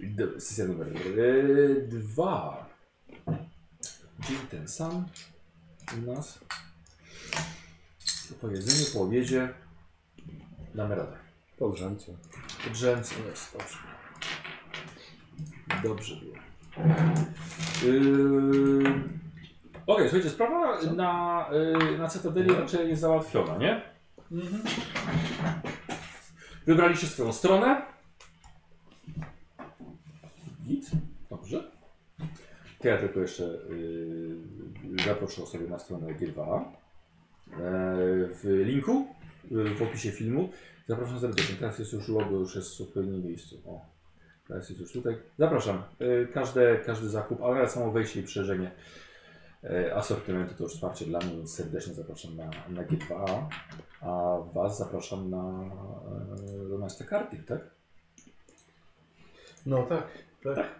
Dobra, Sesja numer yy, dwa. Czyli ten sam u nas. To po jedzeniu, po obiedzie. Damy radę. Po brzęcu. Drzemce jest, dobrze. Dobrze było. Yy... Okej, słuchajcie, sprawa na, yy, na Cytadeli raczej jest załatwiona, nie? Wybraliście swoją stronę. Git, dobrze. To ja tylko jeszcze yy, zaproszę sobie na stronę G2. Yy, w linku, yy, w opisie filmu Zapraszam serdecznie. Teraz jest już logo, już jest w zupełnie miejscu. O. Teraz jest już tutaj. Zapraszam. Y, Każde, każdy zakup, ale samo wejście i przeżenie y, asortymentu to już wsparcie dla mnie, więc serdecznie zapraszam na, na G2A, a Was zapraszam na, e, do Mastercardy, tak? No tak. Tak.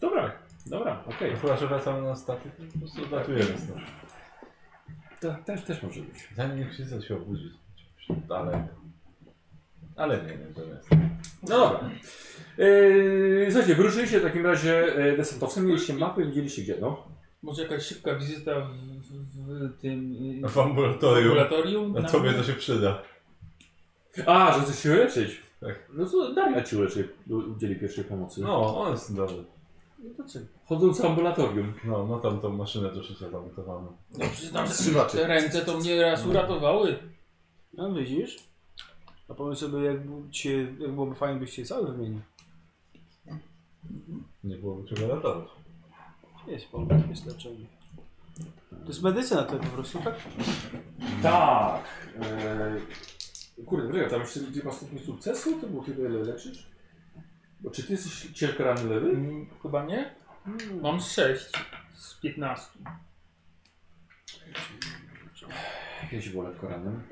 Dobra, dobra, okej. Chyba, że wracamy na statek, to po prostu datujemy stąd. Okay. Też, też może być. Zanim wszyscy się obudzi. Ale... Ale nie, nie, to jest. No dobra. Yy, słuchajcie, wyruszyliście w takim razie e, desantowcem, mieliście mapy, widzieliście gdzie, no. Może jakaś szybka wizyta w, w, w tym y, No, W ambulatorium. laboratorium? Na Na- tobie to się przyda. A, że chcesz się leczyć. Tak. No co, Daria ci uleczy, udzieli pierwszej pomocy. No, on jest dobry. No to co? Chodząc ambulatorium. No, ma tam tą maszynę do szycia zamontowaną. No przyznam, że Strzymaczy. te ręce to mnie raz uratowały. No widzisz? A pomyśl sobie, jak, bu- cię, jak byłoby fajnie, byś się cały wymienił. Nie byłoby czego ratować. Jest problem, jest leczenie. To jest medycyna to po prostu, tak? Tak. Eee, kurde, czekaj, tam jeszcze gdzie masz stopień sukcesu, to było tyle ile leczysz? Bo czy ty jesteś ciężko ranny lewy? Mm, Chyba nie? Hmm. Mam 6 z 15. Ja się wolę lekko rannym.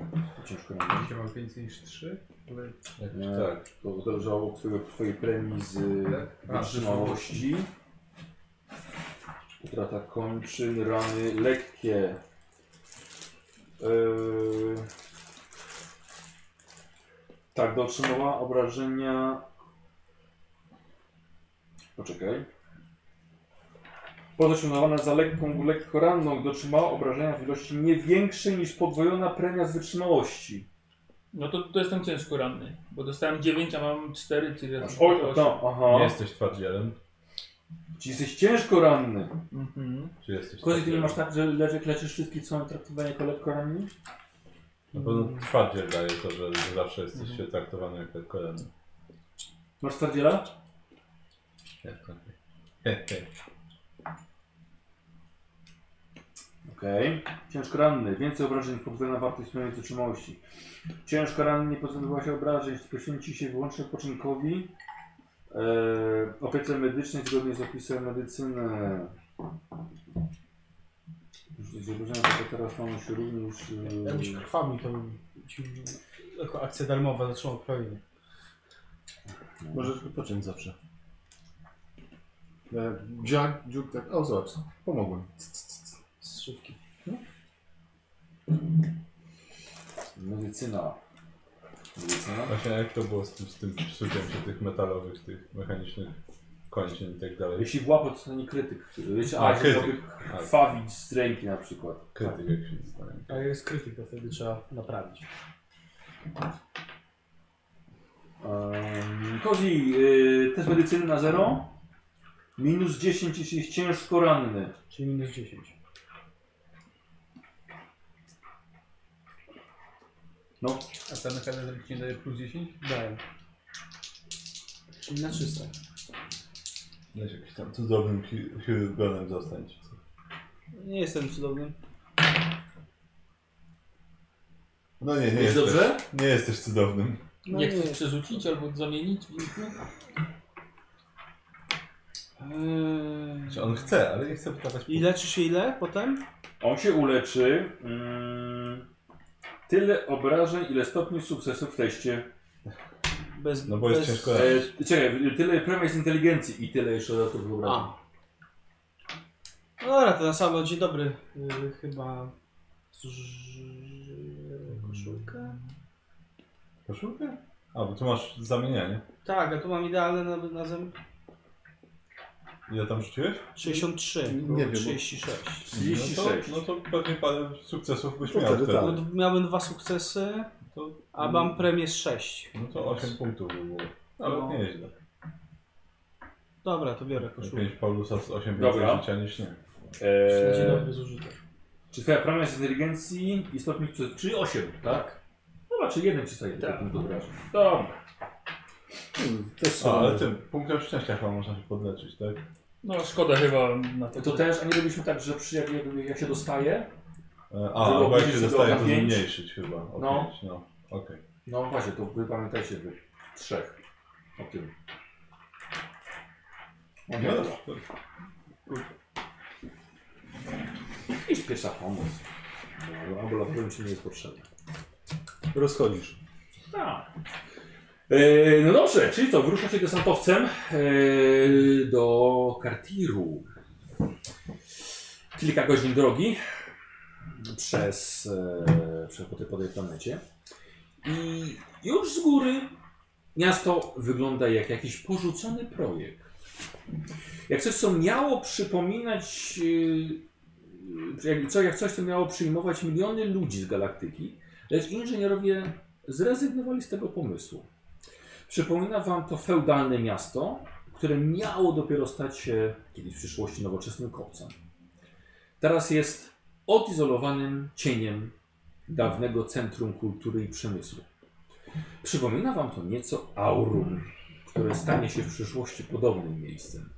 Ciężko rannym. Dzisiaj mam więcej niż 3, ale Jakoś Nie. tak. To zależało od twojego, twojej premii z A, wytrzymałości. Utrata kończyn, rany lekkie. Eee, tak, dotrzymała obrażenia. Poczekaj. Podotrzymywana za lekką, lekko ranną dotrzymała obrażenia w ilości nie większej niż podwojona premia z wytrzymałości. No to, to jestem ciężko ranny, bo dostałem 9, a mam 4, czyli Masz- raz. Oj, no, aha. Nie jesteś twardzielem, Czy jesteś ciężko ranny? Mhm. czy jesteś Kozik, ty nie twardzielem? masz tak, że leżyk leczysz wszystkich, co mają traktowanie jako lekko ranni? Na pewno twardziel daje to, że że zawsze jesteś się traktowany jak lekko ranny. Masz twardziela? Jak to? He, he. Okej. Ciężko ranny. Więcej obrażeń podwojona wartość wspomnianej wytrzymałości. Ciężko ranny nie pozbywa się obrażeń. Poświęci się wyłącznie odpoczynkowi. Eee, opiece medycznej zgodnie z opisem medycyny. Już coś zobaczyłem, to teraz mamy się również... eee, Jakbyś krwami to ci jako akcja darmowa zaczęła krwawienie. Może... możesz wypocząć zawsze. E, Dziak, dziuk, tak. O, zobacz, pomogłem. Z szybki. Medycyna. Medycyna? Właśnie jak to było z tym, z tym psuciem się tych metalowych, tych mechanicznych kończyn i tak dalej. Jeśli w łapę to stanie krytyk. Jeśli, a, A, a krytyk. krytyk. A, krwawić z ręki na przykład. krytyk jak się stanie. A jak jest krytyk, to wtedy trzeba naprawić. Um, Kozi, yy, test medycyny na 0. Minus 10, jeśli jest ciężko ranny. Czyli minus 10. No, A ten mechanizm ci nie daje plus 10? Daję. Czyli na 300. Weź jakimś tam cudownym hi- chirurgonem zostań czy coś. Nie jestem cudownym. No nie, nie jest jesteś. dobrze? Nie jesteś cudownym. No nie nie. chcesz przerzucić albo zamienić w inny? Eee, Znaczy on chce, ale nie chce pokazać I leczysz się ile potem? On się uleczy. Mm, tyle obrażeń, ile stopni sukcesu w teście. Bez, No bo jest ciężko bez... E, czekaj, tyle premia z inteligencji i tyle jeszcze dodatkowych obrażeń. A. No dobra, to na samo dzień dobry. Yy, chyba. zuży- Koszulkę? Koszulkę? A, bo tu masz zamienianie. Tak, a tu mam idealne na, na zem Ile tam rzuciłeś? 63. Nie było wiem, bo- 36. 36. No to, no to pewnie parę sukcesów byś No miał wtedy wtedy. No tak. No, d- miałem dwa sukcesy, To, a Mm. mam premię z 6. No to 8 punktów by było. Ale No. nieźle. Dobra, to biorę koszulę. 5 Paulusa z 8 Dobra. więcej życia niż nie. Eee... Eee, dobry zużytek. czy twoja premia jest z inteligencji i stopień czy, czy 8, tak? Dobra, czy 1 czy 1, Tak. tak. punkt obrażeń. Dobra. Hmm, też A, są. ale tym punktem szczęścia chyba można się podleczyć, tak? No szkoda chyba na to. To też, a nie robiliśmy tak, że przy, jak, jakby jak się dostaje? E, A, Żeby bo jak się obniżyć dostaje do to pięć. zmniejszyć chyba. O No. pięć, no. Okej. No właśnie, to wy pamiętajcie wy. Trzech. O tym. No No, dobra. Iść pierwsza pomoc. No, ambulatorium ci nie jest potrzebne. Rozchodzisz. Tak. E, no dobrze, czyli co, wyrusza się desantowcem e, do Kartiru. Kilka godzin drogi przez, e, przez po, tej, po tej planecie. I już z góry miasto wygląda jak jakiś porzucony projekt. Jak coś, co miało przypominać, e, jak, co, jak coś, co miało przyjmować miliony ludzi z galaktyki, lecz inżynierowie zrezygnowali z tego pomysłu. Przypomina wam to feudalne miasto, które miało dopiero stać się kiedyś w przyszłości nowoczesnym kopcem. Teraz jest odizolowanym cieniem dawnego centrum kultury i przemysłu. Przypomina wam to nieco aurum, które stanie się w przyszłości podobnym miejscem.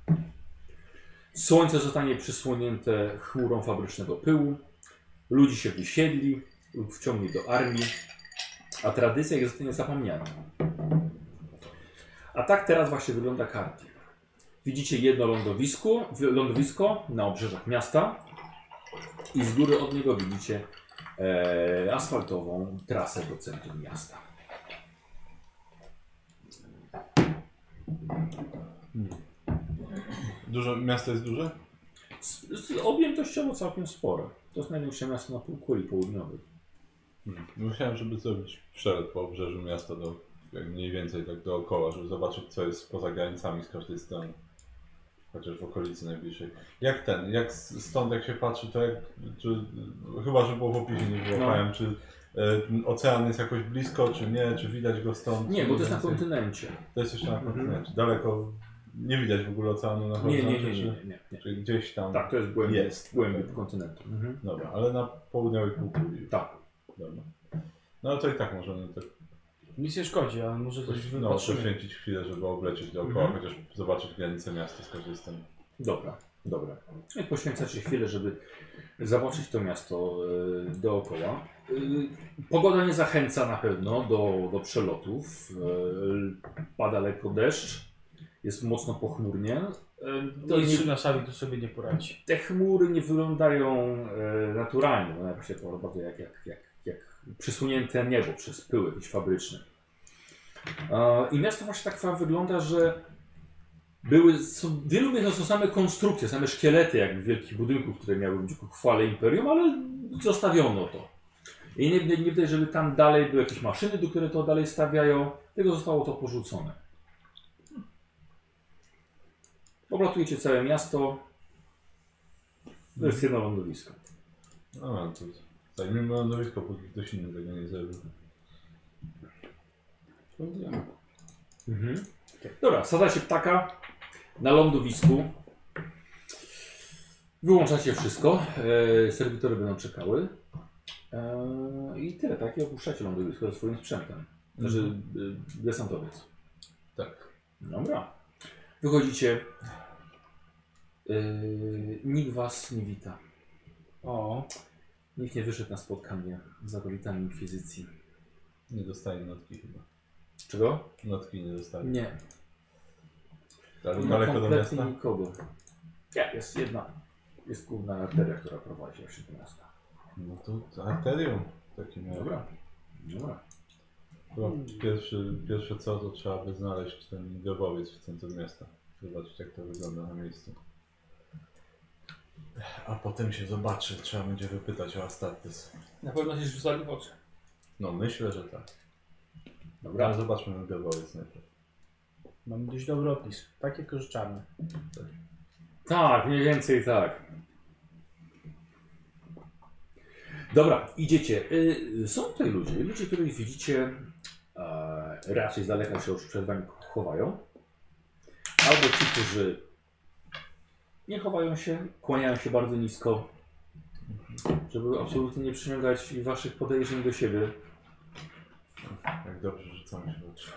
Słońce zostanie przysłonięte chmurą fabrycznego pyłu, ludzie się wysiedli lub wciągnie do armii, a tradycja ich zostanie zapomniana. A tak teraz właśnie wygląda karty. Widzicie jedno lądowisko, w- lądowisko na obrzeżach miasta i z góry od niego widzicie e, asfaltową trasę do centrum miasta. Dużo, miasto jest duże? Z, z objętościowo całkiem spore. To jest największe miasto na półkuli południowej. Hmm. Musiałem, żeby zrobić przelot po obrzeżu miasta do jak mniej więcej tak dookoła, żeby zobaczyć co jest poza granicami z każdej strony. Chociaż w okolicy najbliższej. Jak ten, jak s- stąd jak się patrzy, to jak, czy, chyba, że było w opisie, No. nie wyłapałem, czy e, ten ocean jest jakoś blisko, czy nie, czy widać go stąd? Nie, bo to jest na Mniej więcej. kontynencie. To jest jeszcze na Mhm. kontynencie, daleko, nie widać w ogóle oceanu na Nie, nie, horyzoncie, nie, nie, nie, Czy, nie, nie. czy gdzieś tam. Tak, to jest głębiej, Jest. głębiej kontynentu. Mhm. Dobra, ale na południowej półkuli. Tak. Dobra. No to i tak możemy tak Nic nie szkodzi, ale może coś no, wypatrzymy. poświęcić chwilę, żeby oblecieć dookoła, Mhm. chociaż zobaczyć granice miasta z każdej strony. Dobra, dobra. I Poświęcacie chwilę, żeby zobaczyć to miasto e, dookoła. E, Pogoda nie zachęca na pewno do, do przelotów. E, Pada lekko deszcz, jest mocno pochmurnie. E, To nie, Nic na sali tu sobie nie poradzi. te chmury nie wyglądają e, naturalnie, one się po- bardzo jak, jak, jak, jak przysunięte niebo przez pyły jakieś fabryczne. E, I miasto właśnie tak fa- wygląda, że były, są, w wielu miastach są same konstrukcje, same szkielety jakby wielkich budynków, które miały być ku chwale imperium, ale zostawiono to. I nie, nie, nie widać, żeby tam dalej były jakieś maszyny, do które to dalej stawiają, tylko zostało to porzucone. Oblatujecie całe miasto, to jest jedno lądowisko. No, no to zajmijmy lądowisko, póki ktoś inny tego nie zrobił. Mhm. Dobra, sadzacie ptaka na lądowisku. Wyłączacie wszystko. E, serwitory będą czekały. E, I tyle, tak? I opuszczacie lądowisko ze swoim sprzętem. Znaczy Mhm. e, desantowiec. Tak. Dobra. Wychodzicie. E, nikt was nie wita. O, Nikt nie wyszedł na spotkanie z zabawitami inkwizycji. Nie dostaje notki chyba. Czego? Notki nie dostaje. Nie. Dale, Nie ma daleko do kompletnie miasta? nikogo. Nie, jest jedna. Jest główna arteria, która prowadzi właśnie do miasta. No to to arterią w takim razie. Dobra. Dobra. Chyba No, Pierwszy, pierwsze co, to trzeba by znaleźć ten grobowiec w centrum miasta. Zobaczyć jak to wygląda na miejscu. A potem się zobaczy, trzeba będzie wypytać o Astartes. Na pewno się rzucali w oczy. No myślę, że tak. No, Dobra. Ale zobaczmy na grobowiec najpierw. Mam dość dobry opis. Tak jak korzystamy. Tak, mniej więcej tak. Dobra, idziecie. Y, Są tutaj ludzie, ludzie, których widzicie e, raczej z daleka się już przed wami chowają. Albo ci, którzy nie chowają się, kłaniają się bardzo nisko, żeby absolutnie nie przyciągać waszych podejrzeń do siebie. Jak dobrze rzucamy się w oczy.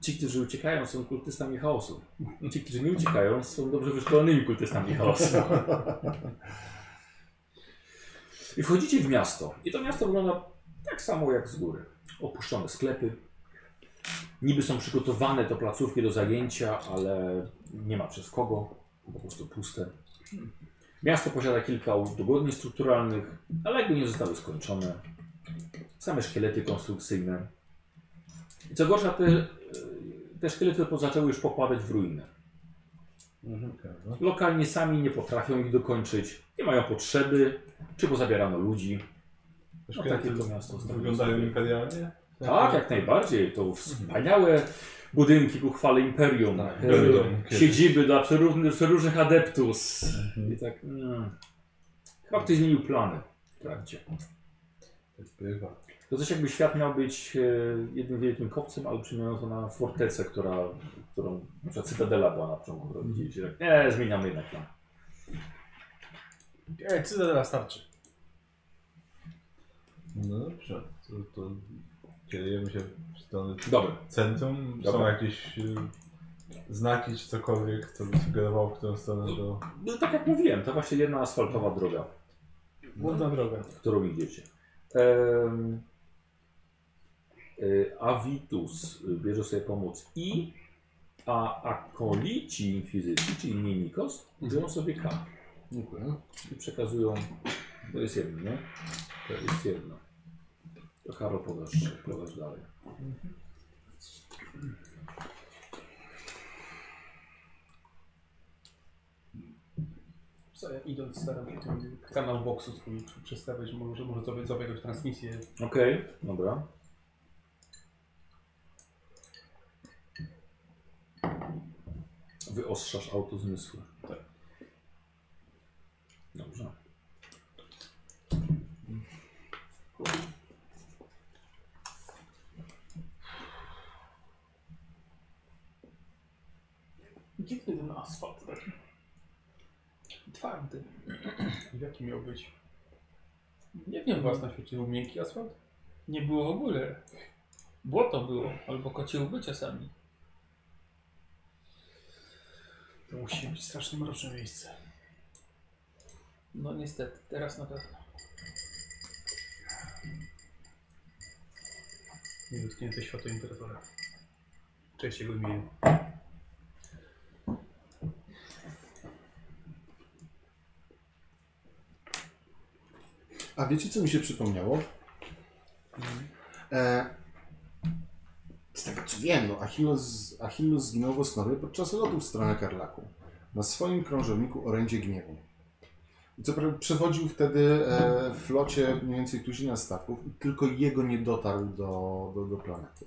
Ci, którzy uciekają, są kultystami chaosu. Ci, którzy nie uciekają, są dobrze wyszkolonymi kultystami chaosu. I wchodzicie w miasto. I to miasto wygląda tak samo jak z góry. Opuszczone sklepy. Niby są przygotowane do placówki do zajęcia, ale nie ma przez kogo. Po prostu puste. Miasto posiada kilka udogodnień strukturalnych, ale jakby nie zostały skończone. Same szkielety konstrukcyjne. I co gorsza, te, e, te szkielety po- zaczęły już popadać w ruinę. Mhm. no. Lokalnie sami nie potrafią ich dokończyć, nie mają potrzeby, czy pozabierano ludzi. No, takie to miasto stanowi Wyglądają sobie. imperialnie? Tak, jak najbardziej. To wspaniałe budynki ku chwale imperium. Tak, E, będą kiedyś. Siedziby dla przeróżnych, przeróżnych adeptus. I tak. Mm. Chyba ktoś zmienił plany w trakcie. Tak bywa. To coś jakby świat miał być e, jednym wielkim kopcem, ale przyjmują to na fortecę, która, którą na przykład Cytadela była na początku, którą widzieliście. Tak, nie, zmieniamy jednak plan. Ej, co to teraz starczy? No dobrze, to, to kierujemy się w stronę Dobra. centrum. Są Dobra. jakieś y, znaki czy cokolwiek, co by sugerowało, w którą stronę do... No, tak jak mówiłem, to właśnie jedna asfaltowa droga. No. Główna droga. którą idziecie. Um, y, Avitus bierze sobie pomoc I, a akolici fizyczni, czyli Mimikos, biorą sobie K Dziękuję. i przekazują. To jest jedno, nie? To jest jedno. To Karo podasz, podasz dalej. Co, ja idąc staram się ten kanał Voxu swój przestawiać, może, może złapać, złapać jakąś transmisję. Okej, dobra. Wyostrzasz auto zmysły. Tak. Dobrze. Dziwny ten asfalt taki. Twardy. Jaki miał być? Nie wiem, Was was na świecie był miękki asfalt? nie było w ogóle. Błoto było, albo kocie łby czasami. To musi być strasznie mroczne miejsce. No niestety, teraz na pewno. Niedotknięte światło imperatora. Cześć jego imieniu. A wiecie, co mi się przypomniało? E, z tego co wiem, no, Achilles, Achilles zgnął w osnowie podczas lotu w stronę Karlaku na swoim krążowniku Orędzie Gniewu. I co prawda przewodził wtedy e, flocie mniej więcej tuzina statków i tylko jego nie dotarł do, do, do planety.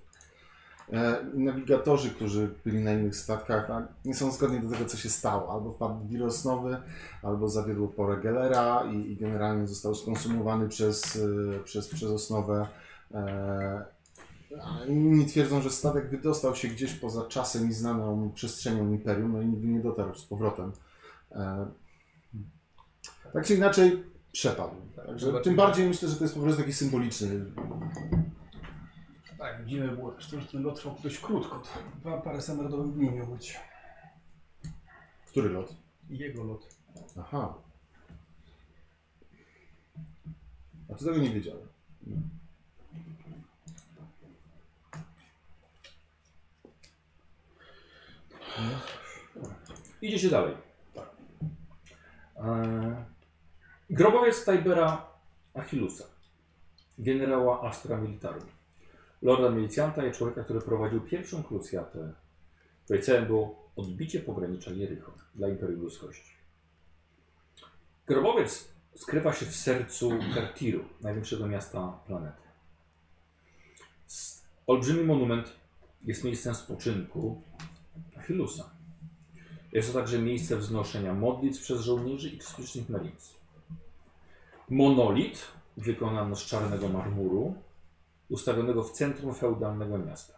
E, nawigatorzy, którzy byli na innych statkach, a nie są zgodni do tego, co się stało. Albo wpadł w wir osnowy, albo zawiodło porę Gellera i, i generalnie został skonsumowany przez, y, przez, przez osnowę. E, a inni twierdzą, że statek wydostał się gdzieś poza czasem i znaną przestrzenią Imperium, no i nigdy nie dotarł z powrotem. E, tak czy inaczej przepadł. Także, zobaczymy. tym bardziej myślę, że to jest po prostu taki symboliczny Tak, widzimy było też, to, że ten lot trwał dość krótko. To chyba parę standardowych dni miał być. Który lot? Jego lot. Aha. A to tego nie wiedziałem. Idziecie dalej. E, Grobowiec Tajbera Achillusa, generała Astra Militarum, lorda milicjanta i człowieka, który prowadził pierwszą krucjatę, której celem było odbicie pogranicza Jericho dla Imperium Ludzkości. Grobowiec skrywa się w sercu Kartiru, największego miasta planety. S- Olbrzymi monument jest miejscem spoczynku Chylusa. Jest to także miejsce wznoszenia modlitw przez żołnierzy i kosmicznych marinów. Monolit wykonano z czarnego marmuru, ustawionego w centrum feudalnego miasta.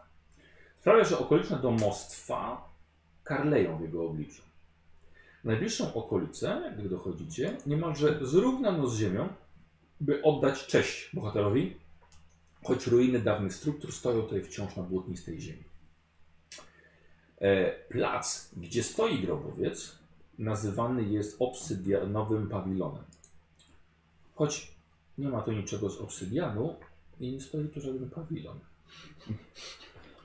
Sprawia, że okoliczne domostwa karleją w jego obliczu. Najbliższą okolicę, gdy dochodzicie, niemalże zrównano z ziemią, by oddać cześć bohaterowi, choć ruiny dawnych struktur stoją tutaj wciąż na błotnistej ziemi. E, plac, gdzie stoi grobowiec, nazywany jest obsydianowym pawilonem. Choć nie ma tu niczego z obsydianu i nie stoi tu żaden pawilon.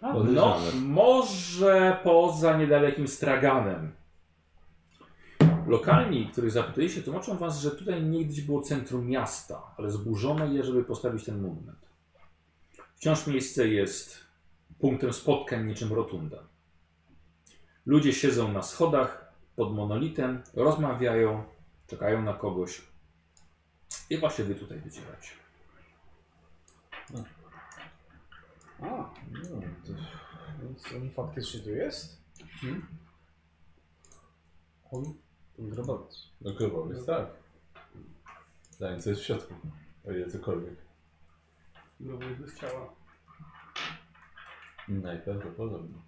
No, Podejrzane. może poza niedalekim straganem. Lokalni, których zapytaliście, tłumaczą was, że tutaj niegdyś było centrum miasta, ale zburzone je, żeby postawić ten monument. Wciąż miejsce jest punktem spotkań niczym rotunda. Ludzie siedzą na schodach pod monolitem, rozmawiają, czekają na kogoś. I właśnie wy tutaj wycieracie. A, No, to więc on faktycznie tu jest? On? Ten grobowiec. No grobowiec, tak. Zanim co jest w środku. O ile cokolwiek. No bo jest bez ciała. Najprawdopodobniej.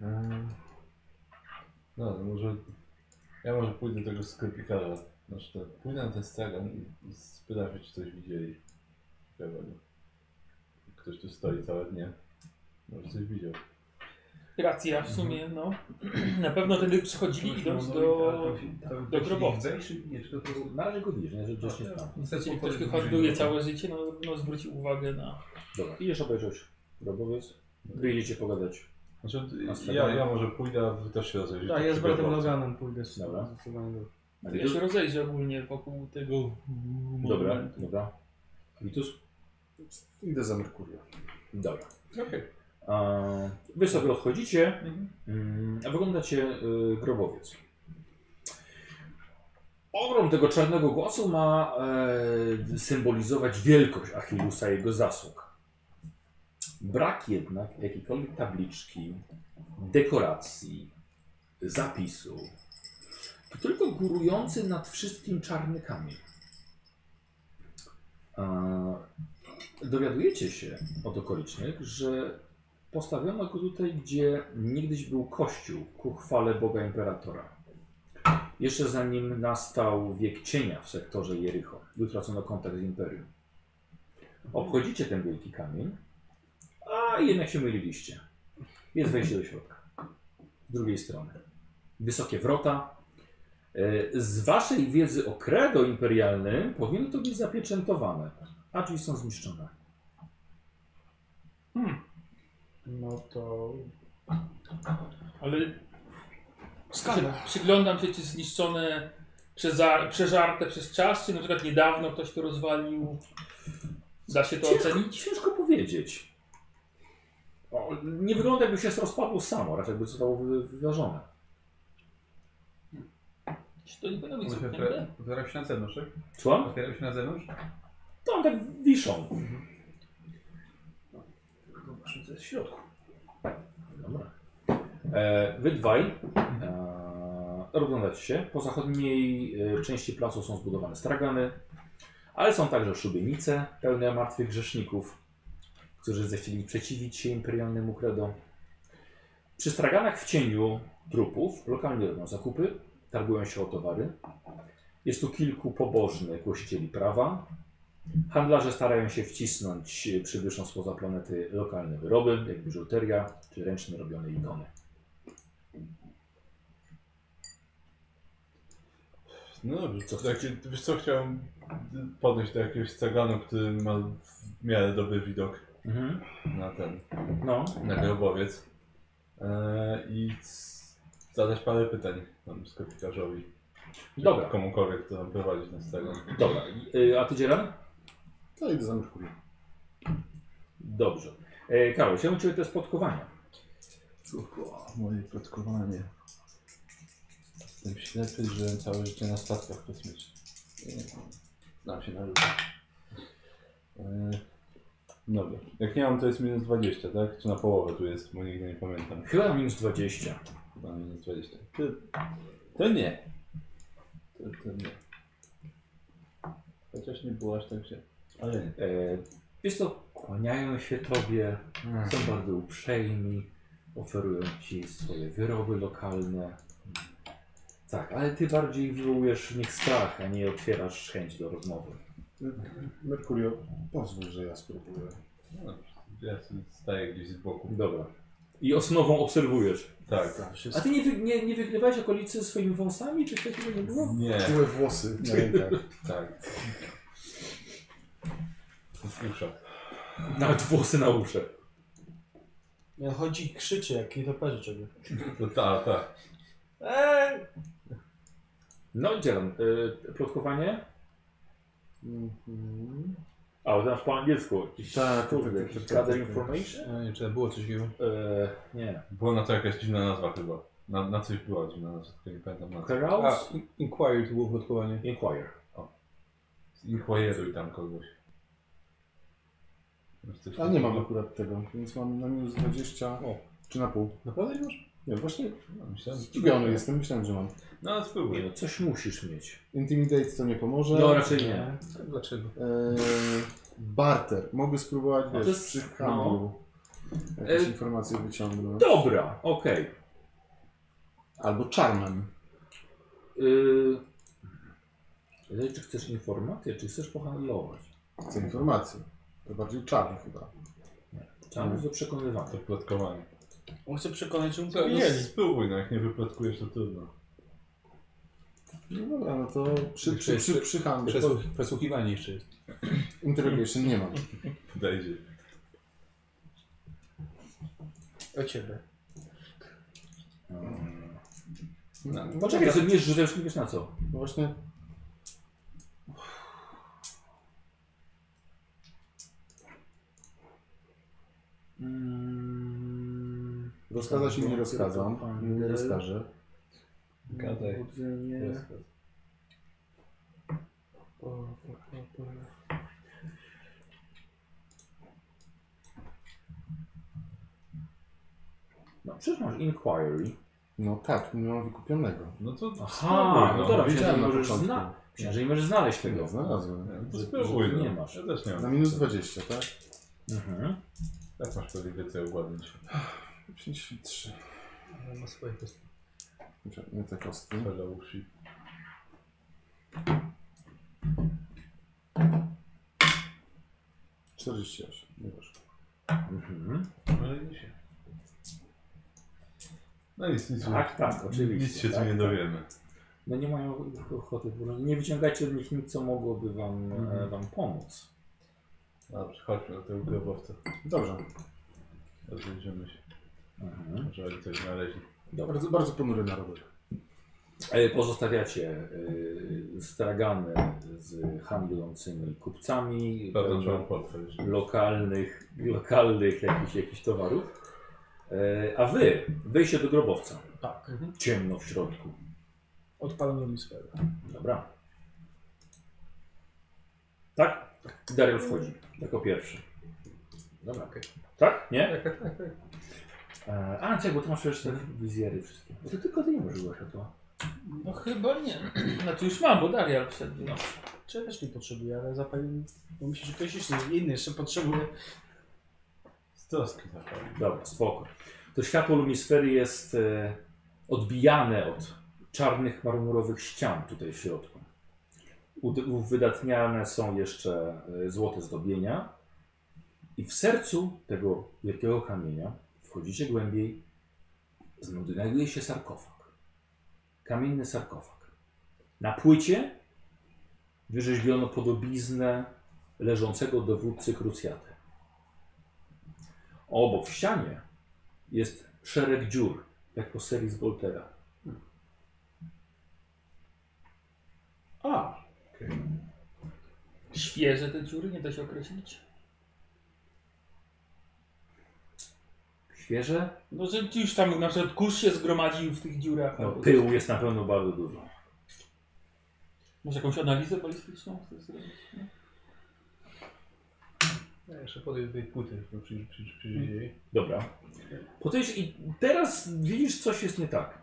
Eee. No, no może... Ja może pójdę do tego sklepikarza. Znaczy, to pójdę na ten stragan i spytam się, czy coś widzieli. Ciekawego. Ktoś tu stoi całe dnie. Może coś widział. Racja w sumie, no. Na pewno wtedy przychodzili idąc tak, do... do grobowca. Wejść, czy nie, czy to po prostu... Na razie go widzisz, nie? że gdzieś nie tam. Niestety Jeśli ktoś tu handluje całe życie, no, no zwróci uwagę na... Dobra, idziesz obejrzeć grobowiec. Wyjdziecie pogadać. Znaczy, Na ja, straganie? ja może pójdę, a wy też się rozejrzycie. Tak, ja z przy bratem grobowcu. Loganem pójdę z Dobra. zdecydowanie do- Ja się rozejrzę ogólnie wokół tego Dobra, monumentu. dobra. Witus? Idę za Merkurio. Dobra. Okej. A, Wy sobie odchodzicie, Mhm. mm, a wyglądacie y, grobowiec. Ogrom tego czarnego głosu ma e, symbolizować wielkość Achillusa i jego zasług. Brak jednak jakiejkolwiek tabliczki, dekoracji, zapisu. To tylko górujący nad wszystkim czarny kamień. A, Dowiadujecie się od okolicznych, że postawiono go tutaj, gdzie niegdyś był kościół ku chwale Boga Imperatora. Jeszcze zanim nastał wiek cienia w sektorze Jericho, gdy utracono kontakt z Imperium. Obchodzicie ten wielki kamień, a jednak się myliliście. Jest wejście do środka. Z drugiej strony. Wysokie wrota. E, Z waszej wiedzy o credo imperialnym powinno to być zapieczętowane, a drzwi są zniszczone. No to... Ale Przy- Przyglądam się, czy zniszczone, przeza, przeżarte przez czas, czy na przykład niedawno ktoś to rozwalił. Da się to Ciężko, ocenić? ciężko powiedzieć. O, nie wygląda jakby się rozpadło samo, raczej by zostało wy- wyważone. Czy to nie będą być Otwiera- cudne? Otwierają się na zewnątrz, tak? Słucham? Otwierają się na zewnątrz? To one tak wiszą. Zobaczmy, co jest w środku. Dobra. E, wy dwaj e, rozglądacie się. Po zachodniej e, części placu są zbudowane stragany, ale są także szubienice pełne martwych grzeszników, którzy zechcieli przeciwić się imperialnemu credo. Przy straganach w cieniu trupów lokalnie robią zakupy, targują się o towary. Jest tu kilku pobożnych głosicieli prawa. Handlarze starają się wcisnąć e, przybyszom spoza planety lokalne wyroby, jak biżuteria czy ręcznie robione ikony. No dobrze, Co co Tak. takie, wiesz co, chciałem podejść do jakiegoś straganu, który ma w miarę dobry widok Mhm. na ten, No, na Mhm. grobowiec. Eee, I c- zadać parę pytań tam sklepikarzowi. czy Dobra. Komukolwiek, kto tam prowadzi ten stragan. dobra. Y, A ty dzielam? To No, idę za Merkurio. Dobrze. E, Karol, chciałbym Ciebie te spotkowania. Córko, moje plotkowanie. Jestem ślepy, że całe życie na statkach kosmicznych. Nie, Znam się na ludziach. E, Dobra. Jak nie mam, to jest minus 20, tak? Czy na połowę tu jest, bo nigdy nie pamiętam. Chyba minus 20. Na minus 20. To, to nie. To, to nie. Chociaż nie było aż tak się. Ale nie. E, wiesz co, kłaniają się tobie, Mm. są bardzo uprzejmi, oferują ci swoje wyroby lokalne. Tak, ale ty bardziej wywołujesz w nich strach, a nie otwierasz chęć do rozmowy. Merkurio, pozwól, że ja spróbuję. No, ja sobie staję gdzieś z boku. Dobra. I osnową obserwujesz. Tak. A ty nie, wy, nie, nie wygrywałeś okolicy swoimi wąsami, czy coś takiego No. nie było? Nie, Czułe włosy na rękach. tak. Z usza. Nawet włosy na uszach. Ja chodzi i krzyczy jak nietoperze czego. No ta, ta. Eee! No i dzielam. Y, plotkowanie? Mhm. A, bo to masz po angielsku. Jakiś, Tak, kurde, tak, tak, jakiś tak, gather tak, tak. information? Ja nie wiem, czy tam było coś takiego. E, nie. Była na to jakaś dziwna nazwa chyba. Na, na coś była dziwna nazwa, tylko nie pamiętam na co. A, Carouse? in- Inquiry to było plotkowanie. Inquire. Inquiruj tam kogoś. Masz coś A nie mam takiego? akurat tego, więc mam na minus 20. O. Czy na pół? Naprawdę nie masz? Nie, właśnie No, myślałem, zdziwiony jestem, myślałem, że mam. No, Nie, spróbuj. no coś musisz mieć. Intimidate to nie pomoże. No raczej nie. Dlaczego? Eee, barter. Mogę spróbować, No to wiesz, jest- przy handlu jakieś E, informacje wyciągnąć. Dobra, okej. Albo czarnem. Yy, zależy, czy chcesz informację, czy chcesz pohandlować? Chcę informacji. To bardziej czarny chyba. Trzeba być do przekonywania. To plotkowanie. On chce przekonać, że mu Co, no, powiedzieli. spróbuj, no jak nie wyplotkujesz, to trudno. No dobra, no to przy, przy, Przez- przy, przy handlu. Przesłuch- Przesłuchiwanie jeszcze jest. Interrogation nie mam. Dajdzie. O ciebie. Mm. No, Poczekaj, że nie rzucasz, nie wiesz na co. No właśnie. Mm. Rozkazać mi nie rozkazam. Handel. Nie rozkażę. Gadaj. Budzenie. No przecież masz inquiry. No tak, nie mam wykupionego. No to Aha, no dobra, myślałem, Wiedziałem że na możesz początku. zna- myślałem, że nie możesz znaleźć Nie, tego. znalazłem. No Że- to że spróbuj, ty no. nie masz. Ja też nie mam. Na minus 20, tak? Mhm. Tak masz pewnie więcej ogładnić. 53. Ma swoje kwestie. Znaczy, Nie te kostki. Hello, shit. Czterdzieści osiem. nie weszło. mhm. Ale nie się. No nic, nic. Tak, tak, oczywiście. Nic się tak, tu nie tak. dowiemy. No nie mają ochoty, bo nie wyciągajcie od nich nic, co mogłoby wam, e, wam pomóc. Dobrze, chodźmy do tego grobowca. Dobrze. Rozejrzymy się. Mhm. Może oni coś znaleźli. Dobra. Bardzo, bardzo ponury narodek. E, Pozostawiacie e, stragany z handlującymi kupcami, e, Sprawdzam, czy pełno mam portfel. jeszcze. lokalnych, lokalnych jakichś, jakichś towarów. E, A wy, wyjście do grobowca. Tak. Mhm. Ciemno w środku. Odpalam mi sferę. Dobra. Tak? Daryl wchodzi jako pierwszy. Dobra, okej. Tak? Nie? Tak, tak, tak, tak. E, A, czekaj, bo ty masz jeszcze te wizjery wszystkie. Bo ty tylko ty nie możesz światła. No chyba nie. Znaczy już mam, bo Darial wszedł. No. Czy ja też nie potrzebuję, ale zapewne... Bo myślę, że ktoś jeszcze inny jeszcze potrzebuje. Z troski zapewne. Dobra, spoko. To światło lumisfery jest e, odbijane od czarnych marmurowych ścian tutaj w środku. Ud- Uwydatniane są jeszcze e, złote zdobienia. I w sercu tego wielkiego kamienia, wchodzicie głębiej, znajduje się sarkofag. Kamienny sarkofag. Na płycie wyrzeźbiono podobiznę leżącego dowódcy krucjaty. Obok w ścianie jest szereg dziur, jak po serii z Boltera. A, Świeże te dziury, nie da się określić. świeże? No że już tam na przykład kurz się zgromadził w tych dziurach. No, albo pyłu jest na pewno bardzo dużo. Może jakąś analizę balistyczną chcesz zrobić? nie? Ja jeszcze podejdę do tej płyty, którą przy, przy, przy, przyjdzie. Dobra. Podejdź i teraz widzisz, coś jest nie tak.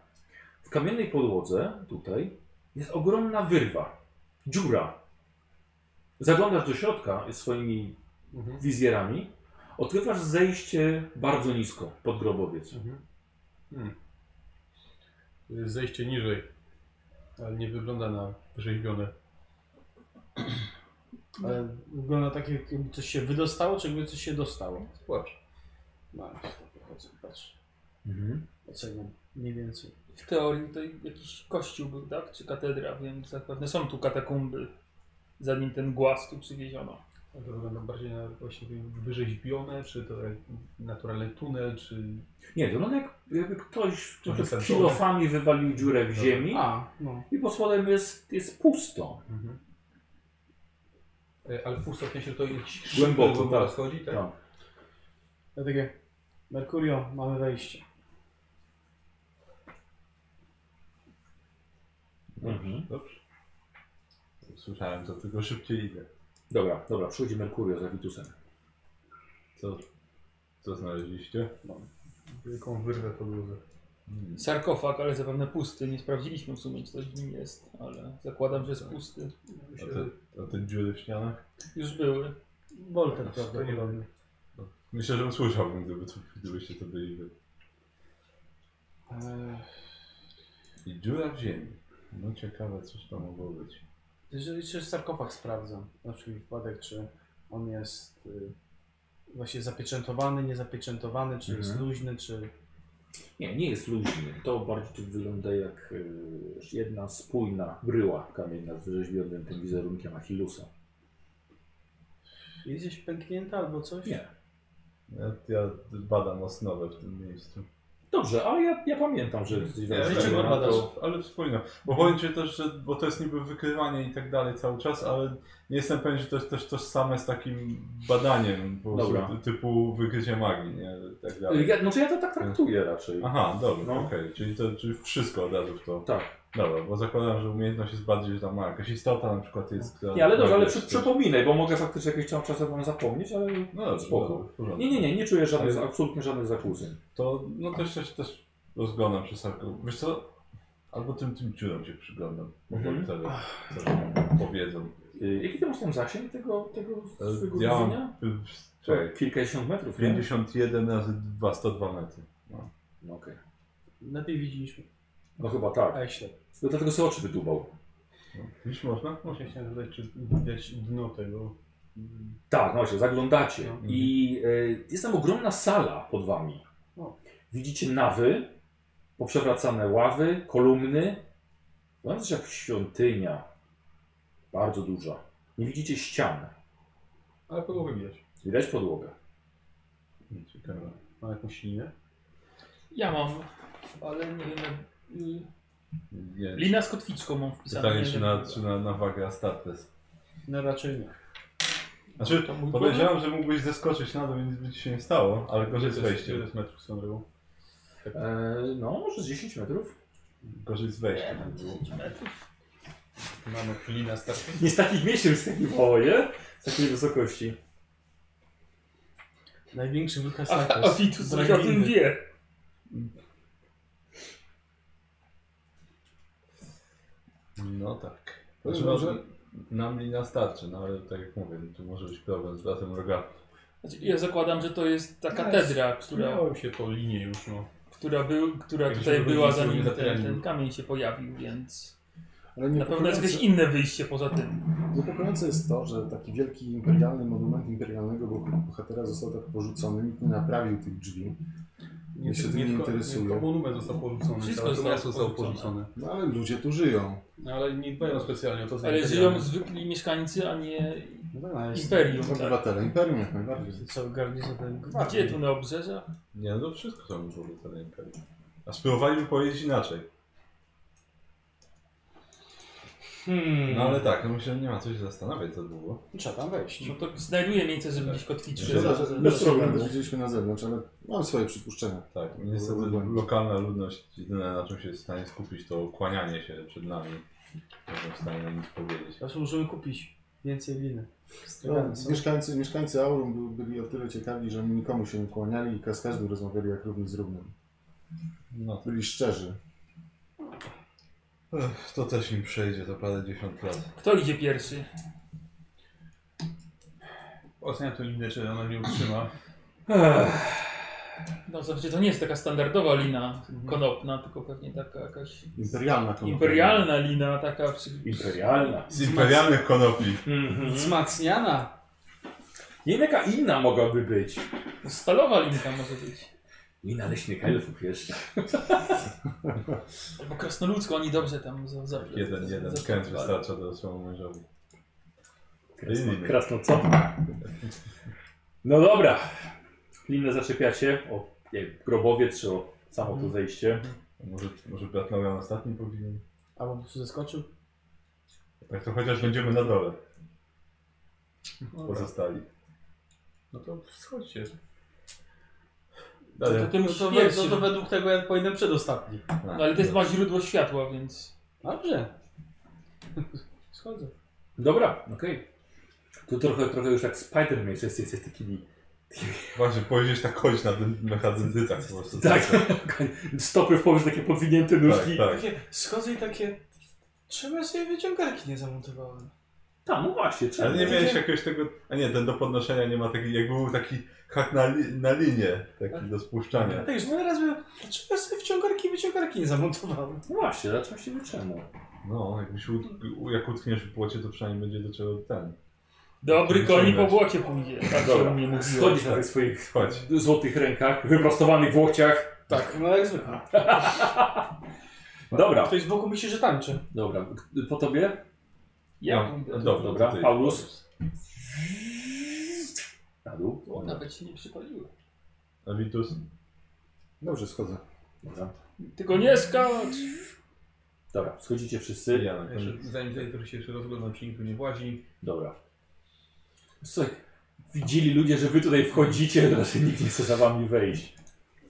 W kamiennej podłodze tutaj jest ogromna wyrwa, dziura. Zaglądasz do środka swoimi Mhm. wizjerami, odkrywasz zejście bardzo nisko pod grobowiec. To jest zejście niżej, ale nie wygląda na wyrzeźbione. Ale wygląda tak, jakby coś się wydostało, czy jakby coś się dostało. Zobacz. No, chodzę, patrz. Mhm. Oceniam mniej więcej. W teorii to jakiś kościół był, tak? Czy katedra, więc zapewne są tu katakumby, zanim ten głaz tu przywieziono. Ale To wygląda bardziej na właśnie wyrzeźbione, czy to jak naturalny tunel, czy... Nie, to wygląda jak, jakby ktoś Trochę trochę sensowne. kilofami wywalił dziurę w ziemi A, no. i pod spodem jest, jest pusto. E, Ale pusto w sensie, że to jakiś Głęboko, szybko głęboko tak. schodzi, tak? Tak. Ja takie, Merkurio, mamy wejście. Mhm. Dobrze. Słyszałem to, tylko szybciej idę. Dobra, dobra, przychodzi Merkurio za Witusem. Co, co znaleźliście? No, Wielką wyrwę po drodze. Hmm. Sarkofag, ale zapewne pusty. Nie sprawdziliśmy w sumie, czy coś w nim jest, ale zakładam, że jest pusty. A te, a te dziury w ścianach? Już były. Bolter, To nie prawda? ważne. Myślę, że usłyszałbym, gdyby, to- gdybyście to byli wy. Eee, I dziura w ziemi. No ciekawe, coś to mogło być. Jeżeli czy sarkofag sprawdzam, na przykład wypadek, czy on jest y, właśnie zapieczętowany, niezapieczętowany, czy jest Mhm. luźny, czy... Nie, nie jest luźny. To bardziej tu wygląda jak y, jedna spójna bryła kamienna z wyrzeźbionym tym wizerunkiem Achillusa. Jest gdzieś pęknięta albo coś? Nie. Ja, ja badam osnowę w tym miejscu. Dobrze, ale ja, ja pamiętam, że jesteś Nie, Życie nie, go no badasz. to- Ale wspólnie. Bo powiem ci też, że, bo to jest niby wykrywanie i tak dalej cały czas, ale nie jestem pewien, że to jest też tożsame z takim badaniem, po prostu Dobra. ty- typu wykrycie magii, nie? I tak dalej. Ja, no to ja to tak traktuję raczej. Aha, dobra, No. okej, czyli to czyli wszystko od razu w to. Tak. Dobra, bo zakładam, że umiejętność jest bardziej, że tam ma jakaś istota na przykład jest. która- Nie, ale dobrze, ale jest przy, coś- przypominaj, bo mogę faktycznie jakiś tam czasem wam zapomnieć, ale... No dobrze, Spoko. dobra, w porządku. Nie, nie, nie, nie czuję żadnych, Ale- absolutnie żadnych zakłóceń. To no też też, też rozglądam przy sarku. Wiesz co? Albo tym tym dziurom się przyglądam. Mhm. Mhm. Wtedy, co nam powiedzą. Y, jaki ty masz tam zasięg tego, tego E, swojego ja mam- widzenia? Y, Czekaj, Kilkadziesiąt metrów, nie? 51 razy 2, 102 metry. No, okej. Lepiej widzieliśmy. no chyba tak. A jak ślep. Dlatego sobie oczy wydubał. No. Już można? Właśnie chciałem zapytać, czy widać dno tego. Tak, no właśnie, zaglądacie. No. I y, jest tam ogromna sala pod wami. No. Widzicie nawy, poprzewracane ławy, kolumny. No, To jest jak świątynia. Bardzo duża. Nie widzicie ścian. Ale podłogę widać. Widać podłogę. Ciekawe. Ma jakąś linię. Ja mam, ale nie wiem. jak- y, Nie. Lina z kotwiczką mam wpisaną. Pytanie, nie czy wiem, na, jak- czy na, na wagę Astartes. No raczej nie. Znaczy, mój podejrzewam, że mógłbyś zeskoczyć na dół i nic by ci się nie stało, ale gorzej z Ile to jest- wejściem. ile to jest metrów z tą drogą? E, no, może z 10 metrów. Gorzej z wejściem. by było. Mamy klina starczy. Nie z takich miesięcy, z takich woje, z takiej wysokości. Największy wykaz Tak, A, a Vitus coś o tym wie. No tak. Powiem Znaczy, wam, może że- nam lina starczy, no ale tak jak mówię, tu może być problem z bratem rogatym. Znaczy, Ja zakładam, że to jest ta katedra, która, no. Miałem się po linie już, no. która, był, która Jakbyśmy tutaj byli była, z zanim za ten, ten pianinem. kamień się pojawił, więc Ale na pewno jest jakieś niepokojące, inne wyjście poza tym. niepokojące jest to, że taki wielki imperialny monument imperialnego boh- bohatera został tak porzucony, nikt nie naprawił tych drzwi. Nie, się tym nie interesują. Nie, tylko monument został porzucony. Wszystko całe to zostało miasto zostało porzucone. porzucone. No ale ludzie tu żyją. No, ale nie dbają specjalnie o to Ale zainteresowanie. żyją zwykli mieszkańcy, a nie... No tak, ale jest... Imperium, tak. Obywatele imperium jak najbardziej. Ty co, ogarnie za ten Gdzie tu na obrzeżach? Nie, no to wszystko tam było obywatele imperium. A spróbowaliby powiedzieć inaczej. Hmm. No ale tak, ja myślę, że nie ma co się zastanawiać za długo. Trzeba tam wejść. No to znajduję miejsce, żeby gdzieś kotwiczy. Szkoda, że Bez problemu. problemu. Widzieliśmy na zewnątrz, ale mam swoje przypuszczenia. Tak, niestety lokalna ludność, jedyne na czym się jest w stanie skupić, to kłanianie się przed nami. Nie są w stanie nam nic powiedzieć. Teraz możemy kupić. Więcej liny. No, Stragany są. mieszkańcy, mieszkańcy Aurum by- byli o tyle ciekawi, że oni nikomu się nie kłaniali i z każdym rozmawiali jak równy z równym. No Byli szczerzy. Ech, to też im przejdzie za parę dziesiąt lat. Kto idzie pierwszy? Oceniam to linę, czy ona nie utrzyma. No zawsze to nie jest taka standardowa lina Mhm. konopna, tylko pewnie taka jakaś Imperialna konopia. imperialna lina, taka przy... Imperialna. Z imperialnych konopi. Hmm. Mhm. Wzmacniana. Nie wiem, jaka inna mogłaby być. stalowa linka może być. Lina leśnych elfów jeszcze. Bo krasnoludzko oni dobrze tam za- za- Tak, Jeden, za- jeden za- skręt wystarcza dorosłemu mężowi. Krasno, Liny. krasno co? No dobra. Linę zaczepiacie o nie, grobowie czy o samo to zejście. Może, może brat Norian ostatni powinien? Albo po prostu zeskoczył. Tak to chociaż będziemy na dole. Dobra. Pozostali. No to schodźcie. To, to, Ale- tym, to, we- Świeci. to, to według tego ja powinienem przedostatni. Tak. No ale to jest ma źródło światła, więc... Dobrze. Schodzę. Dobra, okej. Tu trochę, trochę już jak Spider-Man, że jesteś jesteś takimi... Właśnie, pojedziesz tak chodź na, dyn- na chadzydycach po prostu. Tak, stopy w powietrzu, takie podwinięte tak, nóżki. tak. Takie, schodzę i takie... Trzeba sobie wyciągarki nie zamontowałem. Tam, no właśnie, Tak. Ale czemu? nie miałeś jakiegoś tego... A nie, ten do podnoszenia nie ma taki... Jakby był taki hak na, li, na linię. Taki do spuszczania. Tak już wiele razy mówię, dlaczego ja sobie wciągarki i wyciągarki nie zamontowałem? No właśnie, zaczął się czemu? No, jakbyś ut- u- jak utkniesz w płocie, to przynajmniej będzie do czego ten. Dobry Musimy koni po wejść. błocie pójdzie, tak się Dobra. u mnie mówiło. Schodzisz na tych swoich Chodź. złotych rękach, wyprostowanych w łokciach. Tak, no jak zwykle. Dobra, Ktoś z boku myśli, że tańczy. dobra. Po tobie? Ja No, pójdę. dobra, Dobra, to ty Paulus. powiedz. Na dół. O, nawet się nie przypaliło. A Vitus? Dobrze, schodzę. Dobra. Tylko nie skacz! Dobra, schodzicie wszyscy. Ja na koniec. E, Jeszcze, zanim zajdę się jeszcze rozglądam, czy nikt tu nie włazi. Dobra. Słuchaj, widzieli ludzie, że wy tutaj wchodzicie, to znaczy nikt nie chce za wami wejść.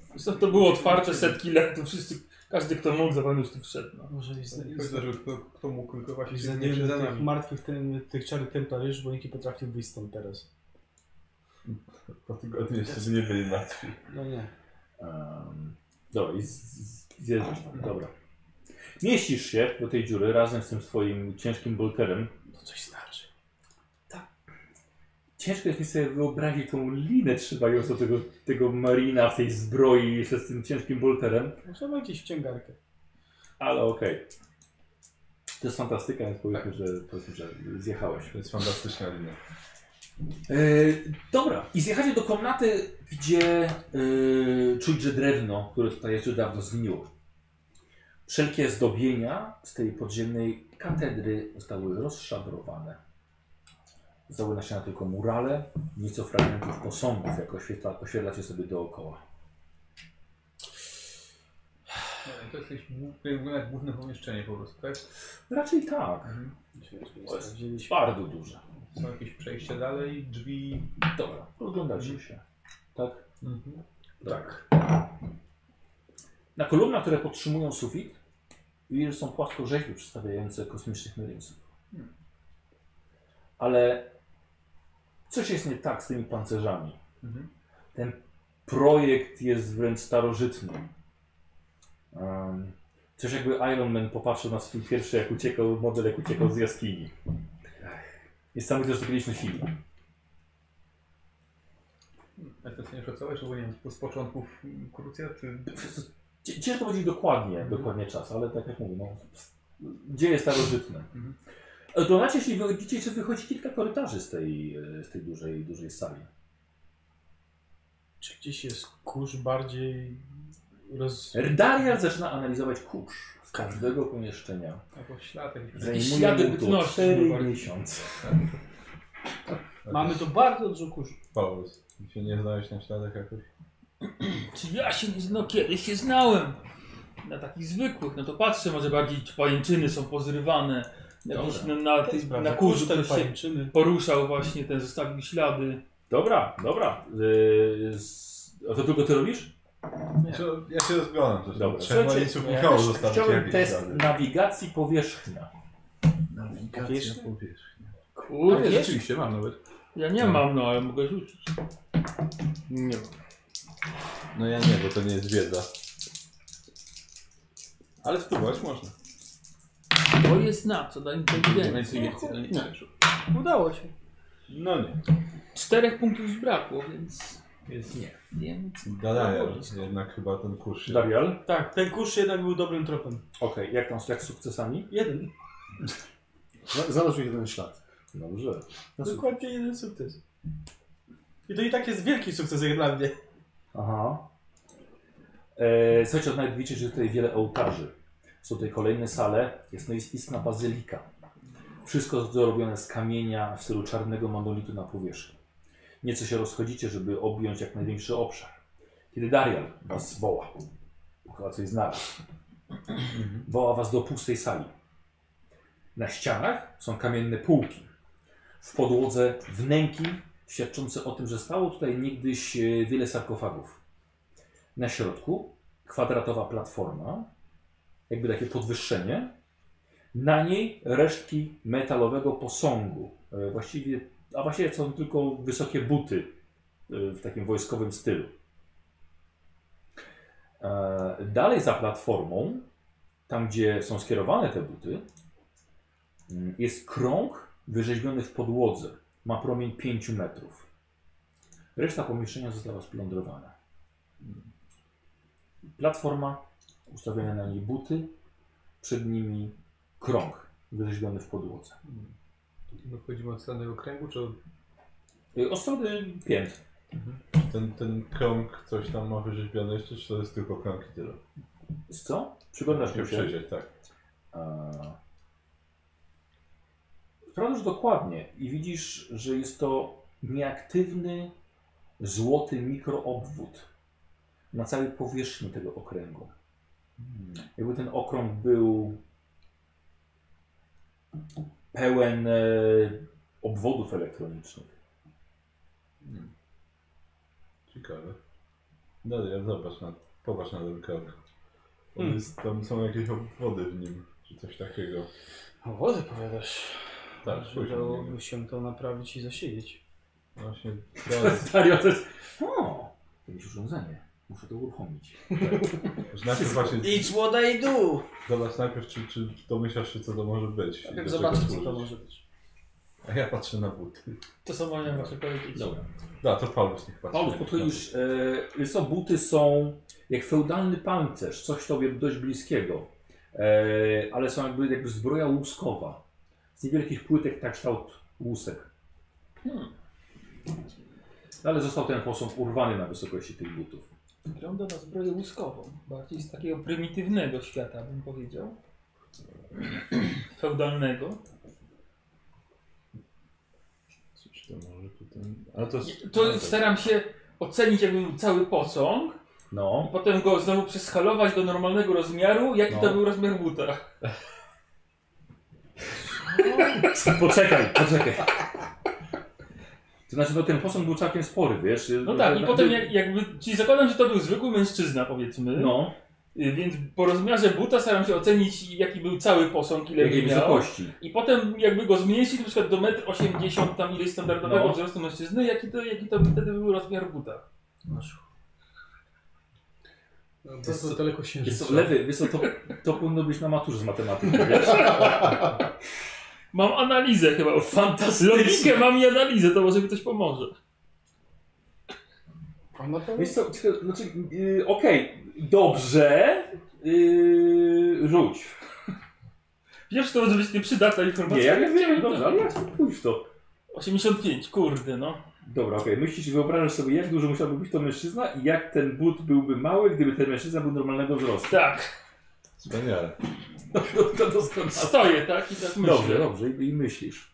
Zresztą to było otwarte setki lat, to wszyscy, każdy kto mógł zapewne tu wszedł. No. Może i Tylko zdarzył, kto, kto mógł tylko właśnie się nie Znajdziemy przed tych nami. martwych, ten, tych czarnych templariuszy, bo nikt nie potrafił wyjść stąd teraz. Po tygodniu jeszcze by nie byli martwi. No nie. Um, dobra, i z, z, zjeżdżasz tam. Dobra. Mieścisz się do tej dziury razem z tym swoim ciężkim bulkerem. To coś znaczy. Ciężko jest mi sobie wyobrazić tą linę trzymającą tego, tego marina w tej zbroi jeszcze z tym ciężkim bulkerem, Może ma jakieś wciągarkę. ale okej. To jest fantastyka, więc powiedzmy, że, powiedzmy, że zjechałeś. To jest fantastyczna linia. Yy, dobra, i zjechacie do komnaty, gdzie yy, czuć, że drewno, które tutaj jest już dawno zgniło. Wszelkie zdobienia z tej podziemnej katedry zostały rozszabrowane. Zostały na ścianach tylko murale, nieco fragmentów posągów, jak oświetla, oświetlacie sobie dookoła. No, i To jest jakieś głó- to wygląda jak główne pomieszczenie po prostu, tak? Raczej tak, Świetnie, sprawdziliśmy. bardzo duże. Są jakieś przejścia dalej, drzwi. Dobra, oglądacie się. Tak? Mhm. Tak. Na kolumnach, które podtrzymują sufit, widzisz, że są płaskorzeźby przedstawiające kosmicznych Marines. Ale coś jest nie tak z tymi pancerzami. Mhm. Ten projekt jest wręcz starożytny. Um, coś jakby Iron Man popatrzył na swój pierwszy, jak uciekał, model jak uciekał z jaskini. Jest sam, że to kiedyś nosili. A to co nie pracowałeś, bo nie wiem, z początków krucja, czy... Cie- Ciężko powiedzieć dokładnie, Mhm. dokładnie czas, ale tak jak mówię, no, dzieje starożytne. Mhm. Oglądacie, jeśli wychodzicie, czy wychodzi kilka korytarzy z tej, e, z tej dużej, dużej sali. Czy gdzieś jest kurz bardziej roz... Darial zaczyna analizować kurz z każdego pomieszczenia. Albo ślad Tak. jakiś. Zaj- Jakieś Zajmuje ślady mu to bytności, 4 bardziej. miesiące. Mamy tu bardzo dużo kurzu. Paulus. Ty się nie znałeś na śladach jakoś? Czy ja się nie no kiedyś się znałem? Na takich zwykłych, no to patrzę, może bardziej czy pajęczyny są pozrywane. Jakiś na, na, To jest ty, prawda. na kurzu Kurz ten ktoś się pajęczyny. poruszał właśnie, ten zostawił ślady. Dobra, dobra. Yy, z- a to tylko ty robisz? Czy- Znaczy, no, Ja się rozglądam. to Dobra. się- Trzeba Słuchajcie, nic Michał zostawić Chciałbym jakieś test ślady. nawigacji powierzchnia. Nawigacja powierzchnia. powierzchnia. U, Nie, jest. rzeczywiście, mam nawet. Ja nie mam, no ale mogę rzucić. Nie. No ja nie, bo to nie jest wiedza. Ale spróbować można. To jest na co, na Na inteligencję. inteligencję, no nic nie wyszło. Udało się. No nie. Czterech punktów zabrakło, więc... Więc nie. Więc... No, Dalajer, jednak chyba ten kurs się... Darial? Tak, ten kurz jednak był dobrym tropem. Okej, jak tam jak z sukcesami? Jeden. Za- Znalazł jeden ślad. Dobrze. Dokładnie jeden sukces. I to i tak jest wielki sukces jak dla mnie. Aha. E, słuchajcie, odnajdujecie, że tutaj wiele ołtarzy. Są tutaj kolejne sale. Jest no jest istna bazylika. Wszystko zrobione z kamienia w stylu czarnego monolitu na powierzchni. Nieco się rozchodzicie, żeby objąć jak największy obszar. Kiedy Darial was woła, chyba coś znalazł, woła was do pustej sali. Na ścianach są kamienne półki. W podłodze wnęki świadczące o tym, że stało tutaj niegdyś e, wiele sarkofagów. Na środku kwadratowa platforma, jakby takie podwyższenie. Na niej resztki metalowego posągu. E, Właściwie, a właściwie są tylko wysokie buty e, w takim wojskowym stylu. E, Dalej za platformą, tam gdzie są skierowane te buty, mm, jest krąg wyrzeźbiony w podłodze ma promień 5 metrów. Reszta pomieszczenia została splądrowana. Platforma, ustawione na niej buty, przed nimi krąg wyrzeźbiony w podłodze. My No, wchodzimy od strony okręgu, czy od... Y, Od strony pięt. Ten, ten krąg coś tam ma wyrzeźbione jeszcze, czy to jest tylko krąg i tyle? Z co? Przyglądasz mi Muszę się. przyjrzeć, tak. Eee, Sprawdzasz dokładnie i widzisz, że jest to nieaktywny złoty mikroobwód na całej powierzchni tego okręgu. Jakby ten okrąg był pełen e, obwodów elektronicznych. Ciekawe. Dalej, zobacz na, popatrz na ten krąg. On Hmm. jest, tam są jakieś obwody w nim, czy coś takiego. O wodę powiadasz. Tak, Że spójrz na niego. Dałoby się to naprawić i zasiedzieć. Właśnie, dalej. Serio, to jest... O, jakieś urządzenie. Muszę to uruchomić. Że najpierw właśnie, Idź łoda i dół! zobacz najpierw, czy, czy domyślasz się, co to może być. i do Najpierw czego zobaczę, Tak, co to służyć. może być. A ja patrzę na buty. To samo ja muszę powiedzieć. No. Dobra. Da, to Paulus niech patrzy. Paulus, podchodzisz. E, co, buty są jak feudalny pancerz, coś tobie dość bliskiego, e, ale są jakby, jakby zbroja łuskowa. Z niewielkich płytek tak kształt łusek. Hmm. Ale został ten posąg urwany na wysokości tych butów. Wygląda na zbroję łuskową. Bardziej z takiego prymitywnego świata, bym powiedział. Feudalnego. Cóż to może tutaj... Ale to jest... To staram się ocenić jakby był cały posąg, No, potem go znowu przeskalować do normalnego rozmiaru, jaki No. to był rozmiar buta. poczekaj, poczekaj. To znaczy, no ten posąg był całkiem spory, wiesz? No tak, i Na- potem jak, jakby, czyli zakładam, że to był zwykły mężczyzna, powiedzmy. No, Y, Więc po rozmiarze buta staram się ocenić, jaki był cały posąg, ile jakiej Jakie miał. wysokości. I potem jakby go zmniejszyć na przykład do 1,80 m, tam ile jest standardowego No. wzrostu mężczyzny, jaki to, jaki to wtedy był rozmiar buta. No, Jest to to- daleko Wiesz co, księżyca. lewy, wiesz co, to, to powinno być na maturze z matematyki, wiesz? Mam analizę chyba. Fantastycznie. Logikę mam i analizę, to może mi coś pomoże. A no to Wiesz co, tylko- znaczy, yy, okej, dobrze, yy, rzuć. Wiesz, to może być nieprzydatna Nie, informacja. ja nie wiem, no, dobrze, ale ja chcę pójść w to. 85, kurde no. Dobra, okej, myślisz, wyobrażasz sobie, jak dużo musiałby być to mężczyzna i jak ten but byłby mały, gdyby ten mężczyzna był normalnego wzrostu. Tak, Wspaniale. to, to doskonale. stoję, tak? I tak myślę. Dobrze, dobrze, i, i myślisz.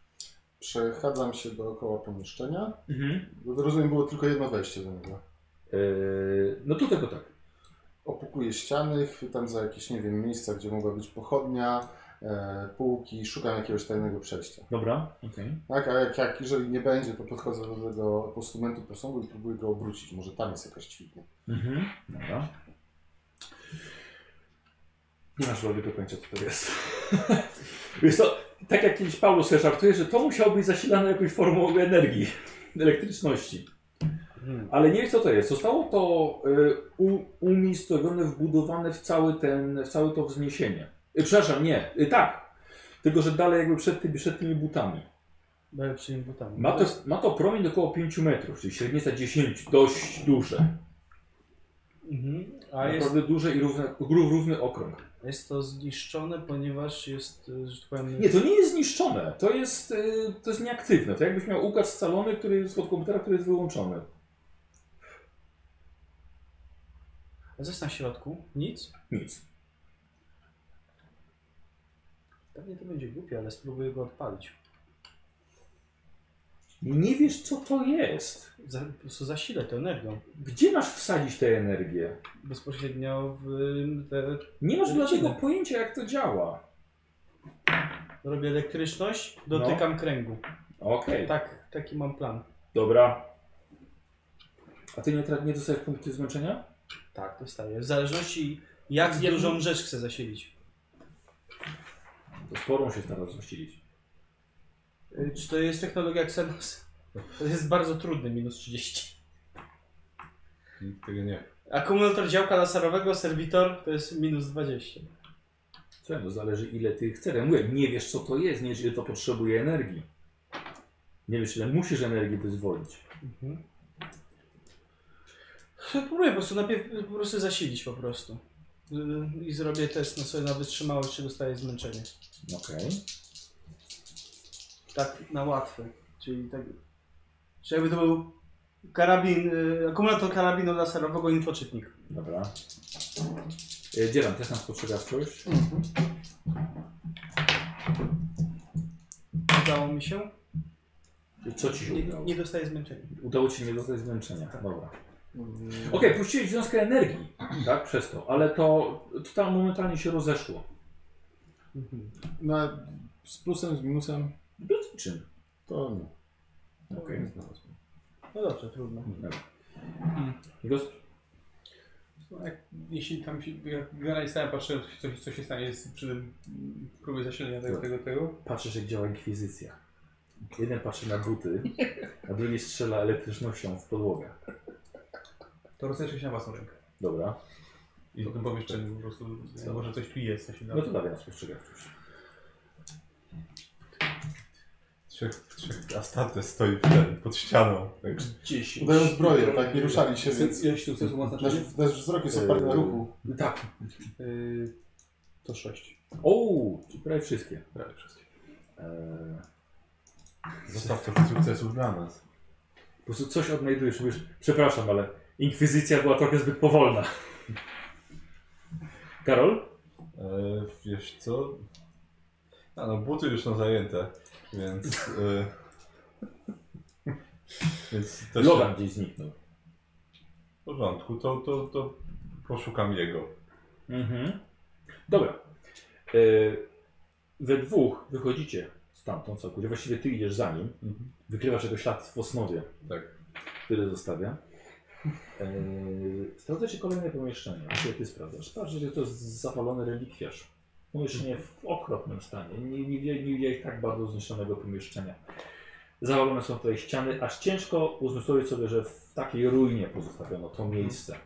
Przechadzam się dookoła pomieszczenia. Mhm. Bo to rozumiem, było tylko jedno wejście do niego. Yy, no to tylko tak. Opukuję ściany, chwytam za jakieś, nie wiem, miejsca, gdzie mogła być pochodnia, e, półki, szukam jakiegoś tajnego przejścia. Dobra, okej. Tak, a jak, jak jeżeli nie będzie, to podchodzę do tego postumentu posągu i próbuję go obrócić. Może tam jest jakaś ćwiknia. Mhm. Dobra. Nie masz lody do końca, co to jest. Wiesz co, tak jak kiedyś Paulus sobie żartuje, że to musiało być zasilane jakąś formą energii, elektryczności. Hmm. Ale nie wiem co to jest. Zostało to y, u, umiejscowione, wbudowane w cały ten, w całe to wzniesienie. Y, przepraszam, nie, y, tak. Tylko, że dalej jakby przed, tymi- przed tymi butami. Dalej przyjmę butami. Ma to, ma to promień około 5 metrów, czyli średnica 10, dość duże. Mhm. A jest, Naprawdę duże i równe, ró- równy okrąg. jest to zniszczone, ponieważ jest, y, że tak powiem... Nie, to nie jest zniszczone. To jest, y, to jest nieaktywne. To jakbyś miał układ scalony, który jest od komputera, który jest wyłączony. A co jest na środku? Nic? Nic. Pewnie to będzie głupie, ale spróbuję go odpalić. Nie wiesz, co to jest. Za, po prostu zasilę to energią. Gdzie masz wsadzić tę energię? Bezpośrednio w y, te, Nie masz dla tego Lecimy. pojęcia, jak to działa. robię elektryczność, dotykam kręgu. No. Okej, Tak, taki mam plan. dobra. A ty nie, tra- nie dostajesz punktu zmęczenia? Tak, dostaję. W zależności Tak, jak Jedną- dużą rzecz chcę zasilić. To sporą się znalazł właściwie. Y, Czy to jest technologia Xenos? To jest bardzo trudny, minus 30. Nikt tego nie. Akumulator działka laserowego, serwitor to jest minus 20. Co to zależy ile ty chcesz. Ja mówię, nie wiesz co to jest, nie wiesz ile to potrzebuje energii. Nie wiesz ile musisz energii wyzwolić. Mhm. Próbuję po prostu, najpierw po prostu zasilić po prostu. Y, I zrobię test na sobie na wytrzymałość, czy dostaję zmęczenie. Okej. Tak na łatwy. Czyli tak. Czy jakby to był karabin, y, akumulator karabinu laserowego infoczytnik. Dobra. E, Dzielam test na spostrzegawczość. Udało mi się. Co ci się Nie, udało? nie dostaję zmęczenia. Udało ci się nie dostać zmęczenia. Tak. Dobra. Okej, puściłeś wiązkę energii, tak, przez to, ale to, to tam momentalnie się rozeszło. Na, z plusem, z minusem, Bez czym? to nie. Okej. Nie znalazłem. No dobrze, trudno. Igos? No, Jak, jeśli tam się, jak generalnie stałem, patrzyłem, co, się- co, się- co się stanie jest przy tym mm, próbie zasilenia tego, Tak. tego, tego. Patrzysz jak działa inkwizycja. Jeden patrzy na buty, a drugi strzela elektrycznością w podłogę. To rozejrzę się na własną rękę. Dobra, I w tym pomieszczeniu po prostu, Co? może coś tu jest, coś się da. no to dawaj na spostrzegawczość. Trzech, trzech Astarte stoi w ten, pod ścianą. Tak, Dziesięć. Udają zbroję, tak, nie ruszali się, więc Znaczy- Ile sukcesów ma nasz, znaczenie? nasz wzrok jest oparty na Eee. ruchu. Tak. Y, To sześć. O, czyli prawie wszystkie. Prawie wszystkie. Eee, Zostaw trochę sukcesów dla nas. po prostu coś odnajdujesz, mówisz, przepraszam, ale inkwizycja była trochę zbyt powolna. Karol? E, wiesz co? A no, buty już są zajęte, więc... E, więc też Logan gdzieś zniknął. w porządku, to, to, to poszukam jego. Mhm. Dobra. Eee, we dwóch wychodzicie stamtąd całkowicie. Właściwie ty idziesz za nim. Mhm. Wykrywasz jego ślad w osnowie. Tak. Tyle zostawia. Eee, sprawdza się kolejne pomieszczenie, które ty sprawdzasz. Sprawdzasz, że to jest zapalony relikwiarz. Pomieszczenie w okropnym stanie. Nie, nie, wie- nie widziałeś tak bardzo zniszczonego pomieszczenia. Zawalone są tutaj ściany, aż ciężko uzmysłowić sobie, że w takiej ruinie pozostawiono to miejsce.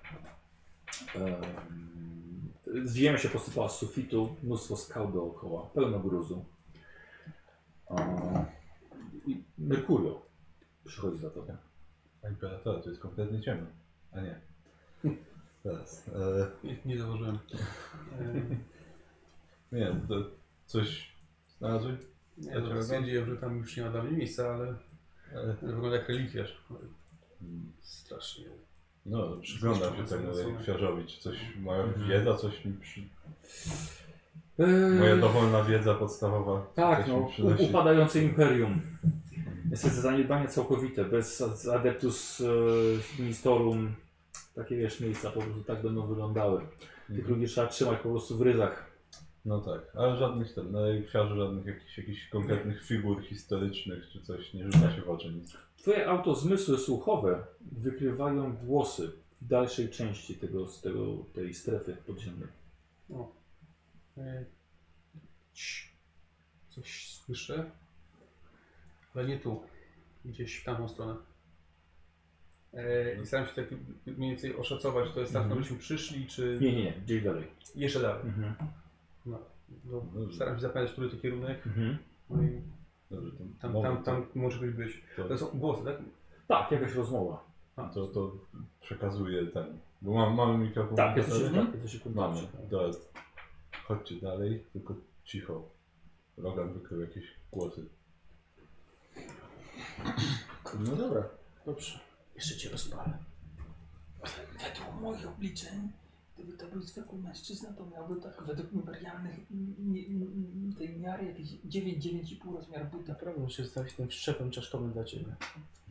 Em, Ziemia się posypała z sufitu, mnóstwo skał dookoła, pełno gruzu. E, i Merkurio przychodzi za tobą. A Imperatora, Tak, to jest kompletnie ciemno. A nie. Teraz. E, Nie, nie zauważyłem. Y, nie, to coś znalazłeś? Nie, Ja cię no, stwierdziłem, że tam już nie ma dla mnie miejsca, ale E, wygląda jak relikwiarz. mm, Strasznie. No, przyglądam się temu kwiarzowi. Czy coś, moja Mhm. wiedza, coś mi przy... Eee, Moja dowolna wiedza podstawowa. tak, coś no, mi przynosi. u- upadające imperium. Niestety zaniedbanie całkowite, bez ad- adeptus e, ministerum, takie wiesz, miejsca po prostu tak będą wyglądały. Tych Mhm. ludzi trzeba trzymać po prostu w ryzach. No tak, ale żadnych ten, no, kwiarzy, żadnych jakichś, jakichś konkretnych figur historycznych czy coś nie rzuca się w oczy nic. Twoje autozmysły słuchowe wykrywają głosy w dalszej części tego, z tego, tej strefy podziemnej. Y, Coś słyszę, ale nie tu. Gdzieś w tamtą stronę. E, I staram się tak mniej więcej oszacować, to jest tam, skąd byśmy przyszli, czy Mhm. Nie, nie, nie, gdzieś dalej. jeszcze dalej. Mhm. No, staram się zapamiętać, który to kierunek. Mhm. No i Dobrze, tam, tam, mowa, tam, tam może coś być. To, To to, są głosy, tak? Tak, jakaś rozmowa. to, to przekazuję ten. Bo mam, mamy mikrofon. Tak, jest Mamy. tak, jesteś Mamy, kontakt. to jest. Chodźcie dalej, tylko cicho. Logan wykrył jakieś głosy. No dobra. Dobrze. Jeszcze cię rozpalę. Według moich obliczeń, gdyby to był zwykły mężczyzna, to miałby tak według imperialnych nie, nie, tej miary jakieś 9-9,5 rozmiar buta. Naprawdę muszę zostawić tym szczepem czaszkowym dla ciebie.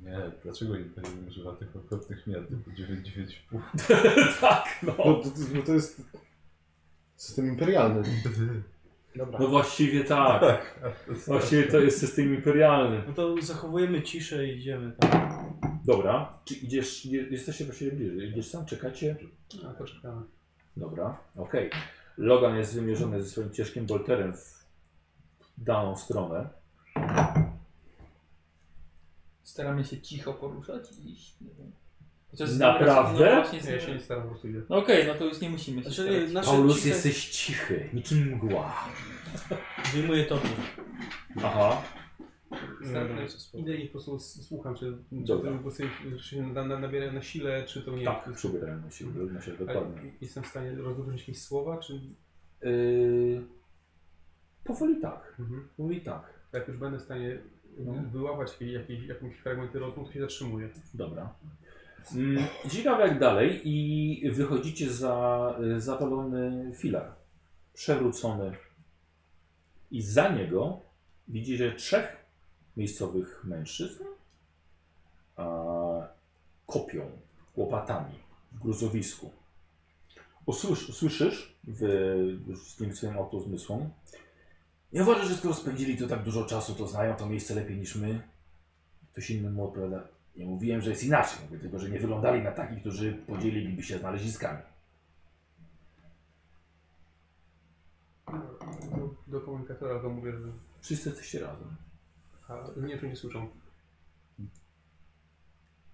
Nie, dlaczego Imperium używa tych okropnych miar typu 995? tak, No no. to, to- to jest system imperialny. Dobra. No właściwie tak. Właściwie to jest system imperialny. No to zachowujemy ciszę i idziemy tam. Dobra, czy idziesz, je- jesteście właściwie bliżej, idziesz sam, czekacie? A No, to czekamy. Dobra, okej. Logan jest wymierzony ze swoim ciężkim bolterem w daną stronę. Staramy się cicho poruszać i iść, nie wiem. Chociaż Naprawdę? znamy- No, właśnie Ja się nie znamy- staram, po prostu idę. no okej, no to już nie musimy się Znaczy, starać. nasze Paulus, ciche- jesteś cichy, niczym mgła. Wyjmuję topór. Aha, Tak, Staram się- Idę. Idę i po prostu s- słucham, czy, czy Dobra. te głosy się na, na, nabierają na sile, czy to nie. tak, przybierają na siebie, na siebie dokładnie. Ale jestem w stanie rozróżnić jakieś słowa, czy Yy, powoli tak, powoli tak. jak już będę w stanie No. wyłapać jakieś, jakieś, jakieś fragmenty rozmów, to się zatrzymuję. Dobra. Mm, Ciekawe jak dalej i wychodzicie za y, zawalony filar. Przewrócony. I za niego widzicie trzech miejscowych mężczyzn a, kopią łopatami w gruzowisku. Usłysz, słyszysz w, już z tym swoim autozmysłom. Nie uważasz, że skoro spędzili tu tak dużo czasu, to znają to miejsce lepiej niż my? Ktoś inny mu odpowiada. Nie mówiłem, że jest inaczej, mówię tylko, że nie wyglądali na takich, którzy podzieliliby się znaleziskami. Do, do komunikatora to mówię, że Wszyscy jesteście razem. a, nie czy nie słyszą. Hmm.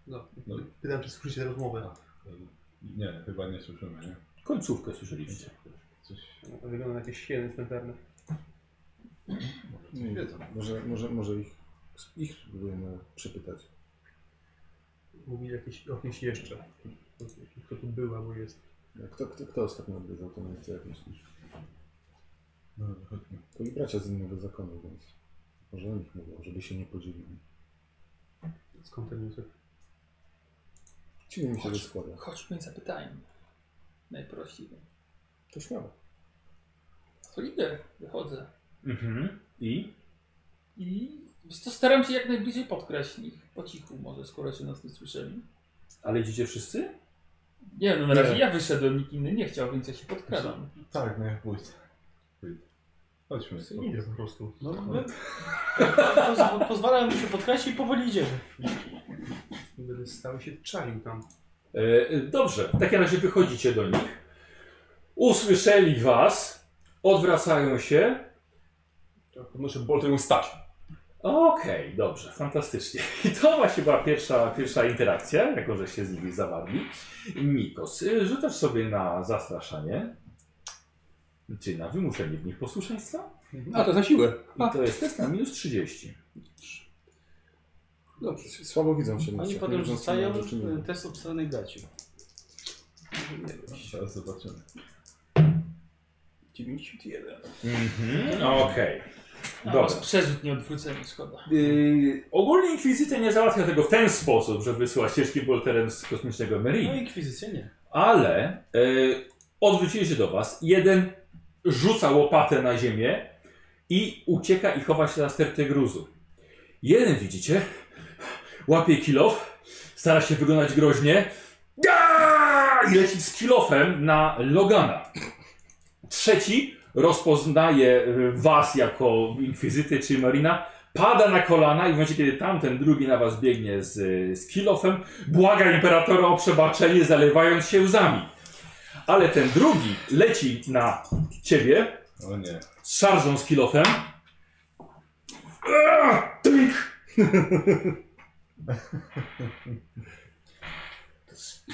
No, No. y, pytam, czy słyszycie tę rozmowę. Nie, chyba nie słyszymy, nie? Końcówkę słyszeliście. Coś Wygląda na jakieś hieny cmentarne. coś wiedzą. Może, może, może ich, ich spróbujemy przepytać. Mówi jakieś, o kimś jeszcze. Kto tu była, bo jest. Kto, kto, kto ostatnio odwiedzał to miejsce, jak myślisz? No, chodźmy. To i bracia z innego zakonu, więc może o nich mówią, żeby się nie podzielili. Skąd ten wniosek? Dziwnie mi się Chodź. to składa. Chodźmy i zapytajmy. Najprościej. To śmiało. To idę, wychodzę. Mhm. I? I wiesz co, staram się jak najbliżej podkraść nich. Po cichu może, skoro się nas nie słyszeli. Ale idziecie wszyscy? Nie wiem, no na razie Nie. ja wyszedłem, nikt inny nie chciał, więc ja się podkradam. Tak, no jak pójdę. Pójdę. Chodźmy. Idę po prostu. No, my... Poz- Pozwalam mu się podkreślić i powoli idziemy. Będę stał się czaił tam. E, dobrze, w takim razie wychodzicie do nich. Usłyszeli was, odwracają się. Podnoszę bolty i mu stać. Okej, dobrze, fantastycznie. I to właśnie była pierwsza, pierwsza interakcja, jako że się z nimi zawarli. Nikos, y, rzucasz sobie na zastraszanie, czy na wymuszenie w nich posłuszeństwa? A to za siłę. I to jest test na minus 30. Dobrze. Słabo widzą się na Oni ściach, potem nie widzą, co rzucają mają do czynienia. y, test obstranej gaci. Zaraz zobaczymy. 91. Mhm, okej. A Dobra. was przerzut nie odwrócenie, szkoda. Yy, ogólnie inkwizycja nie załatwia tego w ten sposób, że wysyła ścieżki bolterem z kosmicznego No Merii, inkwizycja nie. ale yy, odwrócili się do was. Jeden rzuca łopatę na ziemię i ucieka i chowa się za stertę gruzu. Jeden widzicie, łapie kilof, stara się wyglądać groźnie Aaaa! i leci z kilofem na Logana. Trzeci rozpoznaje y, was jako inkwizyty czy marina, pada na kolana i w momencie, kiedy tamten drugi na was biegnie z, e, z kilofem, błaga imperatora o przebaczenie, zalewając się łzami. Ale ten drugi leci na ciebie O nie. z szarżą z kilofem.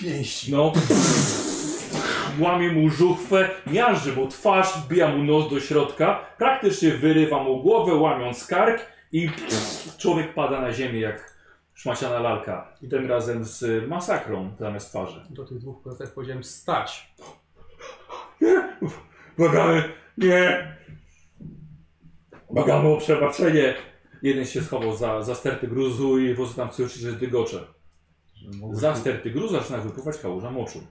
Pięści. No. Łamie mu żuchwę, miażdży mu twarz, wbija mu nos do środka, praktycznie wyrywa mu głowę, łamiąc kark i człowiek pada na ziemię jak szmaciana lalka. I tym razem z masakrą zamiast twarzy. Do tych dwóch postaci powiedziałem stać. Nie! Błagamy! Nie! Błagamy o przebaczenie! Jeden się schował za, za sterty gruzu i włosy tam słyszy, że dygocze. Że Mogłeś, Za sterty gruzu zaczyna wypływać kałuża moczu.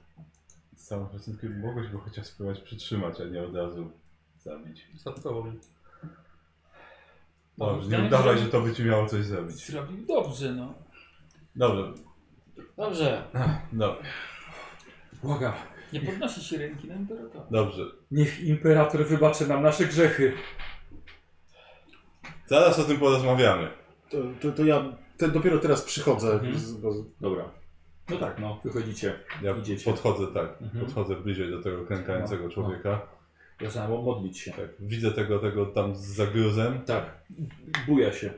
Z całą szacunkiem mogłeś go chociaż spróbować przytrzymać, a nie od razu zabić. Zatkował mnie. No, Dobrze, Tak, nie udawaj, że- że to by ci miało coś zrobić. Zrobił dobrze, no. Dobrze, Dobrze. no, Błagam, Nie podnosi się ręki na imperatora. dobrze. niech imperator wybaczy nam nasze grzechy. Zaraz o tym porozmawiamy. To, to, to ja te, dopiero teraz przychodzę. Mhm. Z, E, bo z, Dobra. No tak, no, wychodzicie. Ja Idziecie. podchodzę tak, Mhm. podchodzę bliżej do tego klękającego No, no. człowieka. Zaczyna modlić się. Tak, widzę tego, tego tam z zagruzem. Tak, buja się.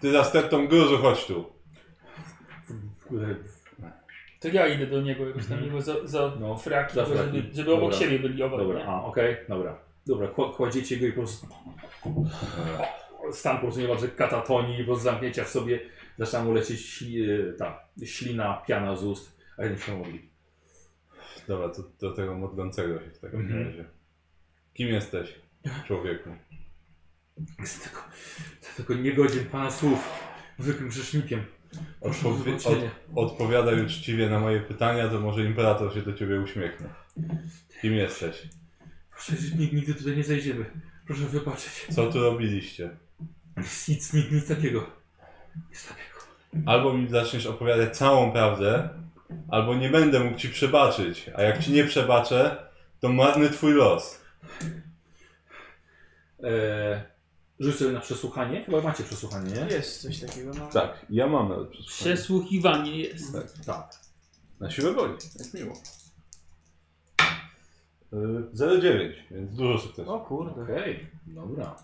Ty za stertą gruzu chodź tu. To ja idę do niego jakoś tam jego za, za No, fraki, za tylko fraki. żeby, żeby Dobra. obok siebie byli obaj. Dobra, nie? a, okej, dobra. Dobra, kła- kładziecie go i po prostu e, stan po prostu niemalże katatonii, bo z zamknięcia w sobie zaczyna mu lecieć śli, e, ta ślina, piana z ust, a jeden się modli. Dobra, to do tego modlącego się w takim Mhm. razie. Kim jesteś, człowieku? Jestem tylko, jestem tylko niegodzien pana słów, zwykłym grzesznikiem. Proszę o Odpowie- wybaczenie. od, odpowiadaj uczciwie na moje pytania, to może imperator się do ciebie uśmiechnie. Kim jesteś? Proszę, nigdy, nigdy tutaj nie zejdziemy. Proszę wybaczyć. Co tu robiliście? Nic, nic, nic, nic takiego. Nic takiego. Albo mi zaczniesz opowiadać całą prawdę, albo nie będę mógł ci przebaczyć. A jak ci nie przebaczę, to marny twój los. Eee, rzuć sobie na przesłuchanie. Chyba macie przesłuchanie, nie? Jest coś takiego, no. Tak, ja mam nawet Przesłuchiwanie jest. Tak. Na siłę woli. Jak miło. 0,9, więc dużo sukcesów. O kurde. Okej, dobra.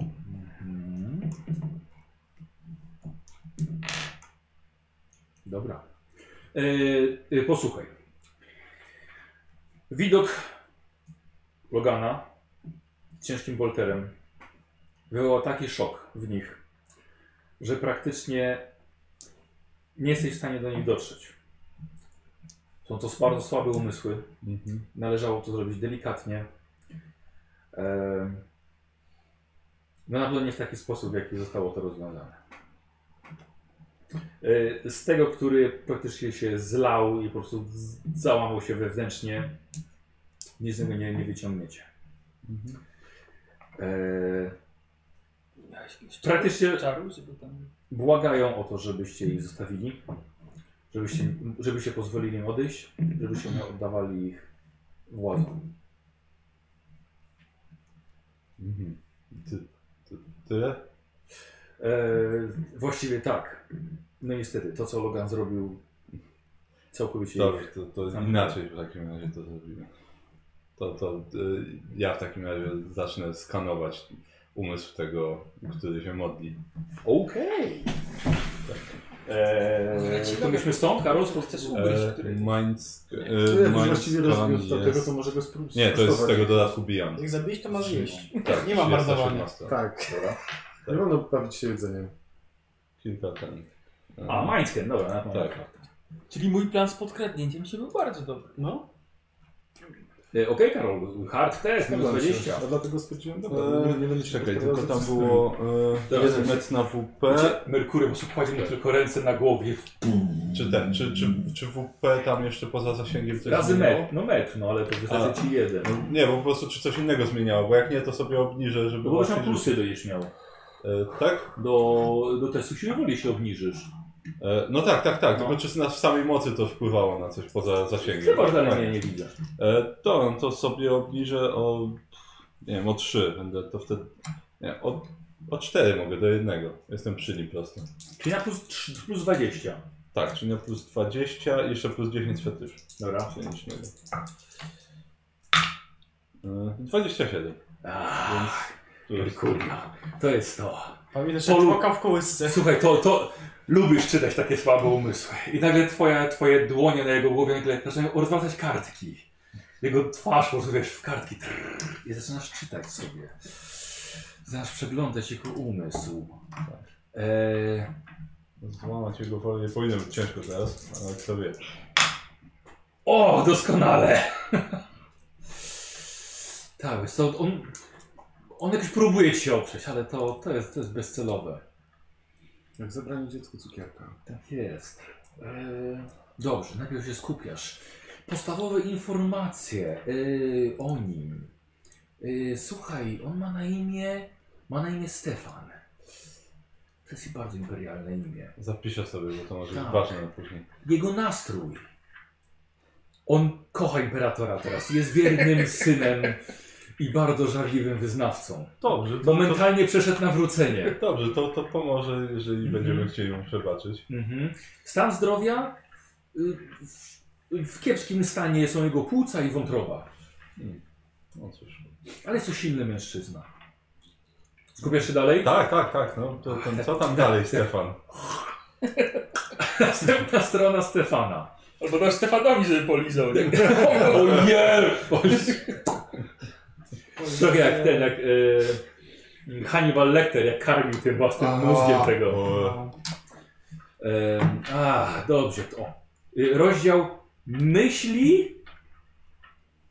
Mhm. Dobra. E, e, posłuchaj. Widok Logana z ciężkim bolterem wywołał taki szok w nich, że praktycznie nie jesteś w stanie do nich dotrzeć. Są to bardzo słabe umysły. Mhm. Należało to zrobić delikatnie. Ehm, No na pewno nie w taki sposób, w jaki zostało to rozwiązane. E, Z tego, który praktycznie się zlał i po prostu z- załamał się wewnętrznie, nic z niego nie, nie wyciągniecie. E, Miałeś jakiegoś Praktycznie- czaru, żeby tam... błagają o to, żebyście ich zostawili, żebyście, żebyście pozwolili im odejść, żebyście nie oddawali ich władzom. Mhm. Ty, ty, tyle? E, właściwie tak. No niestety, to co Logan zrobił całkowicie... Dobrze, to, to Zamknę. inaczej w takim razie to zrobimy. To, to y, ja w takim razie zacznę skanować umysł tego, Mhm. który się modli. Okej. Eee, to byśmy stąd, Karol, z chcesz E, Minds... to E, jak minds już właściwie rozwiąz do Command tego, jest... to może go spróbować. Nie, to jest z tego dodatku Beyond. Jak zabić, to masz jeść. Tak, Nie ma 30, marnowania. 17. Tak. Dobra. Nie wolno bawić się jedzeniem. Kilka ten... e, A, Mindscan, dobra. Na pewno. Tak. Czyli mój plan z podkradnięciem się był bardzo dobry. No. E, Okej, Karol, hard test, minus 20. A dlatego stwierdziłem, dobra, Eee, No E, nie, nie będę się Czekaj, podpowiadał, tylko tam co z tym. było e, Teraz jeden będzie- mecz na WP. Znaczy, Merkury, bo kładzie mu tylko ręce na głowie. Czy ten, czy, czy, czy WP tam jeszcze poza zasięgiem coś Razy zmieniało? met, no met, no ale to A. wystarczy ci jeden. No, Nie, bo po prostu czy coś innego zmieniało, bo jak nie, to sobie obniżę, żeby No bo właśnie... tam plusy będziesz miał. E, tak? Do, do testu siły woli się obniżysz. E, no tak, tak, tak, No. tylko czy na w samej mocy to wpływało na coś poza zasięgiem? Chyba, że Tak. dalej nie, nie widzę. E, to, no to sobie obniżę o... nie wiem, o 3 będę to wtedy... Nie, o, O cztery mogę do jednego. Jestem przy nim prosto. Czyli na plus, trz- plus 20. Tak, czyli na plus 20 i jeszcze plus 10 z fetysz. Dobra. Czyli nic nie wiem. Y, 27. Ach, Tu jest- kurwa, to jest to. Pamiętasz, Polu- jak czwoka w kołysce. Słuchaj, to, to lubisz czytać takie słabe umysły. I nagle twoja, twoje dłonie na jego głowie nagle zaczynają rozwracać kartki. Jego twarz po prostu wiesz w kartki. Trrr. I zaczynasz czytać sobie. Zaczynasz przeglądać jego umysł. Eee, Złamać jego wolę nie powinno być ciężko teraz, ale kto wie. O, doskonale! tak, wiesz co, on, on jakoś próbuje ci się oprzeć, ale to, to, jest, to jest bezcelowe. Jak zabranie dziecku cukierka. Tak jest. E, Dobrze, najpierw się skupiasz. Podstawowe informacje e, o nim. E, Słuchaj, on ma na imię, ma na imię Stefan. To jest bardzo imperialne imię. Zapiszę sobie, bo to może być Tak. ważne na później. jego nastrój. On kocha imperatora teraz, jest wiernym synem i bardzo żarliwym wyznawcą. Dobrze, to, to, Momentalnie przeszedł nawrócenie. dobrze, to, to pomoże, jeżeli Mhm. będziemy chcieli mu przebaczyć. Mhm. Stan zdrowia? y, W, w kiepskim stanie są jego płuca i wątroba, No cóż. ale jest to silny mężczyzna. Skupiasz się dalej? Tak, tak, tak, no to ten, co tam Tak, dalej, tak. Stefan? Następna strona Stefana. Albo dasz Stefanowi, żeby polizał. Nie? Tak. Ojej! Trochę jak ten, jak e, Hannibal Lecter, jak karmił tym własnym A. mózgiem tego. O, Em, A, dobrze, to. o. Y, Rozdział myśli.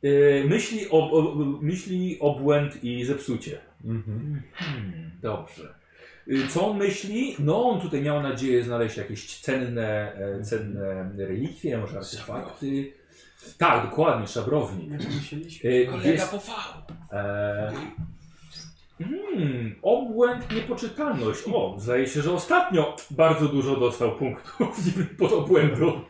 y, Myśli, ob, ob, myśli, obłęd i zepsucie. mhm. Hmm, dobrze. Y, Co on myśli? No, on tutaj miał nadzieję znaleźć jakieś cenne, e, cenne relikwie, może artefakty. Tak, dokładnie, szabrownik. Jak musieliśmy. Y, Kolega Jest, po V. e, mm, obłęd, niepoczytalność. O, zdaje się, że ostatnio bardzo dużo dostał punktów niby pod obłędu.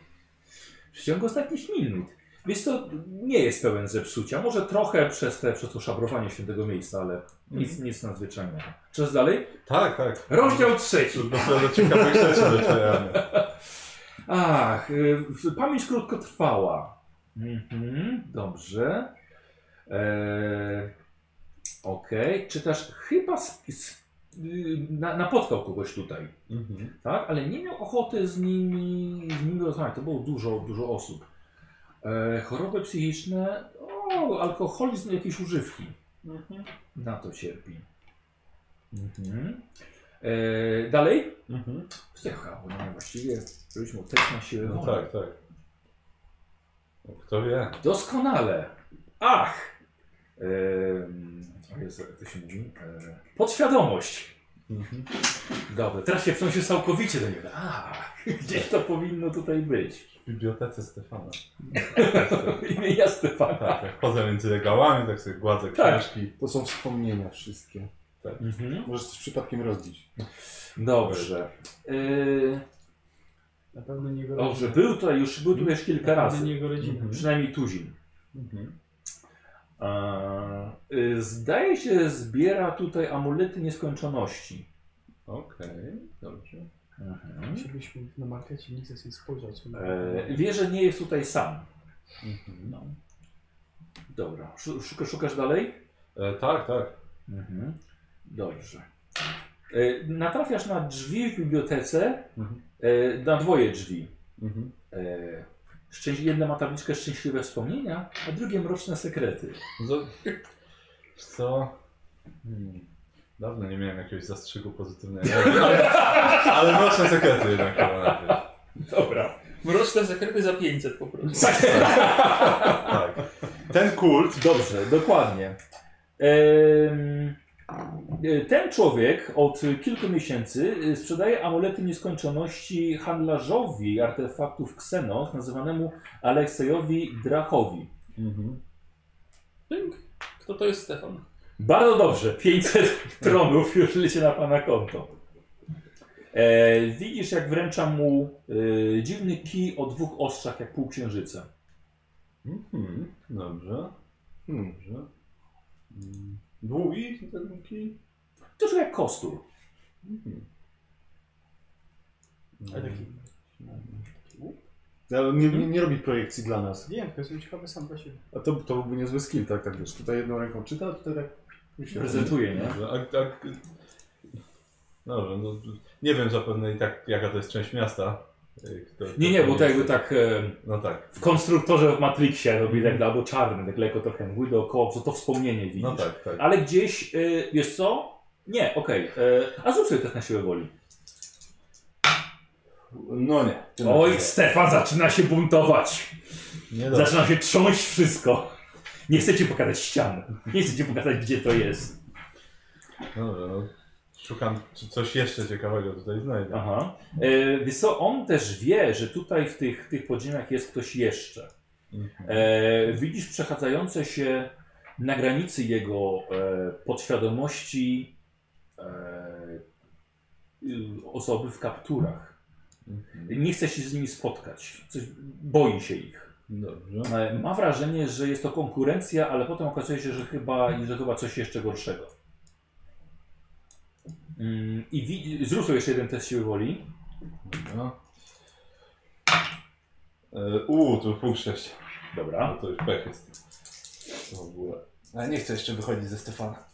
W ciągu ostatnich minut. Więc to nie jest pełen zepsucia. Może trochę przez, te, przez to szabrowanie świętego miejsca, ale nic, nic nadzwyczajnego. Czas dalej? Tak, tak. Rozdział trzeci. To Dopiero do ciekawych rzeczy docieramy. Ach, y, w- pamięć krótkotrwała. Mhm, dobrze. E, Okej, czytasz chyba z, z, y, na, napotkał kogoś tutaj, Mhm. tak? Ale nie miał ochoty z nimi, z nimi rozmawiać. To było dużo, dużo osób. E, choroby psychiczne, o, alkoholizm, jakieś używki. Mhm. Na to cierpi. Mhm. E, dalej? Mhm. Cecha, bo nie, właściwie robiliśmy test na siłę No woli. tak, tak. No, Kto wie? Doskonale. Ach! Em, o Jezu, jak to się mówi? E, podświadomość. Mhm. Dobra, teraz się wciąż całkowicie do niego. A, gdzieś to powinno tutaj być. W bibliotece Stefana. Imienia Stefana. Tak, jak chodzę między regałami, tak sobie gładzę Tak. książki. To są wspomnienia wszystkie. Mhm. Możesz coś przypadkiem rozbić. Dobrze. E, Na pewno nie go dobrze, był tutaj już, był tutaj już kilka Na pewno razy. nie jego rodzina. Mhm. Przynajmniej tuzin. Mhm. E, y, zdaje się, że zbiera tutaj amulety nieskończoności. Okej, dobrze. Mhm. Musieliśmy na markecie nikt z nie spojrzał. co- E, wie, że nie jest tutaj sam. Mhm. Dobra, Szu- szuka, szukasz dalej? E, tak, tak. Mhm. Dobrze. E, Natrafiasz na drzwi w bibliotece, Mhm. e, na dwoje drzwi. Mhm. E, szczęś- Jedna ma tabliczkę szczęśliwe wspomnienia, a drugie mroczne sekrety. Z... No, Co? Hmm. Dawno nie miałem jakiegoś zastrzyku pozytywnego. Ale, ale mocne sekrety jednak chyba najpierw. Dobra. Mroczne sekrety za 500 po prostu. Tak. Ten kult. Dobrze, dokładnie. Em, e, Ten człowiek od kilku miesięcy e, sprzedaje amulety nieskończoności handlarzowi artefaktów Xenos, nazywanemu Aleksejowi Drachowi. Mhm. Pink. Kto to jest Stefan? Bardzo dobrze, 500 tronów już leci na pana konto. E, widzisz, jak wręcza mu e, dziwny kij o dwóch ostrzach, jak półksiężyca. Mhm. Dobrze, Hmm. dobrze. Mm. Długi ten kij? Troszkę jak kostur. Ale taki... No, Ale nie, nie, nie robi projekcji dla nas. Wiem, tylko jestem ciekawy sam dla siebie. A to, to byłby niezły skill, tak? Tak wiesz, tutaj jedną ręką czyta, a tutaj tak... myślę. Prezentuje, nie? Dobrze, a, a, dobrze, no, nie wiem zapewne i tak jaka to jest część miasta. y, kto- Nie, nie, bo to jakby tak e, No tak, w konstruktorze w Matrixie robi tak, albo czarny, tak lekko trochę mgły dookoła, co to wspomnienie widzisz. no tak, tak. Ale gdzieś, y, wiesz co? Nie, okej. y, A zrób sobie też na siłę woli. No nie. Oj, Stefan zaczyna się buntować. Nie dobrze. Zaczyna się trząść wszystko. Nie chcecie pokazać ścian. Nie chcecie pokazać, gdzie to jest. No Dobrze, no. Szukam, czy coś jeszcze ciekawego tutaj znajdę. Aha. Y, Wiesz co, on też wie, że tutaj w tych, tych podziemiach jest ktoś jeszcze. Mhm. E, widzisz przechadzające się na granicy jego e, podświadomości e, y, osoby w kapturach. Mhm. Nie chce się z nimi spotkać. Coś, boi się ich. Dobrze. E, ma wrażenie, że jest to konkurencja, ale potem okazuje się, że chyba, że chyba coś jeszcze gorszego. Mm, I wi- zrób sobie jeszcze jeden test siły woli. Dobra. No. E, Uuu, tu punkt szczęścia. No Dobra. to już pech jest. To w ogóle. Ale nie chcę jeszcze wychodzić ze Stefana.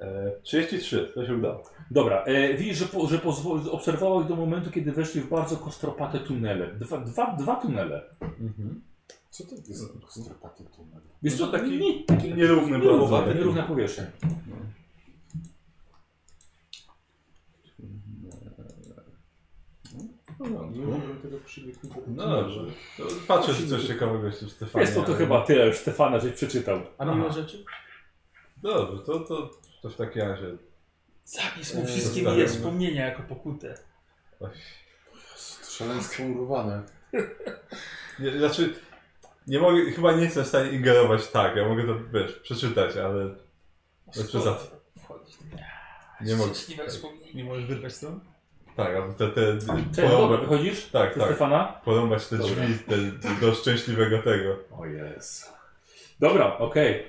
e, 33, to się udało. Dobra, e, widzisz, że, po, że pozwo- obserwowałeś do momentu, kiedy weszli w bardzo kostropate tunele. Dwa, dwa, dwa tunele. Mhm. Co to jest? Kostropaty tu. Wiesz co, No to taki taki- nie, taki Nierówny nierówna, bardzo. nierówna powierzchnia. Nie mogłem No, tego przywyknąć. No dobrze. To patrzę, czy coś ciekawego jest w Stefanie. Jest to, to ale- chyba tyle już Stefana, żeś przeczytał. A miłe rzeczy? Dobrze, to, to, to w takim razie. Zapisz mu Eee, wszystkie zostawiam. moje wspomnienia jako pokutę. Szaleństwo murowane. Nie, znaczy, nie mogę, chyba nie jestem w stanie ingerować tak. Ja mogę to wiesz, przeczytać, ale bez przesady. Wchodzić. Nie mogę. Tak. Szczęśliwe wspomnienia. Nie możesz wyrwać stron? Tak, albo te. te Cześć, dobra, porąbać, wychodzisz? tak, Do tak. Stefana? Porąbać te Dobra. drzwi te, do szczęśliwego tego. O jest. Dobra, okej.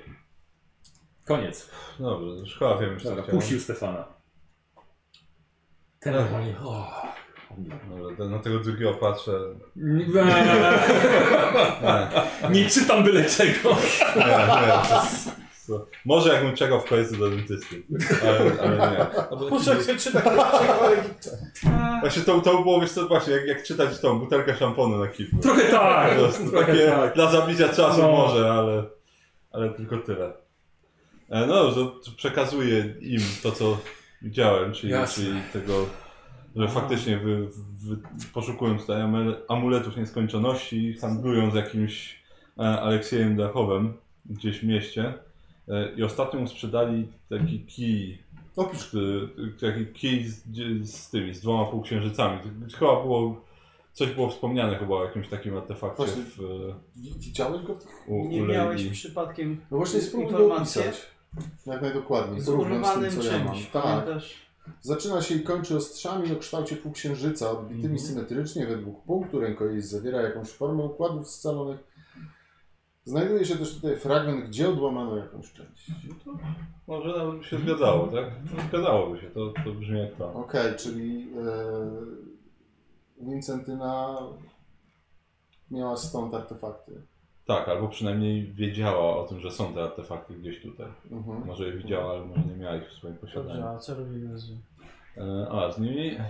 Koniec. Dobrze, no szkoła wiem, co Dobra, chciałem. Tak. puścił Stefana. Ten normalnie. o. Dobra, to na tego drugiego patrzę. Nie, nie, Nie, nie czytam byle czego. nie, nie. To, to, może jakbym czekał w końcu do dentysty. Ale, ale nie. Muszę się czytać. Właśnie to, to było, wiesz co, właśnie, jak, jak czytać tą butelkę szamponu na kifu. Trochę tak. Po prostu Trochę takie tak. dla zabicia czasu No. może, ale, ale tylko tyle. E, No dobrze, to przekazuję im to, co widziałem, czyli, Jasne. No. czyli tego, że faktycznie wy, wy, poszukują tutaj amel- amuletów nieskończoności, handlują z jakimś e, Aleksiejem Dachowem gdzieś w mieście e, i ostatnio mu sprzedali taki kij Opisz. który- taki kij z, gdzie- z tymi, z dwoma półksiężycami. To Chyba było, coś było wspomniane chyba o jakimś takim artefakcie Właśnie. w, e, Wi- Widziałeś go? w tych- u, Nie u miałeś Lady. przypadkiem No właśnie spróbuj go Informacje? opisać. Jak najdokładniej. z Porównać z tym, urwanym co ja mam. czymś, Tak. pamiętasz? Zaczyna się i kończy ostrzami o kształcie półksiężyca, odbitymi Mhm. symetrycznie według punktu. Rękojeść zawiera jakąś formę układów scalonych. Znajduje się też tutaj fragment, gdzie odłamano jakąś część. Może nawet by się zgadzało, tak? No, zgadzałoby się, to, to brzmi jak to. Okej, czyli e, Wincentyna miała stąd artefakty. Tak, albo przynajmniej wiedziała o tym, że są te artefakty gdzieś tutaj. Mhm. Może je widziała, ale może nie miała ich w swoim posiadaniu. Dobrze, a co robimy z... E, A, z nimi... e,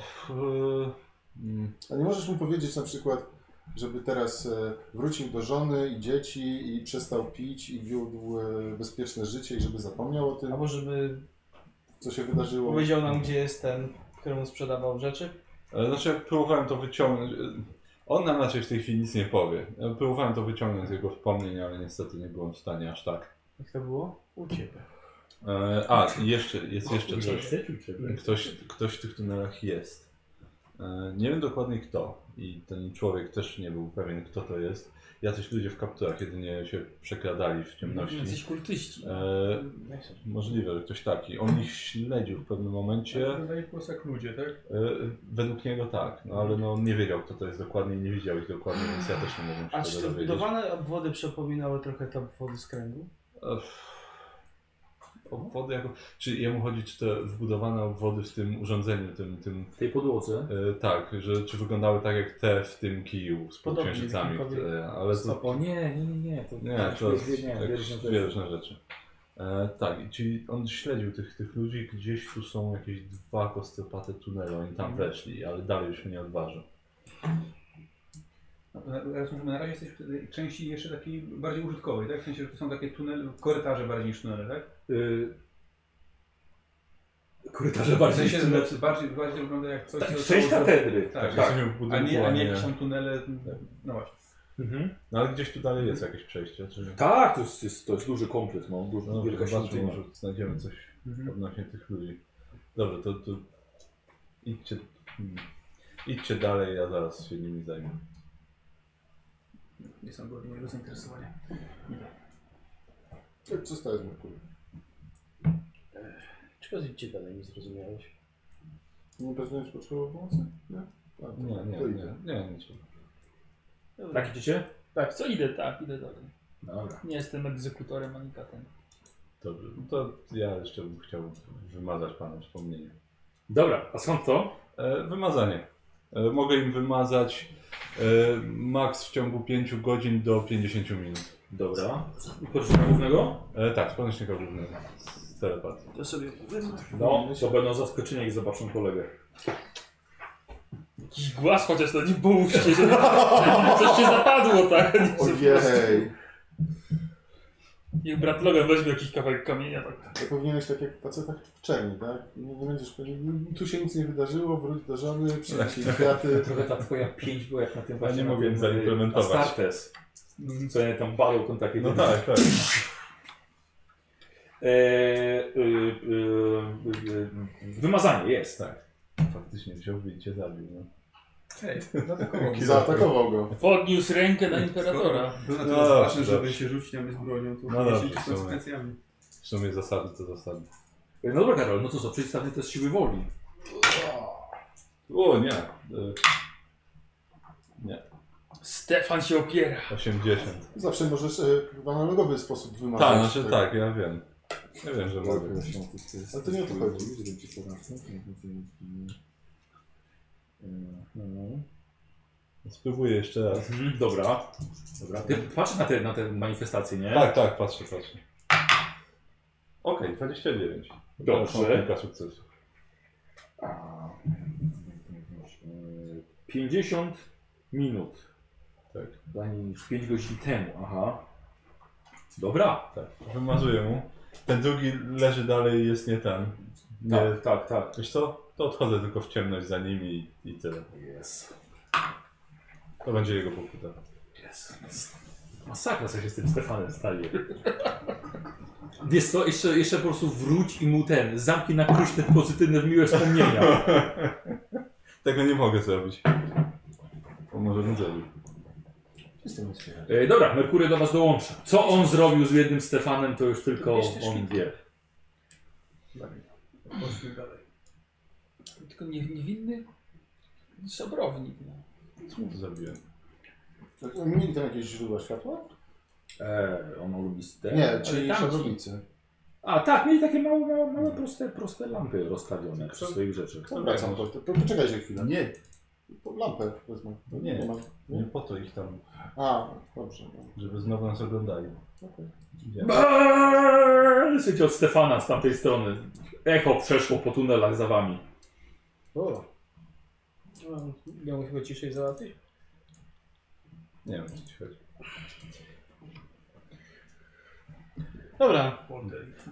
mm, A nie możesz mu powiedzieć na przykład, żeby teraz e, wrócił do żony i dzieci i przestał pić i wiódł e, bezpieczne życie i żeby zapomniał o tym, Albo żeby co się wydarzyło. powiedział nam, gdzie jest ten, któremu sprzedawał rzeczy. E, Znaczy, jak próbowałem to wyciągnąć. e, On nam raczej w tej chwili nic nie powie. Ja próbowałem to wyciągnąć z jego wspomnień, ale niestety nie byłem w stanie aż tak. Jak to było? U ciebie. E, A, i jeszcze, jest jeszcze Nie coś. chcę tu ciebie. Ktoś, ktoś w tych tunelach jest. E, Nie wiem dokładnie kto. I ten człowiek też nie był pewien, kto to jest. Jacyś ludzie w kapturach jedynie się przekradali w ciemności. Jacyś kultyści. E, Możliwe, że ktoś taki. On ich śledził w pewnym momencie. Wydaje po prostu jak ludzie, tak? Y, Według niego tak, no ale no, on nie wiedział kto to jest dokładnie i nie widział ich dokładnie, więc ja też nie mogłem się A tego czy te dowiedzieć. wbudowane obwody przypominały trochę te obwody z kręgu? Ech, E, obwody jako... Czy jemu chodzi, czy te wbudowane obwody w tym urządzeniu, tym, tym W tej podłodze. E, tak, że czy wyglądały tak jak te w tym kiju z Podobnie, podksiężycami, tylko- e, ale to, O nie, nie, nie, nie. To, nie, to jest tak nie, nie, jakieś wierzę, że- różne rzeczy. E, tak, i czyli on śledził tych, tych ludzi, gdzieś tu są jakieś dwa kostyopate tunele, oni tam Mhm. weszli, ale dalej się nie odważył. No, to na- Rozumiem, że na razie jesteś w tej części jeszcze takiej bardziej użytkowej, tak? W sensie, że to są takie tunele, korytarze bardziej niż tunele, tak? Y... Korytarze bardziej w sensie, niż tunele. że bardziej, bardziej wygląda jak coś, Tak, co część zostało katedry. Tak, tak. jesteśmy w zro- A nie, budynku, a nie nie- jakieś tam tunele, no właśnie. Mhm. No ale gdzieś tu dalej jest jakieś przejście, czy... Tak, to jest, jest, to jest duży komplet, no, duża, No, wielka zobaczmy, świątynia. może znajdziemy coś Mhm. odnośnie tych ludzi. Dobra, to, to idźcie, hmm. idźcie dalej, ja zaraz się nimi zajmę. Nie są godni mojego zainteresowania. Przestaję z Merkurem. Czego idźcie dalej, nie zrozumiałeś? Nie będziesz potrzebował pomocy? Nie? A, to- Nie, nie, to nie, idę. nie, nie, nie. Dobra. Tak idziecie? Tak, co idę, tak, idę dalej. Dobra. Nie jestem egzekutorem ani katem. Dobrze, no to ja jeszcze bym chciał wymazać Pana wspomnienie. Dobra, a skąd to? E, wymazanie. E, mogę im wymazać e, maks w ciągu 5 godzin do 50 minut. Dobra. I poczyna głównego? E, tak, z podnośnika głównego. Z telepatii. To sobie No, to będą zaskoczeni, jak zobaczą kolegę. Jakiś głaz chociaż na nim połóżcie, żeby coś się zapadło, tak? Ojej! Niech brat Logan weźmie jakiś kawałek kamienia, tak. To powinieneś tak jak w facetach w czerni, tak? Nie, nie będziesz pewien, tu się nic nie wydarzyło, wróć do żony, przynieś Tak, jej kwiaty. Trochę ta twoja pięć była jak na tym właśnie- nie mogłem na tym, y, zaimplementować. Astartes. Co nie tam balą kontakty. No tak, tak. E, y, y, y, y, wymazanie jest. tak. Faktycznie wziąłby i cię zabił. No. Hej, Zaatakował go. Podniósł rękę na imperatora. To na No, to jest ważne, dobrze. żeby się rzucić na mnie z bronią, to No no dobrze, się liczy z w sumie. konsekwencjami. W sumie zasady to zasady. No dobra, Karol, no to co, przeciwstawny to jest siły woli. O nie, e, Stefan się opiera. 80. Zawsze możesz e, w analogowy sposób wymazać. Tak, znaczy tego. tak, ja wiem. Ja wiem, że mogę. Ale to nie o to chodzi. Spróbuję jeszcze raz. Mhm, dobra. dobra. Ty patrz na te, na te manifestacje, nie? Tak, tak, patrzę, patrzę. Okej, 29. Dobrze. To są Kilka sukcesów. A, 50 minut. Tak. Danie niż 5 godzin temu, aha. Dobra. Tak. Wymazuję mu. Ten drugi leży dalej, jest nie ten. Nie. Tak, tak, tak. Wiesz co? To odchodzę tylko w ciemność za nimi i, i tyle. Jest. To będzie jego pokuta. Jest. Masakra, co się z tym Stefanem stanie. Wiesz co, jeszcze, jeszcze po prostu wróć i mu ten, zamknij na klucz te pozytywne, miłe wspomnienia. Tego nie mogę zrobić. Bo może bym zrobił. E, dobra, Merkury do was dołącza. Co on zrobił z jednym Stefanem, to już tylko Wiesz, też on kilka. wie. Chodźmy dalej. Tylko nie, niewinny szabrownik. No. Czemu to zrobiłem? Tak, Mieli tam jakieś źródła światła? E, on lubi ste... Nie, czyli tamci. szabownicy. A tak, mieli takie małe, małe, małe proste, proste lampy rozstawione przy Kto- swoich rzeczach. Wracam do po, Poczekajcie chwilę. Nie, Po- Lampę wezmę. No nie. mam. nie po to ich tam, A, dobrze. żeby znowu nas oglądali. Okej. Idziemy. Słychać Eee, od Stefana z tamtej strony. Echo przeszło po tunelach za wami. O, Miał No, chyba ciszej załatwić? Nie wiem, o co ci chodzi. Dobra,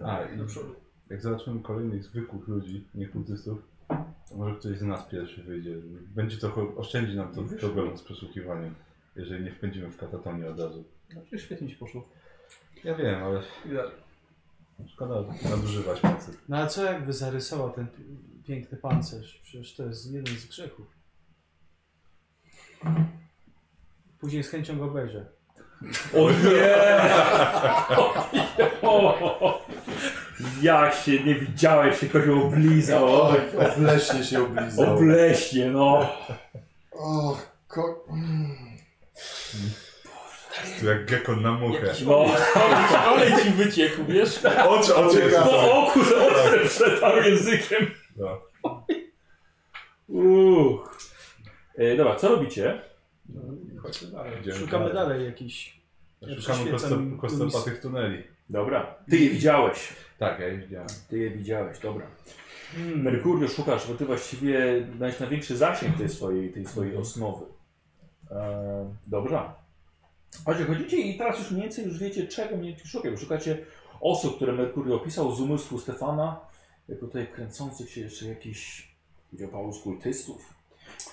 A, i No, jak zobaczymy kolejnych zwykłych ludzi, nie kultystów, to może ktoś z nas pierwszy wyjdzie. Będzie trochę, oszczędzi nam to problemu z przesłuchiwaniem, jeżeli nie wpędzimy w katatonię od razu. No przecież świetnie ci poszło. Ja wiem, ale I dalej. szkoda nadużywać mocy. no ale co jakby zarysował ten p- piękny pancerz? Przecież to jest jeden z grzechów. Później z chęcią go obejrzę. O nie! O, jak się nie widziałeś, się kogoś oblizał. Oj, obleśnie się oblizał. Obleśnie, no. Och, ko... To jak gekon na muchę. No, olej ci wyciekł, wiesz? Oczy, oczy jest Ciekawe. no. Po oku za ostre przetarł językiem. No. Uch. E, dobra, co robicie? Chodźmy dalej. idziemy Szukamy dalej jakichś. Ja Szukamy przyświecam kosto- kostopatych tuneli. Dobra. Ty je widziałeś. Tak, ja ich widziałem. Ty je widziałeś, dobra. Hmm. Merkurio szukasz, bo ty właściwie miałeś największy zasięg tej swojej, tej swojej osnowy. E, dobra. Chodźcie, chodzicie i teraz już mniej więcej już wiecie czego mniej więcej szukacie. Szukacie osób, które Merkurio opisał z umysłu Stefana, jako tutaj kręcących się jeszcze jakichś, powiedział Paulus, kultystów.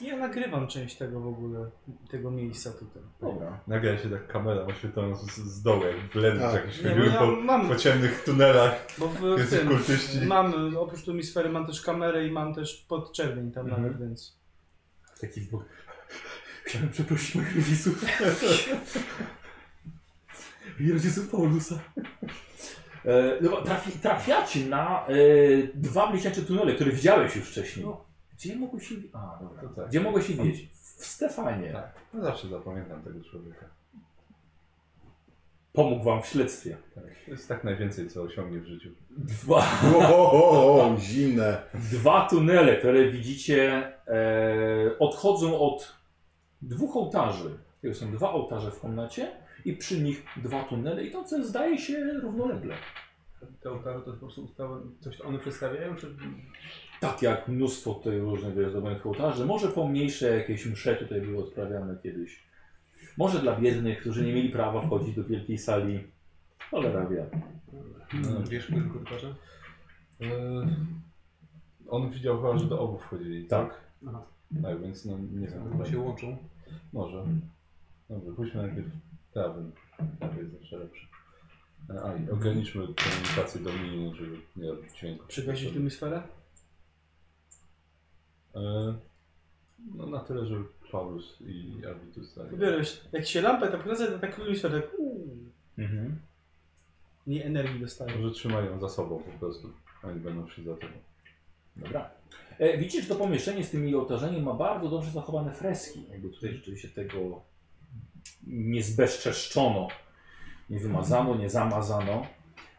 Ja nagrywam część tego w ogóle, tego miejsca tutaj. Dobra. Nagle się tak kamerą oświetloną z, z dołu, jak blend Tak. jakieś Nie, bo chodziły ja po, mam, po ciemnych tunelach. bo w, w Jacy tym, kultyści. mam, oprócz tu misfery mam też kamerę i mam też podczerwień tam Mhm. nawet, więc. Taki w bok. Chciałem przeprosić moich rodziców. I rodziców Paulusa. E, no, bo trafi, trafiacie na e, dwa bliźniacze tunele, które widziałeś już wcześniej. Gdzie mogłeś się... A, To dobra. tak. Gdzie mogłeś się wiedzieć? W Stefanie. Tak. No zawsze zapamiętam tego człowieka. Pomógł wam w śledztwie. Tak. To jest tak najwięcej, co osiągnie w życiu. Dwa, O, o, o, o, zimne. dwa tunele, które widzicie, e, odchodzą od dwóch ołtarzy. To są dwa ołtarze w komnacie i przy nich dwa tunele idące, zdaje się, równolegle. Te ołtarze to jest po prostu ustawa, coś one przedstawiają, czy... Tak jak mnóstwo tutaj różnych wyjazdowych ołtarzy, może pomniejsze jakieś msze tutaj były odprawiane kiedyś. Może dla biednych, którzy nie mieli prawa wchodzić do wielkiej sali. Cholera wie. Mm. Wiesz, który korytarze? Yy, on widział chyba, że do obu wchodzili. Tak. Aha. Tak, więc no nie wiem. Chyba się chyba- łączą. Może. Dobrze, pójdźmy najpierw prawym. Prawy jest zawsze lepszy. E, A i ograniczmy komunikację do minimum, żeby nie robić dźwięku. Przygasić tu misferę? E, No na tyle, żeby Paulus i tak Arbitus stali. Biorę, się- jak się lampę tak kręcę, to tak myślę, tak uuu, Mhm. nie energii dostaję. Może trzymają za sobą po prostu, a nie będą szli za tobą. Dobra. E, widzicie, że to pomieszczenie z tymi ołtarzami ma bardzo dobrze zachowane freski. Jakby tutaj rzeczywiście tego nie zbezczeszczono. Nie wymazano, nie zamazano.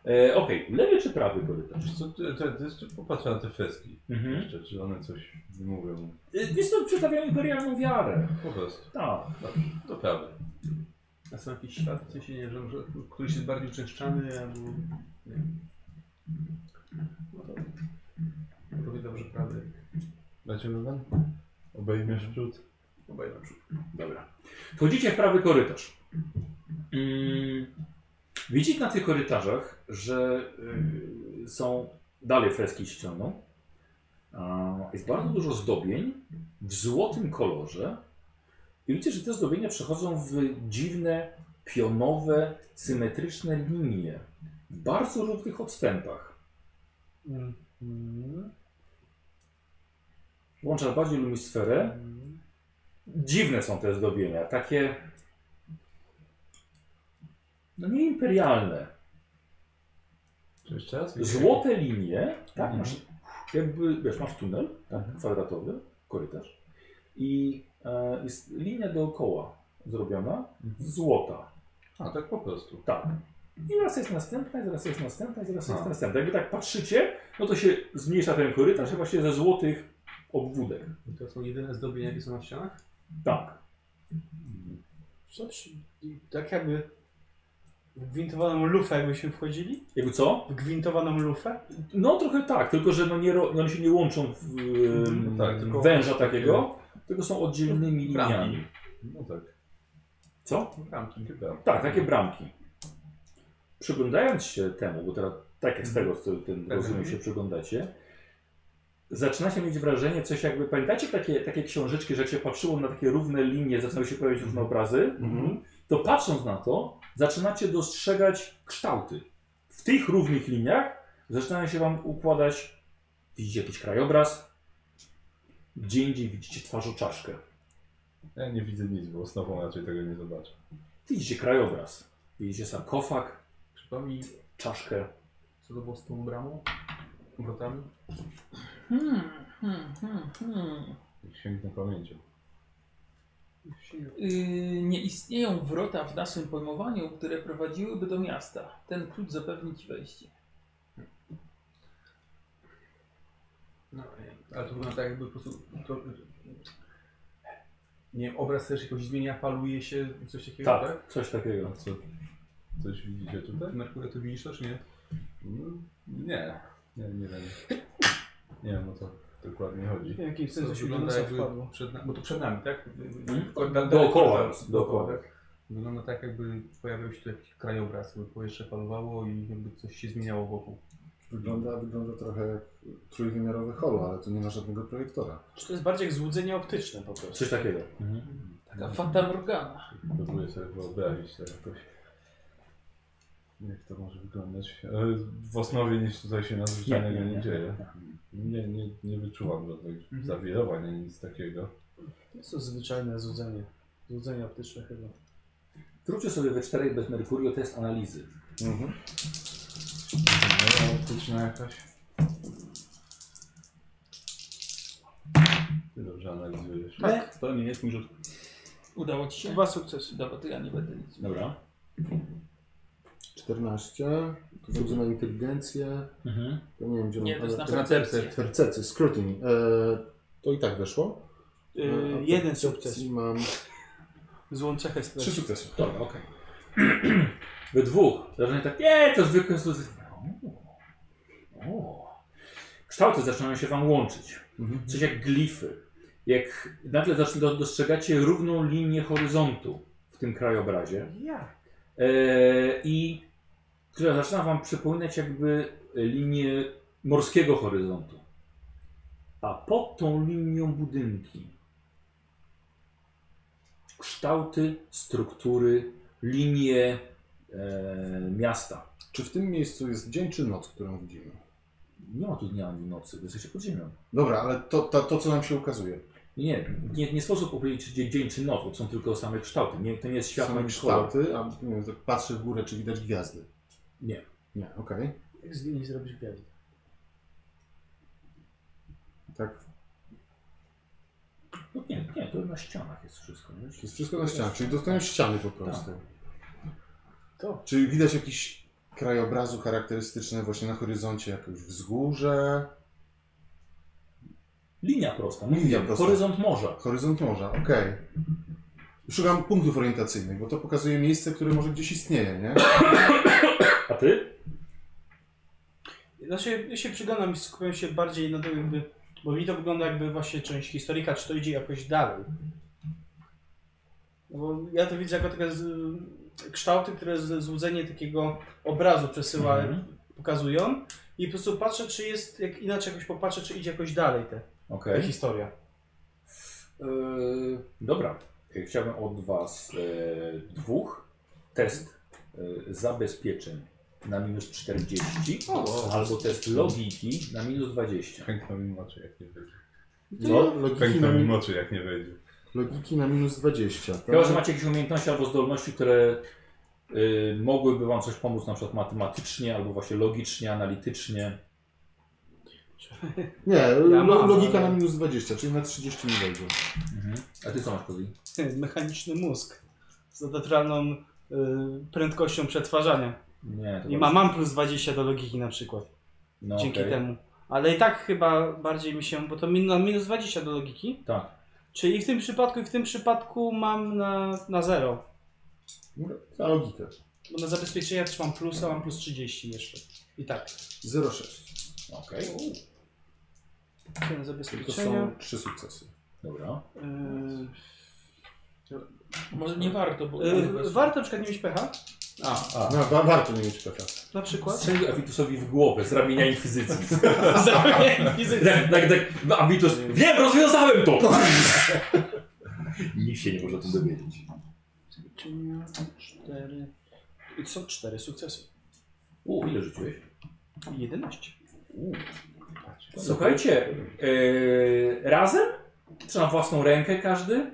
E, Okej, lewy czy prawy korytarz? Wiesz co, ty, ty, ty jeszcze popatrzę na te freski Mhm. jeszcze, czy one coś mówią. Jest to przedstawiają imperialną wiarę. Po prostu, Tak. to prawda. A są jakieś ślady, w sensie, nie wiem, że któryś jest bardziej uczęszczany, albo... Nie wiem. No to... no Robię dobrze prawdę. Dlaczego pan? Obejmiesz wrzut? Obaj na przód. Dobra. Wchodzicie w prawy korytarz. Mm, Widzicie na tych korytarzach, że y, są dalej freski ścianą. A, Jest bardzo dużo zdobień w złotym kolorze. I widzicie, że te zdobienia przechodzą w dziwne, pionowe, symetryczne linie. W bardzo równych odstępach. Mhm. Włączasz bardziej lumisferę. Dziwne są te zdobienia, takie. No nie imperialne. Czy jeszcze raz? Złote linie, tak? Masz, jakby, wiesz, masz tunel tak, kwadratowy, korytarz i e, jest linia dookoła zrobiona, złota. A, tak po prostu. Tak. I raz jest następna, i raz jest następna, i raz jest A. następna. Jakby tak patrzycie, no to się zmniejsza ten korytarz i właśnie ze złotych obwódek. I to są jedyne zdobienia, jakie są na ścianach? Tak. Co przy- Tak jakby w gwintowaną lufę jakbyśmy wchodzili? Jakby co? W gwintowaną lufę? No trochę tak, tylko że no nie, ro- no, oni się nie łączą w em, No tak, tylko- węża takiego, tylko są oddzielnymi Bramki. liniami. No tak. Co? Bramki. Bramki. Tak, takie bramki. Przyglądając się temu, bo teraz tak jak z tego, co ten Tak, rozumiem tak. się przyglądacie, zaczynacie mieć wrażenie coś jakby, pamiętacie takie, takie książeczki, że jak się patrzyło na takie równe linie, zaczynały się pojawiać różne obrazy, to patrząc na to, zaczynacie dostrzegać kształty. W tych równych liniach zaczynają się Wam układać, widzicie jakiś krajobraz, gdzie indziej widzicie twarzoczaszkę. Ja nie widzę nic, bo z nową raczej tego nie zobaczę. Widzicie krajobraz, widzicie sarkofag, Przypomnij, czaszkę. co to było z tą bramą? Wrotami? Hmm, hmm, hmm, hmm. Sięgnę pamięcią. Yy, nie istnieją wrota w naszym pojmowaniu, które prowadziłyby do miasta. Ten klucz zapewni ci wejście. No, ale to wygląda tak jakby po prostu... To, nie wiem, obraz też jakoś zmienia, faluje się, coś takiego, tak? Tak, coś takiego. Co, coś widzicie tutaj? Merkury, ty widzisz to, czy nie? No, nie. nie, nie wiem. Nie wiem o co dokładnie chodzi. W jakimś To sensie mi do wygląda nosa jakby wpadło. przed nami, bo to przed nami, tak? Dookoła Da- nas, dookoła. tak? Wygląda tak, jakby pojawił się tu jakiś krajobraz, jakby powietrze falowało i jakby coś się zmieniało wokół. Wygląda, wygląda trochę jak trójwymiarowy holo, ale tu nie ma żadnego projektora. Czy to jest bardziej jak złudzenie optyczne po prostu? Coś takiego. Mhm. Taka Fata Morgana. Próbuję sobie wyobrazić to jakoś. Jak to może wyglądać? Ale W Osnowie nic tutaj się nadzwyczajnego Nie, nie, nie, Tak. nie. dzieje. Nie, nie, nie wyczułam żadnych Mhm. zawirowań ani nic takiego. Jest to zwyczajne złudzenie. Złudzenie optyczne chyba. Zróbcie sobie we czterech bez Merkurio test analizy. Mhm. No, Kamera optyczna jakaś. Ty dobrze analizujesz. Tak. To nie jest mój rzut. Udało ci się? Dwa sukcesy. Dobra, to ja nie będę nic. Dobra. 14. Tu będzie na inteligencję. Mhm. To nie wiem, gdzie Nie, mam- to jest ale- nasza percepcja. Percepcję, scrutiny. E, to i tak weszło. No, Yy, A jeden percepcji sukces. Mam Złą cechę stracił. trzy sukcesy. Dobra, okej. We dwóch. Zaczynają tak, nie, to zwykłe sukcesy. O. O. Kształty zaczynają się wam łączyć. Mhm. Coś jak glify. Jak nagle zaczn- do- dostrzegacie równą linię horyzontu w tym krajobrazie. Ja. E, I która zaczyna wam przypominać jakby linię morskiego horyzontu. A pod tą linią budynki. Kształty, struktury, linie e, miasta. Czy w tym miejscu jest dzień czy noc, którą widzimy? Nie ma tu dnia ani nocy, wy jesteście pod ziemią. Dobra, ale to, to, to co nam się ukazuje. Nie, nie, nie sposób powiedzieć, czy dzień, dzień czy noc, bo są tylko same kształty. Nie, to nie jest światło, Są ani kolor. kształty, a nie wiem, tak patrzę w górę, czy widać gwiazdy. Nie. Nie, okej. Jak z nimi zrobić gwiazdę? Tak, No nie, nie, to na ścianach jest wszystko. to Wiesz? jest wszystko na ścianach, czyli dostają ściany po prostu. To. Czy widać jakiś krajobrazu charakterystyczny właśnie na horyzoncie, jakieś wzgórze, Linia prosta. Linia mówię, prosta. Horyzont morza. horyzont morza, okej. Szukam punktów orientacyjnych, bo to pokazuje miejsce, które może gdzieś istnieje, nie? A ty? Znaczy, ja się przyglądam i skupiam się bardziej na tym jakby, bo mi to wygląda jakby właśnie część historyka, czy to idzie jakoś dalej. No Bo ja to widzę jako takie z, kształty, które z, złudzenie takiego obrazu przesyła, Mhm. pokazują i po prostu patrzę, czy jest, jak inaczej jakoś popatrzę, czy idzie jakoś dalej te, Okej. ta historia. Yy, dobra. Chciałbym od was e, dwóch test e, zabezpieczeń na minus 40 albo test logiki na minus 20. Pękną mi oczy jak nie wejdzie. No, logiki na, Pękną mi mi- oczy jak nie wejdzie. logiki na minus 20. tak? Chyba, że macie jakieś umiejętności albo zdolności, które y, mogłyby wam coś pomóc, na przykład matematycznie, albo właśnie logicznie, analitycznie. Nie, Ja lo, mam, logika ale- na minus 20, czyli na 30 nie wejdzie. Mhm. A ty co masz Kozi? Mechaniczny mózg z naturalną y, prędkością przetwarzania. Nie, to I ma, mam plus 20 do logiki na przykład. no, dzięki okej. temu. Ale i tak chyba bardziej mi się, bo to min, na minus 20 do logiki. Tak. Czyli i w tym przypadku, i w tym przypadku mam na, na 0. Na No, logikę. Bo na zabezpieczenia też mam plus, a mam plus 30 jeszcze. I tak. 0,6. Okej. Na To zabezpieczenia. są trzy sukcesy. Dobra. Yy, Może nie warto, bo... E, No yy, warto na przykład nie mieć pecha. A, a. No, wa- warto nie mieć pecha. Na przykład. Strzelił Avitusowi w głowę z ramienia inkwizycji. Zamiast fizyki. tak, tak, tak. No, Avitus, wiem, rozwiązałem to! Nikt się nie może o tym dowiedzieć. Zabezpieczenia, Cztery. I to są cztery sukcesy. U, ile rzuciłeś? 11. Słuchajcie, yy, razem? Czy na własną rękę każdy?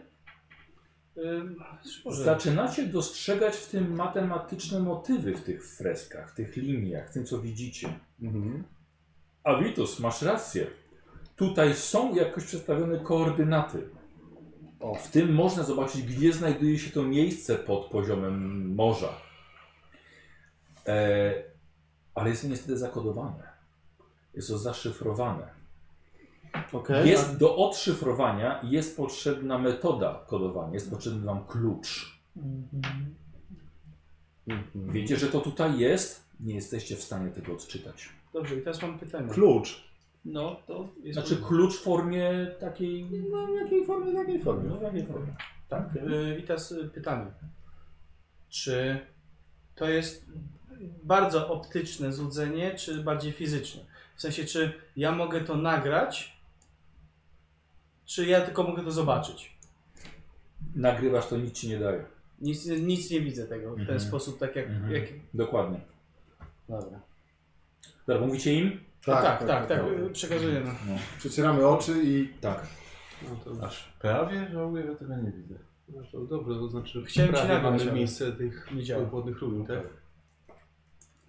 Yy, może- Zaczynacie dostrzegać w tym matematyczne motywy w tych freskach, w tych liniach, w tym co widzicie. Mhm. Avitus, masz rację. Tutaj są jakoś przedstawione koordynaty. O. W tym można zobaczyć, gdzie znajduje się to miejsce pod poziomem morza. E, ale jest to niestety zakodowane. Jest to zaszyfrowane. Okej. Jest do odszyfrowania jest potrzebna metoda kodowania, jest potrzebny wam klucz. Mhm. Wiecie, że to tutaj jest, nie jesteście w stanie tego odczytać. Dobrze, i teraz mam pytanie. Klucz. No to jest. Znaczy klucz w formie takiej... No w jakiej formie, w jakiej No, formie. w jakiej formie? Tak. Y, I teraz y, pytanie. Czy to jest bardzo optyczne złudzenie, czy bardziej fizyczne? W sensie, czy ja mogę to nagrać, czy ja tylko mogę to zobaczyć? Nagrywasz to, nic ci nie daje. Nic, nic nie widzę tego w ten Mhm. sposób, tak jak... Mhm. jak... Dokładnie. Dobra. Dobra, mówicie im? Tak, tak, tak, y, przekazujemy. No. Przecieramy oczy i Tak. No to, Aż prawie żałuję, że tego nie widzę. no to dobrze, to znaczy Chciałem ci prawie nagrać, mamy ale- miejsce tych Nie działa. wodnych rubin, tak?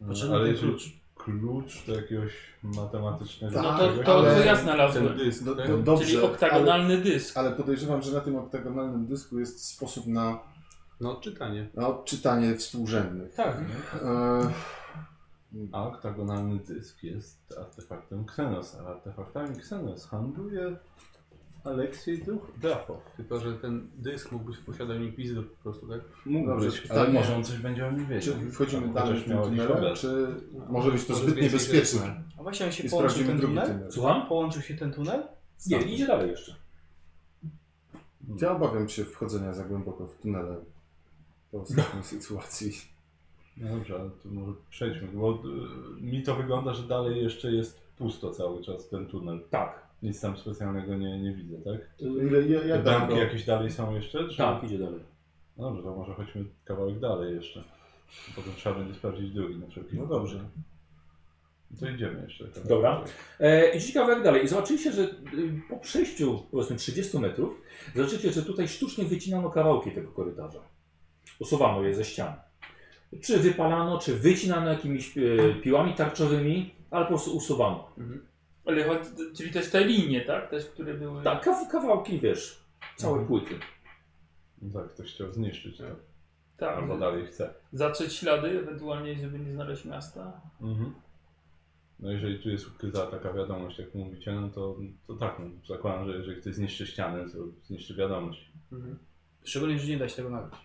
No, Potrzebny No ale ten jeżeli klucz. klucz do jakiegoś matematycznego... Tak, No to, to, ale- to ja Ten znalazłem. dysk, do, tak? do, dobrze. Czyli oktagonalny dysk. Ale, ale podejrzewam, że na tym oktagonalnym dysku jest sposób na, No odczytanie. na odczytanie współrzędnych. Tak. E, A oktagonalny dysk jest artefaktem Xenos, a artefaktami Xenos handluje Aleksiej Duch- Drapow. Tylko, że ten dysk mógł być w posiadaniu Gwizdy po prostu, tak? mógł Dobrze, być, ale ale może on coś będzie o nim wiedział. tak? Czy wchodzimy Albo dalej chociaż w tym miał jakiś tunelem, obraz. czy może być to Może zbyt więcej niebezpieczne A właśnie on się i połączył sprawdzimy ten drugi tunel? tunel? Słucham? Połączył się ten tunel? Nie, idzie dalej jeszcze. Ja obawiam się wchodzenia za głęboko w tunele po ostatniej sytuacji. No dobrze, ale to może przejdźmy, bo y, mi to wygląda, że dalej jeszcze jest pusto cały czas ten tunel. Tak. Nic tam specjalnego nie, nie widzę, tak? Ile, ja, Te ja dam Damki go. jakieś dalej są jeszcze? Czy... Tak, idzie dalej. No dobrze, to może chodźmy kawałek dalej jeszcze. Potem trzeba będzie sprawdzić drugi na wszelki No wypadek. dobrze. No To idziemy jeszcze. kawałek Dobra. dalej. E, idziecie kawałek dalej i zobaczyliście, że y, po przejściu powiedzmy 30 metrów zobaczycie, że tutaj sztucznie wycinano kawałki tego korytarza. Usuwano je ze ścian. Czy wypalano, czy wycinano jakimiś e, piłami tarczowymi, ale po prostu usuwano. Ale chodzi, czyli też te linie, tak? Też, które były. Tak, kaw, kawałki, wiesz, całe Mhm. płyty. No tak, ktoś chciał zniszczyć to. tak. Albo dalej chce. Zatrzeć ślady, ewentualnie, żeby nie znaleźć miasta. No jeżeli tu jest ukryta taka wiadomość, jak mówicie, no to, to tak, no, zakładam, że jeżeli ktoś zniszczy ścianę, to zniszczy wiadomość. Szczególnie, że nie da się tego nagrać.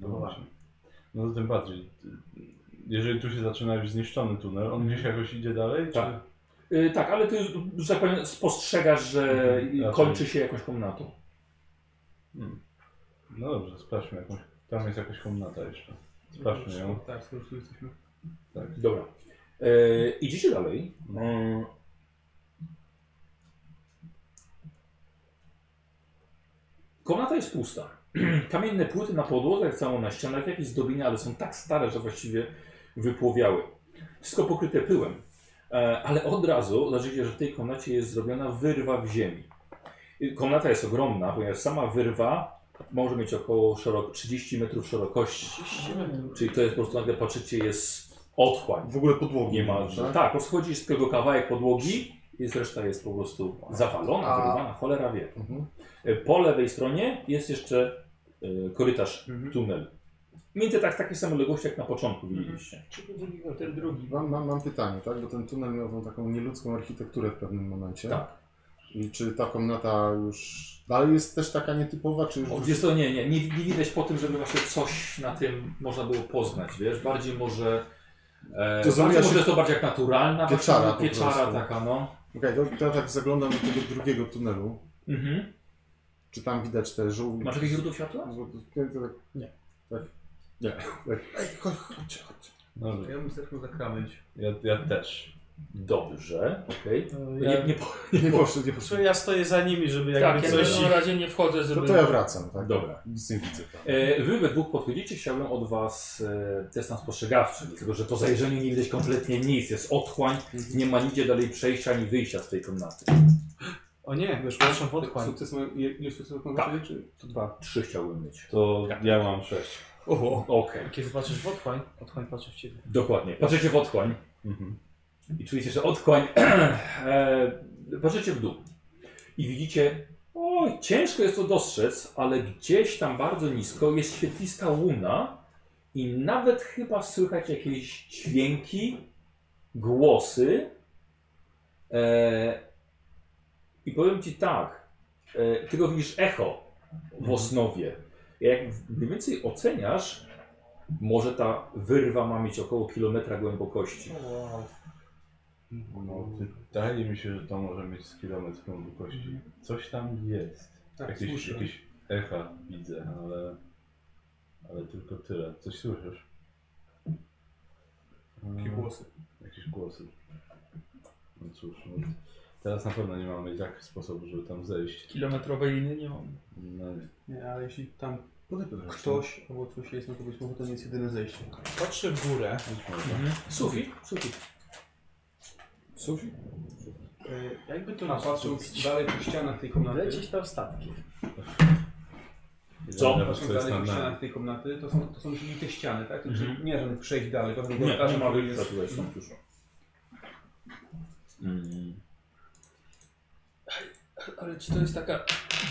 No właśnie. No to tym bardziej. Jeżeli tu się zaczyna już zniszczony tunel, on gdzieś jakoś idzie dalej? Tak. Y, tak, ale ty, że tak powiem, spostrzegasz, że Mhm, y, raczej. kończy się jakąś komnatą. Czy... Hmm. No dobrze, sprawdźmy jakąś. Tam jest jakaś komnata jeszcze. Sprawdźmy ją. Tak, skoro tu jesteśmy. Tak. Dobra. E, idziecie dalej. E, Komnata jest pusta. Kamienne płyty na podłogach, całą na ścianach, jakieś zdobienia, ale są tak stare, że właściwie wypłowiały. Wszystko pokryte pyłem. E, ale od razu zobaczycie, że w tej komnacie jest zrobiona wyrwa w ziemi. Y, Komnata jest ogromna, ponieważ sama wyrwa może mieć około szerok 30 metrów szerokości. Czyli to jest po prostu, nagle patrzycie, jest otchłań W ogóle podłogi niemalże. Tak, po prostu chodzi z tego kawałek podłogi, jest, reszta jest po prostu zawalona, A- wyrwana, cholera wie. Mhm. E, Po lewej stronie jest jeszcze e, korytarz, tunel. Między tak, takie same odległości jak na początku widzieliście. Ten drugi. Mam, mam, mam pytanie, tak? Bo ten tunel miał tą taką nieludzką architekturę w pewnym momencie. Tak. I czy ta komnata już dalej jest też taka nietypowa, czy już... O, wiesz to nie, nie, nie, nie widać po tym, żeby właśnie coś na tym można było poznać, wiesz, bardziej może... E, To to bardziej zamiast- może jest to bardziej jak naturalna właśnie, Pieczara po pieczara prostu. taka, no. Okej, to, to ja tak zaglądam do tego drugiego tunelu. Mhm. Czy tam widać te żółte... Masz jakieś źródło światła? Nie. Nie. Tak. Nie. Tak. Ej, chodź, chodź, chodź. No Dobrze. Ja bym zerknął za krawędź. Ja, ja też. Dobrze, okej. Y, Nie, Ja, nie, Nie poszedł, nie Słuchaj, poszedł. ja stoję za nimi, żeby Tak, jakby ja na coś... pewno razie nie wchodzę, żeby. To, to ja wracam, tak? Dobra. Nic nie widzę tak. tam. E, Wy we dwóch podchodzicie, chciałbym od was e, test na spostrzegawczy, dlatego że po zajrzeniu nie widać kompletnie nic, jest otchłań, nie ma nigdzie dalej przejścia ani wyjścia z tej komnaty. O nie, wiesz, proszę w otchłań. Sukces mają, ile sukcesów kontaktuje, czy Tak. to dwa? Trzy chciałbym mieć. To ja mam sześć. Oho. Okej, Kiedy patrzysz w otchłań, otchłań patrzy w ciebie. dokładnie. Patrzycie w otchłań Mhm. i czujecie, że otchłań... e, patrzycie w dół i widzicie Oj, ciężko jest to dostrzec, ale gdzieś tam bardzo nisko jest świetlista łuna i nawet chyba słychać jakieś dźwięki, głosy. E, I powiem Ci tak, e, Ty go widzisz echo w Osnowie. Jak w- mniej więcej oceniasz, może ta wyrwa ma mieć około kilometra głębokości. No, wydaje mi się, że to może mieć z kilometr głębokości. Coś tam jest. Tak, jakieś, słyszę. jakieś echa widzę, ale, ale tylko tyle. Coś słyszysz? Takie Mm, głosy. Jakieś głosy. No cóż, no, teraz na pewno nie mamy jak sposobu, żeby tam zejść. Kilometrowej liny nie mam. No nie. Nie, ale jeśli tam Podaj podręcznik. ktoś albo coś jest na kogoś mowy, to nie jest jedyne zejście. Patrzy w górę. Być może. Sufit, sufit. Sufit? Y, Jakby to A patrząc dalej po ścianach tej komnaty, lecieć tam statki. Co? Zobacz, patrząc co jest dalej na po nami. ścianach tej komnaty, to są, to są czyli te ściany, tak? Znaczy Mhm. nie żadnych przejść dalej, żadnego Nie, korytarza, nie ma który wyjścia jest- tutaj stąd już. Mm. Ale czy to jest taka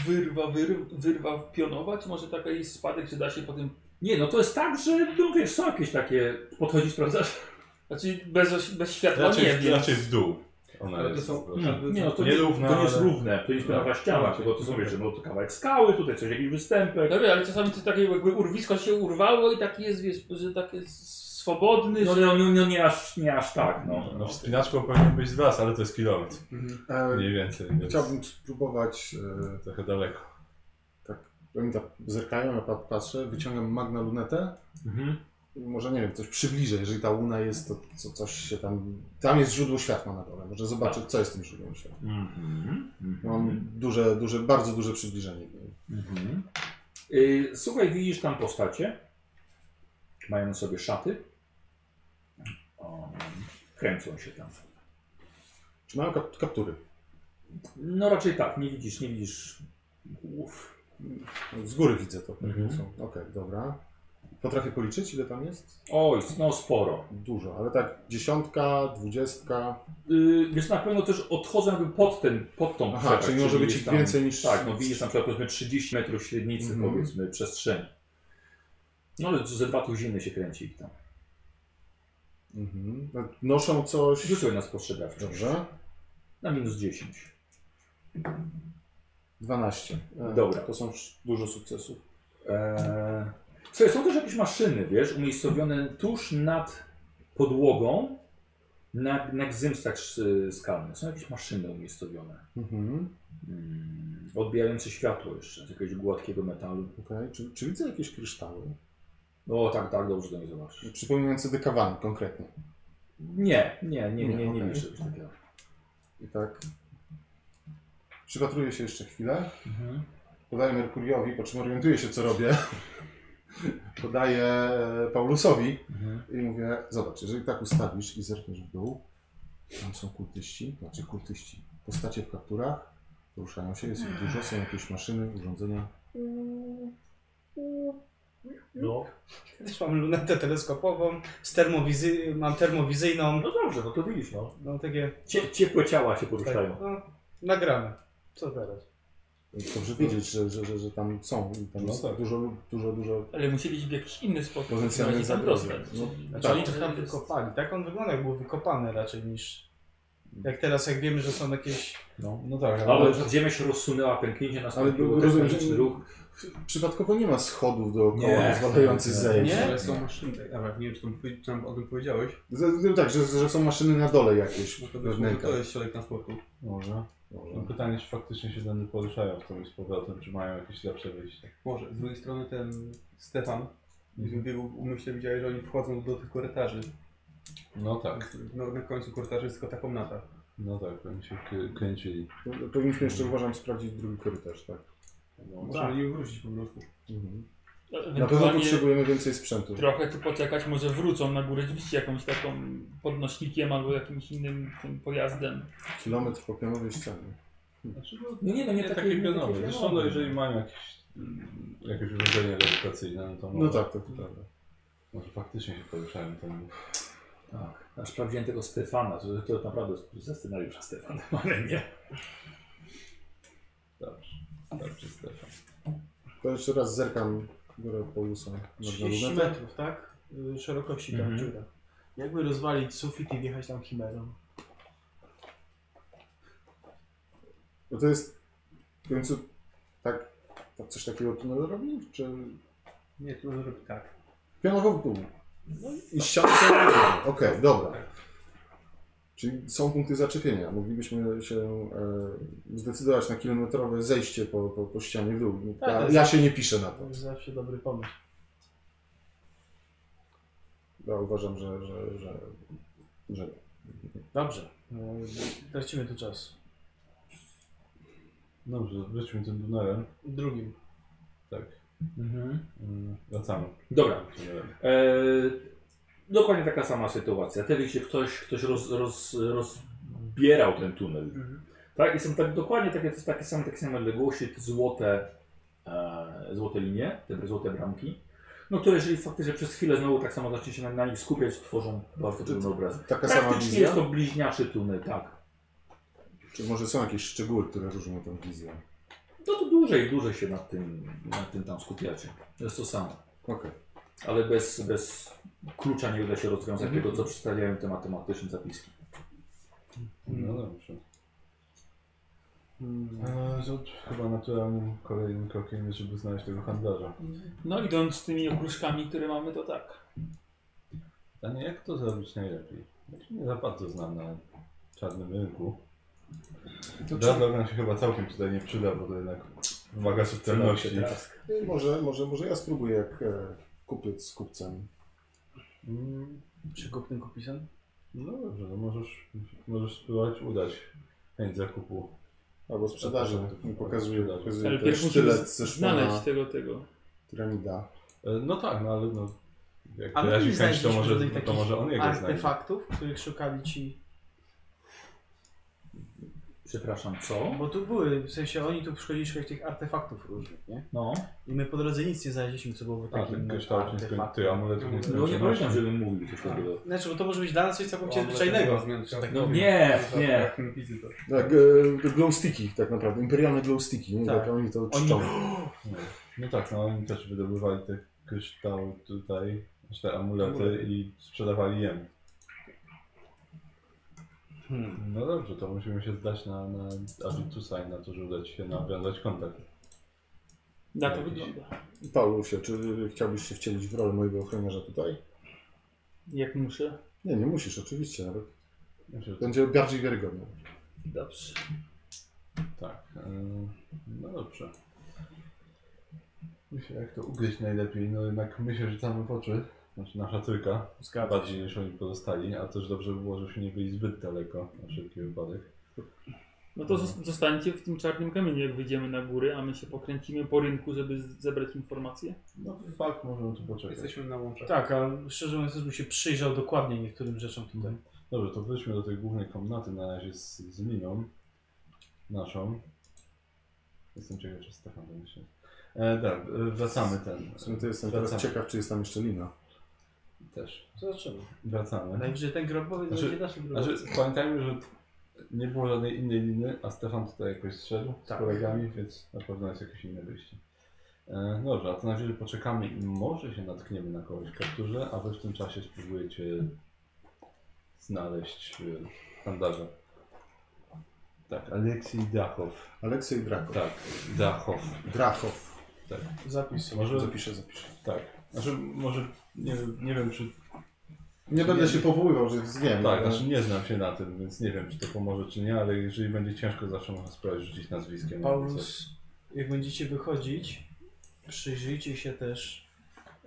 wyrwa, wyr, wyrwa pionowa, czy może taka jest spadek, czy da się potem... Nie, no to jest tak, że no wiesz, są jakieś takie, podchodzisz, sprawdzasz. Znaczy bez, bez światła nie Raczej, wiem. raczej w dół. Ona Ale to No, jest. są- po prostu. Nie, no to nie, Nierówna, to nie jest ale- równe, to nie jest Tak. prawa ściana, tylko to są wiesz, że no to kawałek skały, tutaj coś, jakiś występek. No wie, ale czasami to takie jakby urwisko się urwało i taki jest, wiesz, że tak jest swobodny, No, że... no, no, no nie, aż, nie aż tak, no. No, Hmm. no wspinaczką powinien być z las, ale to jest kilometr. Mhm. E, Mniej więcej, więc Chciałbym spróbować. E, trochę daleko. oni tak zerkają, ja pat- patrzę, wyciągam magna lunetę. Mhm. i Może nie wiem, coś przybliżę. Jeżeli ta łuna jest, to co, coś się tam. Tam jest źródło światła na dole. Może zobaczę, co jest tym źródłem światła. Mhm. Mhm. Mam duże, duże, bardzo duże przybliżenie. do niej. Mhm. Y, Słuchaj, widzisz tam postacie. Mają na sobie szaty. O, kręcą się tam. Czy mają kap kaptury? No raczej tak, nie widzisz, nie widzisz głów. Z góry widzę to. Mhm. są. Okej, dobra. Potrafię policzyć, ile tam jest? Oj, no sporo. Dużo, ale tak dziesiątka, dwudziestka. Yy, więc na pewno też odchodzą jakby pod, ten, pod tą Aha, przeczę, czyli może być jest ich więcej niż- Tak, no widzisz na przykład powiedzmy 30 metrów średnicy Mhm. powiedzmy przestrzeni. No ale ze dwa tuziny się kręci ich tam. Mhm. Noszą coś. Rzuć sobie na spostrzegawczość. Dobrze. Na minus 10. 12. E, Dobra. To są wsz- dużo sukcesów. Eee... Słuchaj, są też jakieś maszyny, wiesz, umiejscowione tuż nad podłogą na, na gzymstach s- skalnych. Są jakieś maszyny umiejscowione. Mhm. Mm, odbijające światło jeszcze z jakiegoś gładkiego metalu. Okej. Czy, czy widzę jakieś kryształy? O tak, tak, dobrze to nie zobaczysz. Przypominające dekawany konkretnie. Nie, nie, nie, nie, nie, tak nie okej. liczę już takiego. I tak. Przypatruję się jeszcze chwilę. Mhm, Podaję Merkuriowi, po czym orientuję się, co robię. Podaję e, Paulusowi mhm. i mówię, zobacz, jeżeli tak ustawisz i zerkniesz w dół, tam są kultyści, znaczy kultyści, postacie w kapturach, poruszają się, jest ich dużo, są jakieś maszyny, urządzenia. No, Też mam lunetę teleskopową, z termowizy mam termowizyjną. no dobrze, no to widzisz, no. No takie. Cie, ciepłe ciała się Tak, poruszają. no, nagrane. Co teraz? Dobrze wiedzieć, że, że, że, że tam są, i tam No jest tak. dużo, dużo, dużo Ale musieli w jakiś inny sposób potencjalnych znaleźć tam zagrożeń. dostać. No, Znaczy tak. oni to tam wykopali. Tak on wygląda, jak był wykopany raczej niż. Jak teraz, jak wiemy, że są jakieś. No, no tak, ale, Ale że ziemia się rozsunęła, pęknięcie Ale nastąpiło, ale rozumiem, że rozumiem, ruch. przypadkowo nie ma schodów Nie. dookoła pozwalających zejść. Nie? Ale są maszyny, tak, dobra, nie wiem, czy, tam, powie- czy nam o tym powiedziałeś, Z- z- Tak, że, że są maszyny na dole jakieś, no w to być może wnękach. to jest środek transportu. może. No, Może. pytanie, czy faktycznie się tędy poruszają w tą i z powrotem, czy mają jakieś lepsze wyjście. Może, z drugiej strony ten Stefan, w biegu umyśle widziałeś, że oni wchodzą do tych korytarzy. No tak, No, na końcu korytarza jest tylko ta komnata. no tak, oni się kry- kręcili. Powinniśmy jeszcze, uważam, sprawdzić drugi korytarz, tak? Możemy tak. nie wrócić po prostu. Mhm. Na pewno Ewentualnie potrzebujemy więcej sprzętu. trochę tu poczekać, może wrócą na górę rzeczywiście jakąś taką podnośnikiem albo jakimś innym tym pojazdem. Kilometr po pionowej ścianie. Znaczy, no, No nie, no nie, tak- nie takie- takie nie pionowe. takie Zresztą no, pionowe. jeżeli mają jakieś, mm, jakieś urządzenie lewitacyjne, no to może, No tak, to, to prawda. może faktycznie się poruszają tam. Tak, aż sprawdziłem tego Stefana, to, to naprawdę ze scenariusza Stefana, ale nie. Dobrze. przez strefę. To jeszcze raz zerkam górę po usa. 30 metrów, tak? Y, Szerokości ta Mhm. dziura. Jakby rozwalić sufit i wjechać tam chimerą. Bo to jest w końcu tak, tak coś takiego tunel robi? Czy Nie, to może robi tak. pionowo w dół? I ściany są na dół. Okej, dobra. Czyli są punkty zaczepienia. Moglibyśmy się e, zdecydować na kilometrowe zejście po, po, po ścianie w dół. Tak, to Ja, jest- ja się nie piszę na To to. jest zawsze dobry pomysł. Ja uważam, że, że, że, że nie. Dobrze. Y, Tracimy tu czas. Dobrze, wróćmy tym tunelem. Drugim. Tak. Mhm. Mm, Wracamy. Dobra. Tunelem. E, dokładnie taka sama sytuacja. Wtedy się ktoś, ktoś roz, roz, rozbierał ten tunel. Mhm. Tak, i są tak, dokładnie takie, takie same, takie same odległości, te złote, e, złote linie, te, te złote bramki. No które jeżeli faktycznie przez chwilę znowu tak samo zacznie się na, na nich skupiać, tworzą bardzo trudny obraz. Taka sama Praktycznie wizja? jest to bliźniaczy tunel, tak. Czy może są jakieś szczegóły, które różnią tę wizję? No to dłużej, dłużej się nad tym, nad tym tam skupiacie. To jest to samo. Okej. Ale bez, bez klucza nie uda się rozwiązać tego, co przedstawiają te matematyczne zapiski. Mm. No dobrze. E, że Chyba naturalnym kolejnym krokiem jest, żeby znaleźć tego handlarza. No idąc z tymi okruszkami, które mamy, to tak. Pytanie, jak to zrobić najlepiej? Ja się nie za bardzo znam na czarnym rynku. Dawno nam się chyba całkiem tutaj nie przyda, bo to jednak wymaga Tak subtelności. Y, Może, może, może ja spróbuję jak e, kupiec z kupcem. Mm, Przykupnym kupisem. No dobrze, no możesz, możesz spróbować udać chęć zakupu. Albo sprzedaży. Tak, tak, tak. Pokazuje, Sprzedaży. pokazuje Ale ten pierwszy musimy sztylet ze Znaleźć szpona tego, tego. piramida. E, No tak, no ale no. Jak A my wyrazi nie chęć, to znaleźliśmy może, no żadnych to takich może on jego znajdzie. Artefaktów, których szukali ci. Przepraszam, co? Bo tu były, w sensie oni tu przychodzili szukać tych artefaktów różnych, nie? No. I my po drodze nic nie znaleźliśmy, co byłoby A, takim Tak, ten kształt nieskończony. artefaktem. Ty, amulet No nie No nie nieskończoności. pamiętam, żebym mówił coś takiego. Znaczy, bo to może być dla nas coś całkowicie Amulet zwyczajnego. zmian- Tak, No, mówię. nie, nie. Tak, e, glow sticki tak naprawdę. Imperialne glow sticki. Nie Tak. tak. jak oni to Oni- czczą. No tak, no oni też wydobywali te kryształy tutaj, znaczy te amulety i sprzedawali jemu. Hmm. No dobrze, to musimy się zdać na, na Abitusa i na to, że uda ci się nawiązać kontakt. Na to Jakiś- wygląda. Paulusie, czy chciałbyś się wcielić w rolę mojego ochroniarza tutaj? Jak muszę. Nie, nie musisz, oczywiście. Nawet. Znaczy, Będzie bardziej wiarygodne. Dobrze. tak, ym, no dobrze. Myślę, jak to ugryźć najlepiej, no jednak my się rzucamy w oczy, znaczy nasza trójka, Zgadza się. bardziej niż oni pozostali, a też dobrze by było, żebyśmy nie byli zbyt daleko, na wszelki wypadek. No to zos- zostańcie w tym czarnym kamieniu, jak wyjdziemy na góry, a my się pokręcimy po rynku, żeby z- zebrać informacje. No fakt, możemy tu poczekać. Jesteśmy na łączach. Tak, a szczerze mówiąc, też bym się przyjrzał dokładnie niektórym rzeczom tutaj. Dobrze, to wróćmy do tej głównej komnaty na razie z, z miną naszą. Jestem ciekaw, czy Stefan to myśli. E, tak, e, wracamy ten. W sumie to jestem wracamy. teraz ciekaw, czy jest tam jeszcze lina. Też. Zobaczymy. Wracamy. Najwyżej ten grobowy Znaczy- będzie naszym grobowcem. Znaczy, pamiętajmy, że nie było żadnej innej liny, a Stefan tutaj jakoś zszedł Tak. z kolegami, więc na pewno jest jakieś inne wyjście. E, dobrze, a to na chwilę poczekamy i może się natkniemy na kogoś w kapturze, a wy w tym czasie spróbujecie znaleźć e, handlarza. Tak, Aleksiej Dachow. Aleksiej Drakow. Tak, Dachow. Drakow. Zapis. Może, Zapiszę, zapiszę. tak. Znaczy, może, nie, nie wiem czy... Nie będę się powoływał, że wiem. Tak, ale- znaczy nie znam się na tym, więc nie wiem czy to pomoże czy nie, ale jeżeli będzie ciężko, zawsze można spróbować rzucić nazwiskiem. Paulus, jak będziecie wychodzić, przyjrzyjcie się też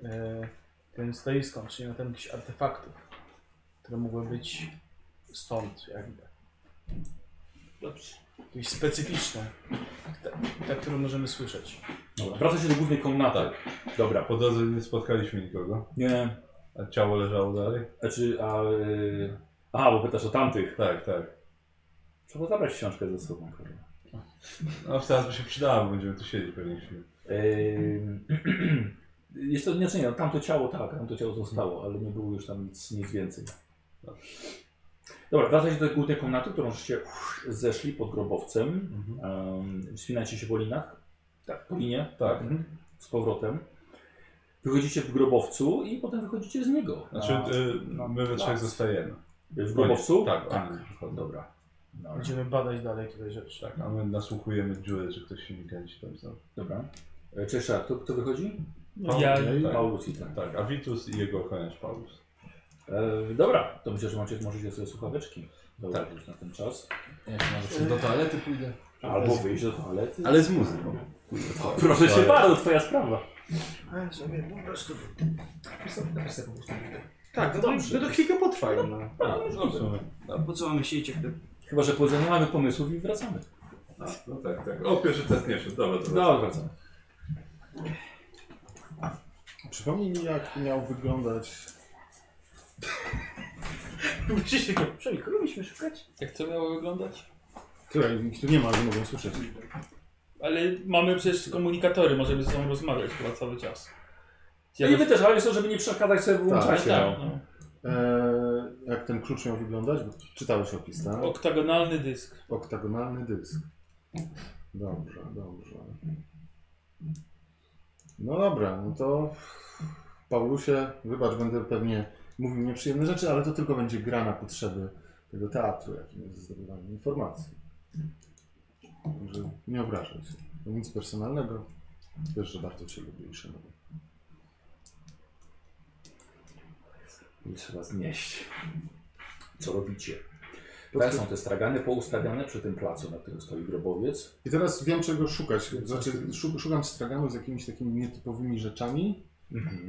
e, tym stoiskom, czyli na temat jakichś artefaktów, które mogły być stąd jakby. Dobrze. Jakieś specyficzne, te, te które możemy słyszeć. Wraca się do głównej komnaty. Dobra. Po drodze nie spotkaliśmy nikogo, Nie. a ciało leżało dalej? Znaczy, a... y, Aha, bo pytasz o tamtych. Tak, tak. Trzeba zabrać książkę ze sobą. kurwa. No teraz by się przydało, bo będziemy tu siedzieć pewnie chwilę. Ym, Jest to znaczy nie, no, tamto ciało tak, tamto ciało zostało, ale nie było już tam nic, nic więcej. No. Dobra, wracajcie do tej głównej komnaty, którą żeście uff, zeszli pod grobowcem. Mhm. Um, wspinacie się po linach. Tak, po linie. Tak. Mhm. Z powrotem. Wychodzicie w grobowcu i potem wychodzicie z niego. na- Znaczy, No, y, my we trzech plac. zostajemy. w grobowcu? Tak, tak. tak. Dobra. No, Dobra. Będziemy badać dalej tutaj rzeczy. tak. A my nasłuchujemy dziury, czy ktoś się nie kręci tam znowu. Dobra. E, Cześć, a kto, kto wychodzi? No Ja, Tak. Paulus i ten. Tak, a Vitus i jego ochroniarz Paulus. E, dobra, to myślę, że macie, możecie sobie słuchaweczki założyć Tak. na ten czas. Jak może do toalety pójdę? Albo wyjść do toalety. Ale z muzyką. Proszę się bardzo, twoja sprawa. A, sobie po prostu. Napisz sobie po prostu. Tak, no dobrze. No to chwilkę potrwa. No. A, no, W sumie. A po co mamy siedzieć jak Chyba, że powiedzą, nie mamy pomysłów i wracamy. No tak, tak. O, pierwszy test nie wszedł. Dobra, dobra. No, wracamy. Przypomnij mi, jak miał wyglądać. Musisz się go przemyć. Kogo mieliśmy szukać? Jak to miało wyglądać? Której nikt tu nie ma, ale mogą słyszeć. ale mamy przecież komunikatory, możemy ze sobą rozmawiać chyba cały czas. Ja No I wy też, ale są, żeby nie przeszkadzać sobie w tak, łączacie. tak, no. no. Eee, jak ten klucz miał wyglądać? Bo czytałeś opis, tak? Oktagonalny dysk. Oktagonalny dysk. Dobrze, dobrze. No dobra, no to Paulusie, wybacz, będę pewnie mówił nieprzyjemne rzeczy, ale to tylko będzie gra na potrzeby tego teatru, jakim jest zdobywanie informacji. Także nie obrażaj się. To nic personalnego. Wiesz, że bardzo Cię lubię i szanuję. I trzeba znieść. Co robicie? Tutaj są te stragany poustawiane przy tym placu, na którym stoi grobowiec. I teraz wiem, czego szukać. Znaczy, szu- szukam straganu z jakimiś takimi nietypowymi rzeczami.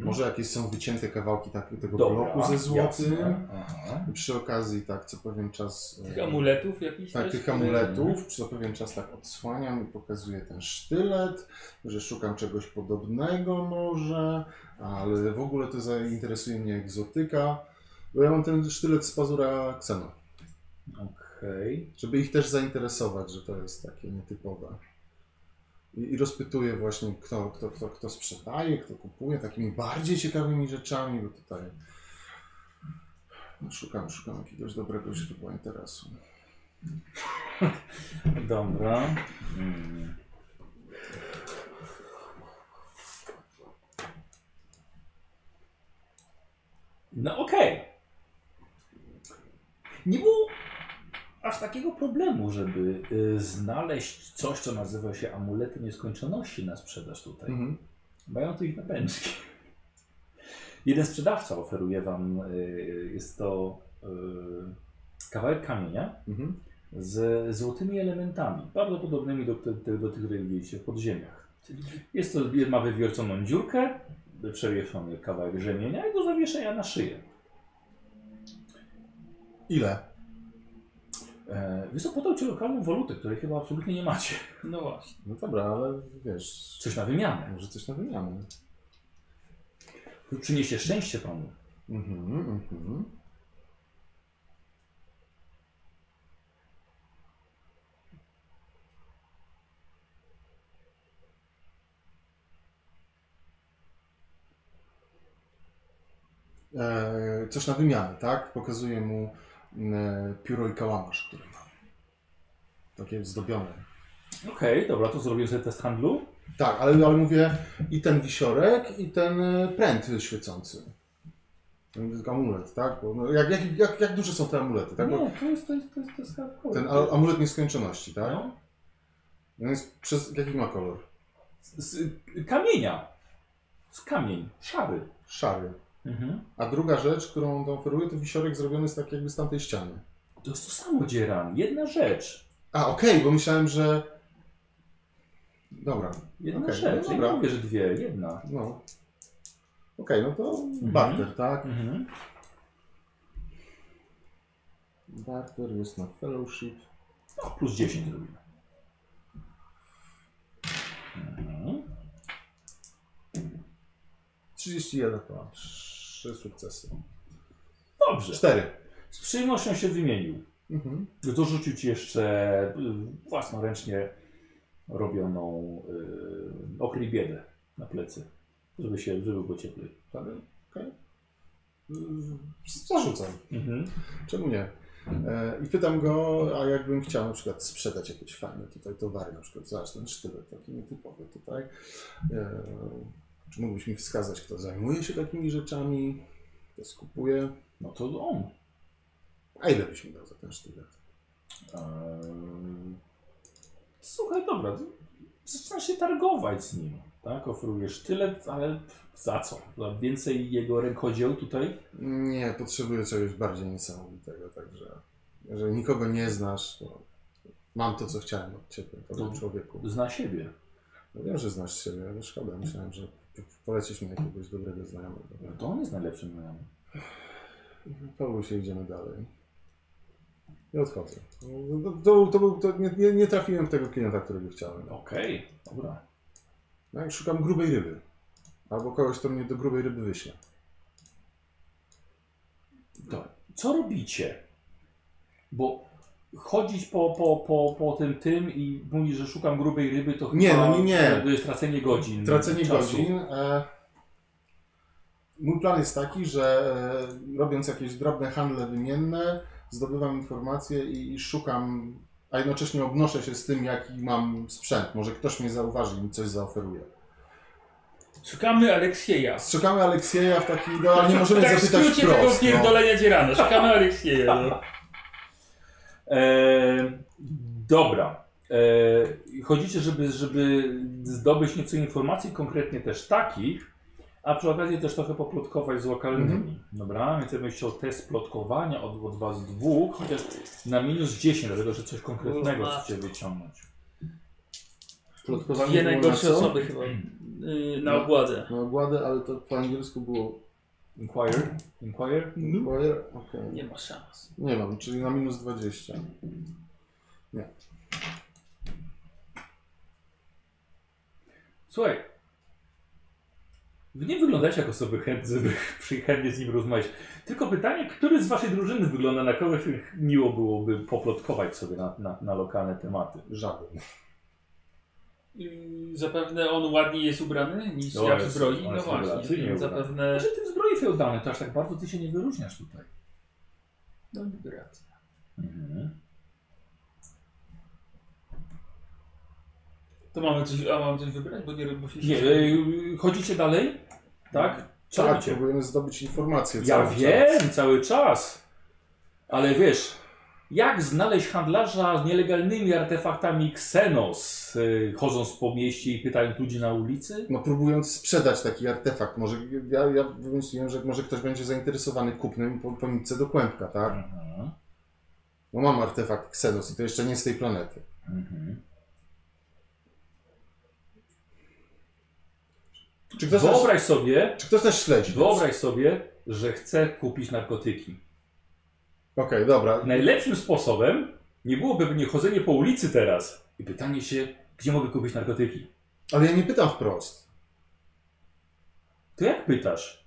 Może jakieś są wycięte kawałki tak, tego Mhm. bloku ze złotym. jasne. Aha. Przy okazji, tak, co pewien czas. e, Tych amuletów jakichś Tak, też? tych amuletów. Co pewien czas tak odsłaniam i pokazuję ten sztylet, że szukam czegoś podobnego może, ale w ogóle to zainteresuje mnie egzotyka. Bo ja mam ten sztylet z pazura Xena. Okej. Żeby ich też zainteresować, że to jest takie nietypowe. I, i rozpytuję właśnie, kto, kto, kto, kto sprzedaje, kto kupuje, takimi bardziej ciekawymi rzeczami, bo tutaj no, szukam, szukam jakiegoś dobrego źródła interesu. Dobra. Mm. No okej. Nie było aż takiego problemu, żeby y, znaleźć coś, co nazywa się amulety nieskończoności na sprzedaż tutaj. Mhm. Mają tu ich na pęczki. Jeden sprzedawca oferuje wam, y, jest to y, kawałek kamienia, Mhm. z złotymi elementami, bardzo podobnymi do, do, do tych, które widzieliście w podziemiach. Jest to, ma wywierconą dziurkę, przewieszony kawałek rzemienia i do zawieszenia na szyję. Ile? E, Wiesz co, podał Ci lokalną walutę, której chyba absolutnie nie macie. No właśnie. No dobra, ale wiesz, Coś na wymianę. może coś na wymianę. To Przyniesie szczęście Panu. Mhm, mhm. E, Coś na wymianę, tak? Pokazuję mu e, pióro i kałamarz, który ma. Takie zdobione. Okej, dobra, to zrobię sobie test handlu. Tak, ale, ale mówię i ten wisiorek, i ten e, pręt świecący. Ten Amulet, tak? Bo, no, jak, jak, jak, jak duże są te amulety, tak? Bo Nie, to jest, to jest, to jest, to jest hardcore. ten a- amulet nieskończoności, tak? No. No jest przez, jaki ma kolor? Z, z kamienia. Z kamień, szary. Szary. Mhm. A druga rzecz, którą on oferuje, to wisiorek zrobiony z tak jakby z tamtej ściany. To jest to samo, Dzieran. Jedna rzecz. A, okej, bo myślałem, że... Dobra, Jedna Okej, no rzecz. Ja dobra. nie mówię, że dwie, jedna. no. Okej, no to barter, tak? Mhm. Barter jest na fellowship. No, plus 10 zrobimy. Mhm. 31 to 3 sukcesy. Dobrze. 4. Z przyjemnością się wymienił. Mhm. Dorzucił ci jeszcze y, własnoręcznie robioną y, okrybiedę na plecy, żeby się żeby było cieplej. Okej. Okay. Mm, Zarzucam. Mhm. Czemu nie? E, I pytam go, a jakbym chciał na przykład sprzedać jakieś fajne tutaj towary, na przykład zobacz ten sztylet taki nietypowy tutaj. E, czy mógłbyś mi wskazać, kto zajmuje się takimi rzeczami, kto skupuje? No to on. A ile byś mi dał za ten sztylet? Ehm, Słuchaj, dobra, to zaczynasz się targować z nim, tak? Oferujesz tyle, ale za co? Za więcej jego rękodzieł tutaj? Nie, potrzebuję czegoś bardziej niesamowitego, także jeżeli nikogo nie znasz, to mam to, co chciałem od Ciebie, Dobrze. to człowieku. Zna siebie. No wiem, że znasz siebie, ale szkoda, myślałem, że polecisz mi jakiegoś dobrego znajomego. No to on jest najlepszym znajomym. Paweł się idziemy dalej. I odchodzę. No, To, to, to, był- to nie, nie, nie trafiłem w tego klienta, którego chciałem. Okej, dobra. No, jak szukam grubej ryby. Albo kogoś, kto mnie do grubej ryby wyśle. To, co robicie? Bo chodzić po, po, po, po tym tym i mówić, że szukam grubej ryby, to Nie, chyba no nie, nie. To jest tracenie godzin. Tracenie czasu. godzin. E, mój plan jest taki, że e, robiąc jakieś drobne handle wymienne, zdobywam informacje i, i szukam, a jednocześnie obnoszę się z tym, jaki mam sprzęt. Może ktoś mnie zauważy i mi coś zaoferuje. Szukamy Aleksieja. Szukamy Aleksieja w taki, no, ale nie możemy tak w zapytać skrócie tego wprost. No. pierdolenia dzierana. Szukamy Aleksieja. No. E, dobra. E, chodzicie, żeby, żeby zdobyć nieco informacji, konkretnie też takich, a przy okazji też trochę poplotkować z lokalnymi. Dobra, więc ja bym chciał test plotkowania od, od was dwóch, chociaż na minus 10, dlatego że coś konkretnego Kurwa. chcecie wyciągnąć. Plotkowanie Dwie było na najgorsze co? osoby chyba. Yy, na ogładę. Na ogładę, No, ale to po angielsku było Inquire? Inquire? Mhm. inquire? Okej. Nie ma szans. Nie mam, czyli na minus 20. Słuchaj. Wy nie wyglądacie jak osoby chętne, żeby przy- chętnie z nim rozmawiać. Tylko pytanie, który z waszej drużyny wygląda na kogoś, których miło byłoby poplotkować sobie na, na, na lokalne tematy? Żaden. Yy, zapewne on ładniej jest ubrany niż No, ja w jest- zbroi. on No jest właśnie, rewelacyjnie więc ubrany. zapewne... Znaczy ty w zbroi feudalnej to aż tak bardzo ty się nie wyróżniasz tutaj. No, racja. Mhm. To mamy coś, a mamy coś wybrać, bo nie bo się... Nie, e, chodzicie dalej? Tak? Co Tak, robicie? próbujemy zdobyć informacje. Ja cały wiem Czas. cały czas. Ale wiesz, jak znaleźć handlarza z nielegalnymi artefaktami Xenos, yy, chodząc po mieście i pytając ludzi na ulicy? No próbując sprzedać taki artefakt, może ja, ja wymyśliłem, że może ktoś będzie zainteresowany kupnem i po, po nitce do kłębka, tak? Mhm. No mam artefakt Xenos i to jeszcze nie z tej planety. Mhm. Czy ktoś, nas, Wyobraź sobie, czy ktoś nas śledzi? wyobraź sobie, że chce kupić narkotyki. Okej, dobra. Najlepszym sposobem nie byłoby nie chodzenie po ulicy teraz i pytanie się, gdzie mogę kupić narkotyki. Ale ja nie pytam wprost. To jak pytasz?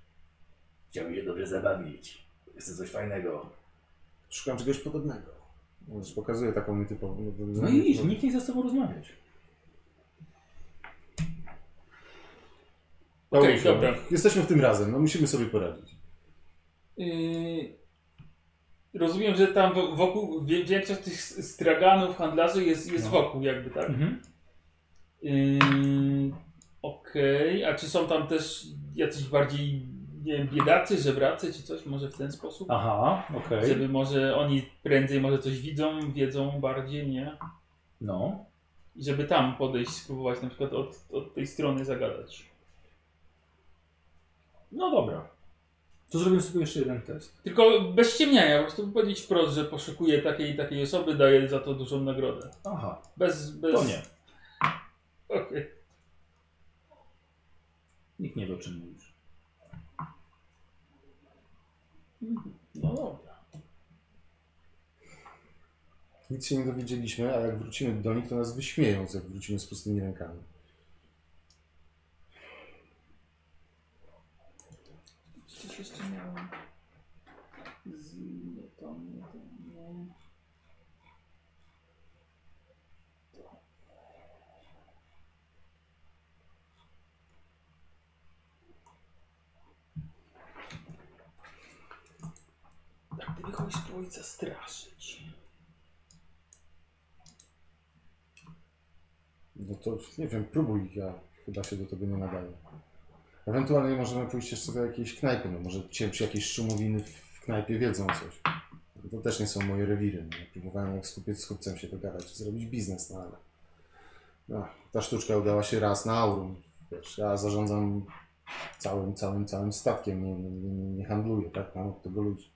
Chciałbym się dobrze zabawić. Jest to coś fajnego. Szukam czegoś podobnego. Już pokazuję taką nietypową. No i idź, nikt nie chce z tobą rozmawiać. Okej, Paweł, dobra. no, Jesteśmy w tym razem, no musimy sobie poradzić. Yy, rozumiem, że tam wo- wokół, wie- większość tych s- straganów, handlarzy jest, jest No. wokół jakby, tak? Mhm. Yy, Okej, a czy są tam też jacyś bardziej, nie wiem, biedacy, żebracy czy coś może w ten sposób? Aha, okej. Żeby może oni prędzej może coś widzą, wiedzą bardziej, nie? No. I żeby tam podejść, spróbować na przykład od, od tej strony zagadać. No dobra. To zrobimy sobie jeszcze jeden test. Tylko bez ciemniania, po prostu powiedzieć wprost, że poszukuję takiej i takiej osoby, daję za to dużą nagrodę. Aha, Bez, bez... to nie. Okej. Nikt nie wie o czym mówisz. No dobra. Nic się nie dowiedzieliśmy, a jak wrócimy do nich, to nas wyśmieją, jak wrócimy z pustymi rękami. Coś jeszcze miałem. Z... Nie, to nie, to nie. To. Tak, gdyby chodzić po ich zastraszyć. No to nie wiem, próbuj, ja chyba się do tego nie nadaję. Ewentualnie możemy pójść jeszcze do jakiejś knajpy, no może cię przy jakiejś szumowiny w knajpie wiedzą coś. To też nie są moje rewiry. No. Próbowałem jak skupiec z kupcem się dogadać, zrobić biznes, no ale... No, ta sztuczka udała się raz na aurum. Wiesz, ja zarządzam całym, całym, całym statkiem, nie, nie, nie- nie handluję, tak? Mam od tego ludzi.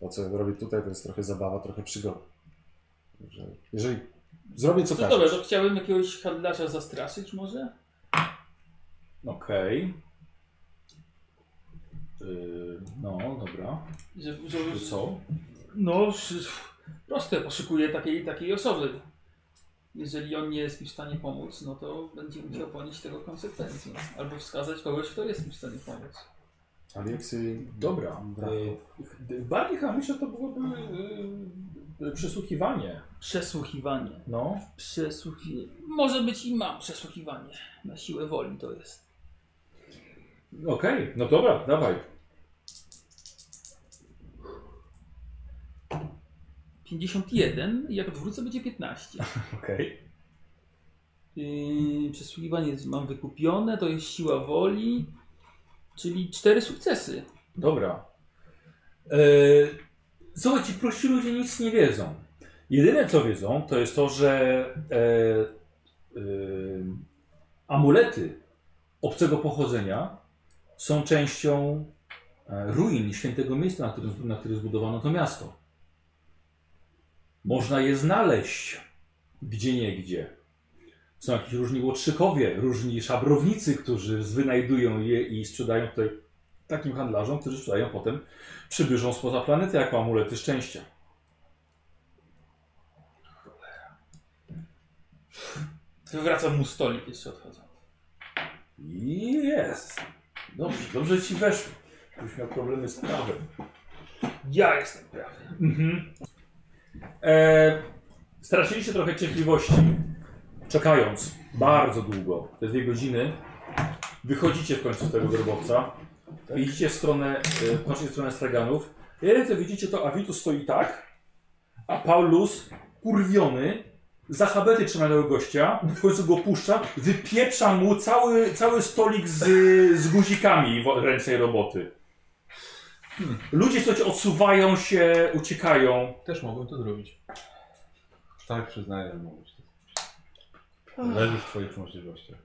To, co ja robię tutaj, to jest trochę zabawa, trochę przygoda. Także jeżeli zrobię co No to tak. dobra, to chciałbym jakiegoś handlarza zastraszyć może? Okej. Yy, no, dobra. Że, że, To co? No, sz- proste, poszukuję takiej takiej osoby. Jeżeli on nie jest mi w stanie pomóc, no to będzie musiał ponieść tego konsekwencje. Albo wskazać kogoś, kto jest mi w stanie pomóc. Ale jak sobie Dobra. Yy, bardziej chyba myślę, to byłoby yy, przesłuchiwanie. Przesłuchiwanie. No. Przesłuchiwanie. Może być i mam przesłuchiwanie. Na siłę woli to jest. Okej, no dobra, dawaj. 51, jak odwrócę będzie 15. Okej. Yy, przesłuchiwanie mam wykupione, to jest siła woli, czyli cztery sukcesy. Dobra. Yy, zobacz, ci prości ludzie nic nie wiedzą. Jedyne co wiedzą, to jest to, że e, e, amulety obcego pochodzenia są częścią e, ruin świętego miejsca, na którym, na którym zbudowano to miasto. Można je znaleźć gdzie niegdzie. Są jakieś różni łotrzykowie, różni szabrownicy, którzy wynajdują je i sprzedają tutaj takim handlarzom, którzy sprzedają potem przybyszom spoza planety jako amulety szczęścia. Wywracam mu stolik, jeszcze odchodzę. Jest. Dobrze, dobrze ci weszło. Byś miał problemy z prawem. Ja jestem prawy. Mhm. E, straciliście trochę cierpliwości, czekając bardzo długo, te dwie godziny. Wychodzicie w końcu z tego grobowca. Idziecie w stronę, e, patrzycie w stronę straganów. Jedyne co widzicie to Avitus stoi tak, a Paulus kurwiony za habety trzyma tego gościa, w końcu go puszcza, wypieprza mu cały, cały stolik z, z guzikami wo- ręcznej roboty. Ludzie coś odsuwają się, uciekają. No, Też mogłem to zrobić. Tak, przyznaję, że mogłeś to zrobić. Leży w twoich możliwościach.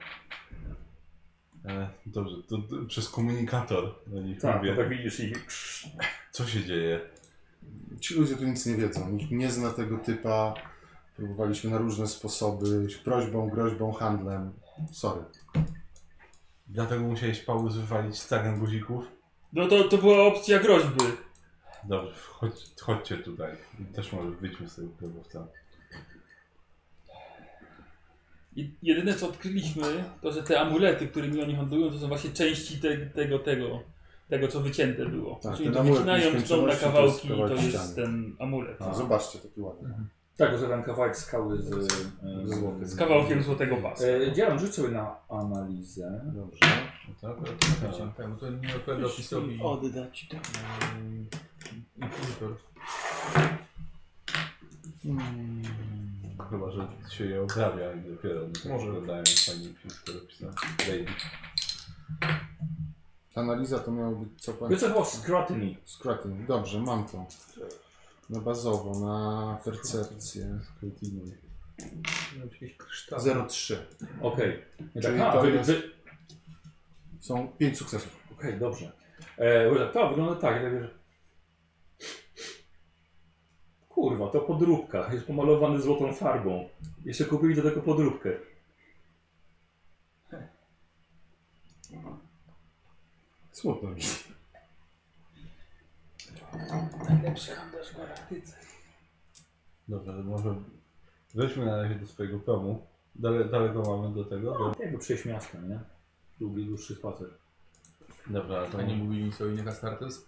E, dobrze, to, to przez komunikator do nich Tak, mówię. bo tak widzisz ich. Co się dzieje? Ci ludzie tu nic nie wiedzą, nikt nie zna tego typa. Próbowaliśmy na różne sposoby, prośbą, groźbą, handlem. Sorry. Dlatego musiałeś Paulus wywalić stagan guzików? No to, to była opcja groźby. Dobrze, chodź, chodźcie tutaj. Też może wyjdźmy z tego grobowca. I jedyne co odkryliśmy, to że te amulety, którymi oni handlują, to są właśnie części te, tego, tego, tego, co wycięte było. Tak, Czyli ten to amulet wycinają, są na nieskończoności to kawałki jest i to kawałek jest ściany. Tak. ten amulet. A. Zobaczcie, taki ładny. Tak, że tam kawałek skały z, e, Ze złotem. Z kawałkiem złotego pasa. E, Dzielam, rzuć sobie na analizę. Dobrze. No to akurat tak chciałem, tak, bo to nie odpowiada opisowi. Oddać to. Mm, Inquisitor. no, Chyba, że się je obrabia i dopiero mi to Może. wyglądają fajnie wszystko dopisane. Lady. Analiza to miało być co pan... Wiesz co, chyba Scrutiny. Scrapping. Dobrze, mam to. Na bazowo, na percepcję. Miałem jakieś kryształy. 0,3. Okej. Okay. Tak, Czyli a, to wy, jest- wy... Okej, Są 5 sukcesów. dobrze. E, bo tak, to wygląda tak, ja wiem, że... Kurwa, to podróbka. Jest pomalowany złotą farbą. Jeszcze kupili do tego podróbkę. Smutno mi. Najlepszy handlarz w galaktyce. Dobra, to może weźmy na razie do swojego domu. Dale, daleko mamy do tego? Do... Jakby przejść miasto, nie? Długi, dłuższy spacer. Dobra, to A nie mówili nic o innych Astartes?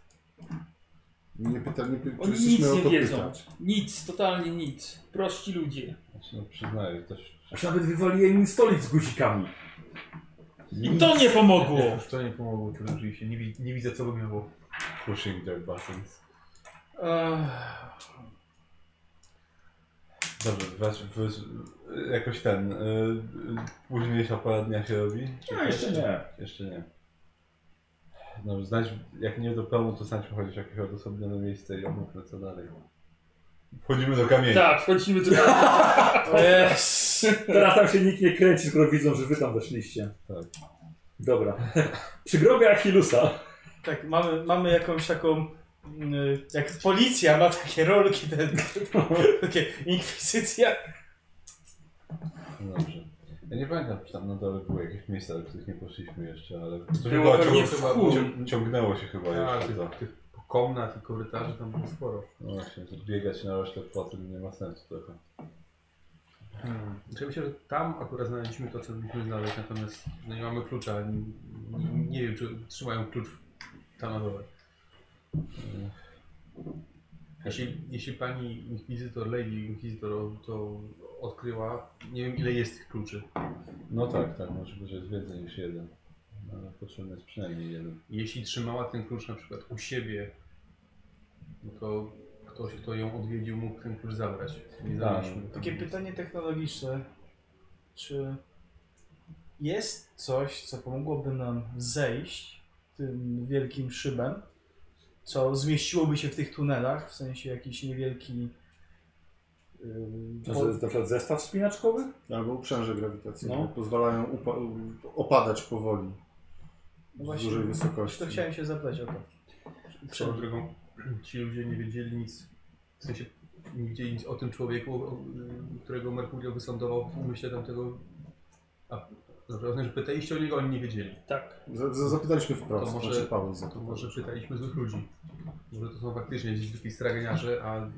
Nie pytam, nie pytam. Oni nic nie wiedzą. Nic, totalnie nic. Prości ludzie. Znaczy, no, przyznaję, też... Aż nawet wywaliłem im stolik z guzikami. I to nie pomogło! Już to nie pomogło, to rzeczywiście. Nie, wi- nie widzę co by miało. Pushing their buttons. Ech, Dobrze, weź, weź jakoś ten. Y, y, późniejsza pora dnia się robi? Czy No, jeszcze nie. Jeszcze nie. No, znajdź, jak nie do domu, to znajdźmy chociaż jakieś odosobnione miejsce i omówmy co dalej. Wchodzimy do kamieni. Tak, wchodzimy do Teraz tam się nikt nie kręci, skoro widzą, że wy tam weszliście. Tak. Dobra. Przygrobia Achillusa. tak, mamy, mamy jakąś taką. y, Jak policja ma takie rolki, ten, takie inkwizycja. No Dobrze. Ja nie pamiętam, czy tam na dole były jakieś miejsca, do których nie poszliśmy jeszcze, ale coś Było chyba pewnie ciąg- w chuj. cią- ciągnęło się chyba A, jeszcze to. tych, tych komnat i korytarzy tam było sporo. No właśnie, to biegać na oślep po tym nie ma sensu trochę. Hmm. Ja myślę, że tam akurat znaleźliśmy to, co mieliśmy znaleźć, natomiast no nie mamy klucza. n- n- Nie wiem, czy trzymają klucz tam na dole. Mm. Jeśli, jeśli pani inkwizytor, lady inkwizytor o- to odkryła, nie wiem ile jest tych kluczy. No tak, tak, może być jest więcej niż jeden. No, Ale potrzebny jest przynajmniej jeden. Jeśli trzymała ten klucz na przykład u siebie, no to ktoś, kto ją odwiedził, mógł ten klucz zabrać. Nie Tak. znaleźliśmy. Takie pytanie technologiczne. Czy jest coś, co pomogłoby nam zejść tym wielkim szybem, co zmieściłoby się w tych tunelach, w sensie jakiś niewielki. ym, To jest na przykład zestaw wspinaczkowy? Albo uprzęże grawitacyjne. No. Pozwalają upa- opadać powoli. No Z właśnie, dużej wysokości. To chciałem się zapytać o to. Swoją drogą, ci ludzie nie wiedzieli nic, w sensie nie wiedzieli nic o tym człowieku, o- y, którego Merkurio wysądował w umyśle tamtego... A, naprawdę, że pytaliście o niego, oni nie wiedzieli. Tak. Za- za- Zapytaliśmy wprost, To może- znaczy Paweł za To może pytaliśmy złych ludzi. Może to są faktycznie zwykli straganiarze, a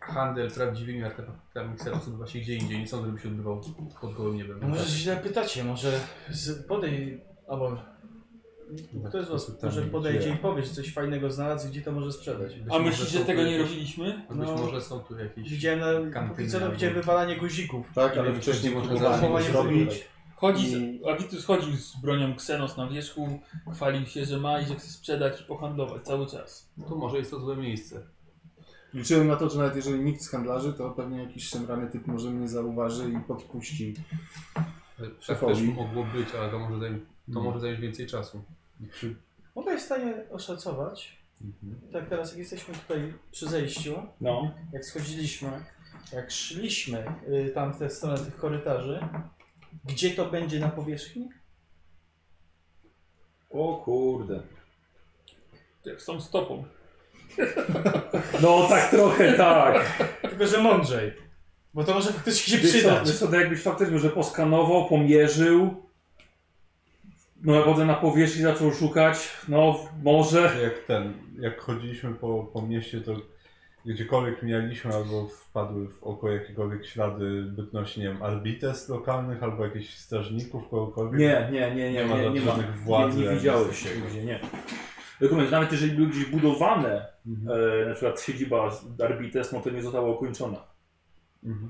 handel prawdziwymi artefaktami Xerosu odbywa się gdzie indziej. Nie sądzę, żeby się odbywał pod gołym niebem. No może źle pytacie, może z, podej, albo Tak, ktoś z No was Pytanie, może podejdzie gdzie? i powie, że coś fajnego znalazł, gdzie to może sprzedać. Być A może myślicie, są że tu tego nie jakieś- robiliśmy? tak, Być No. może są tu jakieś... Widziałem, na, Kantyny póki co to albo- widziałem wywalanie guzików. Tak, Nie ale wiem, wcześniej czy- można czy- było zachowanie zrobić. Chodzi, I- z, Avitus chodził z bronią Xenos na wierzchu, chwalił się, że ma i że chce sprzedać i pohandlować cały czas. To może jest to złe miejsce. Liczyłem na to, że nawet jeżeli nikt z handlarzy, to pewnie jakiś szemrany typ może mnie zauważy i podpuści. Tak też Szefowi. mogło być, ale to może zająć, to Mm. może zająć więcej czasu. Mogę jest w stanie oszacować, tak teraz jak jesteśmy tutaj przy zejściu, No. jak schodziliśmy, jak szliśmy y, tam w tę stronę tych korytarzy, gdzie to będzie na powierzchni? O kurde. Jak z tą stopą. No tak trochę tak. Tylko, że mądrzej, bo to może faktycznie się Wiesz co, przydać. wiesz co, to jakbyś faktycznie, że poskanował, pomierzył, no potem na powierzchni zaczął szukać, no może. Jak ten, jak chodziliśmy po, po mieście, to gdziekolwiek mijaliśmy albo wpadły w oko jakiekolwiek ślady bytności, nie wiem, arbites lokalnych albo jakichś strażników, kogokolwiek. Nie, nie, nie, nie, Nie ma nie, nie ma. żadnych Nie, władzy nie ani widziałeś coś takiego. nigdzie, nie. Tylko mówię, nawet jeżeli były gdzieś budowane, Mhm. e, na przykład siedziba z Arbites, no to nie została ukończona. Mhm.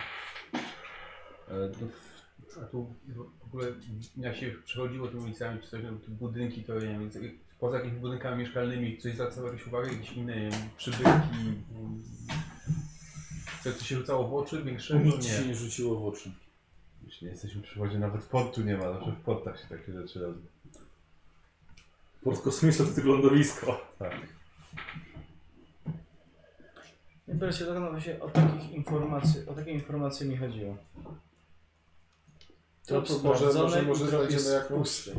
E, to w- A tu w- w ogóle jak się przechodziło tymi ulicami, czy coś, no, te budynki, to nie wiem, poza jakimiś budynkami mieszkalnymi, coś zwracało jakąś uwagę, jakieś inne nie wiem, przybytki, mm, coś, co się rzucało w oczy, większego, Nic się nie. nie rzuciło w oczy. Jeśli nie jesteśmy przy wodzie, nawet pod tu nie ma, zawsze w podtach się takie rzeczy robi. Pod kosmiczne to tylko lądowisko. Tak. Nie biorę się tak no właśnie o takich informacji, o takie informacje mi chodziło. To, Trop to może, sprawdzony może, i może trop znajdziemy jest jakąś. pusty.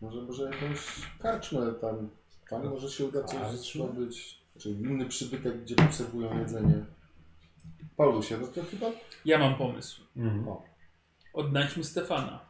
Może, może jakąś karczmę tam. Tam może się uda coś zrobić. Czy inny przybytek, gdzie obserwują jedzenie. Paulusie, no to chyba. Ja mam pomysł. Mhm. Odnajdźmy Stefana.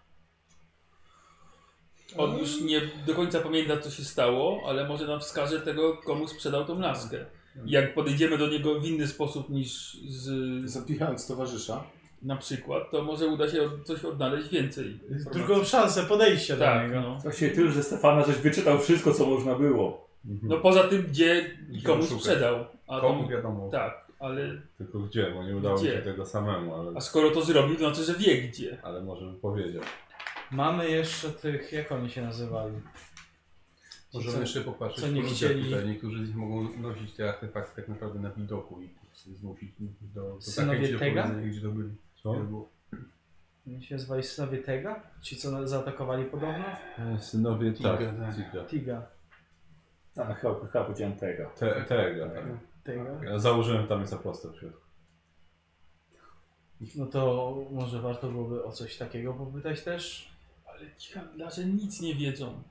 On już nie do końca pamięta, co się stało, ale może nam wskaże tego, komu sprzedał tą laskę. Jak podejdziemy do niego w inny sposób niż z, z, Zapijając towarzysza. na przykład, to może uda się od- coś odnaleźć więcej. Drugą szansę podejścia do Tak, niego. no. Właściwie tyle, że Stefana żeś wyczytał wszystko, co można było. Mhm. No poza tym, gdzie i Gdzie komu szukać? sprzedał. A Komu to, wiadomo. tak, ale Tylko gdzie, bo nie udało mi Gdzie? się tego samemu, ale, a skoro to zrobił, to znaczy, że wie gdzie. ale może by powiedział. Mamy jeszcze tych, jak oni się nazywali? Możemy Co- jeszcze popatrzeć co po nie ludziach chcieli. tutaj. Niektórzy z nich mogą nosić te artefakty tak naprawdę na widoku i zmusić ich do, do Synowie zachęci do Tega? powiedzenia, gdzie to byli. Co? Gdzie było. Oni się nazywali synowie Tega? Ci, co na- zaatakowali podobno? E, Synowie tak. Tiga, tak. Tiga. Tiga. A, no chyba, chyba powiedziałem tego. Te, tego, tak. Tega. Ja założyłem tam jest apostoł w środku. No to może warto byłoby o coś takiego popytać też? Ale ci handlarze nic nie wiedzą.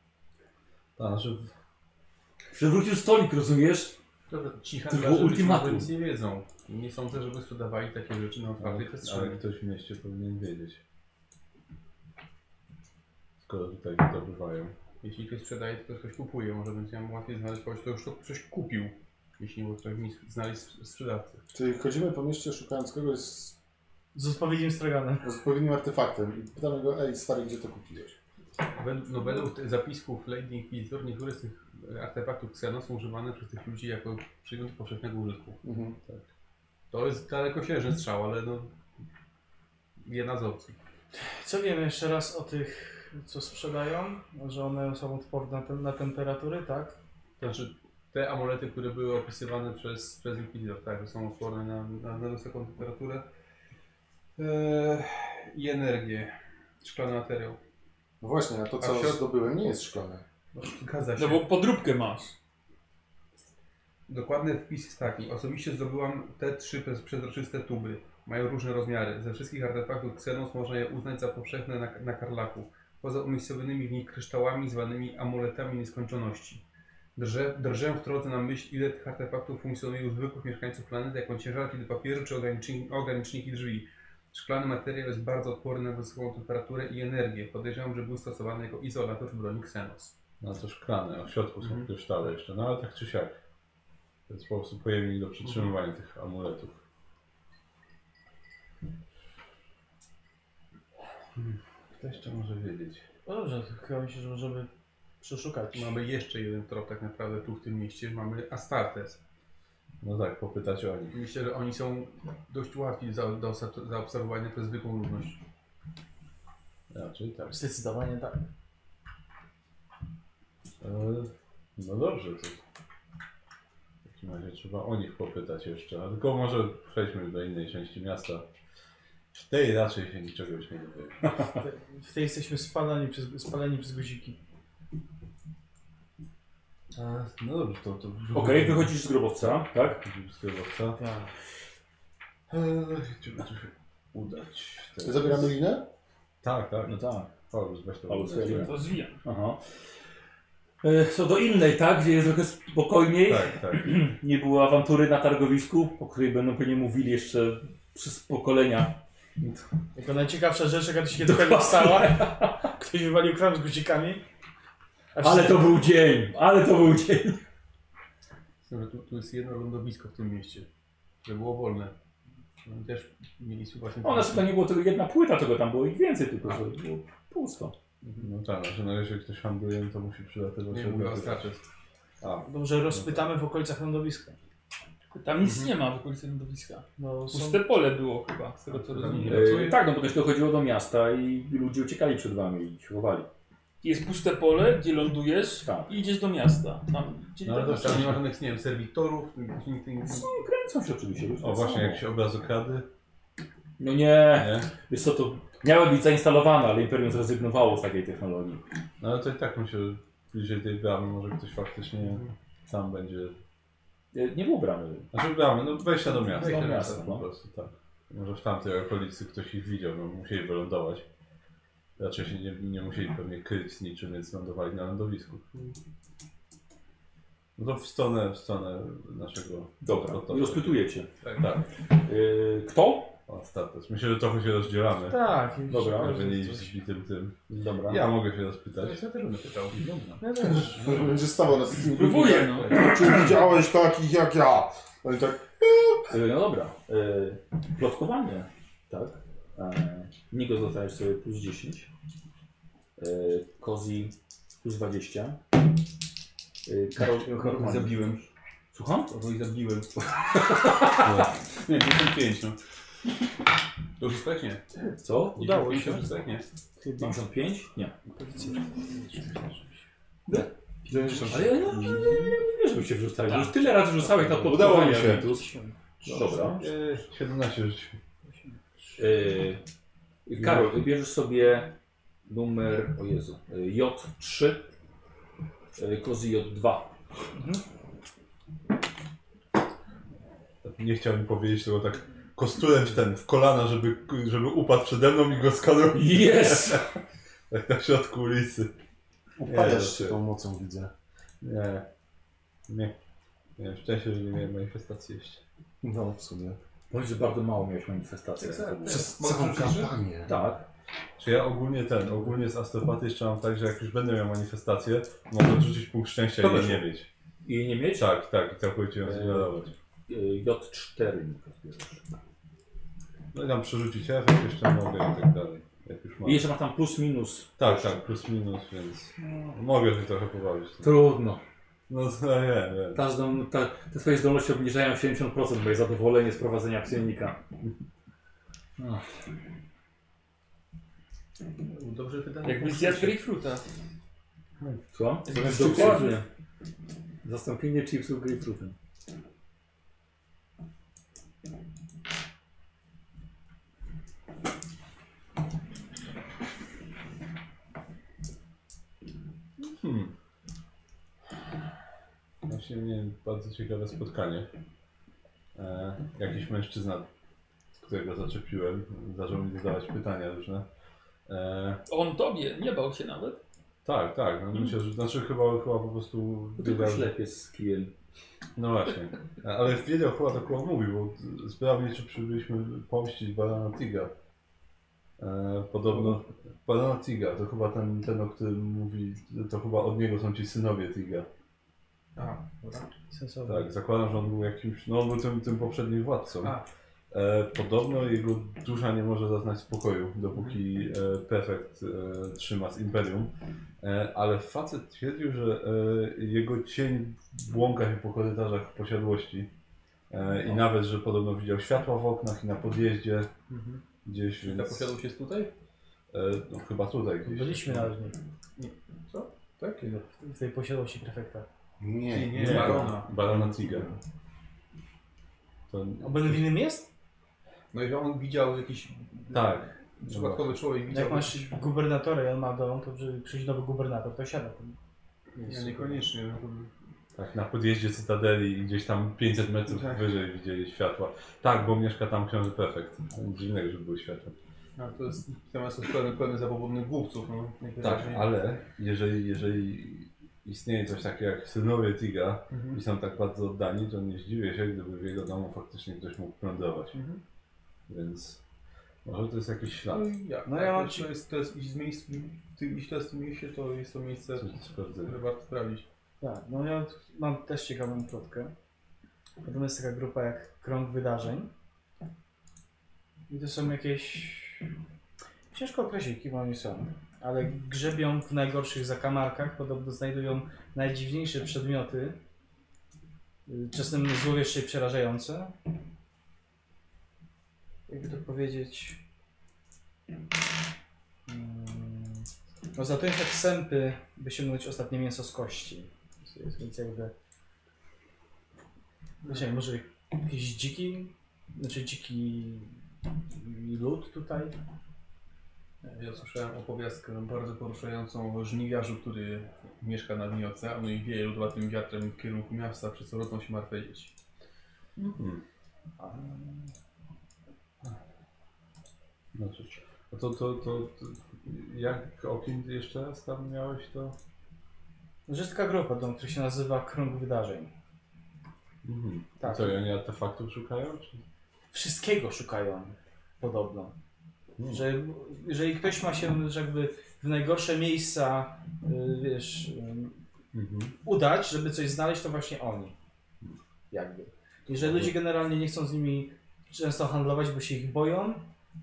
A, znaczy, Przewrócił stolik, rozumiesz? Dobra, ci To było handlarze być ultimatum. może nic nie wiedzą. Nie sądzę, żeby sprzedawali takie rzeczy na ale, ale otwartej przestrzeni. ktoś w mieście powinien wiedzieć. Skoro tutaj wydobywają. Jeśli ktoś sprzedaje, to ktoś kupuje. Może będzie nam łatwiej znaleźć kogoś, kto już to coś kupił. Jeśli nie potrafimy znaleźć sp- sprzedawcy. Czyli chodzimy po mieście szukając kogoś z Z odpowiednim straganem. z odpowiednim artefaktem i pytamy go, ej stary, gdzie to kupiłeś? Według, no, według tych zapisków Lady Inquisitor niektóre z tych e, artefaktów Xenos są używane przez tych ludzi jako przedmioty powszechnego użytku. Mhm. To jest dalekosiężny strzał, ale no... Jedna z opcji. Co wiemy jeszcze raz o tych, co sprzedają? Że one są odporne na, tem- na temperatury, tak? To znaczy, te amulety, które były opisywane przez, przez Inquisitor, tak, że są odporne na, na, na wysoką temperaturę eee, i energię, szklany materiał. No właśnie, a to co A w środ- zdobyłem nie jest szklane. No, Zgadza się. No bo podróbkę masz. Dokładny wpis jest taki. Osobiście zdobyłam te trzy przez- przezroczyste tuby. Mają różne rozmiary. Ze wszystkich artefaktów Xenos można je uznać za powszechne na, na Karlaku. Poza umiejscowionymi w nich kryształami zwanymi amuletami nieskończoności. Drżę, drżę w drodze na myśl, ile tych artefaktów funkcjonuje u zwykłych mieszkańców planety, jako ciężarki do papieru czy ograniczniki, ograniczniki drzwi. Szklany materiał jest bardzo odporny na wysoką temperaturę i energię. Podejrzewam, że był stosowany jako izolator w broni Xenos. No to szklane, a w środku są Mhm. kryształy jeszcze, no ale tak czy siak. To jest po prostu pojemnik do przytrzymywania tych amuletów. Kto jeszcze Hmm. może wiedzieć? No dobrze, to chyba myślę, że możemy przeszukać. Mamy jeszcze jeden trop tak naprawdę tu w tym mieście. Mamy Astartes. No tak, popytać o nich. Myślę, że oni są dość łatwi za- do obser- zaobserwowania przez zwykłą ludność. Raczej tak. Zdecydowanie tak. E, No dobrze, to w takim razie trzeba o nich popytać jeszcze, a tylko może przejdźmy do innej części miasta. W tej raczej się niczego już nie dowiemy. Te- W tej jesteśmy spaleni przez, spaleni przez guziki. E, No dobrze, to... to Okej, wychodzisz z grobowca, tak? Z grobowca. Tak. E, Trzeba tu się udać. teraz. Zabieramy linę? Tak, tak. No tak. Paulus, weź to. Paulus, ja To zwijam. Aha. E, Co do innej, tak? Gdzie jest trochę spokojniej. Tak, tak. Nie było awantury na targowisku, o której będą pewnie mówili jeszcze przez pokolenia. Jako najciekawsza rzecz, jaka tu się kiedykolwiek stała. Ktoś wywalił kram z guzikami. A Ale wszyscy- to był dzień, ale to był dzień. Myślę, że tu, tu jest jedno lądowisko w tym mieście, które było wolne. Oni też mieli właśnie... No, znaczy to nie było tylko jedna płyta, tego tam było ich więcej, tylko że było pusto. No tak, znaczy no jeżeli ktoś handluje, no to musi przylatywać. Nie żeby- mówię o Astartes. A, Dobrze, rozpytamy w okolicach lądowiska. Tam nic nie ma w okolicy lądowiska. No, są... Puste pole było chyba, z tego co Tam rozumiem. nie Y- E, tak, no bo też dochodziło do miasta i ludzie uciekali przed wami i się chowali. Jest puste pole, gdzie lądujesz Tak. i idziesz do miasta. Tam, gdzie No, ale tak- to Tam nie ma żadnych, nie wiem, serwitorów, nikt- nikt- Są, No, kręcą się oczywiście. ludzie o właśnie, są. jak się obrazokrady, No nie, nie? wiesz co, to miały być zainstalowane, ale Imperium zrezygnowało z takiej technologii. No ale to i tak myślę, że bliżej tej bramy może ktoś faktycznie sam będzie... E, Nie było bramy. Znaczy bramy, no wejścia do miasta. Wejścia do teraz, miasta, po no. prostu, tak. Może w tamtej okolicy ktoś ich widział, no musieli wylądować. Raczej się nie, nie musieli pewnie kryć z niczym, więc lądowali na lądowisku. No to w stronę, w stronę naszego... Dobra, to- to- i rozpytujecie. Tak, E, kto? o Astartes. Myślę, że trochę się rozdzielamy. Tak. i- Dobra, Żeby nie coś. iść tym, tym. Dobra. Ja mogę się rozpytać. Ja też bym pytał. Dobra. No też. Będzie stawał nas z tymi Próbuję, ludźmi, no. tak? Czy widziałeś takich jak ja? Oni tak, E, No dobra. E, plotkowanie, tak? E, Nigo dostajesz sobie plus 10. E, Kozi plus 20. E, Karol, Karol Zabiłem. Słucham? Kogo i zabiłem. No. Nie, 55 no. To już tak nie. Co? Udało się. To już tak nie. 55? Nie. Ale ja nie wiem, żebym się wrzucał. Już tyle razy rzucałeś na Udało mi poddawanie się. Aventus. Dobra. Eee, 17 rzucił. Yy, Karol, wybierzesz sobie numer, o Jezu, y, J3, yy, kozy J2. Nie chciał mi powiedzieć tego tak kosturem w ten, w kolana, żeby, żeby upadł przede mną i go skanął. Jest! Tak na środku ulicy. Upadasz Nie, się tą mocą, widzę. Nie. Nie. Nie wiem, szczęście, że nie miałem manifestacji jeszcze. No, w sumie. Powiedz, że bardzo mało miałeś manifestacji. jak to było. Przez Mogę całą rzucić, że- kampanię. Tak. Czy ja ogólnie ten, ogólnie z astropaty jeszcze mam tak, że jak już będę miał manifestację, mogę odrzucić punkt szczęścia To i jej weszło. nie mieć. I nie mieć? Tak, tak, i całkowicie ją Eee. zignorowałem. Yy, J4 nie pozbierasz. No i tam przerzucić efekt, jeszcze mogę i tak dalej. Jak już mam. I jeszcze masz tam plus minus. Tak, tak, plus minus, więc mogę się trochę pobawić. Trudno. No to ja wiem, wiem. Każdą, ta, te twoje zdolności obniżają 70% moje zadowolenie z prowadzenia psionika. Dobrze pytanie. Jakbyś zjadł grapefruita. Co? Zamiast Dokładnie. Zastąpienie chipsów grapefruitem. Hmm. Właśnie miałem bardzo ciekawe spotkanie. E, jakiś mężczyzna, którego zaczepiłem, zaczął mi zadawać pytania różne. E, On tobie, nie bał się nawet. tak, tak, no myślę, że znaczy chyba, chyba po prostu No To wiedział, tylko ślepiec z kijem. No właśnie, ale wiedział chyba tak jak mówił, bo sprawnie czy przybyliśmy pomścić Banana Tiga. E, podobno Banana Tiga, to chyba ten, ten, o którym mówi, to chyba od niego są ci synowie Tiga. A, dobra. Sensowne. Tak, zakładam, że on był jakimś, no on był tym, tym poprzednim władcą. A. E, podobno jego dusza nie może zaznać spokoju, dopóki e, prefekt e, trzyma z imperium. E, ale facet twierdził, że e, jego cień błąka się po korytarzach posiadłości. E, I nawet, że podobno widział światła w oknach i na podjeździe Mhm. gdzieś, Ta więc e, posiadłość jest tutaj? no, chyba tutaj gdzieś. Byliśmy nawet nie. Tak? w tej posiadłości prefekta. Nie, Nie, nie. barona. Barona Tiga. To, A Będę winnym jest? No i że on widział jakiś tak, przypadkowy człowiek widział. Jak masz gubernatora i on ma dom, to przy- przyjdzie nowy gubernator, to siada. tam. Nie, niekoniecznie. no to- Tak, na podjeździe Cytadeli i gdzieś tam 500 metrów Tak. wyżej widzieli światła. Tak, bo mieszka tam książę prefekt. Nic dziwnego, że były światła. No, to jest temat z pełnym, pełnym zabobonnych głupców. No, Tak, najwyraźniej. ale jeżeli, jeżeli istnieje coś takiego jak synowie Tiga Mhm. i są tak bardzo oddani, to nie zdziwię się, gdyby w jego domu faktycznie ktoś mógł plądrować. Mhm. Więc może to jest jakiś ślad. No i jak? No tak, ja mam jeśli ci- to jest, to jest iść z miejsc, w tym, jeśli to jest w tym mieście, to jest to miejsce, Coś do sprawdzenia. które warto sprawdzić. Tak, no ja t- mam też ciekawą plotkę. Potem jest taka grupa jak Krąg Wydarzeń. I to są jakieś... Ciężko określić, kim oni są. Ale grzebią w najgorszych zakamarkach, podobno znajdują najdziwniejsze przedmioty. y, Czasem złowieszcze i przerażające. Jakby to powiedzieć... Mm, No zatują tak sępy, by sięgnąć ostatnie mięso z kości. To jest Więc jakby... Znaczy, może jakiś dziki, znaczy dziki lud tutaj? Ja słyszałem opowiastkę bardzo poruszającą o żniwiarzu, który mieszka na dnie oceanu i wieje lodowatym wiatrem w kierunku miasta, przez co rodzą się martwe dzieci. Mhm. No cóż. No to, to, to, to jak okiem jeszcze raz tam miałeś to? No, że jest taka grupa, dom, która się nazywa Krąg Wydarzeń. Mhm. Tak. Co, i oni artefaktów szukają? Czy... Wszystkiego szukają, podobno. Że jeżeli ktoś ma się że jakby w najgorsze miejsca, y, wiesz, y, Mhm. udać, żeby coś znaleźć, to właśnie oni. Jakby. I że ludzie generalnie nie chcą z nimi często handlować, bo się ich boją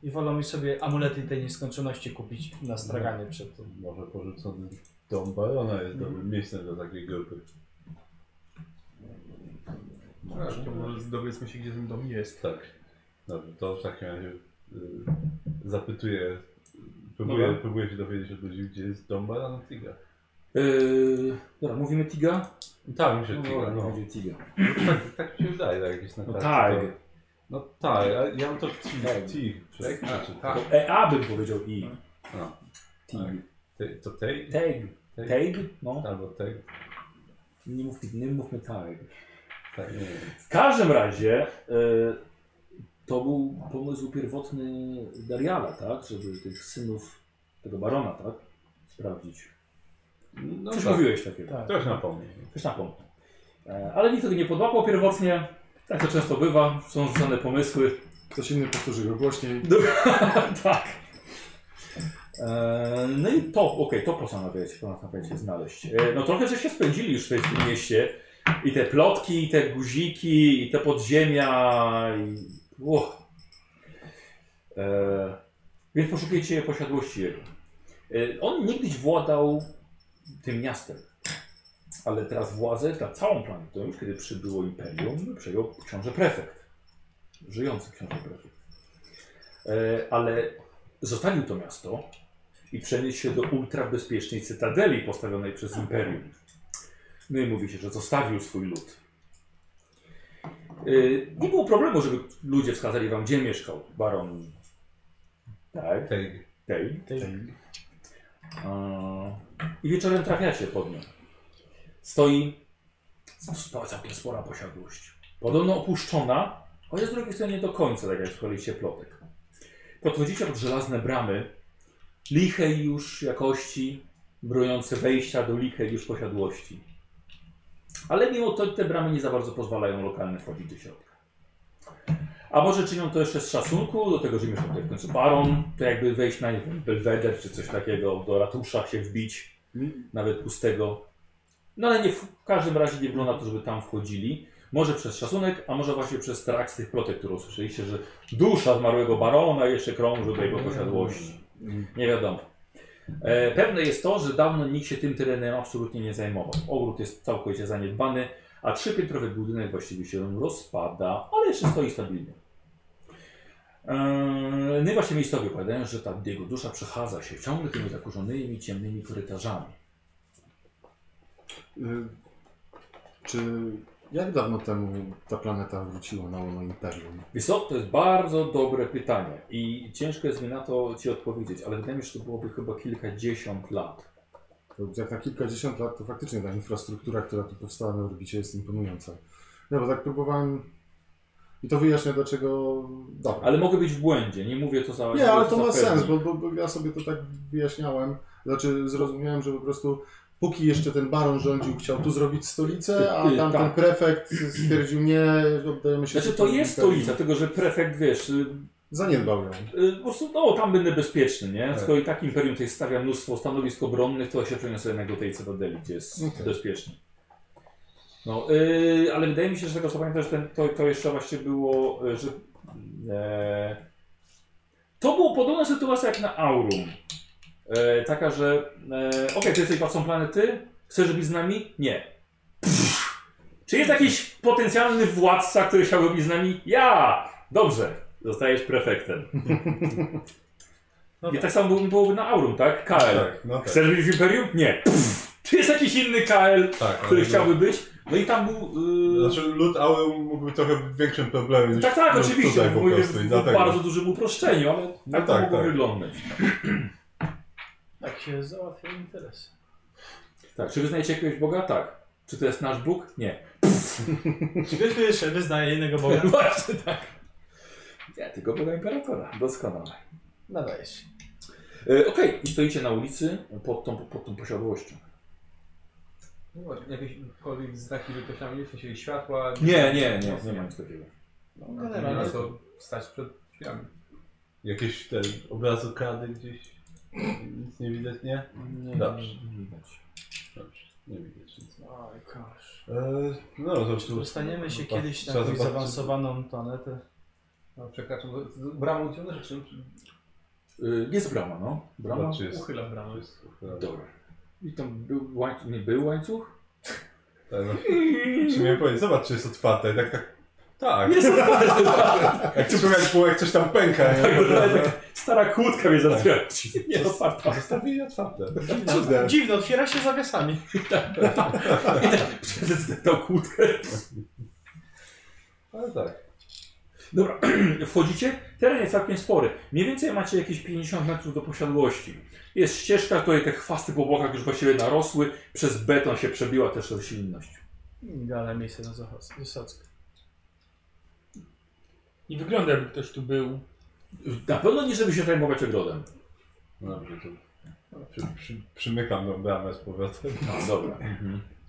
i wolą mi sobie amulety tej nieskończoności kupić na straganie przed tym. Może porzucony dom barona jest Mhm. dobrym miejscem dla takiej grupy. Tak, to może dowiedzmy się, gdzie ten dom jest. Tak. Dobrze, to w takim razie y, zapytuję, próbuję, Dobra. próbuję się dowiedzieć od ludzi, gdzie jest dom barona Tiga. Yy, dobra, mówimy Tiga? Tak, mi się dobra, tiga, niech no. będzie Tiga. tak, tak mi się wydaje, tak jakieś na No tarczy, tak. to- No tak, a ja bym to Tig, Tak. Tig przeczytał. tak. To EA bym powiedział I. No. Tig. Tak. Te- To Tej? Tag. Tag. Tag? No. Albo Tej? Nie, mów, nie mówmy tag. Tak, nie wiem. W każdym razie y, to był pomysł pierwotny Dariala, tak? Żeby tych synów tego barona, tak? Sprawdzić. No Coś tak, mówiłeś takiego. Tak. ktoś napomniał. Coś napomnę. E, ale nikt tego nie podłapał pierwotnie. Tak to często bywa. Są rzucane pomysły. Ktoś inny powtórzy go głośniej. tak. E, no i to, okej, to postanawiacie, postanawiacie znaleźć. E, no trochę żeście spędzili już tutaj w tym mieście. I te plotki, i te guziki, i te podziemia, i... Uch. E, więc poszukajcie posiadłości jego. E, on niegdyś władał tym miastem. Ale teraz władzę nad całą planetą, już kiedy przybyło imperium, przejął książę prefekt. Żyjący książę prefekt. E, ale zostawił to miasto i przeniósł się do ultrabezpiecznej cytadeli postawionej przez imperium. No i mówi się, że zostawił swój lud. E, Nie było problemu, żeby ludzie wskazali wam, gdzie mieszkał baron. Tak, Tej. tej. Tej- E, I wieczorem trafiacie pod nią. Stoi spo- całkiem spora posiadłość. Podobno opuszczona, chociaż z drugiej strony nie do końca, tak jak słuchaliście plotek. Podchodzicie pod żelazne bramy, lichej już jakości, brojące wejścia do lichej już posiadłości. Ale mimo to te bramy nie za bardzo pozwalają lokalnym wchodzić do środka. A może czynią to jeszcze z szacunku do tego, że mieszka tutaj w końcu baron, to jakby wejść na nie wiem, belweder czy coś takiego, do ratusza się wbić, nawet pustego. No ale nie, w w każdym razie nie wygląda na to, żeby tam wchodzili. Może przez szacunek, a może właśnie przez strach z tych plotek, które usłyszeliście, że dusza zmarłego barona jeszcze krąży do jego posiadłości. Mm. Nie wiadomo. E, pewne jest to, że dawno nikt się tym terenem absolutnie nie zajmował. Ogród jest całkowicie zaniedbany, a trzypiętrowy budynek właściwie się rozpada, ale jeszcze stoi stabilnie. Eee, No i właśnie miejscowi opowiadają, że ta jego dusza przechadza się ciągle tymi zakurzonymi, ciemnymi korytarzami. Y, Czy jak dawno temu ta planeta wróciła na łono Imperium? Wiesz co, to jest bardzo dobre pytanie i ciężko jest mi na to Ci odpowiedzieć, ale wydaje mi się, że to byłoby chyba kilkadziesiąt lat. To jak na kilkadziesiąt lat, to faktycznie ta infrastruktura, która tu powstała na orbicie jest imponująca. No bo tak próbowałem... I to wyjaśnia dlaczego... Dobra. Ale mogę być w błędzie, nie mówię to za... Nie, ale to za ma pewne. sens, bo, bo, bo ja sobie to tak wyjaśniałem. Znaczy zrozumiałem, że po prostu póki jeszcze ten baron rządził, chciał tu zrobić stolicę, a Ty, tamten tak. prefekt stwierdził, nie, oddajemy się... Znaczy to jest imperium. stolica, tylko że prefekt, wiesz, y, Zaniedbał ją. y, po prostu, no tam będę bezpieczny, nie? Tak. Skoro i tak Imperium tutaj stawia mnóstwo stanowisk obronnych, to ja się przeniosę jednak do tej cytadeli, gdzie jest Okej. bezpiecznie. No, y, ale wydaje mi się, że z tego co pamiętam, że ten, to, to jeszcze właśnie było, y, że... E, to była podobna sytuacja jak na Aurum. E, taka, że e, okej, ty jesteś władcą planety, chcesz być z nami? Nie. Pff. Czy jest jakiś potencjalny władca, który chciałby być z nami? Ja! Dobrze, zostajesz prefektem. No I tak samo było- byłoby na Aurum, tak? KL. Tak, no tak. Chcesz być w Imperium? Nie. Pff. Czy jest jakiś inny KL, tak który ale- chciałby być? No i tam był... Yy... Znaczy lud Aurum mógłby trochę większym problemem niż tak, tak, niż oczywiście. tutaj po Mówię prostu i w, w dlatego. bardzo dużym uproszczeniu, ale tak No to tak, mogło tak. wyglądać. Tak się załatwia interes. Tak, czy wyznajecie jakiegoś Boga? Tak. Czy to jest nasz Bóg? Nie. Czy ktoś tu jeszcze wyznaje innego Boga? Właśnie tak. Ja tylko Boga Imperatora. Doskonale. Nadaje się. E, Okej, i stoicie na ulicy pod tą, pod tą posiadłością. No, jakiekolwiek znaki wypoślami, w sensie światła. nie ma nic takiego. No, No, to nie ma generalnie co stać przed drzwiami. Jakieś te obrazy kady gdzieś? Nic nie widać, nie? Dobrze. Nie widać. Dobrze, nie widać nic. Oj, kosz. Eee, no to już... Dostaniemy się No tak. Trzeba kiedyś na jakąś zobaczyć. zaawansowaną planetę. No, przekraczam. bo z- Bramą ciągnę, czy czym? Y, jest brama, no. Brama. Czy jest- Uchylam bramę. Dobra. I tam był łańcuch, nie był łańcuch? Tak, no. Czy miałem powiedzieć, zobacz czy jest otwarte i tak tak Tak. jak słychać było, jak coś tam pęka. Tak, nie? Stara kłódka mnie zastawia. Nie, oparta. Zostawili otwarte. Cudne. Dziwne, otwiera się zawiasami. Przeczytał kłódkę. Ale tak. Dobra, wchodzicie. Teren jest całkiem spory. Mniej więcej macie jakieś 50 metrów do posiadłości. Jest ścieżka, której te chwasty po bokach już właściwie narosły. Przez beton się przebiła też roślinność. Idealne miejsce na Zachoc- Wysockę. Nie wygląda jakby ktoś tu był. Na pewno nie, żeby się zajmować ogrodem. No Dobrze, to przy, przy, przymykam tą bramę z powrotem, No, dobra.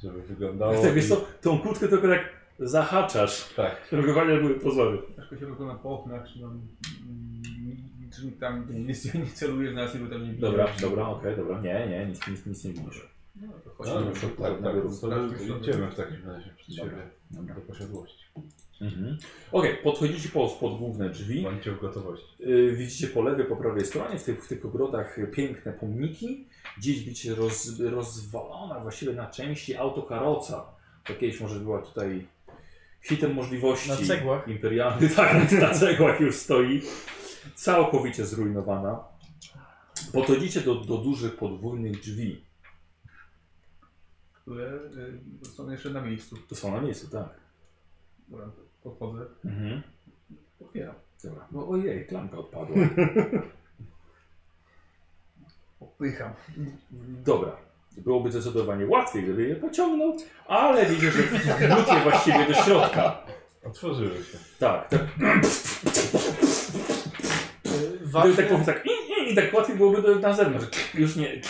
żeby wyglądało. Tak, i- wiesz co, tą kłódkę tylko tak zahaczasz, Tak. żeby chyba były pozory. Tylko się wygląda po oknach, czy tam, mm, czy tam nic nie celuje w nas, bo tam nie bije. Dobra, dobra, okej, dobra. Nie, nie, nic, nic, nic nie widzisz. No, to chodźmy. No, no, to, tak, tak, na tak. górę. To, to idziemy tak, w takim razie przed Dobra. siebie Dobra. do posiadłości. Mhm. Okej, podchodzicie po, pod główne drzwi. Bądźcie w gotowości. Yy, Widzicie po lewej, po prawej stronie, w tych, w tych ogrodach piękne pomniki. Gdzieś widzicie roz, rozwalona właściwie na części autokaroca. To kiedyś może była tutaj hitem możliwości. Na cegłach. Imperialny, tak, na cegłach już stoi. Całkowicie zrujnowana. Podchodzicie do, do dużych podwójnych drzwi. Które y, są jeszcze na miejscu. To są na miejscu, tak. Dobra, podchodzę, Mhm. otwieram. Dobra. No, ojej, klamka odpadła. Popycham. Dobra. Byłoby zdecydowanie łatwiej, gdyby je pociągnął, ale widzę, że wnutie właściwie do środka. Otworzyły się. Tak, tak. Y, Gdyby Ważne, tak powiem, tak i, i, i tak łatwiej byłoby do, na zewnątrz. Już nie.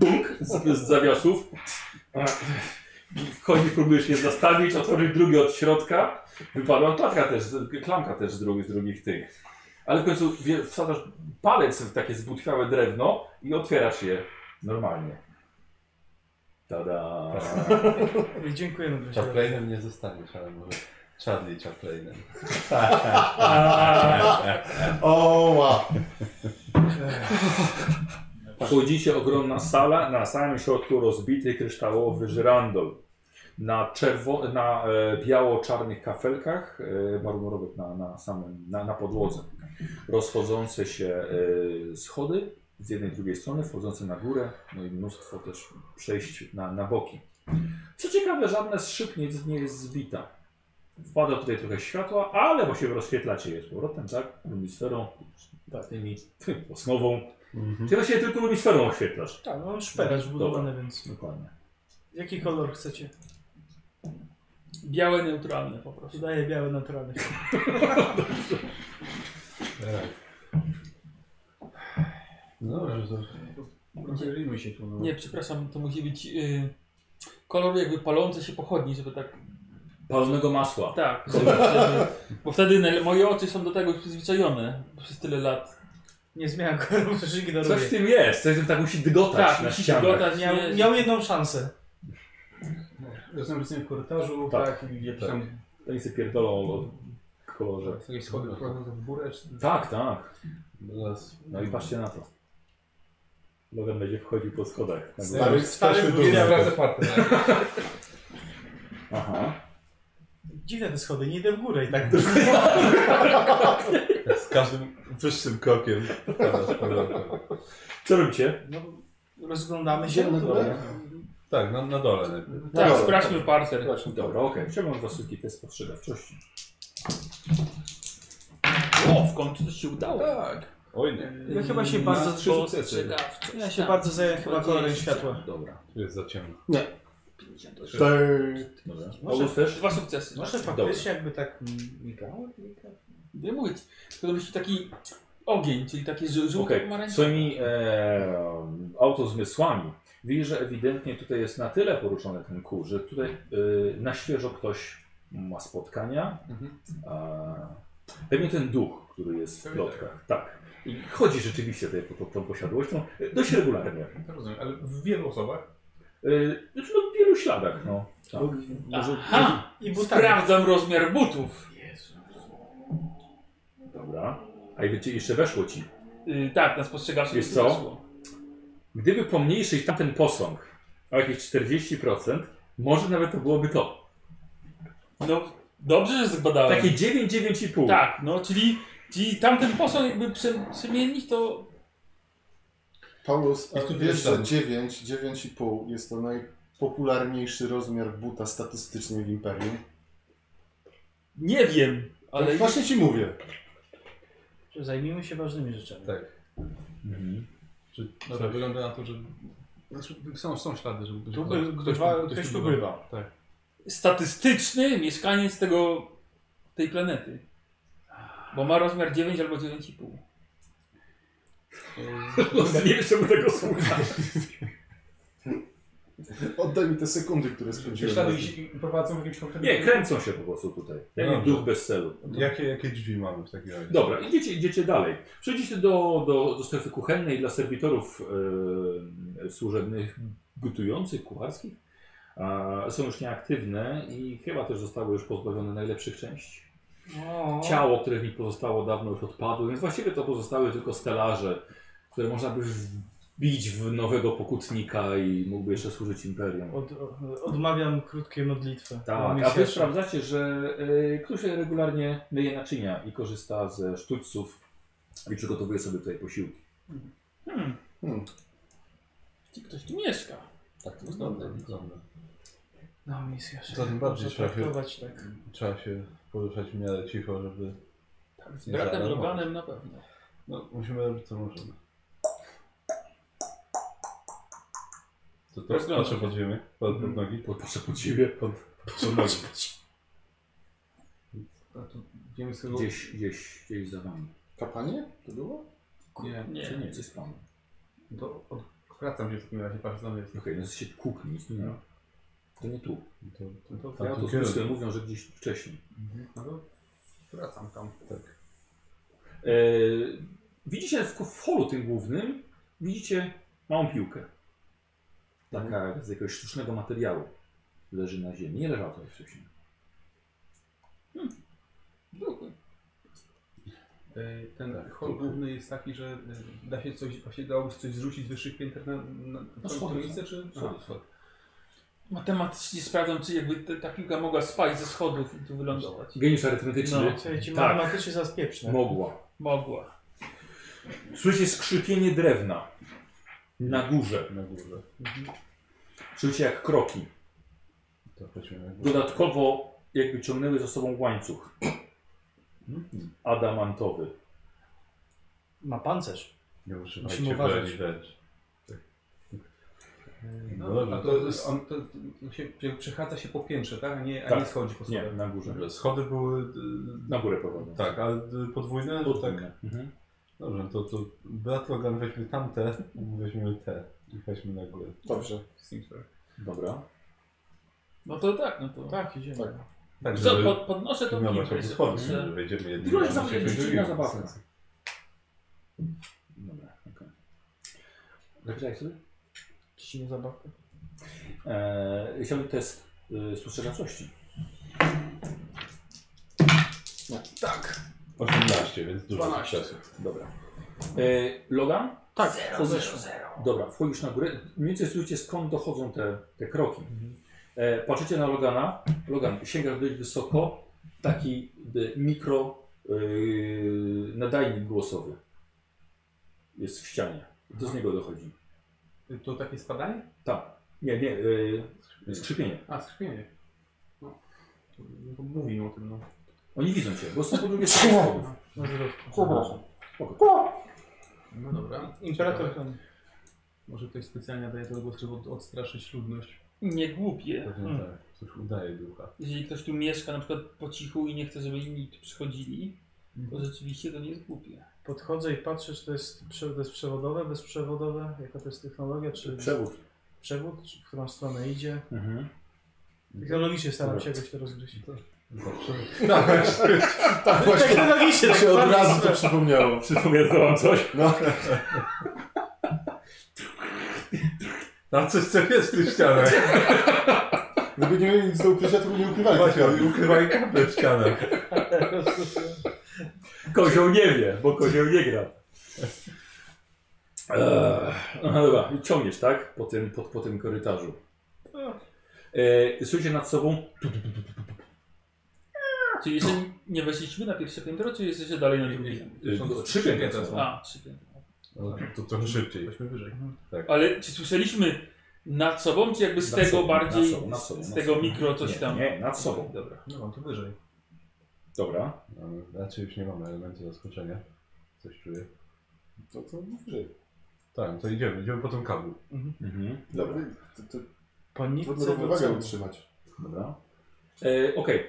Bunk z, z zawiasów. Wchodzisz, próbujesz je zastawić, otworzyć drugie od środka. Wypadła klatka też, klamka też z drugich, z drugich tych. Ale w końcu wie- wsadzasz palec w takie zbutwiałe drewno i otwierasz je normalnie. Tada. Dziękujemy. Grzesiu. Chaplainem nie zostaniesz, ale może Charlie Chaplainem. Oła. Wchodzicie ogromna sala, na samym środku rozbity kryształowy żyrandol. Na, czerwo, na e, biało-czarnych kafelkach, e, marmurowych na, na, samym, na, na podłodze. Rozchodzące się e, schody z jednej i drugiej strony, wchodzące na górę, no i mnóstwo też przejść na, na boki. Co ciekawe, żadne z szyb nie, nie jest zbita. Wpada tutaj trochę światła, ale właściwie rozświetlacie je z powrotem, tak? Lumisferą, tymi osnową. Mhm. Czy właściwie tylko lumisferą oświetlasz? Tak, no mam szperaż wbudowany, więc... Dokładnie. Jaki kolor chcecie? Białe, neutralne po prostu. Daję biały naturalny. No dobrze, to Rozejrzyjmy się tu. No. Nie, przepraszam, to musi być y, kolor jakby palące się pochodni, żeby tak... Palnego masła. Tak, żeby, żeby, bo wtedy naj- moje oczy są do tego już przyzwyczajone przez tyle lat. Nie zmieniam koloru, że Coś ignoruję. w tym jest, coś w tym tak musi dygotać Tak, na musi ścianach. dygotać, Miał, nie- miał jedną szansę. Rozumiem, że jesteśmy w korytarzu, Tak. tak, i jakieś tam To oni sobie pierdolą o kolorze. jakieś schody No. prowadzące w górę, czy Tak, tak. zaraz. No i patrzcie na to. Logan będzie wchodził po schodach. Na górę. Stary, Stary stary był jest dumny. raz otwarty. tak. Aha. Dziwne te schody, nie idę w górę i tak. Z każdym wyższym krokiem. wpadasz w powrotem. Co robicie? No, rozglądamy Idziemy na się. górę? Tak, na, na dole najpierw. Tak, Dobra. sprawdźmy parter. Dobra, okej. Chciałbym was wszystkich test postrzegawczości. O, w końcu coś się udało. Tak. Oj nie, Ja chyba się bardzo trzy sukcesy. Spostrzegawczość. Ja się Tak, bardzo zajęłem chyba kolorem światła. Dobra. Tu jest za ciemno. 58. Ty. Dobra. Może- August też? Dwa sukcesy. Może Dobra. faktycznie jakby tak mm, migało? migało. Nie mówić. Tylko to musi taki ogień, czyli taki żół- żółty Okej, pomarańczowy. swoimi e, autozmysłami widzisz, że ewidentnie tutaj jest na tyle poruszony ten kół, że tutaj e, na świeżo ktoś ma spotkania. Mhm. A, pewnie ten duch, który jest w Pewnie plotkach. Tak. I chodzi rzeczywiście tutaj po, po tą posiadłością e, dość regularnie. E, To Rozumiem, ale w wielu osobach. znaczy no, w wielu śladach, no. Tak. Może Aha! I butami. Sprawdzam rozmiar butów. Dobra. A i wiecie, jeszcze weszło ci. Yy, tak, na spostrzegawczość. Wiesz to co? weszło. Gdyby pomniejszyć tamten posąg o jakieś 40%, może nawet to byłoby to. No, Dobrze, że zbadałem. Takie 9, 9,5. Tak, no, czyli, czyli tamten posąg jakby prze- przemiennik to... Paulus, e, I tu a wiesz, wiesz, że tam. 9, 9,5 jest to najpopularniejszy rozmiar buta statystycznie w Imperium? Nie wiem, ale... Ale właśnie ci mówię. Zajmijmy się ważnymi rzeczami. Tak. Mhm. Czy, no tak, wygląda na to, że. Znaczy, są, są ślady, żeby ktoś Tu ktoś- by, bywa, ktoś, tu bywa. Tak. statystyczny mieszkaniec tego, tej planety. Bo ma rozmiar 9 albo 9,5. Nie wiem, czemu tego słuchasz. Oddaj mi te sekundy, które Te spędziłem. na ślady tym. gdzieś prowadzą w jakimś konkretnym... Nie, kręcą się po prostu tutaj. Jak Dobrze. duch bez celu. No. Jakie, jakie drzwi mamy w takim razie? Dobra, idziecie, idziecie dalej. Przejdziecie do, do, do strefy kuchennej dla serwitorów e, służebnych, gotujących, kucharskich. E, są już nieaktywne i chyba też zostały już pozbawione najlepszych części. O, Ciało, które w nich pozostało, dawno już odpadło, więc właściwie to pozostały tylko stelaże, które można by wbić w nowego pokutnika i mógłby jeszcze służyć imperium. Od, odmawiam krótkiej modlitwy. Tak, a Misja- wy sprawdzacie, że y, ktoś regularnie myje naczynia i korzysta ze sztućców i przygotowuje sobie tutaj posiłki. Hmm. Hmm. Czy ktoś tu mieszka? Tak to wygląda. wygląda. No, misja się. To tym bardziej Można trzeba się, traktować tak. trzeba się poruszać w miarę cicho, żeby... Tak, z Nie bratem zareagował. Loganem na pewno. No, musimy robić co możemy. To to Rozglądam patrzę się. pod ziemię, pod, pod nogi. Pod- Proszę po ciebie. Pod, pod nogi. A tu wiemy z kogo. Gdzieś, gdzieś, gdzieś za wami. Kapanie? To było? Nie. Czy Nie. nie, coś pan. To odwracam się w takim razie, patrzę na Okej, no się kuknij, nic nie ma. To nie tu. To, to, to- Ja to biorę. słyszę, mówią, że gdzieś wcześniej. No to wracam tam. Tak. E, widzicie w, w holu tym głównym, widzicie małą piłkę. Taka z jakiegoś sztucznego materiału. Leży na ziemi. Nie leżała tutaj wcześniej. Duchy. Y, Ten hol główny jest taki, że y, da się coś, właśnie dałoby się coś zrzucić z wyższych pięter na, na, na schody, to miejsce, czy? Schody. A, schody. Matematycznie sprawdzam, czy jakby te- ta piłka mogła spaść ze schodów i tu wylądować. Geniusz arytmetyczny. No. Słuchajcie, Tak. No. matematycznie zaraz pieprzne. Mogła. Mogła. Słyszycie skrzypienie drewna na górze. Na górze. Słyszycie jak kroki. To chodźmy na górę. Dodatkowo jakby ciągnęły za sobą łańcuch. Mhm. Adamantowy. Ma pancerz. Nie Musimy używajcie uważać. broni wręcz. Tak. No No, dobra, a to, jest, on, to, to się, jakby przechadza się po piętrze, tak? A nie, a Tak. nie schodzi po Nie, schodach. na górze. Dobra, schody były... y, Na górę prowadzą. Tak, ale y, podwójne? No Tak. Mhm. Dobrze, to, to brat Logan weźmie tamte, weźmiemy te i weźmy na górę. Dobrze. Simfer. Dobra. No to tak, no to. Tak, idziemy. Tak, Co, żeby pod, podnoszę tą pilnować piłkę. obu jeszcze schodów, patrzę. że wejdziemy jednym Druga razem, zabawa, się dziwna drugim. zabawa. Dobra, okej. Zapisałeś sobie? Czy nie zabawka? Eee, chciałbym test y, spostrzegawczości. 18, więc dużo 12. sukcesu. Dobra. Eee, Logan? Tak, wchodzisz- Dobra, wchodzisz na górę. Mniej więcej słyszycie skąd dochodzą te, te kroki. E, patrzycie na Logana. Logan sięga dość wysoko. Taki e, mikro yy, nadajnik głosowy jest w ścianie. Do z niego dochodzi. To takie spadanie? Tak. Nie, nie, yy, skrzypienie. A, skrzypienie. No. No, Mówi o tym, no. Oni widzą cię, bo są po drugiej stronie. schodów. na Przepraszam. No dobra. Imperator Ciekawe. tam. Może ktoś specjalnie daje ten głos, żeby od, odstraszyć ludność. Nie głupie. Pewnie Mm. tak, coś udaje ducha. Jeżeli ktoś tu mieszka na przykład po cichu i nie chce, żeby inni tu przychodzili, Mhm. to rzeczywiście to nie jest głupie. Podchodzę i patrzę, czy to jest, prze- to jest przewodowe, bezprzewodowe, jaka to jest technologia, czy Przewód. przewód, czy w którą stronę idzie. Mhm. Technologicznie staram Dobra. się jakoś to rozgryźć. Zawsze. Tak, właśnie. Technologicznie, To się od bardzo razu to super. przypomniało. Przypomniał to wam coś? No. Tam coś co jest w tych ścianach. Gdyby nie mieli nic do ukrycia, to by nie ukrywali. Właśnie, oni ukrywają kable w ścianach. Kozioł nie wie, bo kozioł nie gra. Eee, no dobra, ciągniesz, tak? Po tym, po, po tym korytarzu. Eee, słyszycie nad sobą Czyli jeszcze nie weszliśmy na pierwsze piętro, czy jesteście dalej na drugim? Są eee, Trzy piętra są. A, trzy piętra. No, To trochę szybciej. Weźmy wyżej. Ale czy słyszeliśmy nad sobą, czy jakby z Nad tego sobą, bardziej, nad sobą, nad sobą, z nad tego sobą. mikro coś nie, tam? Nie, nad sobą. Dobra. No, to wyżej. Dobra. Mamy, znaczy już nie mamy elementu zaskoczenia. Coś czuję. To, to wyżej. Tak, to idziemy, idziemy po tą kablu. Mhm. Dobra. Dobra. To, to Po trudno nitce równowagę wrócę. utrzymać. Dobra. E, Okej.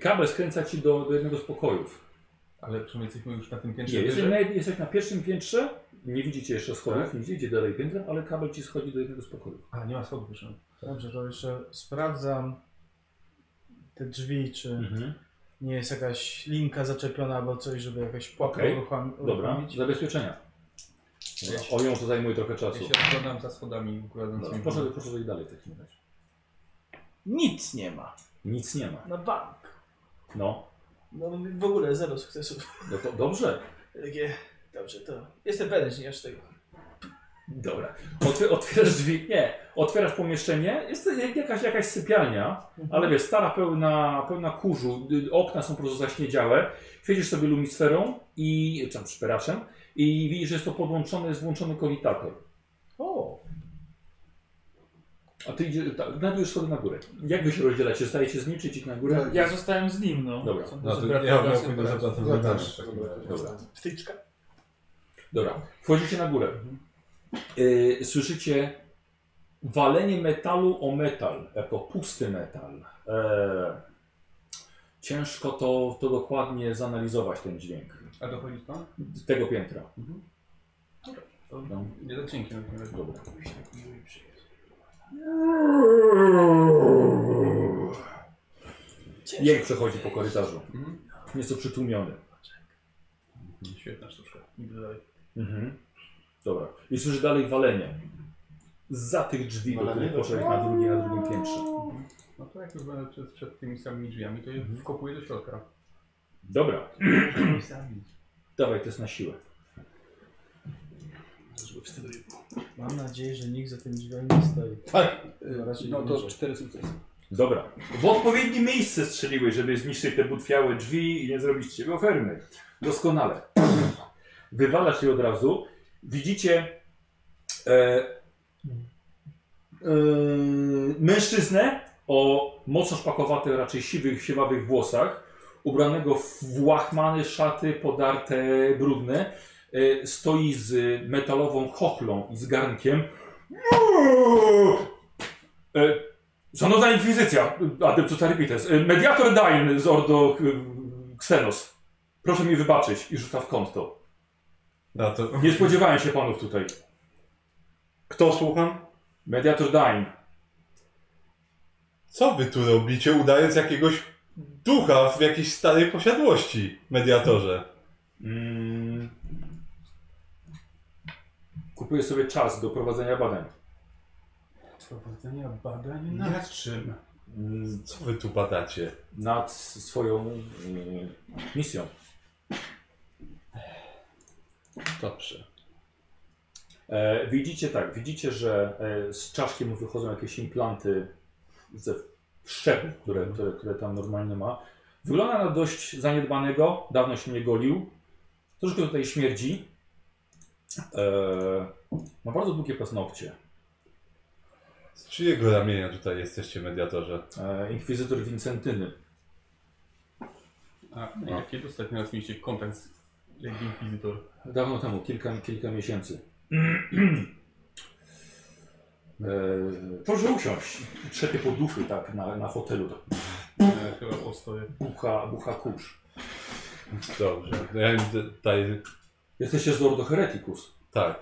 Kabel skręca ci do, do jednego z pokojów. Ale przynajmniej jesteśmy już na tym piętrze Nie, jesteś wyżej. na, jesteś na pierwszym piętrze. Nie widzicie jeszcze schodów, nie widzicie dalej piętra, ale kabel ci schodzi do jednego z pokojów. A, nie ma schodów no. jeszcze. Dobrze, to jeszcze sprawdzam te drzwi, czy Mhm. nie jest jakaś linka zaczepiona albo coś, żeby jakaś pułapkę Okej. uruchom- Dobra. uruchomić. Zabezpieczenia. O nią to zajmuje trochę Ja czasu. się rozglądam za schodami Dobra, układającymi. Proszę, proszę dalej w takim razie. Nic nie ma. Nic nie ma. Na bank. No, No w ogóle zero sukcesów. no to dobrze. Takie, dobrze, to jestem pewny, że nie aż tego. Dobra. Otw otwierasz drzwi. Nie, otwierasz pomieszczenie. Jest to jak- jakaś, jakaś sypialnia, ale wiesz, stara, pełna, pełna kurzu. y, Okna są po prostu zaśniedziałe. Świecisz sobie lumisferą i czy tam szperaczem i widzisz, że jest to podłączony, jest włączony kowitator. O, A ty idziesz, tak, znajdujesz schody na górę. Jak wy się rozdzielacie? Stajecie z nim czy idziecie na Tak, górę? Ja zostałem z nim, no. Dobra. Są No też to ja, brat- ja bracia, pójdę za bracia. bratem Ja Bogdanem też. w takim razie. Dobra. wtyczka. Dobra, wchodzicie na górę. Y, słyszycie walenie metalu o metal, jako pusty metal. E, ciężko to, to dokładnie zanalizować ten dźwięk A dochodzi stąd? z tego piętra. To No, nie za cienkie na tym razie. dobra. Jęk przechodzi po korytarzu. Mhm. Nieco przytłumiony. Świetna sztuczka. Nigdy dalej. Mhm. Dobra. I słyszy dalej walenie. Za tych drzwi, do Walenie których do- poszedłeś na, drugi, na drugim piętrze. No to jak już będę przed, przed tymi samymi drzwiami, to je wkopuję do środka. Dobra. Żeby ich zabić. Dawaj, to jest na siłę. Żeby wstydu nie było. Mam nadzieję, że nikt za tym drzwiami nie stoi. Tak. E, No, raczej No nie to będzie. cztery sukcesy. Dobra. W odpowiednie miejsce strzeliłeś, żeby zniszczyć te butwiałe drzwi i nie zrobić z ciebie ofermy. Doskonale. Wywalasz je od razu. Widzicie e, e, mężczyznę o mocno szpakowatych, raczej siwych, siwawych włosach, ubranego w włachmane szaty, podarte, brudne. E, stoi z metalową chochlą i z garnkiem. E, Szanowna Inkwizycja, adeptus Aripites, y, mediator Dain z Ordo y, Xenos. Proszę mi wybaczyć i rzuca w kąt to. No to Nie spodziewałem się panów tutaj. Kto słucham? Mediator Dain. co wy tu robicie, udając jakiegoś ducha w jakiejś starej posiadłości, mediatorze? Mm. Kupuję sobie czas do prowadzenia badań. Prowadzenia badań nad czym? Mm, Co wy tu badacie? Nad swoją y, misją. Dobrze. E, widzicie tak, widzicie, że e, z czaszki mu wychodzą jakieś implanty ze szczepów, które, które, które tam normalnie ma. Wygląda na dość zaniedbanego, dawno się nie golił. Troszkę tutaj śmierdzi. E, ma bardzo długie paznokcie. Z czyjego ramienia tutaj jesteście, mediatorze? E, inkwizytor Wincentyny. A jakie ostatnio raz mieliście kontakt z jak inkwizytor? Dawno temu, kilka, kilka miesięcy. e, proszę usiąść. Trzepie po duszy tak na, na fotelu. Tak E, Chyba postoje. bucha, bucha kurz. Dobrze. no Ja im d- daję... Jesteście z Ordo Hereticus. Tak.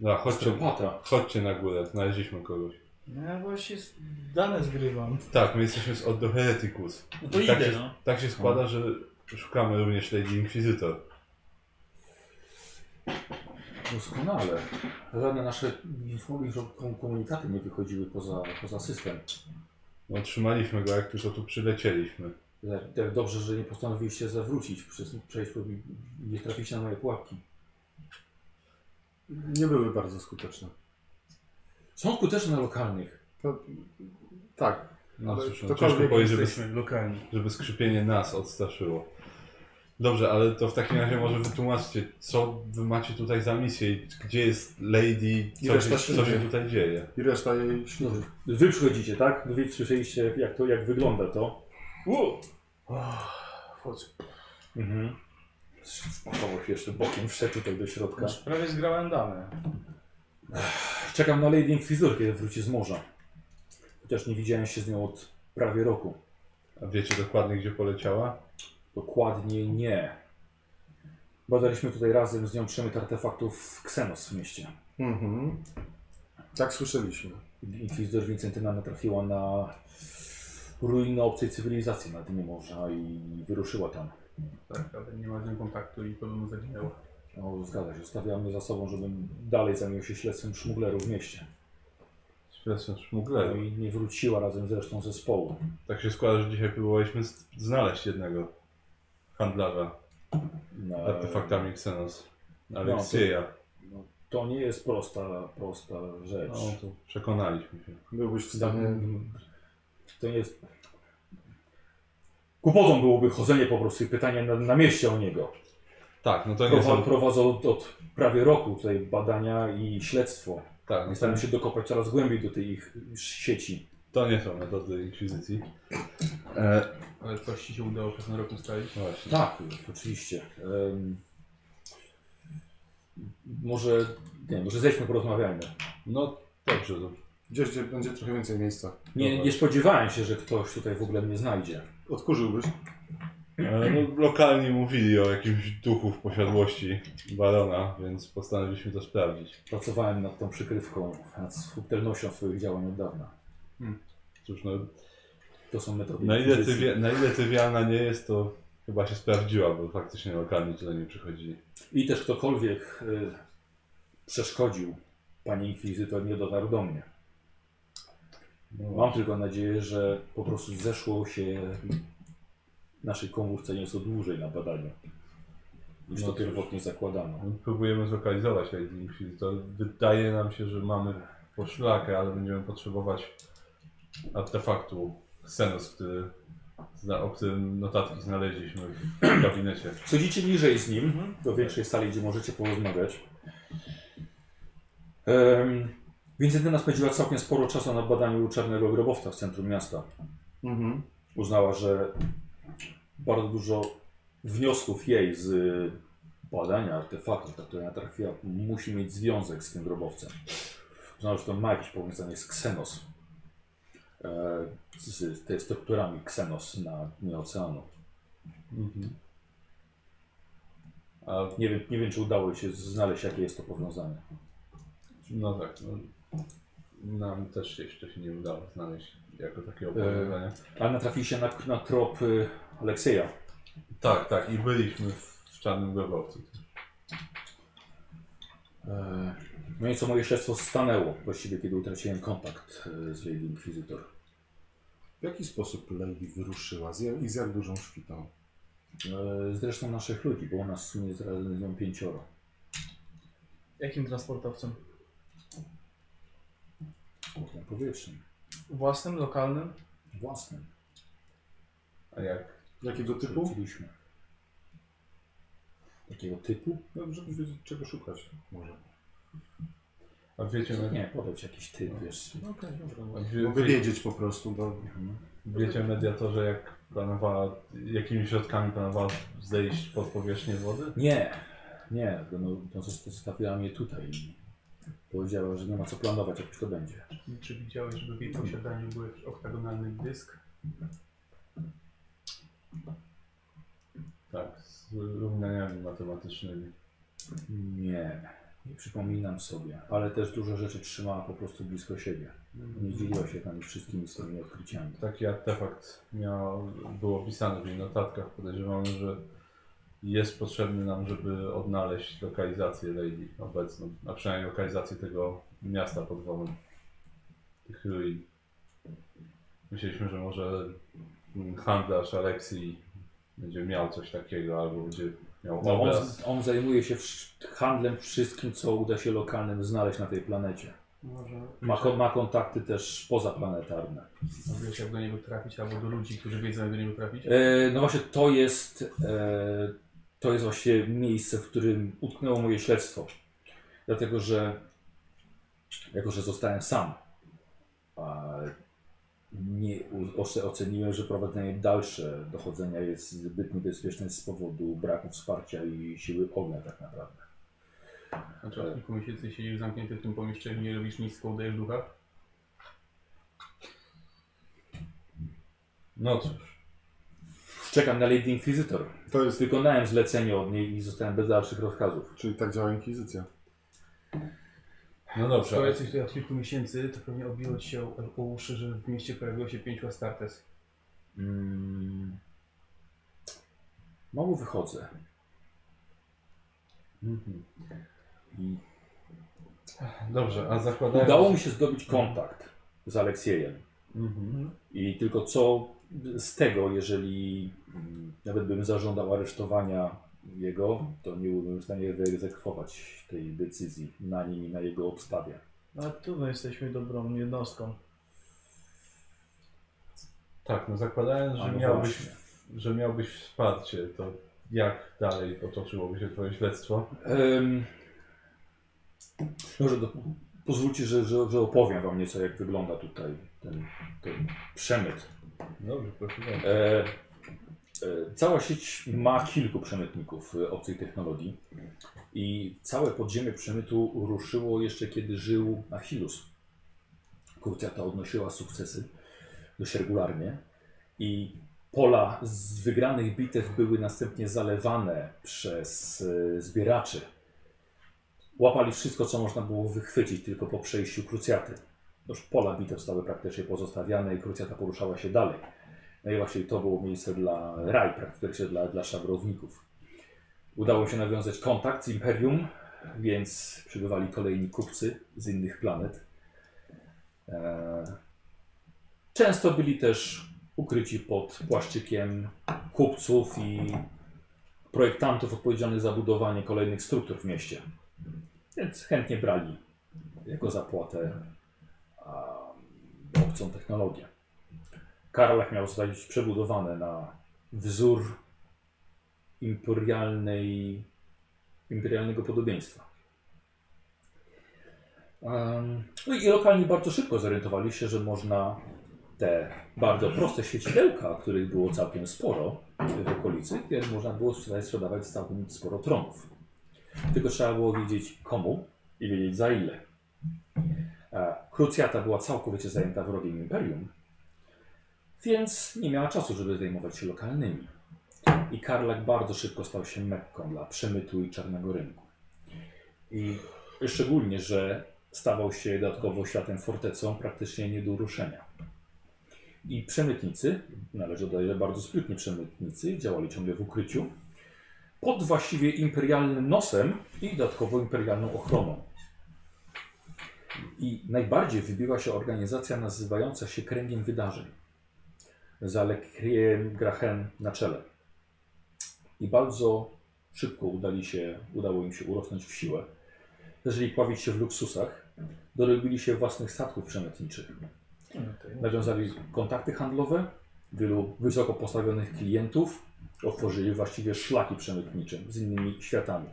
No, chodźcie, Czerpata. chodźcie na górę, znaleźliśmy kogoś. No Ja właśnie z- dane zgrywam. Tak, my jesteśmy z Ordo Hereticus. No to I tak idę, się, no. Tak się składa, że szukamy również Lady Inkwizytor. Doskonale. Żadne nasze info- kom- komunikaty nie wychodziły poza, poza system. Otrzymaliśmy No, go, jak tylko tu przylecieliśmy. Jak- Jak Tak, dobrze, że nie postanowiliście zawrócić, przez, przejść, po- nie trafiliście na moje pułapki. Nie były bardzo skuteczne. Są skuteczne na lokalnych. Tak. No, słyszę, ciężko Cokolwiek powiedzieć, żeby, jesteśmy lokalni. żeby skrzypienie nas odstraszyło. Dobrze, ale to w takim razie może wytłumaczcie, co wy macie tutaj za misję i gdzie jest Lady, I co, reszta się, co się śluzy. tutaj dzieje. I reszta jej śluzy. Wy przychodzicie, tak? Wy słyszeliście, jak to, jak wygląda to. Wow! Wchodzę. Mhm. Spakował się jeszcze bokiem, wszedł tutaj do środka. Już prawie zgrałem dane. Czekam na Lady Inquisitor, kiedy wróci z morza. Chociaż nie widziałem się z nią od prawie roku. A wiecie dokładnie, gdzie poleciała? Dokładnie nie. Badaliśmy tutaj razem z nią przemyt artefaktów Xenos w mieście. Mhm. Tak słyszeliśmy. Inkwizytor Wincentyna natrafiła na ruiny obcej cywilizacji na dnie morza i wyruszyła tam. Tak, ale nie ma z nią kontaktu i podobno zaginęła. No, zgadza się, zostawiamy za sobą, żebym dalej zajął się śledztwem szmuglerów w mieście. Świadczą No szmuglerów. i nie wróciła razem z resztą zespołu. Tak się składa, że dzisiaj próbowaliśmy z- znaleźć jednego handlarza Na- artefaktami Xenos. No, to- Aleksieja. To nie jest prosta, prosta rzecz. No, No to przekonaliśmy się. Byłbyś w stanie... To nie jest... Kłopotą byłoby chodzenie po prostu i pytanie na, na mieście o niego. Tak, no to nie Prowadzą, są... prowadzą od, od prawie roku tutaj badania i śledztwo. Tak, no to Staram się dokopać coraz głębiej do tej ich sieci. To nie są metody inkwizycji. E, no Ale coś ci się udało przez ten rok ustalić. właśnie. Tak, oczywiście. Em, może, nie, może zejdźmy, porozmawiajmy. No dobrze, to Gdzieś, gdzie będzie trochę więcej miejsca. No Nie, nie spodziewałem się, że ktoś tutaj w ogóle mnie znajdzie. Odkurzyłbyś. e, no, lokalni mówili o jakimś duchu w posiadłości barona, więc postanowiliśmy to sprawdzić. Pracowałem nad tą przykrywką, nad subtelnością swoich działań od dawna. Cóż, no, To są metody. na ile, inkwizycji. tywi- na ile tywiana nie jest, to chyba się sprawdziła, bo faktycznie lokalni tutaj nie przychodzili. I też ktokolwiek y, przeszkodził pani inkwizytor nie dotarł do mnie. No. Mam tylko nadzieję, że po prostu zeszło się naszej komórce nieco dłużej na badaniu niż No to cóż. pierwotnie zakładano. No, Próbujemy zlokalizować Lady Inquisitor. Wydaje nam się, że mamy poszlakę, ale będziemy potrzebować artefaktu Xenos, który, zna- o którym notatki znaleźliśmy w gabinecie. Przechodzicie niżej z nim, do większej sali, gdzie możecie porozmawiać. Um, Wincentyna spędziła całkiem sporo czasu na badaniu czarnego grobowca w centrum miasta. Mhm. Uznała, że bardzo dużo wniosków jej z badania artefaktów, na które natrafiła, musi mieć związek z tym grobowcem. Uznała, że to ma jakieś powiązanie z Xenos. E, z, z tymi strukturami Xenos na dnie oceanu. A, Nie wiem, nie wiem, czy udało jej się znaleźć, jakie jest to powiązanie. no tak, no, nam też jeszcze się nie udało znaleźć jako takiego powiązania. Ale natrafili się na, na trop y, Alekseja. Tak, tak, i byliśmy w, w Czarnym Grobowcu. E, No i co moje śledztwo stanęło właściwie, kiedy utraciłem kontakt e, z Lady Inquisitor. W jaki sposób Lady wyruszyła z jak, i z jak dużą szwitą? E, Zresztą naszych ludzi, bo u nas w sumie z nią pięcioro. Jakim transportowcem? Ogniem powietrznym. Własnym, lokalnym? Własnym. A jak? Jakiego typu? Wróciliśmy. Takiego typu? No, żeby wiedzieć, czego szukać może. A wiecie, me- No Nie, podać jakiś typ, wiesz. No okej, a dobra. wie, Bo wie, wiedzieć po prostu, bo... wiecie mediatorze, jak planowała, jakimi środkami planowała zejść pod powierzchnię wody? Nie, nie, bo no, to zosta- zostawiła mnie tutaj i powiedziała, że nie ma co planować, jakoś to będzie. Czy widziałeś, żeby w jej posiadaniu był jakiś oktagonalny dysk? Tak, z równaniami matematycznymi. Nie, nie przypominam sobie, ale też dużo rzeczy trzymała po prostu blisko siebie. Nie dzieliła się tam wszystkimi swoimi odkryciami. Taki artefakt miał, był opisany w jej notatkach. Podejrzewam, że jest potrzebny nam, żeby odnaleźć lokalizację Lady obecną, a przynajmniej lokalizację tego miasta pod wodą, tych ruin. Myśleliśmy, że może mm, handlarz Aleksji będzie miał coś takiego, albo będzie miał No, on, obraz. on zajmuje się wsz- handlem wszystkim, co uda się lokalnym znaleźć na tej planecie. Może. Ma, ko- ma kontakty też pozaplanetarne. A Wiesz, jak do niego trafić, albo do ludzi, którzy wiedzą, jak do niego trafić. E, no właśnie to jest, e, to jest właśnie miejsce, w którym utknęło moje śledztwo. Dlatego, że jako, że zostałem sam, a nie u- oce- oceniłem, że prowadzenie dalsze dochodzenia jest zbyt niebezpieczne z powodu braku wsparcia i siły ognia tak naprawdę. Znaczy, od kilku miesięcy siedzisz zamknięty w tym pomieszczeniu, nie robisz nic, tylko udajesz ducha. No cóż. Czekam na Lady Inquisitor. To jest, Wykonałem zlecenie od niej i zostałem bez dalszych rozkazów. czyli tak działa inkwizycja. No Skoro dobrze. jesteś tutaj od kilku miesięcy, to pewnie obiło ci się o- o uszy, że w mieście pojawiło się pięciu Astartes. Mm. Mało wychodzę. Mhm. I Dobrze, a zakładając... Udało mi się zdobyć kontakt z Aleksiejem. Mhm. I tylko co z tego, jeżeli mm, nawet bym zażądał aresztowania jego, to nie byłbym w stanie wyegzekwować tej decyzji na nim i na jego obstawie. No trudno jesteśmy dobrą jednostką. Tak, no zakładając, A że no miałbyś, właśnie. że miałbyś wsparcie, to jak dalej potoczyłoby się twoje śledztwo? Em, może do, pozwólcie, że, że, że opowiem wam nieco, jak wygląda tutaj ten, ten przemyt. Dobrze, proszę bardzo. E, e, cała sieć ma kilku przemytników e, obcej technologii i całe podziemie przemytu ruszyło jeszcze kiedy żył Achillus. Kurcja ta odnosiła sukcesy dość regularnie i pola z wygranych bitew były następnie zalewane przez e, zbieraczy. Łapali wszystko, co można było wychwycić tylko po przejściu krucjaty. Już pola bitew stały praktycznie pozostawiane i krucjata poruszała się dalej. No i właśnie to było miejsce dla raj, praktycznie dla, dla szabrowników. Udało mi się nawiązać kontakt z Imperium, więc przybywali kolejni kupcy z innych planet. Eee, Często byli też ukryci pod płaszczykiem kupców i projektantów odpowiedzialnych za budowanie kolejnych struktur w mieście. Więc chętnie brali jako zapłatę a, obcą technologię. Karlach miał zostać przebudowany na wzór imperialnej, imperialnego podobieństwa. Em, No i lokalni bardzo szybko zorientowali się, że można te bardzo proste świecidełka, których było całkiem sporo w okolicy, więc można było sprzedawać, sprzedawać całkiem sporo tronów. Tylko trzeba było wiedzieć komu i wiedzieć za ile. E, Krucjata była całkowicie zajęta wrogiem Imperium, więc nie miała czasu, żeby zajmować się lokalnymi. I Karlak bardzo szybko stał się mekką dla przemytu i czarnego rynku. I szczególnie, że stawał się dodatkowo światem fortecą praktycznie nie do uruszenia. I przemytnicy, należy dodać, że bardzo sprytni przemytnicy, działali ciągle w ukryciu, pod właściwie imperialnym nosem i dodatkowo imperialną ochroną. I najbardziej wybiła się organizacja nazywająca się Kręgiem Wydarzeń z Alekriem Grachem na czele. I bardzo szybko udali się, udało im się urosnąć w siłę. Zaczęli pławić się w luksusach, dorobili się własnych statków przemytniczych. Nawiązali kontakty handlowe, wielu wysoko postawionych klientów, otworzyli właściwie szlaki przemytnicze z innymi światami.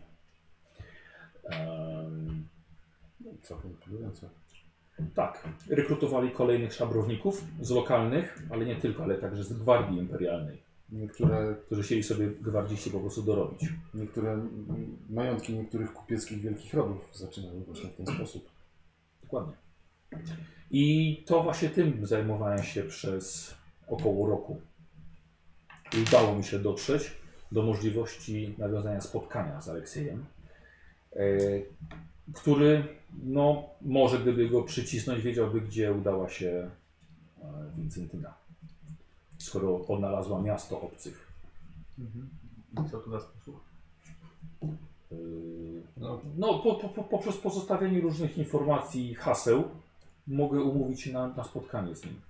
Em, Całkiem imponujące. tak, rekrutowali kolejnych szabrowników z lokalnych, ale nie tylko, ale także z Gwardii Imperialnej. Niektóre, którzy chcieli sobie gwardziści po prostu dorobić. niektóre mm, majątki niektórych kupieckich wielkich rodów zaczynają właśnie w ten sposób. Dokładnie. I to właśnie tym zajmowałem się przez około roku. I Udało mi się dotrzeć do możliwości nawiązania spotkania z Aleksiejem, e, który, no, może gdyby go przycisnąć, wiedziałby, gdzie udała się e, Wincentyna, skoro odnalazła miasto obcych. Co to za sposób? E, No, No, po, po, po, poprzez pozostawienie różnych informacji i haseł mogę umówić się na, na spotkanie z nim.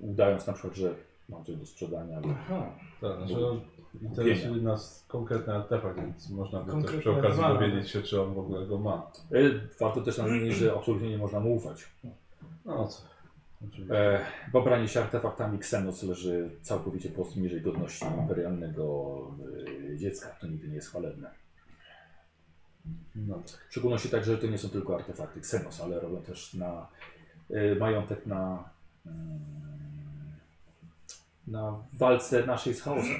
Udając na przykład, że Mam coś do sprzedania, ale Aha. Tak, znaczy no, interesuje nas konkretny artefakt, więc można by też przy Konkretny okazji dwa. dowiedzieć się, czy on w ogóle go ma. E, Warto też nadmienić, że absolutnie nie można mu ufać. No co? Oczywiście. E, Pobranie się artefaktami Xenos leży całkowicie poniżej godności imperialnego e, dziecka. To nigdy nie jest chwalebne. No, W szczególności także, że to nie są tylko artefakty Xenos, ale robią też na e, majątek na, mm, na walce naszej z chaosem.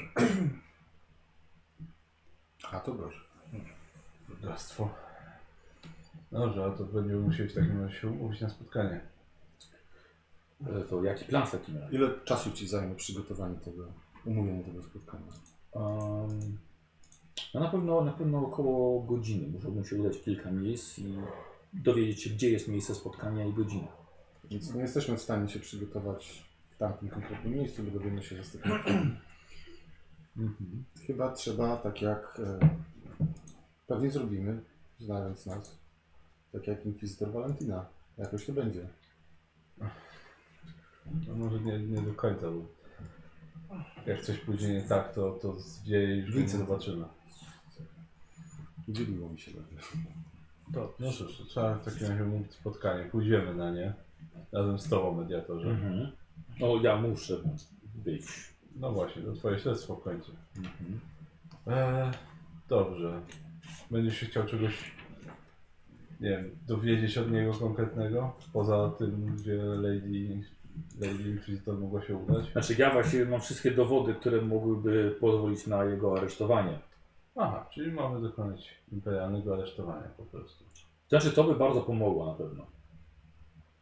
A to proszę. brudactwo. Dobrze, ale to będziemy musieli w takim razie się umówić na spotkanie. E, To jaki plan w takim razie? Ile czasu ci zajmie przygotowanie tego, umówienie tego spotkania? Em, no na pewno, na pewno około godziny. Musiałbym się udać w kilka miejsc i dowiedzieć się, gdzie jest miejsce spotkania i godzina. Więc nie jesteśmy w stanie się przygotować w tamtym konkretnym miejscu, bo dowiemy się następnego. Mhm. Chyba trzeba, tak jak e, pewnie zrobimy, znając nas, tak jak Inkwizytor Valentina. Jakoś to będzie. No może nie, nie do końca, bo jak coś później nie tak, to, to zwieje i już nic Widzę. zobaczymy. Dzieliło mi się będzie. To, no cóż, to trzeba w takim razie umówić spotkanie. Pójdziemy na nie. Razem z tobą, mediatorze. Mhm. O, ja muszę być. No właśnie, to twoje śledztwo w końcu. Mhm. Eee, dobrze. Będziesz się chciał czegoś, nie wiem, dowiedzieć od niego konkretnego? Poza tym, gdzie Lady, Lady Inquisitor mogła się udać? Znaczy ja właściwie mam wszystkie dowody, które mogłyby pozwolić na jego aresztowanie. Aha, czyli mamy dokonać imperialnego aresztowania po prostu. Znaczy to by bardzo pomogło na pewno.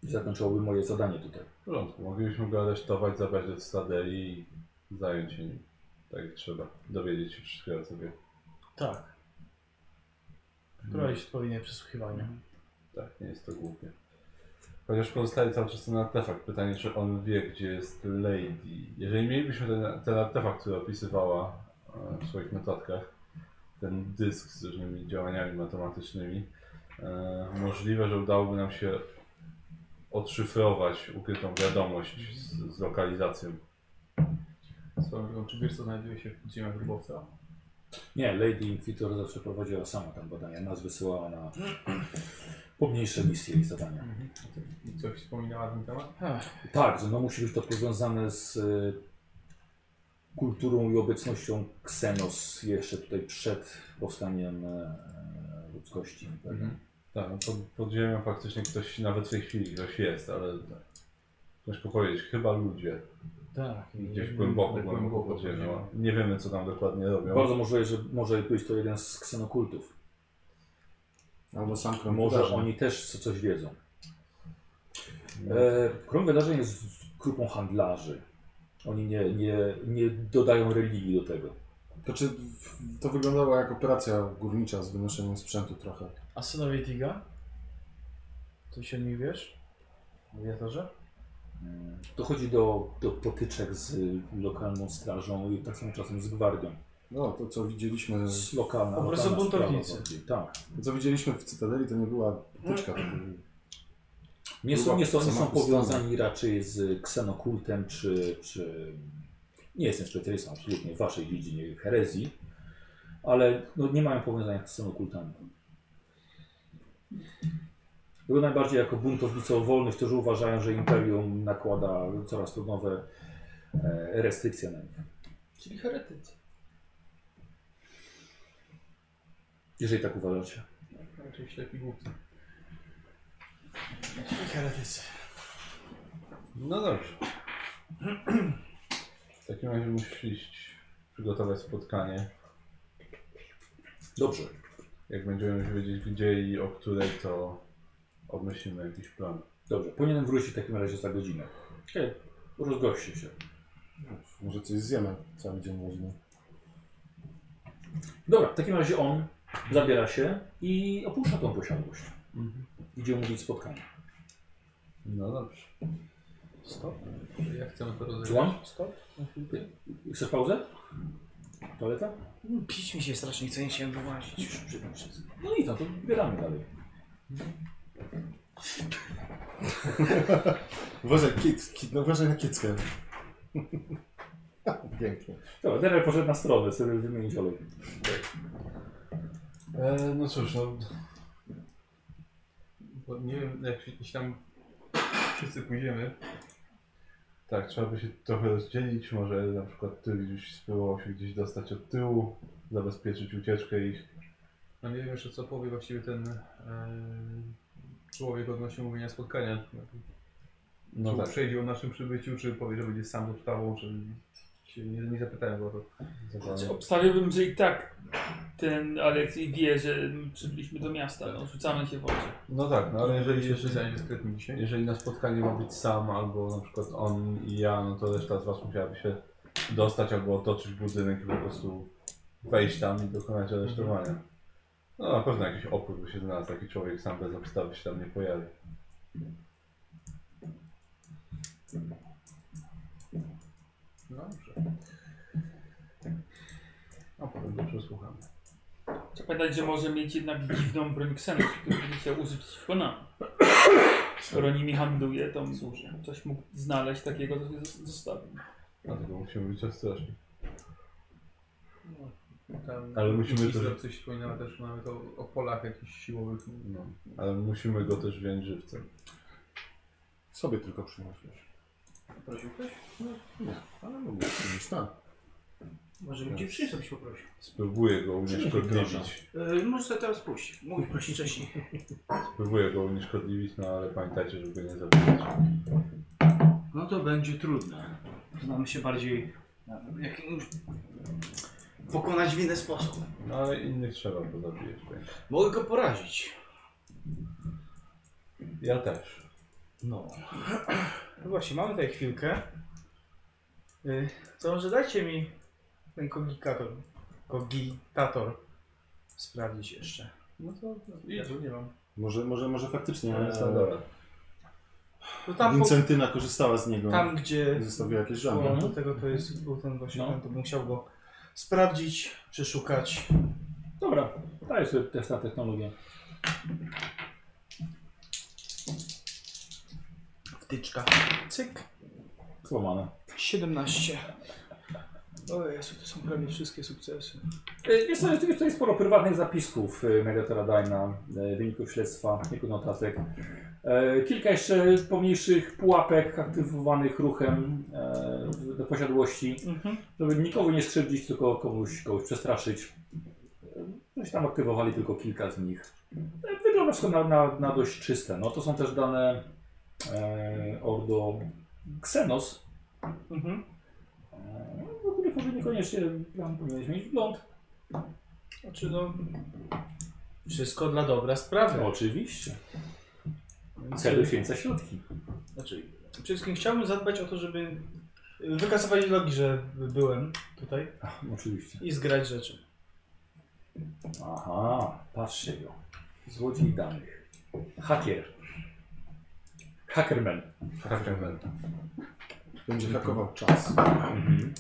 I zakończyłoby moje zadanie tutaj. W porządku, moglibyśmy go aresztować, zabrać do Stadeli i zająć się nim. Tak jak trzeba. Dowiedzieć się wszystkiego o sobie. Tak. Prowadzić odpowiednie przesłuchiwanie. Tak, nie jest to głupie. Chociaż pozostaje cały czas ten artefakt. Pytanie, czy on wie, gdzie jest Lady. Jeżeli mielibyśmy ten, ten artefakt, który opisywała e, w swoich notatkach, ten dysk z różnymi działaniami matematycznymi, e, możliwe, że udałoby nam się odszyfrować ukrytą wiadomość z, z lokalizacją. Swoją, czy wiesz co znajduje się w ziemiach grobowca? Nie, Lady Inquisitor zawsze prowadziła sama tam badania. Nas wysyłała na pomniejsze misje i zadania. Mhm. I coś wspominała na ten temat? Tak, że no musi być to powiązane z y, kulturą i obecnością Xenos jeszcze tutaj przed powstaniem e, ludzkości. Tak, no pod, pod ziemią faktycznie ktoś, nawet w tej chwili ktoś jest, ale ciężko powiedzieć, chyba ludzie. Tak. Gdzieś głęboko, głęboko pod ziemią. Nie wiemy, co tam dokładnie robią. Bardzo możliwe, że może być to jeden z ksenokultów. Albo sam krąg Może tak. wydarzeń. oni też co- coś wiedzą. E, krąg wydarzeń jest z grupą handlarzy. Oni nie, nie, nie dodają religii do tego. To czy to wyglądało jak operacja górnicza z wynoszeniem sprzętu trochę? A synowie Tiga? To się nie wiesz? Mediatorze? Mm, Dochodzi do, do potyczek z lokalną strażą i tak samo czasem z gwardią. No, to co widzieliśmy, Z lokalna, Po prostu lokalna sprawa buntownicy. bardziej, Tak. to, co widzieliśmy w Cytadeli, to nie była potyczka. To był Nie są, Była nie są, nie są sama ustawa. powiązani raczej z ksenokultem czy, czy... Nie jestem specjalistą absolutnie w waszej dziedzinie herezji, ale no, nie mają powiązania z ksenokultami. Było najbardziej jako buntownicy o wolność, którzy uważają, że imperium nakłada coraz to nowe e, restrykcje na nich. Czyli heretycy. Jeżeli tak uważacie. Raczej ślepi głupcy. Heretycy. No dobrze. W takim razie musisz iść przygotować spotkanie. Dobrze. Jak będziemy już wiedzieć gdzie i o której, to obmyślimy jakiś plan. Dobrze. Powinienem wrócić w takim razie za godzinę. Okay. Rozgoście się. Może coś zjemy cały dzień można. Dobra, w takim razie on zabiera się i opuszcza tą posiadłość. Mhm. Idzie umówić spotkanie. No dobrze. Stop. Jak chcemy to rozegrać? Słucham? Stop. na chwilkę. Chcesz pauzę? Toaleta? Pić mi się strasznie, chce nie się wyłazić. Już przy tym wszystkim. No i tam, to bieramy dalej. Uważaj, kit, kit, no uważaj na kickę. Pięknie. Dobra, Daniel poszedł na stronę, sobie wymienić olej. E, no cóż, no, Bo nie wiem, jak się gdzieś tam wszyscy pójdziemy. tak, trzeba by się trochę rozdzielić. Może na przykład ty już spróbował się gdzieś dostać od tyłu, zabezpieczyć ucieczkę ich. No nie wiem jeszcze co powie właściwie ten e, człowiek odnośnie mówienia spotkania. No czy tak, przejdzie o naszym przybyciu, czy powie, że będzie sam podstawą, czy się nie, nie zapytałem go o to. Znaczy, obstawiałbym, że i tak ten Aleksiej wie, że mm, przybyliśmy do miasta. No, rzucamy się w oczy. no tak, no ale jeżeli jeszcze jeszcze zostanie dyskretni dzisiaj. Jeżeli na spotkanie ma być sam, albo na przykład on i ja, no to reszta z was musiałaby się dostać albo otoczyć budynek i po prostu wejść tam i dokonać aresztowania. No na pewno jakiś opór by się znalazł, taki człowiek sam bez obstawy się tam nie pojawi. No dobrze. A No, potem go przesłuchamy. Trzeba pamiętać, że może mieć jednak dziwną broń ksenów, którą będzie chciał użyć przeciwko nam. Skoro nimi handluje, to słusznie. Coś mógł znaleźć takiego, co się zos- zostawił. Dlatego musimy być ostrożni. Tam Ale musimy Izra też- coś wspominała też nawet o, o polach jakichś siłowych. No. Ale musimy go też wziąć żywcem. Sobie tylko przynosisz. Prosił ktoś? Nie, ale mogę przynieść, tak. Może bym cię przyniósł, byś poprosił. Spróbuję go Proszę. unieszkodliwić. Yy, możesz sobie teraz pójść. Mówi prosić wcześniej. Spróbuję go unieszkodliwić, no ale pamiętajcie, żeby go nie zabijać. No to będzie trudne. Znamy się bardziej. e, Jak, już pokonać w inny sposób. No ale innych trzeba go zabijać. więc. Mogę go porazić. Ja też. No. No właśnie, mamy tutaj chwilkę. Y, To może dajcie mi ten kogitator. Kogitator. Sprawdzić jeszcze. No to ja tu nie mam. Może, może, może faktycznie No, Nie, e, standard. To tam, po, Wincentyna korzystała z niego. tam No. gdzie Zostawiła jakieś szło żamy. do tego, to jest był ten właśnie, No. ten, to bym chciał go sprawdzić, przeszukać. Dobra, daję sobie test na technologię. Wtyczka. Cyk. Złamane. 17. O Jezu, to są prawie wszystkie sukcesy. Y, Jest to jest tutaj sporo prywatnych zapisków y, mediatora Dajna, y, wyników śledztwa, kilku notatek. E, Kilka jeszcze pomniejszych pułapek aktywowanych ruchem e, do posiadłości, Mhm. żeby nikogo nie skrzywdzić, tylko komuś, kogoś przestraszyć. E, Coś tam aktywowali tylko kilka z nich. E, Wygląda wszystko na, na, na dość czyste. No to są też dane e, Ordo Xenos, Mhm. Eee, No, który powinien niekoniecznie plan powinieneś mieć wgląd. Znaczy no... Wszystko dla dobra sprawy. No, Oczywiście. Więc, Cel uświęca środki. Znaczy, przede wszystkim chciałbym zadbać o to, żeby y, wykasować logi, że byłem tutaj Oczywiście. i zgrać rzeczy. Aha, patrzcie go. Złodziej danych. Hakier. Hackerman. Hackerman. Będzie Mhm. hakował czas.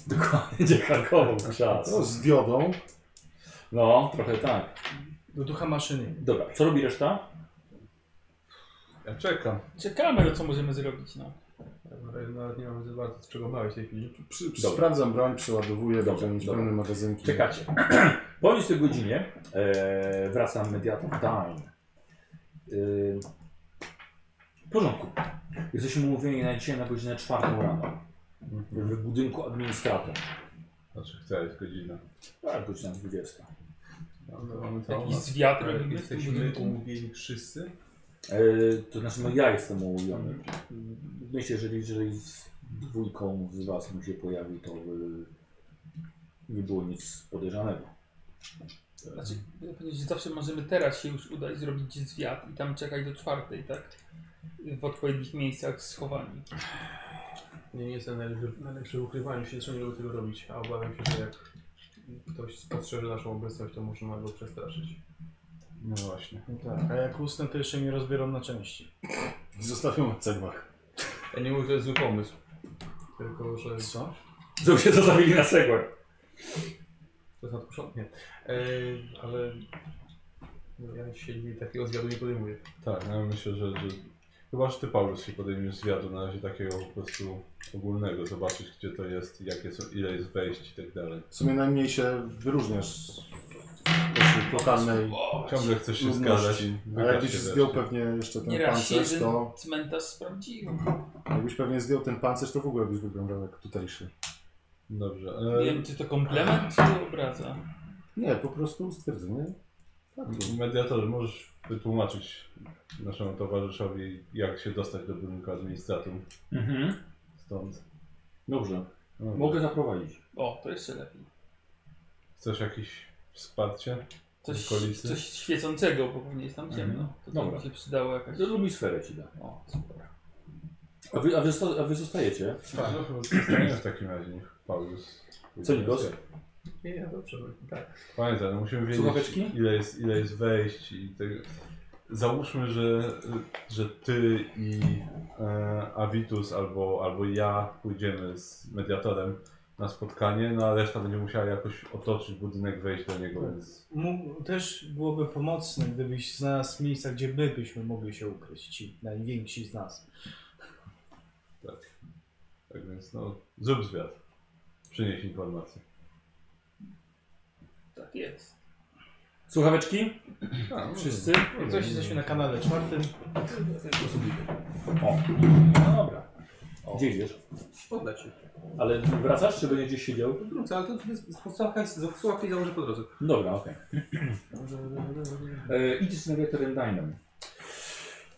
Dokładnie, Będzie hakował czas. No, z diodą. No, trochę tak. Do ducha maszyny. Dobra, co robi reszta? Ja czekam. Czekamy, co możemy zrobić, no. Nawet- Nawet nie mam za bardzo z czego małeś w tej chwili. Przy, przy, Dobra. sprawdzam broń, przeładowuję, Dobra, będę mieć dobra. pełne magazynki. Czekacie. Po 20 godzinie e, wraca mediator Dime. E, w porządku. Jesteśmy umówieni na dzisiaj na godzinę czwartą rano. W budynku administratora. Znaczy, która jest godzina? Tak, godzina 20. No, mamy całą Jakiś noc. Tak, zwiat Ale robimy w tym Jesteśmy budynku. umówieni wszyscy. E, to znaczy, no ja jestem umówiony. Myślę, że jeżeli z dwójką z Was mi się pojawi, to e, nie było nic podejrzanego. Znaczy, ja powiedzieć, że zawsze możemy teraz się już udać, zrobić zwiat i tam czekać do czwartej, tak? W odpowiednich miejscach schowani. Nie, nie jestem najlepszy, najlepszy w ukrywaniu się, zresztą nie lubię tego robić, a obawiam się, że jak ktoś spostrzeże naszą obecność, to można go przestraszyć. No właśnie. No tak, a jak usnę, to jeszcze mi rozbiorą na części. Zostawiam na cegłach. Ja nie mówię, że to jest zły pomysł. Tylko, że Co? Żeby się to zabili na cegłę. to jest nadprzątnie. Eee, ale no, ja się nie- takiego zwiadu nie podejmuję. Tak, no ja myślę, że, że Chyba, że ty, Paulus, się podejmiesz zwiadu na razie takiego po prostu ogólnego, zobaczyć gdzie to jest, jakie są, ile jest wejść i tak dalej. W sumie najmniej się wyróżniasz pośród lokalnej Ciągle chcesz się skazać. ludności. Ale jakbyś zdjął pewnie jeszcze ten Nie raz się pancerz, jeden to cmentarz sprawdził. jakbyś pewnie zdjął ten pancerz, to w ogóle byś wyglądał jak tutejszy. Dobrze. Nie E, wiem, czy to komplement, czy to obraza. Nie, po prostu stwierdzenie faktu. Mediator, możesz wytłumaczyć naszemu towarzyszowi, jak się dostać do budynku administratum Mhm. stąd. Dobrze. No, Mogę zaprowadzić. O, to jeszcze lepiej. Chcesz jakieś wsparcie? Coś, Okolicy? coś świecącego, bo pewnie jest tam ciemno. To Dobra. Dobra. mi się przydało jakaś... To Lubi sferę ci da. O, super. A wy, a wy, zosta- a wy zostajecie? Tak. No, chyba zostaniesz w takim razie, niech Paulus. Co, Nikos? Nie, nie, dobrze. Tak. Pamiętaj, no musimy wiedzieć, Słuchaweczki? ile jest, ile jest wejść i tego. Załóżmy, że, że ty i e, Avitus albo, albo ja pójdziemy z mediatorem na spotkanie, no a reszta będzie musiała jakoś otoczyć budynek, wejść do niego, więc Mu, też byłoby pomocne, gdybyś znalazł miejsca, gdzie my byśmy mogli się ukryć, ci najwięksi z nas. tak. Tak więc no, zrób zwiat. Przynieś informacje. Tak jest. Słuchaweczki? Wszyscy? Coś jesteśmy na kanale czwartym. No dobra. Gdzie idziesz? Oddać się. Ale wracasz, czy będziesz gdzieś siedział? Wrócę, ale to jest podstawka, słuchawki założę po drodze. Dobra, okej. E, Idziesz z nawigatorem Dinem.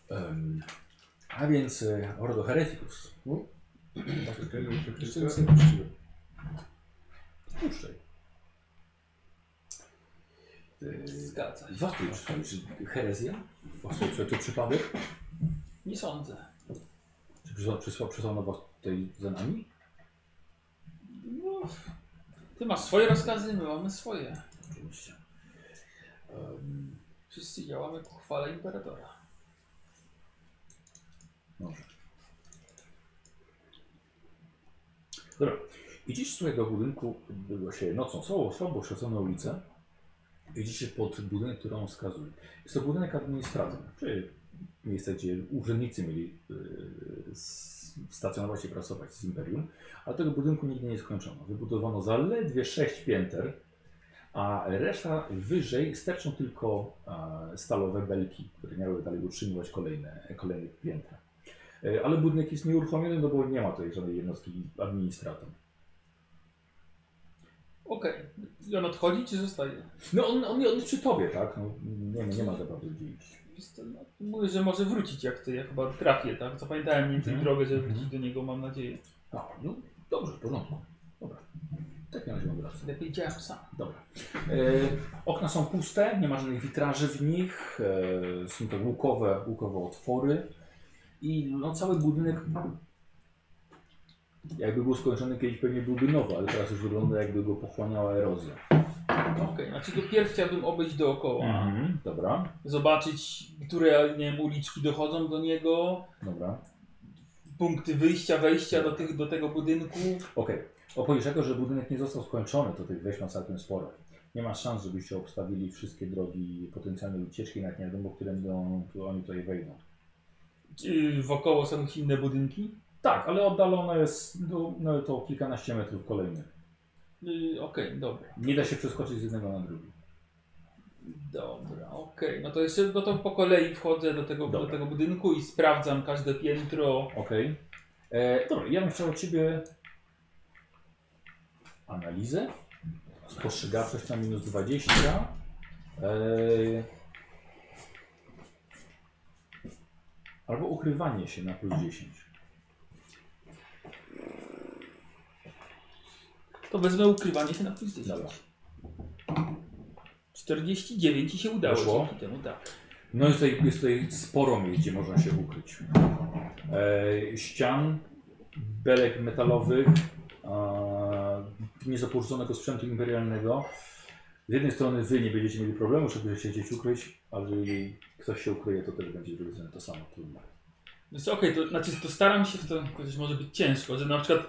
Em, a więc e, Ordo Hereticus. Jeszcze nic nie puściłem. Puszczaj. E, Zgadza się. Was tu czytali, czy herezja? Właśnie, czy to przypadek? Nie sądzę. Czy przysła- przysła- przysłano was tutaj za nami? No, ty masz swoje rozkazy, my mamy swoje. Oczywiście. Em, Wszyscy działamy ku chwale imperatora. Dobrze. Dobra. Idziesz słuchaj do budynku, było się nocą, słabo, słabo oświetloną ulicę. Idziecie pod budynek, który on wskazuje. Jest to budynek administracji, czyli miejsce, gdzie urzędnicy mieli yy, s- stacjonować i pracować z imperium, ale tego budynku nigdy nie skończono. Wybudowano zaledwie sześć pięter, a reszta wyżej sterczą tylko e, stalowe belki, które miały dalej utrzymywać kolejne, kolejne piętra. E, Ale budynek jest nieuruchomiony, no bo nie ma tutaj żadnej jednostki administrator. Okej. I on odchodzi, czy zostaje? No on, on, on jest przy tobie, tak? No, nie, nie ma naprawdę gdzie iść. Jest, no, mówię, że może wrócić jak ty, ja chyba trafię, tak? Zapamiętałem mniej więcej Mhm. drogę, żeby Mhm. wrócić do niego, mam nadzieję. A, no dobrze, w porządku. Dobra. W takim razie mam rację. Lepiej działam sam. Dobra. E, okna są puste, nie ma żadnych witraży w nich. E, są to łukowe, łukowe otwory. I no, cały budynek jakby był skończony kiedyś pewnie byłby nowy, ale teraz już wygląda jakby go pochłaniała erozja. Okej, znaczy do pierw chciałbym obejść dookoła. Mhm. Dobra, Zobaczyć, które nie wiem, uliczki dochodzą do niego, dobra. punkty wyjścia, wejścia do, tych, do tego budynku. Okej. Opowiesz jako, że budynek nie został skończony, to tych wejść ma całkiem sporo. Nie ma szans, żebyście obstawili wszystkie drogi potencjalnej ucieczki, nawet nie wiadomo, które będą, oni tutaj wejdą. Czy wokoło są inne budynki? Tak, ale oddalone jest no, no, to kilkanaście metrów kolejnych. Yy, Okej, dobra. Nie da się przeskoczyć z jednego na drugi. Dobra, okej. No to jeszcze no to po kolei wchodzę do tego, do Dobra. tego budynku i sprawdzam każde piętro. Okej. E, Dobra, ja bym chciał od Ciebie analizę. Spostrzegawczość na minus 20. E, albo ukrywanie się na plus 10. To wezmę ukrywanie się na plus 10. Dobra. 49 i się udało Weszło? dzięki temu, tak. No jest tutaj, jest tutaj sporo miejsc, gdzie można się ukryć. E, ścian, belek metalowych, e, niezaporzuconego sprzętu imperialnego. Z jednej strony wy nie będziecie mieli problemu, żeby się gdzieś ukryć, ale jeżeli ktoś się ukryje, to też będzie z drugiej strony to samo trudne. Więc okej, to znaczy to staram się w to, chociaż może być ciężko, że na przykład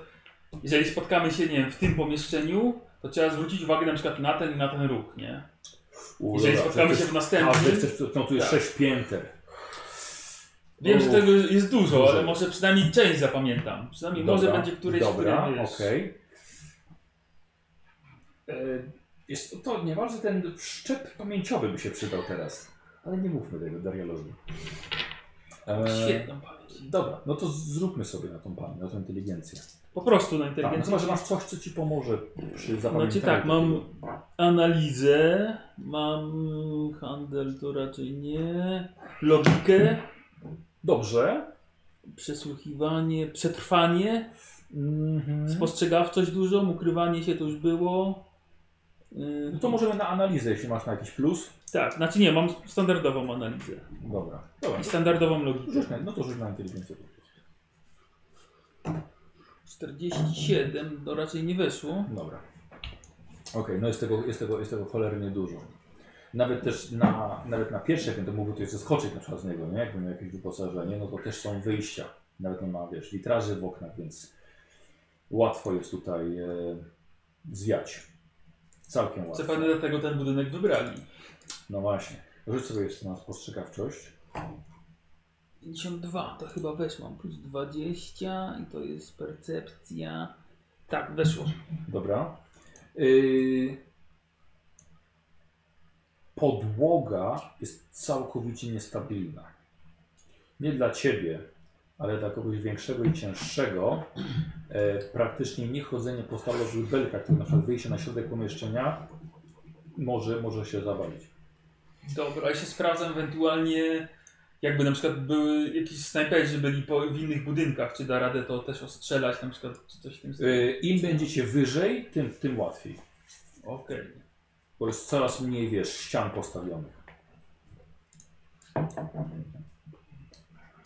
jeżeli spotkamy się, nie wiem, w tym pomieszczeniu, to trzeba zwrócić uwagę na przykład na ten i na ten róg, nie? U, Jeżeli dobra, spotkamy to się jest- w A, to następnym, jest też, no tu jest Tak. sześć pięter. Wiem, że Uff. tego jest dużo, Dużo ale jest. może przynajmniej część zapamiętam. Przynajmniej może będzie któryś, Dobra, który wiesz. okej. E, Jest to, to niemalże ten wszczep pamięciowy by się przydał teraz. Ale nie mówmy tego Darialowi. E, Świetną pamięć. Dobra, no to zróbmy sobie na tą pamięć, na tą inteligencję. Po prostu Tak, na no inteligencję. chyba, że masz coś, co ci pomoże przy zapamiętaniu. Znaczy tak, takiego. mam analizę, mam handel to raczej nie, logikę, Dobrze. przesłuchiwanie, przetrwanie, Mhm. spostrzegawczość dużą, ukrywanie się to już było. Yy, No to możemy na analizę, jeśli masz na jakiś plus. Tak, znaczy nie, mam standardową analizę Dobra. Dobra. i standardową logikę. Rzuć na, no to rzuć na inteligencję. 47, to no raczej nie weszło. Dobra. Okej, no jest tego, jest, tego, jest tego cholernie dużo. Nawet też na, nawet na pierwszych będę mógł tutaj zeskoczyć na przykład z niego, nie? Jakby miał jakieś wyposażenie, no to też są wyjścia. Nawet on ma, wiesz, witraży w oknach, więc łatwo jest tutaj e, zwiać. Całkiem łatwo. Zapewne dlatego ten budynek wybrali. No właśnie. Rzuć sobie jeszcze na spostrzegawczość. 52, to chyba weszło, mam plus 20 i to jest percepcja. Tak, weszło. Dobra. Yy... Podłoga jest całkowicie niestabilna. Nie dla ciebie, ale dla kogoś większego i cięższego. E, praktycznie niechodzenie po stalowych belkach, które na przykład znaczy wyjście na środek pomieszczenia, może, może się zawalić. Dobra, ja się sprawdzam ewentualnie, jakby na przykład były jakieś snajperzy byli po, w innych budynkach, czy da radę to też ostrzelać na przykład, czy coś w tym stylu. E, Im będziecie wyżej, tym, tym łatwiej. Okej. Bo jest coraz mniej, wiesz, ścian postawionych.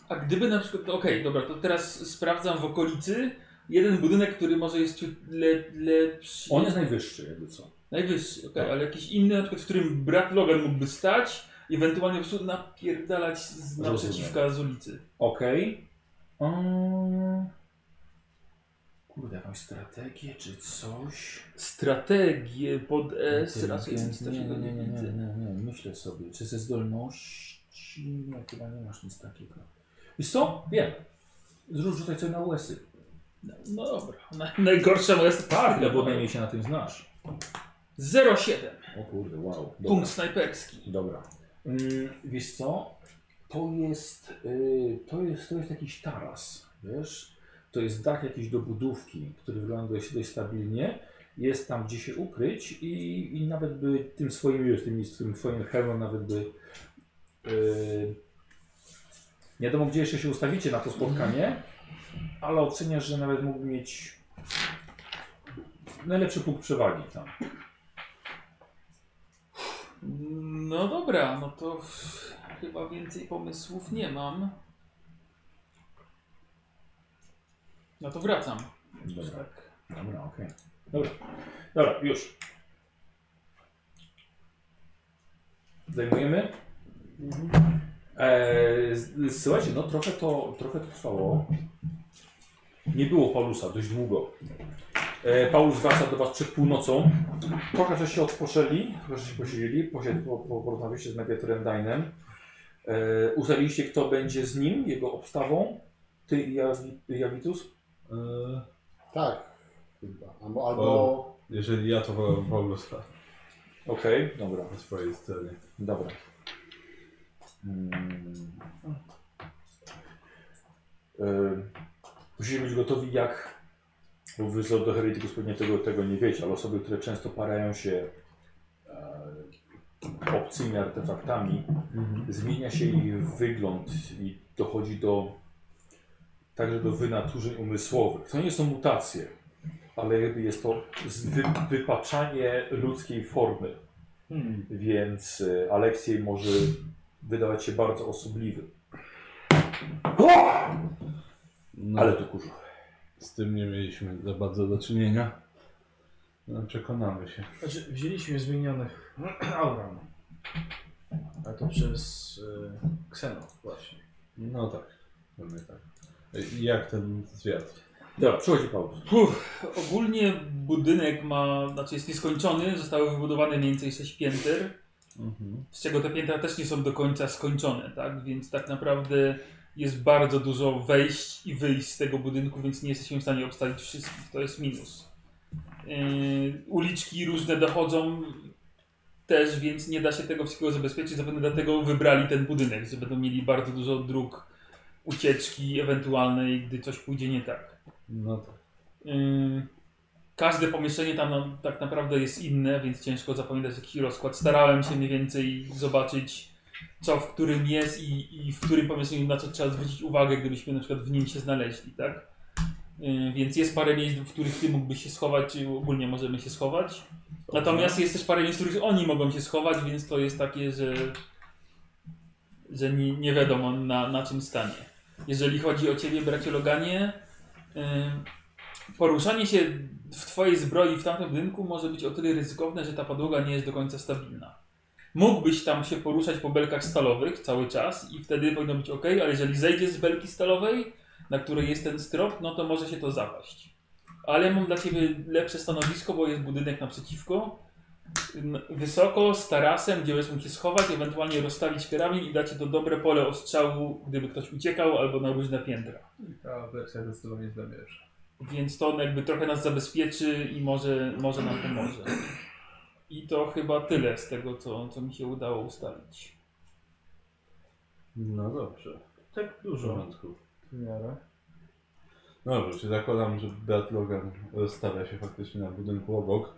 A gdyby na przykład, okej, dobra, to teraz sprawdzam w okolicy jeden budynek, który może jest ciut le, lepszy. On Tak. jest najwyższy, jakby co. Najwyższy, okej, ale jakiś inny, na przykład, w którym brat Logan mógłby stać i ewentualnie po prostu napierdalać z Rozumiem. naprzeciwka z ulicy. Okej. Mm. Kurde, jakąś strategię czy coś? Strategię pod S, raczej nic nie, nie, takiego nie, nie, nie, widzę. nie, nie, myślę sobie. Czy ze zdolności? Nie, chyba nie masz nic takiego. I co? Wiem. Zrób rzucaj coś na łesy. No, no dobra, Na, najgorsza moja Tak, strategia. bo najmniej się na tym znasz. 07, O kurde, wow. Dobra. punkt snajperski. Dobra. Mm, wiesz co? To jest, y, to jest, to jest jakiś taras, wiesz? To jest dach jakiejś dobudówki, który wygląda dość, dość stabilnie. Jest tam gdzie się ukryć i, i nawet by tym swoim, wiesz, tym, tym swoim hełmem nawet by... y, nie wiadomo gdzie jeszcze się ustawicie na to spotkanie, ale oceniasz, że nawet mógł mieć najlepszy punkt przewagi tam. No dobra, no to chyba więcej pomysłów nie mam. No to wracam. Dobra. Tak. Dobra, okej. Dobra. Dobra, już. Zdejmujemy. Eee, z- z- słuchajcie, no trochę to, trochę to trwało. Nie było Paulusa dość długo. E, Paulus wraca do Was przed północą. Trochę, że się odpoczęli, trochę, że się posiedzieli, posied- po, po, porozmawialiście z Megatorem Dinem. E, ustaliliście, kto będzie z nim, jego obstawą. Ty i Jawi- Jawitus? Eee, Tak. Chyba. Albo, albo... jeżeli ja, to wolę Paulusa Okej, dobra. po swojej stronie. Dobra. Mm. Yy, musimy być gotowi jak wy z do Heretykus pewnie tego, tego nie wiecie, ale osoby, które często parają się e, obcymi artefaktami, zmienia się ich wygląd i dochodzi do także do wynaturzeń umysłowych. To nie są mutacje, ale jakby jest to z- wy, wypaczanie ludzkiej formy Hmm. więc y, Aleksiej może wydawać się bardzo osobliwy. No, Ale to kurzu. Z tym nie mieliśmy za bardzo do czynienia. No, przekonamy się. Znaczy, wzięliśmy zmienionych auram. A to przez y, Xeno właśnie. No tak, pewnie tak. Ej, Jak ten zwiat? Dobra, przychodzi Paulus. Uff, ogólnie budynek ma, znaczy jest nieskończony, zostały wybudowane mniej więcej 6 pięter, z czego te piętra też nie są do końca skończone, tak? Więc tak naprawdę jest bardzo dużo wejść i wyjść z tego budynku, więc nie jesteśmy w stanie obstawić wszystkich. To jest minus. Yy, uliczki różne dochodzą też, więc nie da się tego wszystkiego zabezpieczyć. Zapewne dlatego wybrali ten budynek, że będą mieli bardzo dużo dróg ucieczki ewentualnej, gdy coś pójdzie nie tak. No tak. Yy, Każde pomieszczenie tam no, tak naprawdę jest inne, więc ciężko zapamiętać jaki rozkład. Starałem się mniej więcej zobaczyć, co w którym jest i, i w którym pomieszczeniu na co trzeba zwrócić uwagę, gdybyśmy na przykład w nim się znaleźli, tak? Yy, Więc jest parę miejsc, w których ty mógłbyś się schować, czy ogólnie możemy się schować. Natomiast jest też parę miejsc, w których oni mogą się schować, więc to jest takie, że, że nie, nie wiadomo na, na czym stanie. Jeżeli chodzi o ciebie, bracie Loganie, yy, Poruszanie się w twojej zbroi w tamtym budynku może być o tyle ryzykowne, że ta podłoga nie jest do końca stabilna. Mógłbyś tam się poruszać po belkach stalowych cały czas i wtedy powinno być ok, ale jeżeli zejdziesz z belki stalowej, na której jest ten strop, no to może się to zapaść. Ale mam dla ciebie lepsze stanowisko, bo jest budynek naprzeciwko, n- wysoko, z tarasem, gdzie będziesz mógł się schować, ewentualnie rozstawić kierami i dać ci to dobre pole ostrzału, gdyby ktoś uciekał albo na różne piętra. Ta wersja zdecydowanie jest dla mnie lepsza. Więc to on jakby trochę nas zabezpieczy i może, może nam pomoże. I to chyba tyle z tego, co, co mi się udało ustalić. No dobrze. Tak W dużo porządku. w miarę. No dobrze, czyli zakładam, że Beat Logan stawia się faktycznie na budynku obok.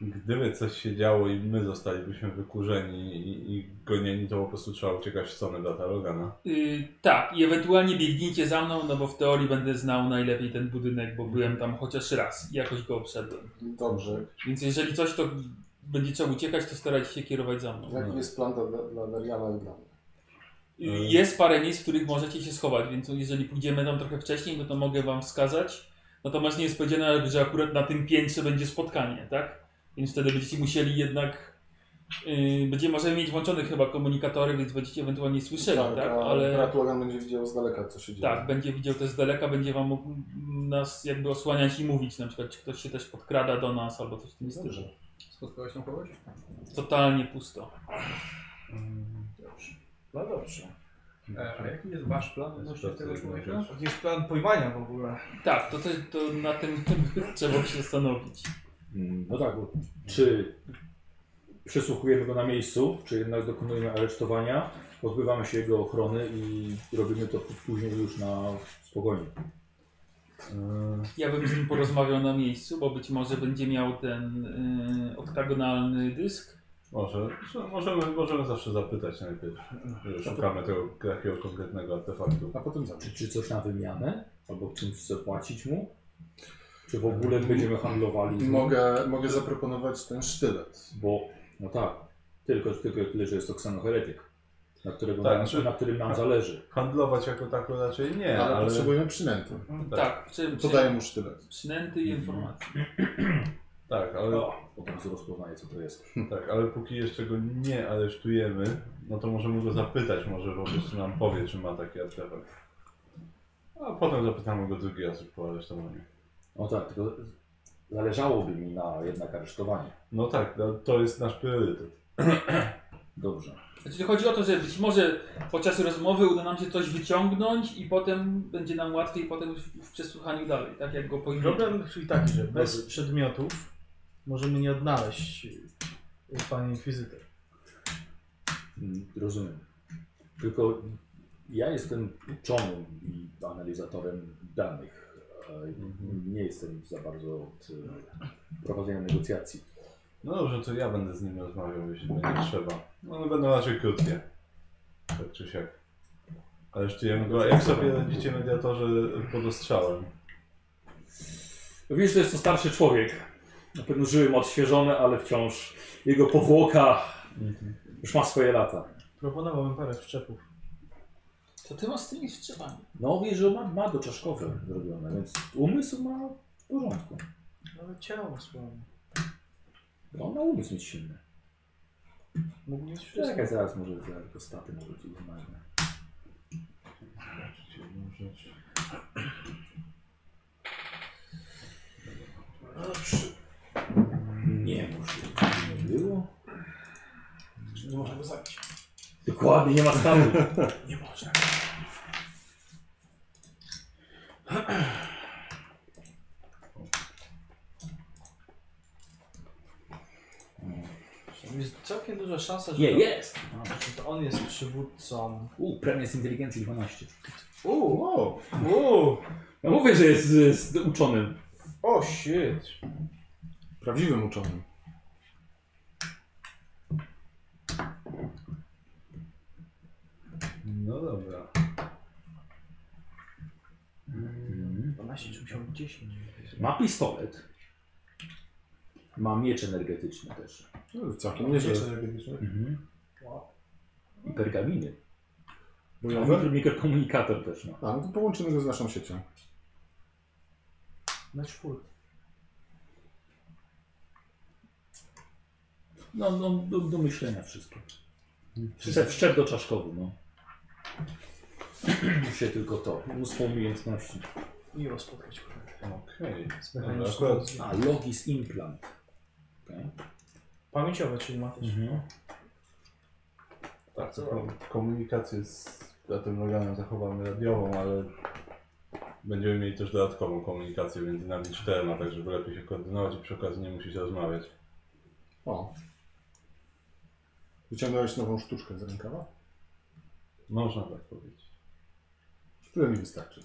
Gdyby coś się działo i my zostalibyśmy wykurzeni i, i gonieni, to po prostu trzeba uciekać w stronę Beata Logana. Yy, tak, i ewentualnie biegnijcie za mną, no bo w teorii będę znał najlepiej ten budynek, bo byłem tam chociaż raz i jakoś go obszedłem. Dobrze. Więc jeżeli coś, to będzie trzeba uciekać, to starajcie się kierować za No. mną. Jaki jest plan dla, dla Dariana i dla mnie? Y, Jest parę miejsc, w których możecie się schować, więc jeżeli pójdziemy tam trochę wcześniej, no to mogę wam wskazać. Natomiast nie jest powiedziane, że akurat na tym piętrze będzie spotkanie, tak? Więc wtedy będziecie musieli jednak. Yy, będziemy możemy mieć włączone chyba komunikatory, więc będziecie ewentualnie słyszeli, tak? a Ale Brat Logan będzie widział z daleka, co się dzieje. tak, będzie widział też z daleka, będzie wam mógł nas jakby osłaniać i mówić, na przykład, czy ktoś się też podkrada do nas albo coś w tym stylu. Dobrze. Spotkałeś tam kogoś? Totalnie pusto. No dobrze. E, a jaki jest wasz plan odnośnie tego człowieka? Jaki jest plan pojmania w ogóle? Tak, to, to, to na tym trzeba się zastanowić. Mm, No tak, bo czy przesłuchujemy go na miejscu, czy jednak dokonujemy aresztowania, pozbywamy się jego ochrony i robimy to później już na spokojnie. Ja bym z nim porozmawiał na miejscu, bo być może będzie miał ten y, oktagonalny dysk. Może, że możemy, możemy zawsze zapytać najpierw. że Szukamy tego takiego konkretnego artefaktu. A potem za Czy, czy coś na wymianę? Albo czymś zapłacić mu? Czy w ogóle będziemy handlowali? z nim? Mogę, mogę zaproponować ten sztylet. Bo, no tak, tylko, tylko tyle, że jest to ksenoheretyk, na, którego Tak, nam, znaczy- na którym nam zależy. Handlować jako tako raczej nie, ale, ale... potrzebujemy przynęty. Tak, tak przy, przy, Podaję mu sztylet. przynęty Mhm. i informacje. Tak, ale O, od razu rozpoznaję, co to jest. Tak, ale póki jeszcze go nie aresztujemy, no to możemy go zapytać, może po prostu nam powie, czy ma taki artefakt. A potem zapytamy go drugi raz już po aresztowaniu. No tak, tylko zależałoby mi na jednak aresztowanie. No tak, no, to jest nasz priorytet. Dobrze. Znaczy, chodzi o to, że być może podczas rozmowy uda nam się coś wyciągnąć i potem będzie nam łatwiej potem w, w przesłuchaniu dalej, tak jak go pojmiemy. Problem czyli taki, że bez przedmiotów możemy nie odnaleźć y, pani inkwizytor. Mm, Rozumiem. Tylko ja jestem uczonym i analizatorem danych. a Nie jestem za bardzo od e, prowadzenia negocjacji. No dobrze, to ja będę z nim rozmawiał, jeśli będzie trzeba. No one będą raczej krótkie. Tak czy siak. Aresztujemy go. A jak sobie radzicie mediatorze pod ostrzałem? No Wiesz, to jest to starszy człowiek. Na pewno żyły ma odświeżone, ale wciąż jego powłoka już ma swoje lata. Proponowałbym parę wszczepów. To ty masz z tymi wstrzymami. No wiesz, że ma, ma doczaszkowe zrobione, więc umysł ma w porządku. Ale ciało słone. On ma umysł mieć silny. Mógł mieć wszystko. Czekaj, zaraz może zaraz tylko staty może ci znajdę. Zobaczyć jedną rzecz. Nie, może nie było. Nie można go zabić. Dokładnie, nie ma stanu. Nie można. Tak. Jest całkiem duża szansa, że Nie, to, jest! że to on jest przywódcą. U, premia z inteligencji 12. Uuu, O, uuu. No mówię, że jest, jest uczonym. O shit. prawdziwym uczonym. No dobra. 12 czy musiał być 10. Mhm. Ma pistolet. Ma miecz energetyczny też. Mhm. No, całkiem nieźle. I pergaminy. Bojowe? Mikrokomunikator też ma. A, no to połączymy go z naszą siecią. Na czwórkę. No, no do, do myślenia wszystko. Mhm. Wszczep, wszczep do czaszkowy, no. Się tylko to. Mnóstwo umiejętności. Miło spotkać kolegę. Okej. Dobra, mechaniczną. akurat A, logis implant. Tak? Okay. Pamięciowe, czyli ma też. tak, to kom- komunikację z tym Loganem zachowamy radiową, ale będziemy mieli też dodatkową komunikację między nami czterema, tak żeby lepiej się koordynować i przy okazji nie musieć rozmawiać. O. Wyciągałeś nową sztuczkę z rękawa? Można tak powiedzieć. Tyle mi wystarczy.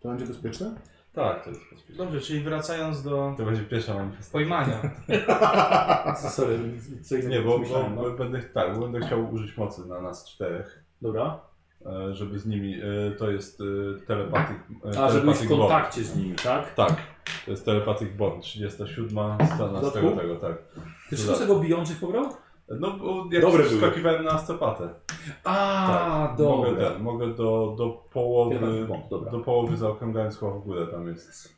To będzie bezpieczne? Tak, to jest bezpieczne. Dobrze, czyli wracając do To będzie pierwsza manifestacja. pojmania. Sorry, co innego Nie, bo, bo, myślałem, no. bo będę, tak, bo będę chciał użyć mocy na nas czterech, Dobra. e, żeby z nimi, e, to jest e, telepathic, e, A, żeby być telepathic w bond. kontakcie z nimi, tak? Tak, to jest telepathic bond, 37 strona z tego, Dodatku? tego, tak. Ty wszystko z tego bijących pobrał? No, bo Dobre jak Dobre były. wskakiwałem na ascopatę. A, Tak, Mogę, dobra. ten, mogę do, do Telepathic połowy, bond, dobra. do połowy zaokrągając chyba w górę tam jest. Co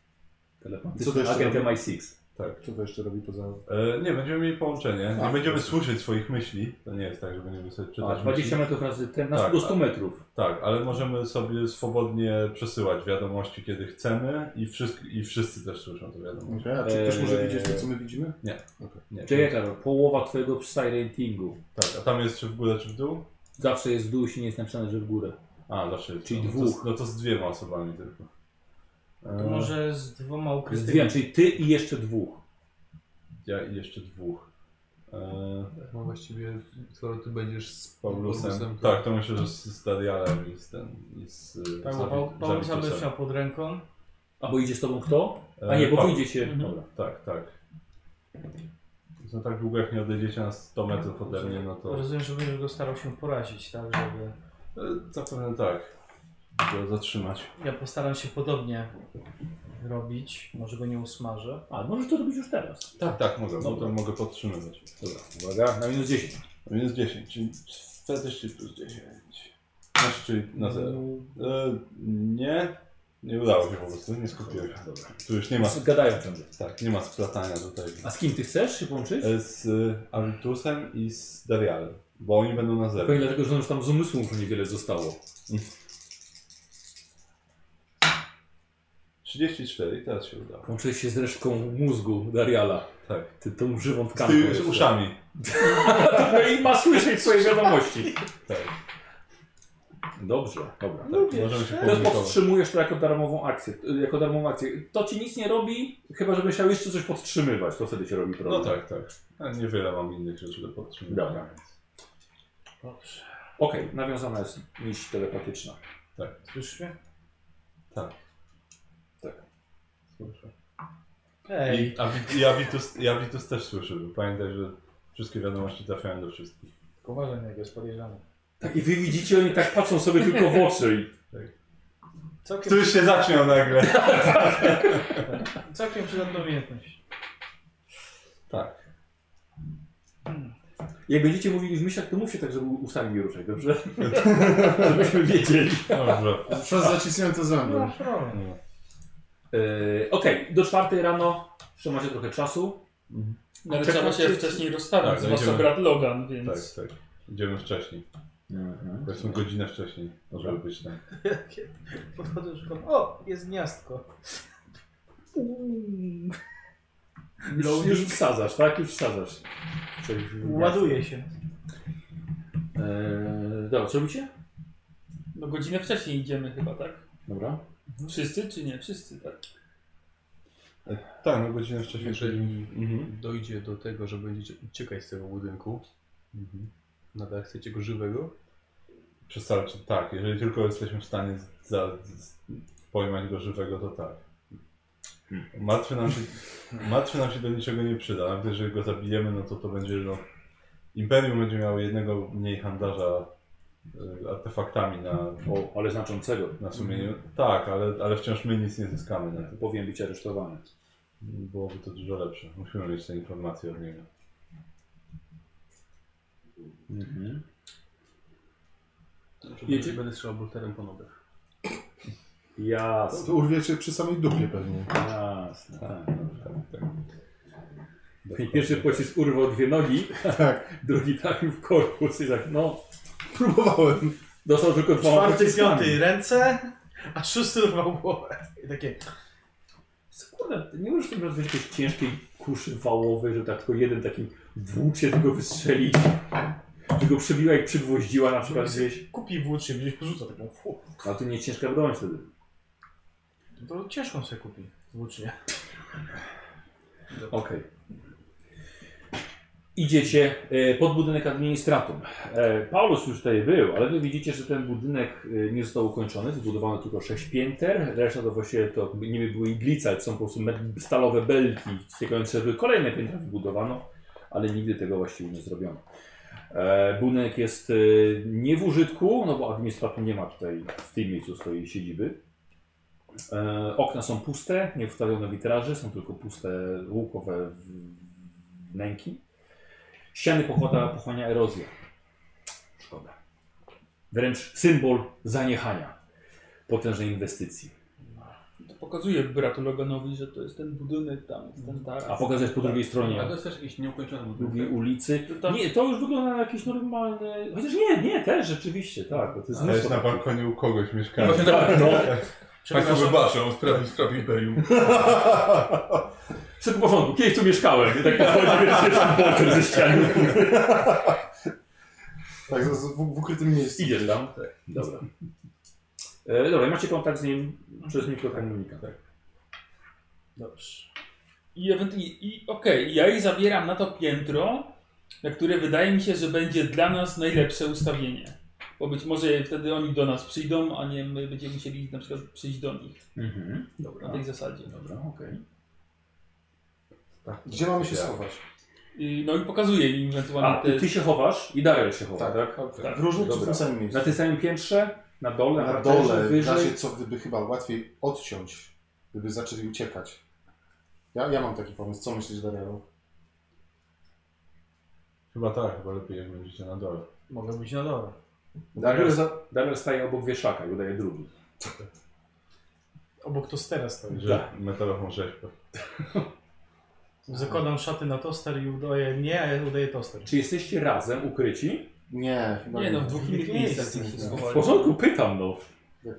Telepatyczny to jeszcze agent robi? MI6. Tak. Co to jeszcze robi poza... E, nie, będziemy mieli połączenie, nie A. będziemy słyszeć swoich myśli, to nie jest tak, że będziemy sobie Tak. A, czytać 20 myśli. metrów razy ten, na Tak, 100 tak. metrów. Tak, ale możemy sobie swobodnie przesyłać wiadomości, kiedy chcemy i, wszyscy, i wszyscy też słyszą te wiadomości. Okej, a czy ktoś może Eee. widzieć to, co my widzimy? Nie, Czekaj, Karol, połowa twojego psy ratingu. tak, a tam jest czy w górę, czy w dół? Zawsze jest w dół, jeśli nie jest napisane, że w górę. A, zawsze jest. Czyli no, To, dwóch. z- no to z dwiema osobami tylko. To E, może z dwoma Jest ukrytymi. dwie, czyli ty i jeszcze dwóch. Ja i jeszcze dwóch. E, No właściwie, skoro ty będziesz z z Paulusem. Paulusem, Tak, to myślę, że z, z Darialem i z ten. I z, e, Paul- Zawi- Tak, Paul- Paulusa Zawitosem. będziesz miał pod ręką. A bo idzie z tobą kto? A E, nie, bo Paul- wyjdzie się. Mhm. Dobra. Tak, tak. No tak długo jak nie odejdziecie na 100 metrów ode mnie, no to. Rozumiem, że będziesz go starał się porazić, tak, żeby... E, Zapewne tak. Go zatrzymać. Ja postaram się podobnie robić. Może go nie usmażę. A, możesz to robić już teraz. Tak, tak, mogę, bo Dobra. to mogę podtrzymywać. Dobra, uwaga, na minus 10. Minus 10, czyli 43 plus 10. Masz czyli na 0. E, nie, nie udało się po prostu, nie skupiłem. się. Dobra. Tu już nie ma, Gadają ciągle. tak, nie ma splatania tutaj. A z kim ty chcesz się połączyć? E, Z e, Avitusem i z Darialem, bo oni będą na 0. Pewnie dlatego, że już tam z umysłu już niewiele zostało. 34, teraz się udało. Łączyłeś się z resztką mózgu Dariala. Tak. Ty tą żywą Z, tkanką. ty, z jeszcze. uszami. No i ma słyszeć swoje wiadomości. Tak. Dobrze, dobra. Tak. Możemy Teraz się komunikować. powstrzymujesz to jako darmową akcję. y, Jako darmową akcję. To ci nic nie robi, chyba że będziesz chciał jeszcze coś podtrzymywać, to wtedy ci robi problem. No tak, tak. A niewiele mam innych rzeczy do podtrzymywania. Dobra. więc- Okej, nawiązana jest nić telepatyczna. Słyszysz mnie? Tak. Tak. Słyszę. Ej, I, Avi- i, Avitus, I Avitus też słyszy, bo pamiętaj, że wszystkie wiadomości trafiają do wszystkich. tylko uważaj na niego, jest podejrzany. Tak, i wy widzicie, oni tak patrzą sobie tylko w oczy. Całkiem, Tu już się zaśmiał nagle. całkiem przydatna umiejętność. Tak. I jak będziecie mówili w myślach, to mówcie tak, żeby ustami nie ruszać, dobrze? Żebyśmy wiedzieli. Dobrze. Przez zacisnąłem to za No. mną. problem. Yy, Okej, do czwartej rano, jeszcze macie trochę czasu. Nawet trzeba się wcześniej rozstawić, Tak, zwłaszcza będziemy- brat Logan, więc... Tak, tak. Idziemy wcześniej. Powiedzmy godzinę wcześniej, żeby być tam. Podchodzę, szukam. O, jest gniazdko. Już, No, już wsadzasz, tak? Już wsadzasz. Coś w- Ładuje się. Eee, dobra, co robicie? No godzinę wcześniej idziemy chyba, tak? Dobra. Mhm. Wszyscy czy nie? Wszyscy, tak. Tak, no godzinę wcześniej. Jeżeli Mhm. dojdzie do tego, że będziecie uciekać z tego budynku, Mhm. nadal chcecie go żywego, Przestarczy, tak. Jeżeli tylko jesteśmy w stanie z- za, z, pojmać go żywego, to tak. Hmm. Martwy nam, się, martwy nam się do niczego nie przyda. Nawet jeżeli go zabijemy, no to to będzie, no... Imperium będzie miało jednego mniej handlarza y, artefaktami na, O, ale znaczącego. na sumieniu. Tak, ale, ale wciąż my nic nie zyskamy no. na tym. E, Powinien być aresztowany. Byłoby to dużo lepsze. Musimy mieć te informacje od niego. Mhm. to Jedzie- będę strzelał bolterem po nogach. Jasne. To urwiecie przy samej dupie pewnie. Jasne. Tak, Tak. tak, tak. I Pierwszy pocisk urwał dwie nogi, Tak, drugi trafił w korpus i tak, no, próbowałem. dostał tylko dwa Czwarty, piąty ręce, a szósty urwał głowę. I takie, Kurde, nie możesz tym rozwiązać jakiejś ciężkiej kuszy wałowej, że tak tylko jeden taki włócz się tylko wystrzeli, że go przebiła i przygwoździła na przykład gdzieś. kupi włócznie, gdzieś porzuca taką, fu. No, A to nie ciężka broń wtedy. To ciężką sobie kupi włócznie. Okej. Idziecie e, pod budynek administratum. E, Paulus już tutaj był, ale wy widzicie, że ten budynek e, nie został ukończony. Zbudowano tylko sześć pięter. Reszta to właściwie to niby były iglice, ale to są po prostu me- stalowe belki ściekające, żeby kolejne piętra wybudowano, ale nigdy tego właściwie nie zrobiono. E, Budynek jest e, nie w użytku, no bo administratum nie ma tutaj w tym miejscu swojej siedziby. E, okna są puste, nie wstawiono witraży, są tylko puste łukowe w- wnęki. Ściany pochłada, pochłania erozja. Szkoda. Wręcz symbol zaniechania potężnej inwestycji. To pokazuje bratu Loganowi, że to jest ten budynek, tam jest ten taras. A pokazać po drugiej A stronie tak, to jest też jakiś nieukończony drugiej budynek. ulicy. Nie, to już wygląda na jakieś normalne. Chociaż nie, nie, też rzeczywiście, tak. Bo to jest To jest mnóstwo na takich- balkonie u kogoś mieszkania. no Właśnie tak, no. Państwo wybaczą, sprawi, sprawi imperium. Wszystko w porządku, kiedyś tu mieszkałem. I tak pochodzi, więc jest boczek ze ściany. Tak, z- z- w, w ukrytym miejscu. Idziesz tam? Dobra. E, Tak, dobra, macie kontakt z nim przez mikrokomunika. Tak. Dobrze. I, ewent- i, i okej, ja ich zabieram na to piętro, na które wydaje mi się, że będzie dla nas najlepsze ustawienie. Bo być może wtedy oni do nas przyjdą, a nie my będziemy musieli na przykład przyjść do nich Mhm. na Dobra. tej zasadzie. Dobra, okej. Tak. Gdzie mamy się schować? I, no i pokazuję im A, ewentualnie ty, te... ty się chowasz i Daryl się chowa, tak? W różnych czy w Dobra. tym samym miejscu? Na tym samym piętrze? Na dole? Na parterze, dole, wyżej? da się co gdyby chyba łatwiej odciąć, gdyby zaczęli uciekać. Ja, ja mam taki pomysł, co myślisz Darialu? Chyba tak, chyba lepiej jak będziecie na dole. Mogę być na dole. Daryl, Darialu za... Daryl staje obok wieszaka i udaje drugi. Obok tostera Tak. stoi. Że metalową rzeźbę. Zakładam szaty na toster i udaję mnie, a ja udaję toster. Czy jesteście razem ukryci? Nie, chyba Nie no, w dwóch innych miejscach Miejsce, się nie. W schowali. porządku, pytam no.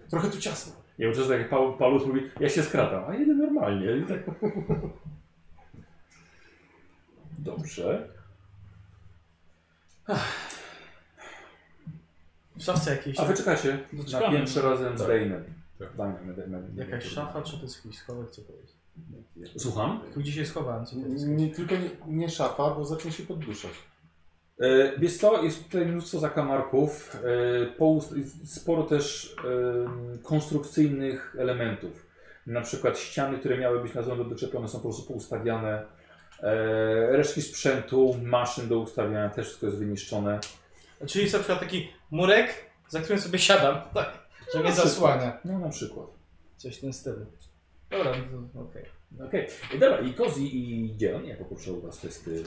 Trochę tu ciasno. Nie wiem, czy jest tak jak Paul, Paulus mówi, ja się skratam, a jeden normalnie. I tak. Dobrze. W szafce jakiejś. A wy czekacie na Doczekamy. piętrze razem z Tak. Reinem. Tak. Dajmy, dajmy, dajmy. Jakaś szafa, czy to jest jakiś schowek, co powiedz? Słucham? Tu dzisiaj schowałem, co powiedz? Nie, tylko nie, nie szafa, bo zacznie się podduszać. E, Wiesz co, jest tutaj mnóstwo zakamarków, e, połust- sporo też e, konstrukcyjnych elementów. Na przykład ściany, które miały być na złą doczepione są po prostu poustawiane. E, Resztki sprzętu, maszyn do ustawiania też wszystko jest wyniszczone. Czyli jest na przykład taki murek, za którym sobie siadam, tak, że mnie zasłania. No na przykład. Coś w tym stylu. Dobra, no to okej. Okej, I dobra, i Kozi i Dzielon, ja poproszę u Was testy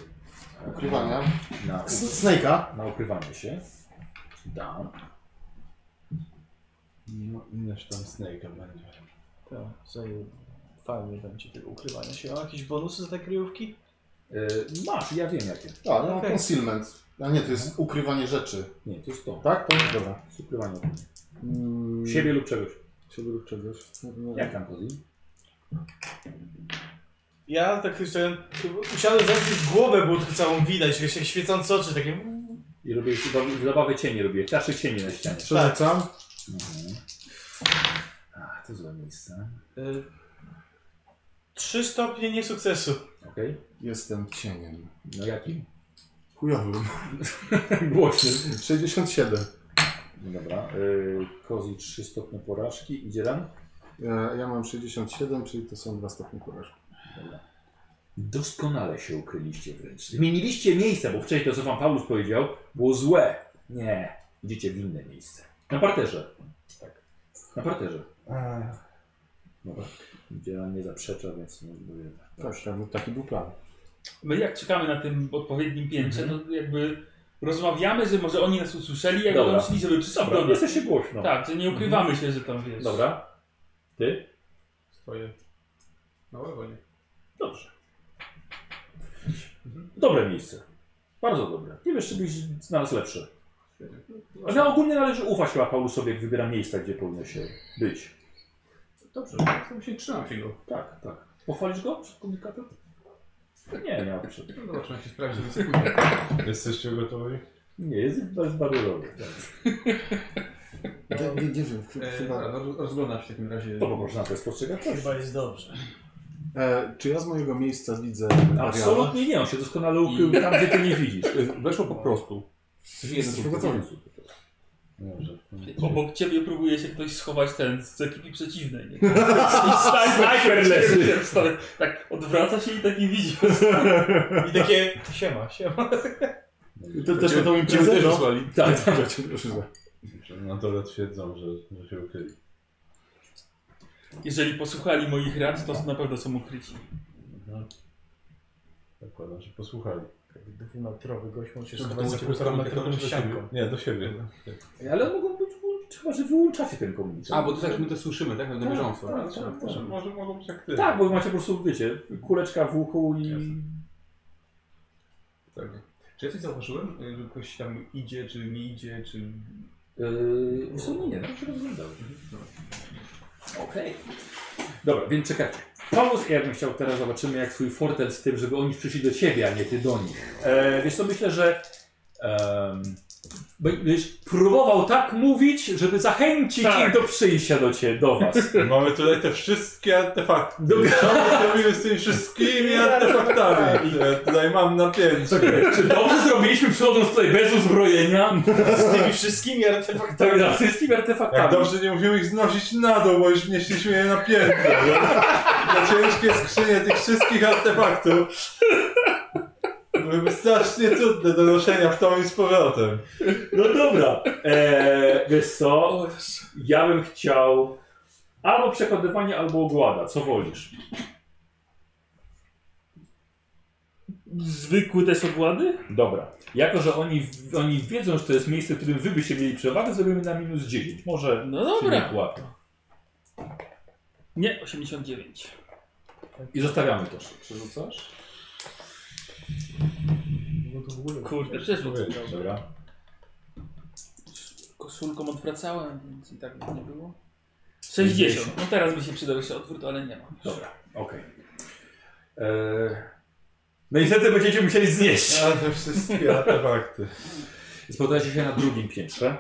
e, Ukrywania. Na, S- Snake'a. na ukrywanie się. Dam. No, ileż tam snake'a będzie. To zajęło. Fajnie będzie tego ukrywania się. A jakieś bonusy za te kryjówki? E, masz, ja wiem jakie. Tak, no Okej. concealment. A nie, to jest ukrywanie rzeczy. Nie, to jest to. Tak? To dobra. Z ukrywaniem. Mm, Siebie lub czegoś. Siebie lub czegoś. No, Jak tam Kozi? Ja tak jeszcze usiadłem zacząć głowę, bo tu całą widać, że się świecące oczy takie. "Mm, I robię Tak. zabawy cienie robię, czaszy cienie na ścianie. Przerzucam. Mhm. Ach, To złe miejsce. Y, Trzy stopnie niesukcesu. Okej. Jestem cieniem. No jakim? Chujowym. Głośnym. 67. Dobra. Yy, Kozi 3 stopnie porażki. Idzie ran? E, Ja mam 67, czyli to są dwa stopnie porażki. Doskonale się ukryliście wręcz. Zmieniliście miejsce, bo wcześniej to, co wam Paulus powiedział, było złe. Nie, idziecie w inne miejsce. Na parterze. Tak. Na parterze. Dobra. Dziela nie zaprzecza, więc nie mówię. Tak, tak, taki był plan. My jak czekamy na tym odpowiednim piętrze, Mhm. to jakby rozmawiamy, że może oni nas usłyszeli, jakby Dobra. nam szli, żeby przy sobie Dobra, jesteście głośno. Tak, że nie ukrywamy się, że tam wiesz. Dobra. Ty? Swoje małe wonie. Dobrze. Dobre miejsce. Bardzo dobre. Nie wiesz, czy byś znalazł lepsze. Ale ogólnie należy ufać chyba Paulusowi, jak wybiera miejsca, gdzie powinno się być. Dobrze, to się trzymam się go. Tak, tak. Pochwalisz go przed komunikatem? Nie, nie ma potrzeby. No zobaczymy, jak się sprawdzi. Jesteście gotowi? Nie, jest bardzo, bardzo dobry. Nie, nie, nie wiem, ch- E, chyba. dobra, roz- rozglądam się w takim razie. To No można to spostrzegać? Chyba jest dobrze. E, czy ja z mojego miejsca widzę Ariala? Absolutnie nie, on się doskonale ukrył tam, gdzie ty nie widzisz. Weszło po prostu. Jest przygotowy. Dobrze. Obok ciebie próbuje się ktoś schować ten z ekipy przeciwnej. Nie? I snaj- Snajper leży. Tak, odwraca się i taki widzi. I takie siema, siema. To też będą im Cię też no. wysłali. Tak, tak. Cię też wysłali. Na dole twierdzą, że, że się ukryli. Jeżeli posłuchali moich rad, to na pewno są ukryci. No. Zakładam, że posłuchali. Dwumetrowy gość może się Żeby schować to za było ciepłe, to półtorametrową będzie do ścianką. siebie. Nie, do siebie. Ale mogą być, chyba że wyłączacie ten komunikat. A, bo to tak my to słyszymy, tak? Na bieżąco. Tak, Może- tak, Może, tak. może mogą być aktywni. Tak, bo wy macie po prostu, wiecie, kuleczka w uchu i... Pewnie. Czy ja coś zauważyłem? Y, Że ktoś tam idzie, czy nie idzie, czy... Mhm, Yy, w sumie nie, tak się rozglądał. Okej. Dobra, więc czekajcie. Paulus, ja bym chciał teraz, zobaczymy jak twój fortel z tym, żeby oni przyszli do ciebie, a nie ty do nich. E, wiesz co, myślę, że em, będziesz próbował tak mówić, żeby zachęcić Tak. ich do przyjścia do ciebie, do was. Mamy tutaj te wszystkie artefakty. No. Dobra. Co my robimy z tymi wszystkimi artefaktami? Tak. Ja tutaj mam napięcie. Czy dobrze zrobiliśmy przychodząc tutaj bez uzbrojenia? Z tymi wszystkimi Tak, artefaktami. za wszystkimi Jak artefaktami. dobrze nie musimy ich znosić na dół, bo już wnieśliśmy je na piętro. no. Na ciężkie skrzynie tych wszystkich artefaktów. Byłyby strasznie trudne do noszenia w tą i z powrotem. No dobra. E, wiesz co, ja bym chciał albo przekonywanie, albo ogłada, co wolisz. Zwykły też obłady? Dobra. Jako, że oni, oni wiedzą, że to jest miejsce, w którym wy byście mieli przewagę, zrobimy na minus 10. Może No się dobra. nie łapie. Nie, 89. I zostawiamy to. Przerzucasz? Kurde, przeszło. Dobra. Koszulką odwracałem, więc i tak by nie było. 60. No teraz by się przydał jeszcze odwrót, ale nie ma. Dobra, okej. Okay. No niestety będziecie musieli znieść. Ale te wszystkie artefakty. Spotykacie się na drugim piętrze,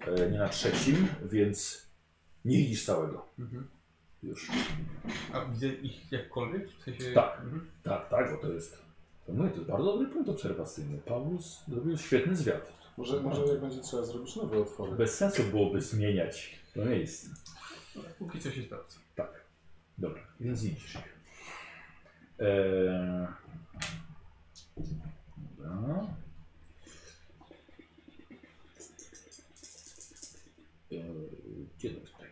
e, nie na trzecim, więc nie widzisz całego. Mhm. Już. A widzę ich jakkolwiek? W sensie... Tak. Mhm. Tak, tak, bo to jest. To mówię, to jest bardzo dobry punkt obserwacyjny. Paulus zrobił świetny zwiat. Może, może jak będzie trzeba zrobić nowe otwory. Bez sensu byłoby zmieniać to miejsce. Póki co się sprawdza. Tak. Dobra, więc widzisz ich. Eee... Dobra. Eee, Gdzie to jest tutaj?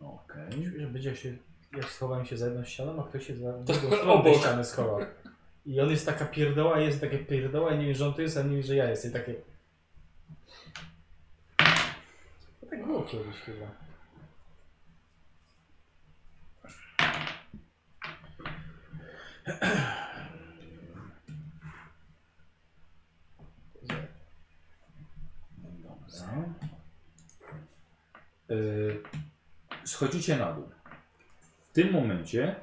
Okej. Będzie się, ja schowałem się za jedną ścianą, a ktoś się za obok. drugą ścianę schował. I on jest taka pierdoła, jest takie pierdoła, i nie wiem, że on to jest, a nie wiem, że ja jestem. I takie... No tak było kiedyś chyba. Dobra. Y, Schodzicie na dół. W tym momencie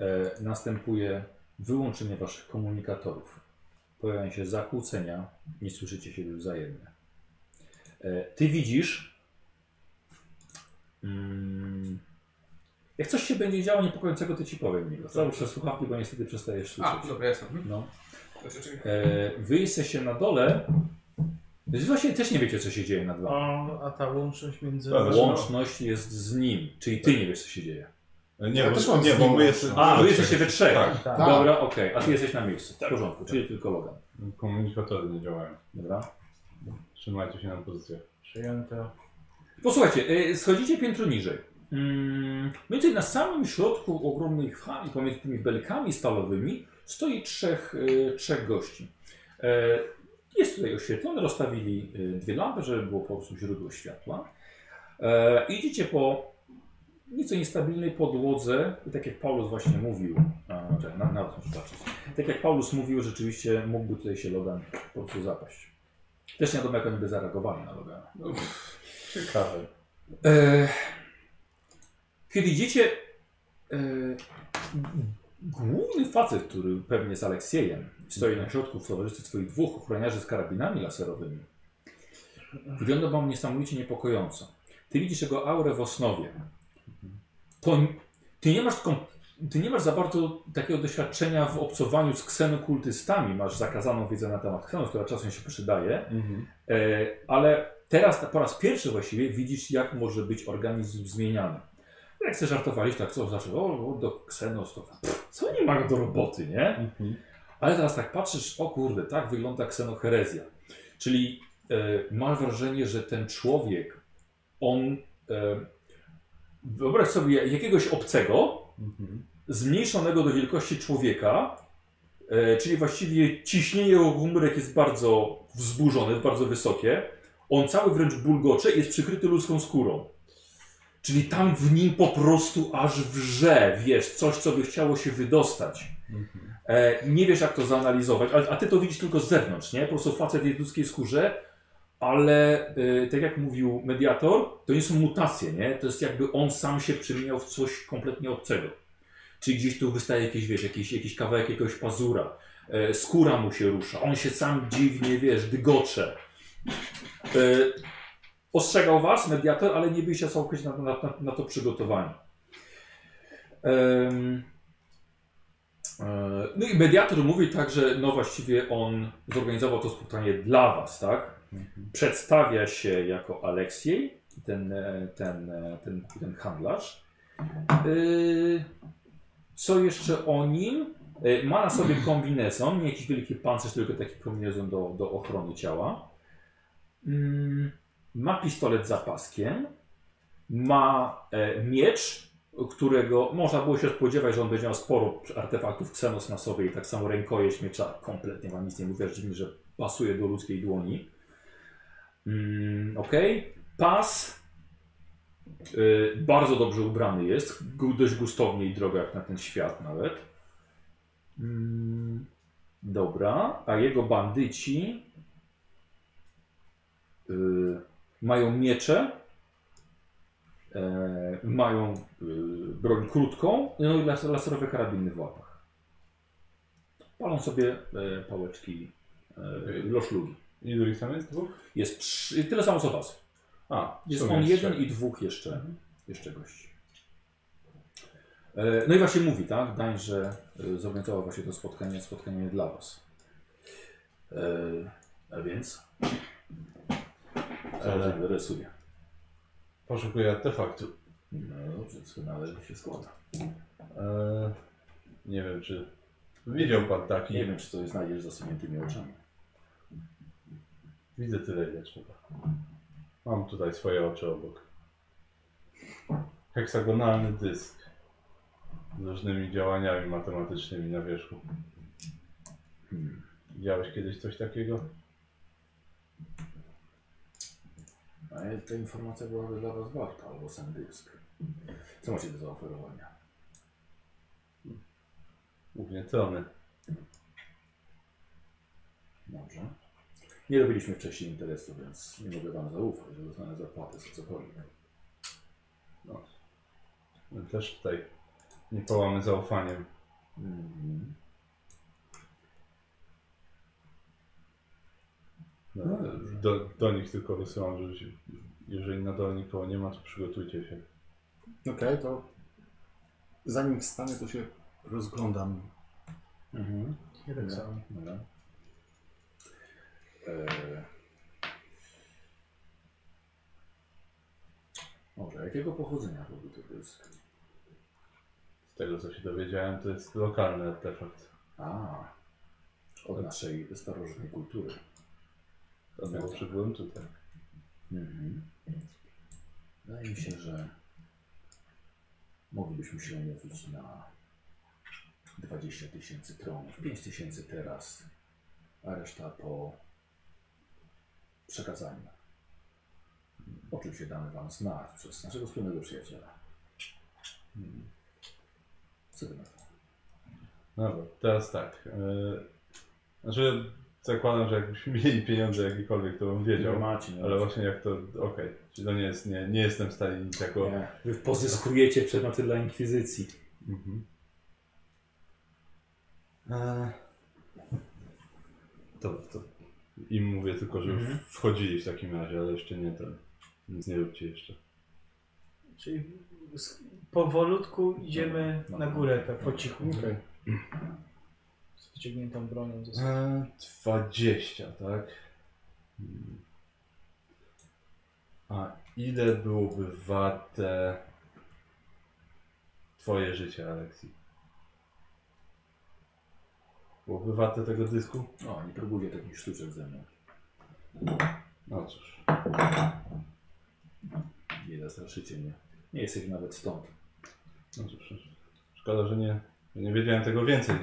e, następuje wyłączenie waszych komunikatorów. Pojawiają się zakłócenia, nie słyszycie siebie wzajemnie. E, ty widzisz, mm, Mm. Jak coś się będzie działo niepokojącego, to ci powiem. Milo. Załóż te słuchawki, bo niestety przestajesz A, słyszeć. dobra, jasne. Mhm. No. To się czeka. E, wy jesteście na dole. Więc właśnie też nie wiecie, co się dzieje na dole. A, a ta łączność między... Tak, właśnie. Łączność jest z nim, czyli ty nie wiesz, co się dzieje. E, Nie, Ja bo, też mam nie, z bo nim my jesteśmy... A, we wy trzech. jesteście we trzech. Tak, Tak. Dobra, okej, a ty jesteś na miejscu. W porządku, czyli tylko Logan. komunikatory nie działają. Dobra. Trzymajcie się na pozycjach. Przyjęte. Posłuchajcie, y, schodzicie piętro niżej. Mm, Więcej na samym środku ogromnej hali, pomiędzy tymi belkami stalowymi, stoi trzech, y, trzech gości. E, Jest tutaj oświetlone, rozstawili y, dwie lampy, żeby było po prostu źródło światła. E, Idziecie po nieco niestabilnej podłodze, i tak jak Paulus właśnie mówił, a, czekaj, na, nawet muszę patrzeć. tak jak Paulus mówił, rzeczywiście mógłby tutaj się Logan po prostu zapaść. Też nie wiadomo, jak oni by zareagowali na Logana. Ciekawe. E, kiedy idziecie, e, główny facet, który pewnie z Aleksiejem stoi na środku w towarzystwie swoich dwóch ochroniarzy z karabinami laserowymi, wygląda wam niesamowicie niepokojąco. Ty widzisz jego aurę w osnowie. Po, ty, nie masz taką, ty nie masz za bardzo takiego doświadczenia w obcowaniu z ksenokultystami. Masz zakazaną wiedzę na temat ksenów, która czasem się przydaje. Mhm, E, ale teraz po raz pierwszy właściwie widzisz, jak może być organizm zmieniany. Jak sobie żartowaliś, tak co zawsze, o, o do ksenos, to tak, pff, co nie ma do roboty, nie? mhm, Ale teraz tak patrzysz, o kurde, tak wygląda ksenoherezja. Czyli e, masz wrażenie, że ten człowiek, on, e, wyobraź sobie jakiegoś obcego, mhm. zmniejszonego do wielkości człowieka, e, czyli właściwie ciśnienie jego komórek jest bardzo wzburzone, bardzo wysokie. On cały wręcz bulgocze i jest przykryty ludzką skórą. Czyli tam w nim po prostu aż wrze, wiesz, coś, co by chciało się wydostać. E, nie wiesz, jak to zanalizować, a, a ty to widzisz tylko z zewnątrz, nie? Po prostu facet jest w ludzkiej skórze, ale e, tak jak mówił mediator, to nie są mutacje, nie? To jest jakby on sam się przemieniał w coś kompletnie obcego. Czyli gdzieś tu wystaje jakiś, wiesz, jakiś, jakiś kawałek jakiegoś pazura, e, skóra mu się rusza, on się sam dziwnie, wiesz, dygocze. E, ostrzegał was mediator, ale nie byliście całkowicie na, na, na, na to przygotowani. Em, e, no i mediator mówi tak, że no właściwie on zorganizował to spotkanie dla was, tak? Przedstawia się jako Aleksiej, ten, e, ten, e, ten, ten handlarz. Y, co jeszcze o nim? Y, Ma na sobie kombinezon, nie jakiś wielki pancerz, tylko taki kombinezon do, do ochrony ciała. Mm, ma pistolet za paskiem, ma e, miecz, którego można było się spodziewać, że on będzie miał sporo artefaktów Xenos na sobie i tak samo rękojeść miecza kompletnie wam nic nie mówi, aż dziwnie, że pasuje do ludzkiej dłoni. Mm, Okej, pas y, bardzo dobrze ubrany jest, gu- dość gustownie i drogo jak na ten świat nawet. Mm, dobra, a jego bandyci y, mają miecze, e, mają y, broń krótką no i las, laserowe karabiny w łapach. Palą sobie e, pałeczki e, loszlugi. Ilu ich tam jest? Dwóch? Jest trzy, tyle samo co was. A, Jest Mhm. w on sumie jeden trzech. i dwóch jeszcze, jeszcze gości. E, No i właśnie mówi, tak? Dań, że e, zorganizował właśnie to spotkanie, spotkanie dla was. E, A więc? E, Rysuję. Poszukuję artefaktu. No dobrze, doskonale się składa. Eee, nie wiem, czy widział pan taki. Nie wiem, czy to znajdziesz z zasuniętymi oczami. Widzę tyle, ile trzeba. Mam tutaj swoje oczy obok. Heksagonalny dysk z różnymi działaniami matematycznymi na wierzchu. Hmm. Widziałeś kiedyś coś takiego? Ale ta informacja byłaby dla was warta, albo sam dysk. Co macie do zaoferowania? Głównie trony. Dobrze. Nie robiliśmy wcześniej interesu, więc nie mogę Wam zaufać, że dostanę zapłatę za cokolwiek. No. My też tutaj nie połamy zaufaniem. Mhm. No, Do, do nich tylko wysyłam, że się- jeżeli na dole nikogo nie ma, to przygotujcie się. Okej, to zanim wstanę, to się rozglądam. Mhm. Nie tak samo. Dobra. Eee. Może jakiego pochodzenia byłby to dysk? Z tego co się dowiedziałem, to jest lokalny artefakt. A, od naszej starożytnej kultury. Dlatego przybyłem tutaj. Mhm. Wydaje mi się, No że moglibyśmy się umówić na 20 tysięcy tronów, 5 tysięcy teraz, a reszta po przekazaniu. O czym się damy Wam znać przez naszego wspólnego przyjaciela. Mhm. Co Ty na to? Dobra, teraz tak. Yy, znaczy, zakładam, że jakbyśmy mieli pieniądze jakiekolwiek, to bym wiedział. macie, no. nie? Ale właśnie jak to, okej, czyli to nie jest, nie, nie jestem w stanie nic jako... Nie. Wy pozyskujecie przedmioty dla Inkwizycji. Mhm. E... Dobra, to im mówię tylko, że Mhm. wchodzili w takim razie, ale jeszcze nie ten. Nic nie róbcie jeszcze. Czyli s- powolutku idziemy Dobra. na górę, tak po cichu. Okej. Z wyciągniętą bronią. ze sobą. E, 20, tak? Mm. A ile byłoby warte twoje życie, Aleksji? Byłoby warte tego dysku? O, nie próbujcie takich sztuczek ze mną. No cóż, Nie zastraszycie mnie. Nie jesteś nawet stąd. no cóż. Szkoda, że nie, że nie wiedziałem tego więcej.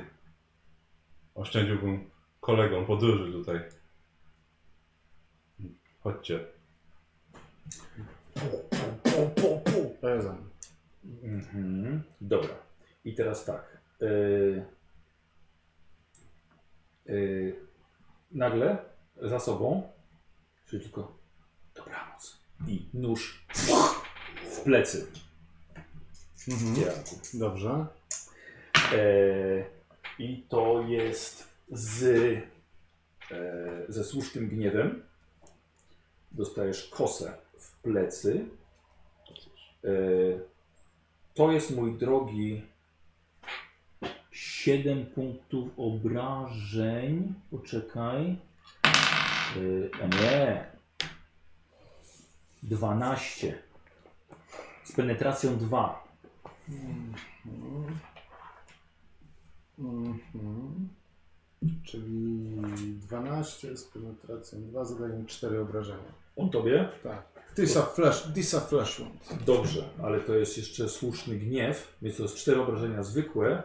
Oszczędziłbym kolegom podróży tutaj. Chodźcie. To ja za nim. Mhm. Dobra. I teraz tak. Yy, yy, nagle za sobą, czyli tylko dobranoc i nóż w plecy Mhm. dzieranku. Dobrze. Yy, I to jest z, yy, ze słusznym gniewem. Dostajesz kosę w plecy. Yy, To jest, mój drogi, 7 punktów obrażeń. Poczekaj. Yy, a nie. 12. Z penetracją 2. Mhm. Czyli 12 z penetracją 2, zadaję 4 obrażenia. On tobie? Tak. Disa flash, disa flash wound. Dobrze, ale to jest jeszcze słuszny gniew, więc to jest cztery obrażenia zwykłe,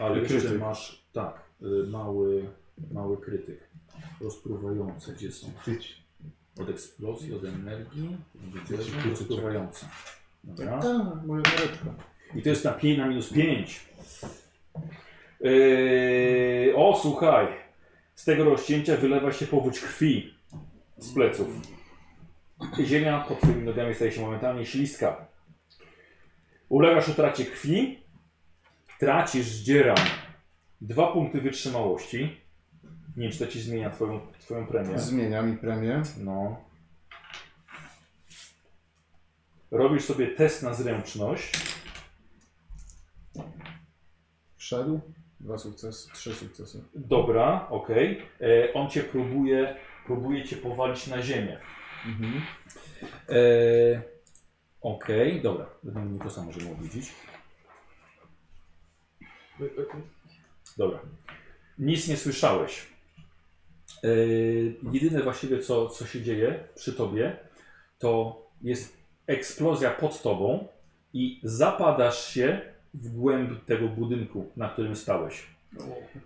ale jeszcze Krytyk. masz, tak, y, mały, mały krytyk. Rozpruwające, gdzie są? Tyć. Od eksplozji, od energii, Krytyczek. rozpruwające. Dobra. Tak, tak, moja mareczka. I to jest na, pi- na minus 5. Yy, o, słuchaj. Z tego rozcięcia wylewa się powódź krwi z pleców. Ziemia pod twoimi nogami staje się momentalnie śliska. Ulegasz utracie krwi. Tracisz dzieram. Dwa punkty wytrzymałości. Nie wiem, czy to ci zmienia twoją, twoją premię. Zmienia mi premię. No. Robisz sobie test na zręczność. Wszedł. Dwa sukcesy, trzy sukcesy. Dobra, okej. E, On cię próbuje, próbuje cię powalić na ziemię. Mhm. E, okej, dobra. Będę Nikosa może mu widzieć. Dobra. Nic nie słyszałeś. E, jedyne właściwie co, co się dzieje przy tobie to jest eksplozja pod tobą i zapadasz się w głębi tego budynku, na którym stałeś.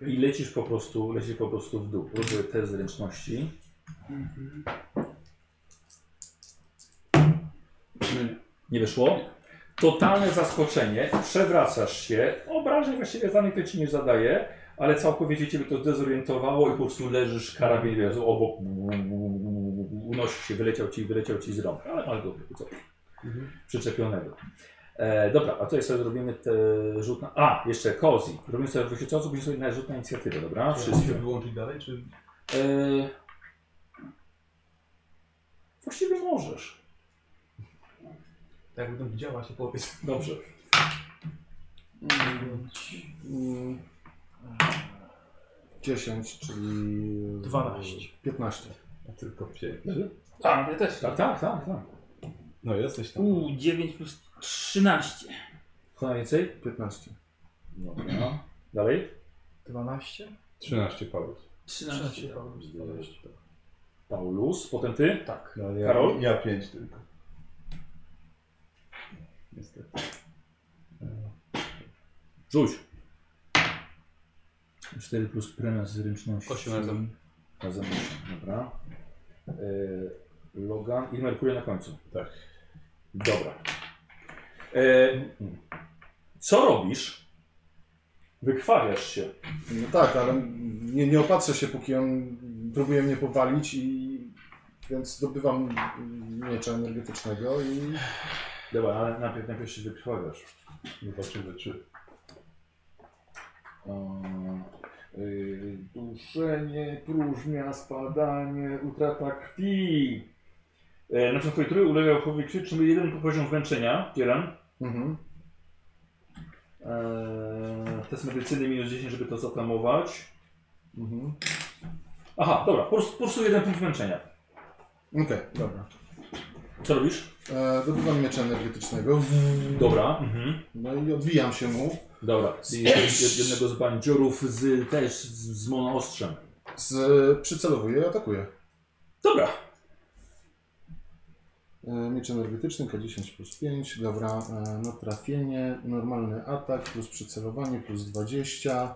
I lecisz po prostu, lecisz po prostu w dół. Robię test zręczności. Nie wyszło? Totalne zaskoczenie, przewracasz się, obrażeń właściwie za to ci nie zadaje, ale całkowicie ciebie to zdezorientowało i po prostu leżysz karabin wiesz, obok, unosisz się, wyleciał ci, wyleciał ci z rąk, ale masz go co, przyczepionego. E, dobra, a tutaj sobie zrobimy te rzut na... A, jeszcze Cozy. Robimy sobie wyświetlacą, będzie sobie na rzut na inicjatywę, dobra? Wszyscy. Czy wyłączyć dalej, czy... E, właściwie możesz. Tak jakby tam widziała się powiedz. Dobrze. Mm. 10, czyli... 12. 15. Ja tylko pięć. Tak, ja też. Tak, tak, tak, tak. No jesteś tam. Uuu, 9 plus 13. Co najwięcej? 15. Dobra. Dalej? 12? 13 Paulus. 13. tak. Paulus, potem ty? Tak. No, ja, Karol? Ja 5 tylko. Niestety. Rzuć. 4 plus premia zręczności. Osiem razem. Razem osiem, dobra. Yy, Logan i Merkury na końcu. Tak. Dobra. Yy, co robisz? Wykwawiasz się. No tak, ale nie, nie opatrzę się, póki on próbuje mnie powalić i... Więc zdobywam miecza energetycznego i... Dobra, ale najpierw, najpierw się wykrwawiasz. Zobaczymy czy. Yy, duszenie, próżnia, spadanie, utrata krwi. Yy, na początku trój ulega uchowi krwi, czyli jeden poziom zmęczenia, Kieran. Mhm. Eee, test medycyny minus 10, żeby to zatamować. Mhm. Aha, dobra, po prostu, po prostu jeden punkt zmęczenia. Okej, dobra. Co robisz? E, zdobywam miecza energetycznego. Dobra, mhm. No i odwijam się mu. dobra. I jed- jednego z bandziorów z, też z, z monoostrzem. Z, przycelowuję i atakuję. Dobra, E, Miecz energetyczny K10 plus 5, dobra, e, no trafienie, normalny atak plus przycelowanie plus 20,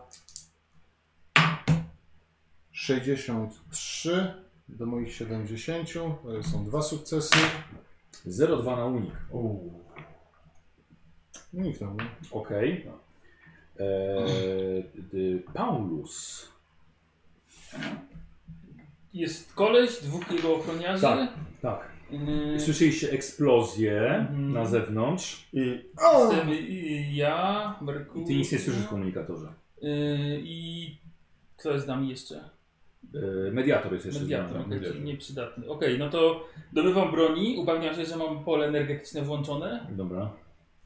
63 do moich 70, to są dwa sukcesy, 0,2 na unik. uniknął, nie? Okej. Eee, d- Paulus. Jest koleś, dwóch jego ochroniarzy. Tak. Tak. Yy, Słyszeliście eksplozję Mhm. na zewnątrz i jestem i- ja, Merkur. i ty nic nie słyszysz w komunikatorze. Yy, I kto jest z nami jeszcze? Eee, Mediator jest jeszcze z Mediator, nami. okej, mediator. czyli nieprzydatny. Okej, no to dobywam broni, upewniam się, że mam pole energetyczne włączone Dobra.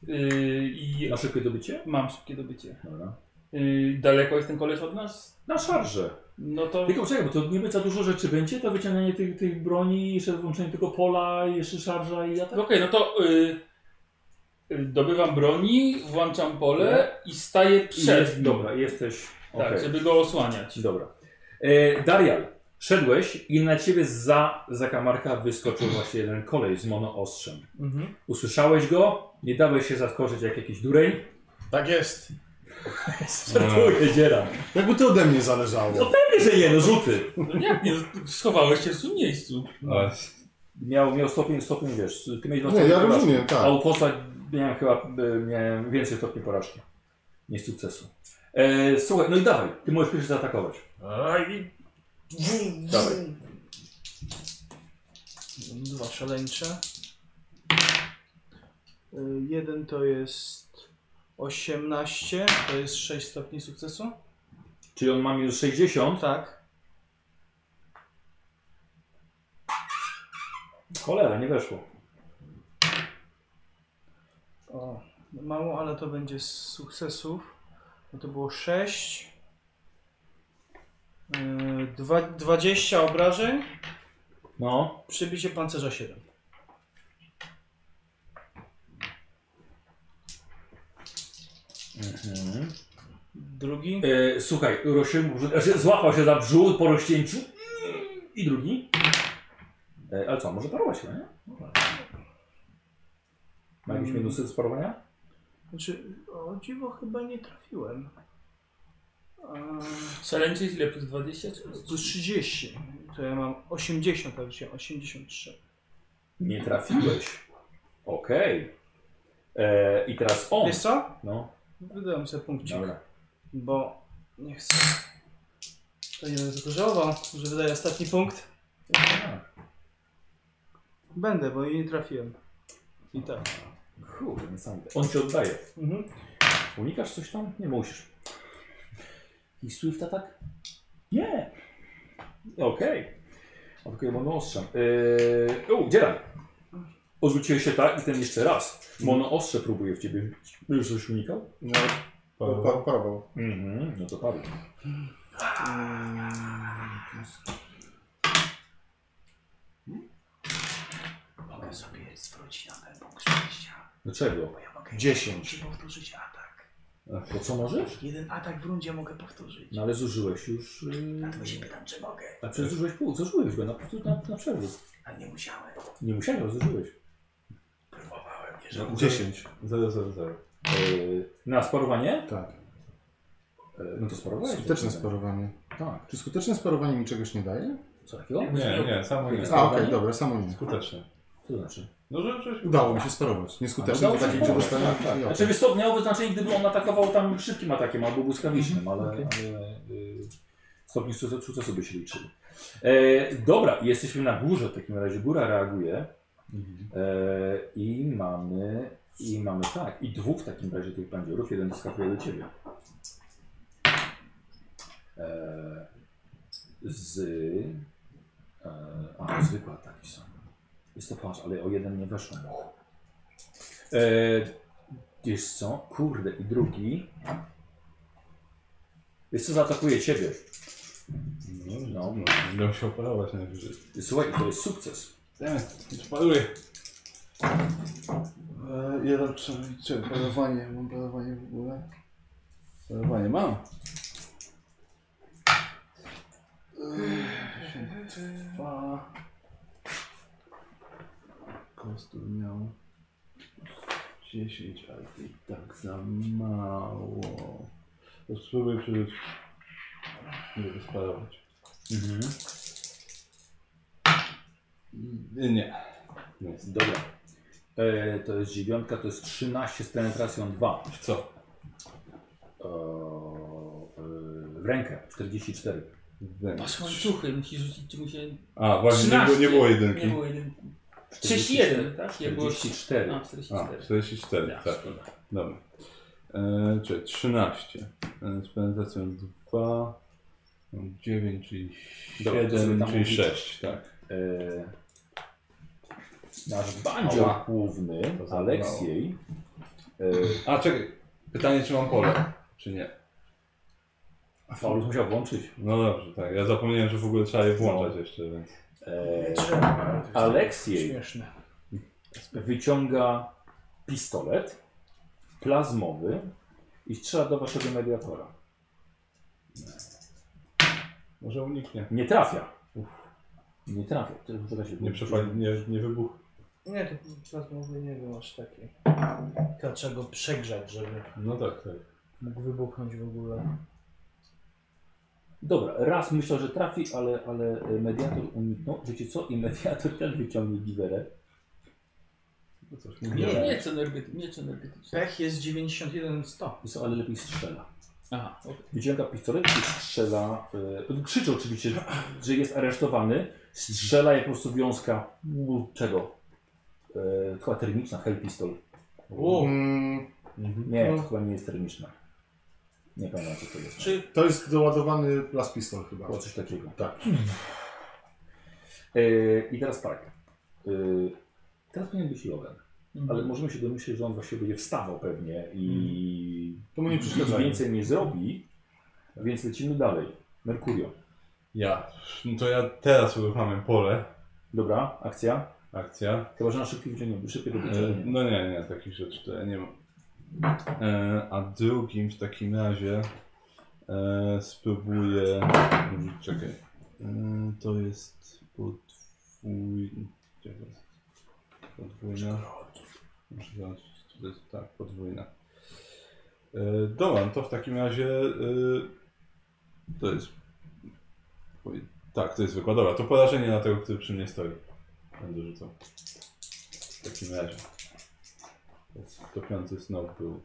yy, i Na szybkie dobycie? mam szybkie dobycie. Dobra. Yy, daleko jest ten koleś od nas? Na szarże. No to... Tylko czekaj, bo to niby za dużo rzeczy będzie, to wyciąganie tych, tych broni, jeszcze włączenie tego pola, jeszcze szarża i ja tak. Okej, no to y, y, dobywam broni, włączam pole i staję przed nim. dobra, jesteś. Tak, okej. żeby go osłaniać. Dobra. E, Darial, szedłeś i na ciebie za zakamarka wyskoczył właśnie jeden kolej z monoostrzem. Mhm. Usłyszałeś go, nie dałeś się zaskoczyć jak jakiś dureń. Tak jest. Startuje dziera. Jakby to ode mnie zależało. Pewnie, że nie, no rzuty. No jak nie, schowałeś się w tym miejscu. A, Miał, miał stopień, stopień, wiesz, ty miałeś dwa Nie, stopnie ja porażki, rozumiem, A tak. u posła miałem chyba e, miałem więcej stopni porażki niż sukcesu. E, słuchaj, no i dawaj, ty możesz pierwszy zaatakować. Aj. Dawaj. Dwa szaleńcze. Y, Jeden to jest 18, to jest 6 stopni sukcesu. Czyli on ma minus 60. Tak. Cholera, nie weszło. O, mało, ale to będzie z sukcesów. No to było 6. Yy, dwa- 20 obrażeń, No, przybicie pancerza 7. Drugi. e, słuchaj, ruszył, mu brzuch- znaczy złapał się za brzuch po rozcięciu. I drugi. E, ale co, może parować chyba, nie? Ma jakieś minusy z parowania? Znaczy, o dziwo chyba nie trafiłem. Eee, Szaleńczy ile plus 20? Czy plus plus 30, to ja mam 80, a wrzuciłem 83. Nie trafiłeś. Okej. E, I teraz on. Wiesz co? No, Wydałem sobie punkcik, dobra. bo nie chcę. To nie będę tylko żałował, że wydaję ostatni punkt. A, Będę, bo jej nie trafiłem. I tak. Kurde, niesamowite. On ci oddaje. Mhm. Unikasz coś tam? Nie musisz. I Swift atak? Nie. Okej. Okay. Atakuje mono ostrzem. Yy, u, dzielam. Odwróciłeś się tak i ten jeszcze raz. Mono ostrze próbuje w ciebie bić. No Już coś unikał? No, Paweł. Pa, Paweł. Mhm, no to padł. Mm. Mogę sobie zwrócić na ten punkt szczęścia, Dlaczego? bo ja mogę 10. powtórzyć atak. To co możesz? Jeden atak w rundzie mogę powtórzyć. No ale zużyłeś już... Yy... Dlatego się pytam, czy mogę, A przecież zużyłeś pół, zużyłeś go na, na, na przerwę. a nie musiałem. Nie musiałeś, zużyłeś. Próbowałem, nie No, 10. 0, 0, 0. Yy, na sparowanie? Tak. Yy, no to sparowanie. Skuteczne sparowanie. Tak. Czy skuteczne sparowanie mi czegoś nie daje? Co takiego? Nie, nie, samo nie. A, Sparowanie? okej, dobra, samo nie. Skutecznie. Co to znaczy? No, że coś... Udało mi się sparować. Nieskuteczne, Udało to się takie, gdzie sparować, dostałem... tak, tak. Ja. Znaczy wiesz co, miałoby znaczenie, gdyby on atakował tam szybkim atakiem albo błyskawicznym, ale, ale y, stopień sukcesu sukcesu by się liczył. E, dobra, jesteśmy na górze w takim razie. Góra reaguje e, i mamy i mamy tak, i dwóch w takim razie tych bandziorów, jeden doskakuje do ciebie. E, z... E, a, zwykłe ataki są. Jest to patrz, ale o jeden nie weszło. Eee, wiesz co? Kurde, i drugi. Wiesz co, zaatakuje ciebie. No, no. Będą się opalować najwyżej. Słuchaj, to jest sukces. Tak, spaluję. E, Jeden, czy, czy polowanie, mam polowanie w ogóle? Polowanie mam. E, Dwa. Kostur miał 10, ale to i tak za mało. To spróbuję przeżyć. Żeby spalować. Mhm. Nie, Nie. Nie. Dobra. Eee, to jest dziewiątka, to jest 13 z penetracją 2. W co? Eee, e, w rękę 44. Masz łańcuchy, musisz rzucić, czy mu się... A, właśnie, nie było, nie było jedynki. Nie było jedynki. 31, tak? Nie było... no, 44. A, A, 44. 44, Tak. tak. Dobra. E, czyli 13. E, z penetracją 2. 9, czyli Dobra, to sobie 7, tam czyli mówić. 6, tak. Eee, nasz bandzior Ała. główny, To zabrało. Aleksiej, eee, A czekaj, pytanie czy mam pole, czy nie. Paulus musiał włączyć. No dobrze, tak. Ja zapomniałem, że w ogóle trzeba je włączać jeszcze, więc. Eee, trzeba. Aleksiej Śmieszne. wyciąga pistolet plazmowy i strzela do waszego mediatora. Może uniknie. Nie trafia. Nie trafia. To już zaraz się Nie, przepali, nie, nie wybuch. Nie, to plazmowy nie był aż taki. To trzeba go przegrzać, żeby No tak, tak. mógł wybuchnąć w ogóle. Dobra, raz myślę, że trafi, ale, ale e, mediator uniknął. Wiecie co? I mediator ten wyciągnie giwerę. No coś Nie, nie. miecz energetyczny. Miecz energetyczny. Pech jest 91 100. Wiecie co, ale lepiej strzela. Aha, okej. Wyciąga pistolet i strzela. E, krzyczy oczywiście, że jest aresztowany. Strzela jak po prostu wiązka mm, czego? E, chyba termiczna, hell pistol. O, Mm, Mhm. Nie, No. to chyba nie jest termiczna. Nie pamiętam co to jest. czy to jest doładowany las pistol chyba. Było coś takiego. Tak. E, I teraz tak. E, teraz powinien być Joven, Mhm. ale możemy się domyśleć, że on właśnie będzie wstawał pewnie i To mu nie nic przeszkadza. więcej nie zrobi, więc lecimy dalej. Merkurio. Ja. No to ja teraz uruchamiam pole. Dobra, akcja. Akcja. Chyba, że na szybkie wyciągnięcie, szybkie E, wyciągnięcie. No nie, nie, takich rzeczy to ja nie mam. E, A drugim w takim razie e, spróbuję. Dobrze, Czekaj. E, To jest podwójna. Podwójna. Muszę zobaczyć, czy to jest tak, podwójna. E, Dobra, no to w takim razie e, to jest. oj, Tak, to jest zwykła. Dobra, to porażenie na tego, który przy mnie stoi. Będę rzucał. W takim razie. Topiący snop był.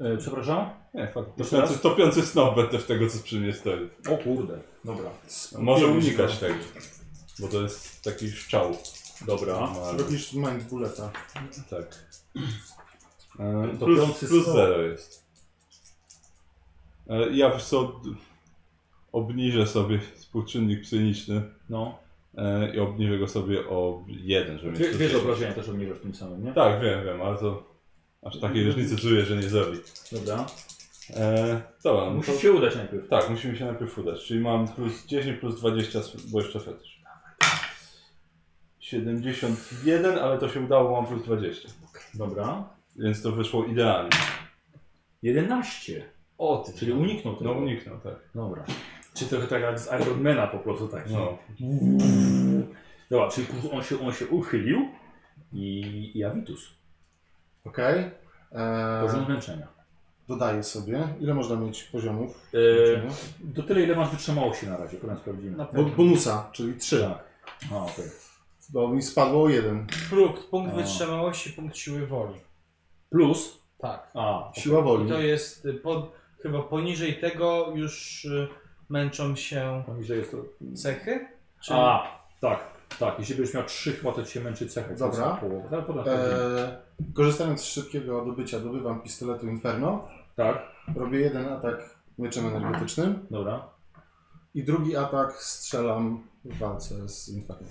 E, przepraszam? Nie, fakt. Jeszcze raz? Topiący, topiący snop będę w tego, co przy mnie stoi. O kurde. Dobra. Może No, unikać tego. Bo to jest taki szczał. Dobra. Ma- Robisz mind bulleta. Tak. E, plus, Topiący plus snop. zero jest. E, ja wiesz co, d- obniżę sobie współczynnik psioniczny No. e, i obniżę go sobie o jeden, żeby Wie- mieć Wiesz, 160. obrażenia też obniżasz tym samym, nie? Tak, wiem, wiem, ale to aż takiej różnicy czuję, że nie zrobi. Dobra. E, dobra, no Musisz to, się udać najpierw. tak, musimy się najpierw udać, czyli mam plus 10, plus 20, s- bo jeszcze fetysz. 71, ale to się udało, mam plus 20. Dobra. Więc to wyszło idealnie. 11. O ty, czyli uniknął tego. No uniknął, tak. Dobra. Czy trochę tak jak z Ironmana po prostu tak. No. Dobra, czyli po prostu on się, on się uchylił i, i Avitus. Okej. Eee, Poziom zmęczenia. Dodaję sobie. Ile można mieć poziomów? Eee, do tyle ile masz wytrzymałości na razie, potem sprawdzimy. Na Bo, pewno. bonusa, czyli 3. Tak. A, okej. Bo mi spadło o 1. Próg, punkt A. wytrzymałości, punkt siły woli. Plus. Tak. A, Siła I woli. to jest y, po, chyba poniżej tego już y, męczą się poniżej jest to. cechy? Czy... A, tak, tak. Jeśli byś miał 3 chyba, to ci się męczy cecha. Dobra. Ale potem. Eee, korzystając z szybkiego dobycia, dobywam pistoletu Inferno. Tak, Robię jeden atak mieczem energetycznym dobra. i drugi atak strzelam w walce z Inferno.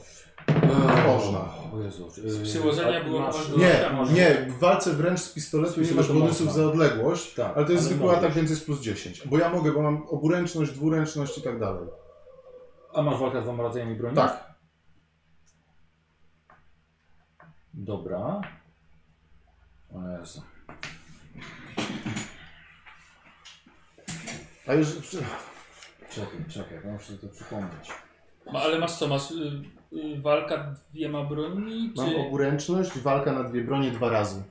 Eee, można. O Jezu. Z przyłożenia a- było masz- bardzo- Nie, Można. nie, w walce wręcz z pistoletu nie masz Pistoletu bonusów można. za odległość, Tak, ale to jest ale zwykły możesz. atak, więc jest plus 10. Bo ja mogę, bo mam oburęczność, dwuręczność i tak dalej. Mhm. A masz walkę z dwoma rodzajami broni? Tak. Dobra. O Jezu. A już Czekaj, czekaj, bo muszę to przypomnieć. Ma, No, ale masz co, masz y, y, walka dwiema broni, mam czy... oburęczność, walka na dwie bronie dwa razy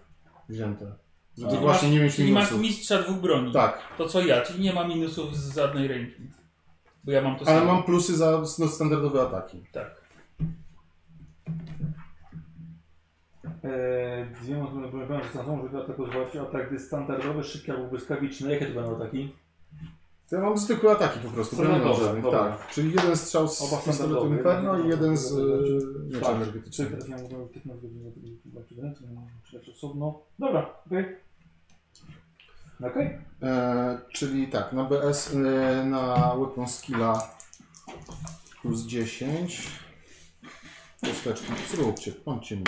wzięte. Żeby A. właśnie nie mieć Czyli masz minusów. mistrza dwóch broni. Tak, To co ja, czyli nie ma minusów z żadnej ręki. Bo ja mam to ale samo. mam plusy za no, standardowe ataki. Tak. Eee, dwiema broniami broni są tą, żeby atakować atak standardowy, szybki albo błyskawiczny. Jakie to będą ataki? To ja mam zwykłe ataki po prostu, Standardowe, broni nożnej, dobra. Tak, czyli jeden strzał z Oba pistoletu standardowe, Inferno i jeden- jeden z Tak. y, miecza energetycznego. teraz ja mogę 15 godzin zabrać osobno. Dobra, okej. Okej. E, czyli tak, na BS, e, na weapon skilla plus 10. Kosteczki, zróbcie, bądźcie mi.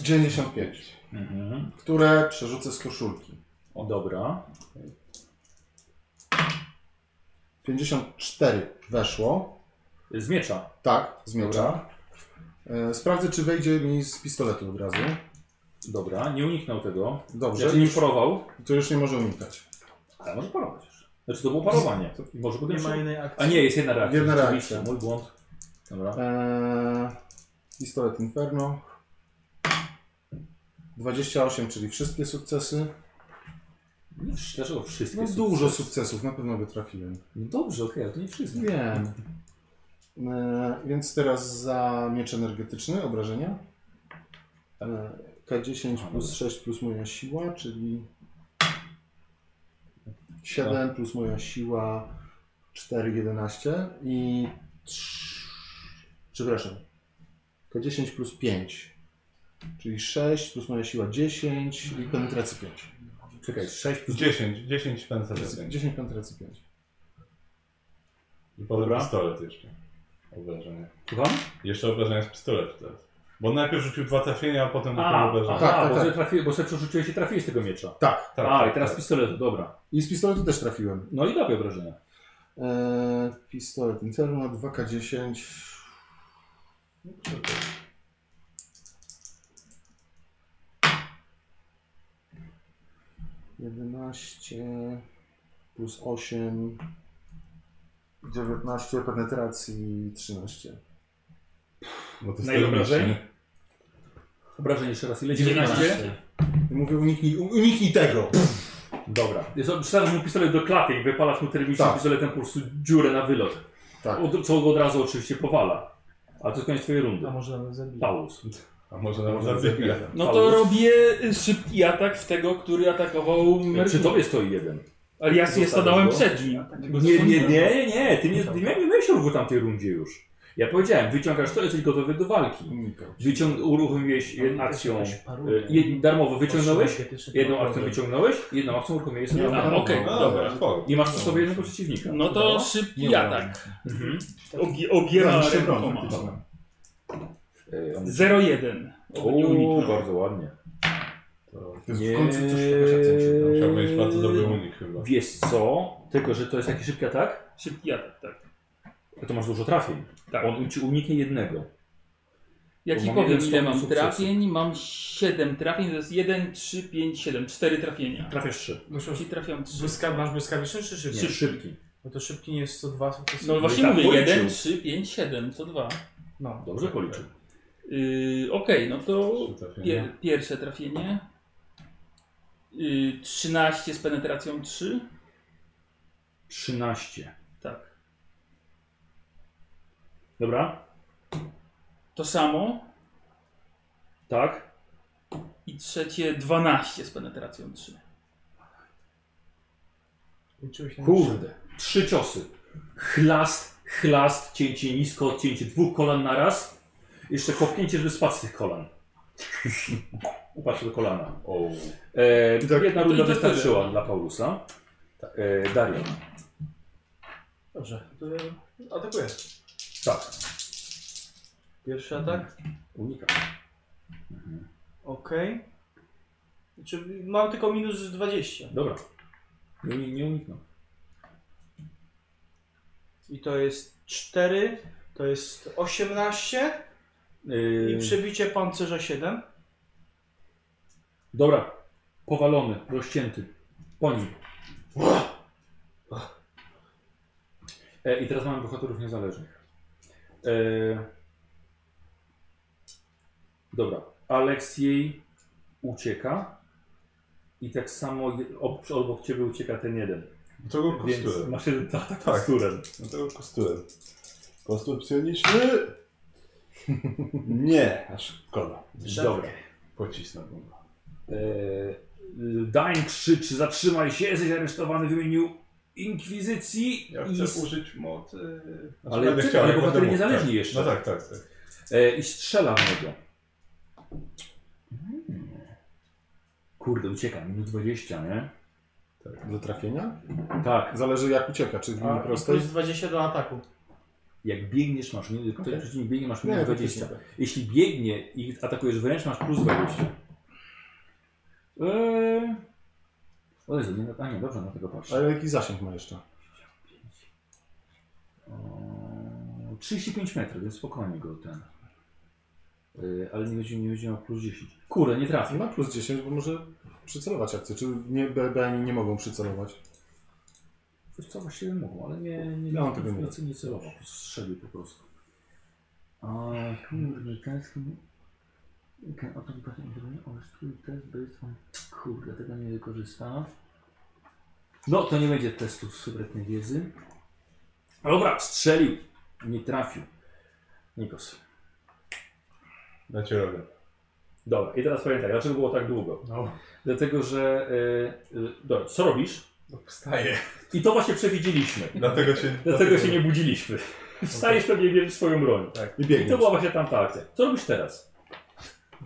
95, Mhm. które przerzucę z koszulki. O, dobra. 54 weszło, Z miecza. tak, z miecza. E, sprawdzę, czy wejdzie mi z pistoletu od razu. Dobra, nie uniknął tego. Dobrze, Znaczy nie porował. to już nie może unikać. Ale może parować jeszcze. Znaczy to było parowanie. Może potem nie ma się... innej akcji. A nie, jest jedna reakcja. Jedna Rzeczywiście, reakcja. Mój błąd. Dobra. Eee, pistolet Inferno. 28, czyli wszystkie sukcesy. Nie, wsz- dlaczego wszystkie? No są- dużo sukcesów, na pewno by trafiłem. No dobrze, okej, ale to nie wszystkie. Wiem. Eee, więc teraz za miecz energetyczny, obrażenia. Eee, K10 Aha, plus dobra. 6 plus moja siła, czyli 7 plus moja siła 4, 11 i 3, przepraszam, K10 plus 5, czyli 6 plus moja siła 10 i penetracji 5. Czekaj, 6 No. plus 10, 10 pęcerzy. 10 penetracji 5. I potem Dobra. pistolet jeszcze. Obrażenie. Słucham? Jeszcze obrażenia z pistoletu teraz. Bo najpierw rzucił dwa trafienia, a potem dopiero A, obrażenia. aha, Tak, tak, bo, tak. sobie trafiłeś- bo sobie przerzuciłeś i trafiłeś tego miecza. Tak, Tak, A, tak, i teraz tak. pistolet, dobra. i z pistoletu też trafiłem. No i dawaj obrażenia. Eee, pistolet Inferno No, 2K10. Jedenaście plus 8, 19 penetracji 13. Bo to jest Na ile termicznie. obrażeń? Obrażeń jeszcze raz ile? 19? 19. I Mówię uniknij, uniknij tego! Dobra. Wsadzasz mu pistolet do klaty i wypalasz mu termicznym Tak. pistoletem po prostu dziurę na wylot. Tak. Od, co go od razu oczywiście powala. Ale to jest koniec twojej rundy. Tak. A może nawet zabić. Paulus. A może nawet za dwie. No to robię y, szybki atak w tego, który atakował Przy Mercury. tobie stoi jeden. Ale ja się Zostawiam stanąłem go. przed nim. Nie, nie, nie, nie, nie. Ty nie, ty nie miałeś ruchu tamtej rundzie już. Ja powiedziałem, wyciągasz to, jesteś gotowy do walki. Unikał. Wyciąg, uruchomiłeś No, jedną akcją, y, jed- darmowo wyciągnąłeś, jedną akcją wyciągnąłeś, jedną akcją uruchomiłeś sobie. A, darmowo. okej, No dobra. dobra, spoko. I masz przy sobie jednego przeciwnika. No to szybki atak. Mhm. Obie- No, Obiera Zaraz się broń, rękoma. faktycznie. Y, on- 0-1. Oby nie Uuu, uniknął. bardzo ładnie. To jest Nie. w końcu coś jakaś akcja przyda. Musiał mieć bardzo dobry unik chyba. Wiesz co? Tylko, że to jest taki szybki atak, Szybki atak, tak. to masz dużo trafień. Tak. On ci uniknie jednego. Ja Bo ci mam powiem jeden ile mam sukces. trafień. Mam 7 trafień, to jest 1, 3, 5, 7. 4 trafienia. Trafiasz trzy. Czyli trafiam 3. Błyska, masz błyskawiczny czy szybki? Trzy szybki. Bo to szybki nie jest 102 sukcesy. No właśnie tak mówię, policzył. 1, 3, 5, 7, co 2. No. Dobrze policzył. Yy, Okej, no to Trzy trafienia. pier, pierwsze trafienie. Yy, 13 z penetracją 3. 13. Tak. Dobra? To samo. Tak? I trzecie 12 z penetracją 3. Liczyłeś na Kurde. Trzy ciosy. Chlast, chlast, cięcie nisko, odcięcie dwóch kolan na raz. Jeszcze kopnięcie, żeby spadł z tych kolan. Upadł do kolana. O, E, I tak- jedna to runda tyle. wystarczyła dla Paulusa. E, Darion. Dobrze, to ja atakuję. Tak. Pierwszy atak. Unika. Okej. Znaczy, mam tylko minus 20. Dobra. Nie, nie, nie uniknął. I to jest 4, to jest 18 i E, przebicie pancerza 7. Dobra. Powalony, rozcięty. Po nim. E, I teraz mamy bohaterów niezależnych. E, dobra. Aleksiej ucieka. I tak samo je- ob, obok ciebie ucieka ten jeden. to go Więc kosztuje. masz jeden atak Tak. pasturem. No to kosturem. Kostur psioniczny? Nie, aż szkoda. Dobra. Pocisnę go. E, Dań krzyczy, zatrzymaj się, jesteś aresztowany w imieniu Inkwizycji. Ja i chcę użyć mocy. Ale będę czekaj, chciał, ale jak bohater będę mógł, niezależny tak. jeszcze. No tak, tak, tak. E, I strzela w niego. Hmm. Kurde, ucieka. Minus 20, nie? Do trafienia? Tak. Zależy jak ucieka, czy w linii A, prostej. Plus 20 do ataku. Jak biegniesz, masz minus, Okej. okay. przeciwnik biegnie, masz Nie, minus to 20. tak. Jeśli biegnie i atakujesz wręcz, masz plus 20. Eee... O Jezu, nie, a nie, dobrze na tego patrzę. Ale jaki zasięg ma jeszcze? Eee, 35 metrów, więc spokojnie go ten. Eee, ale nie będzie, nie będzie miał plus 10. Kurde, nie trafił. Ma plus 10, bo może przycelować akcję. Czy nie, BB ani nie mogą przycelować? Wiesz co, właściwie mógł, ale nie, nie, Ja mam No, nie, tego nie. nie, nie celował, strzelił po prostu. A kurde, test... Can open button interview or skill test based on... Kurde, tego nie wykorzystano. No, to nie będzie testu z subretnej wiedzy. Dobra, strzelił. Nie trafił. Nikos. Ja cię robię. Dobra, i teraz pamiętaj, dlaczego było tak długo? No, Dlatego, że... Y, y, dobra, co robisz? no wstaje. I to właśnie przewidzieliśmy. Dlatego się, Dlatego się nie budziliśmy. Wstajesz pewnie bierzesz swoją broń. I I to biegnie. była właśnie tamta akcja. Co robisz teraz?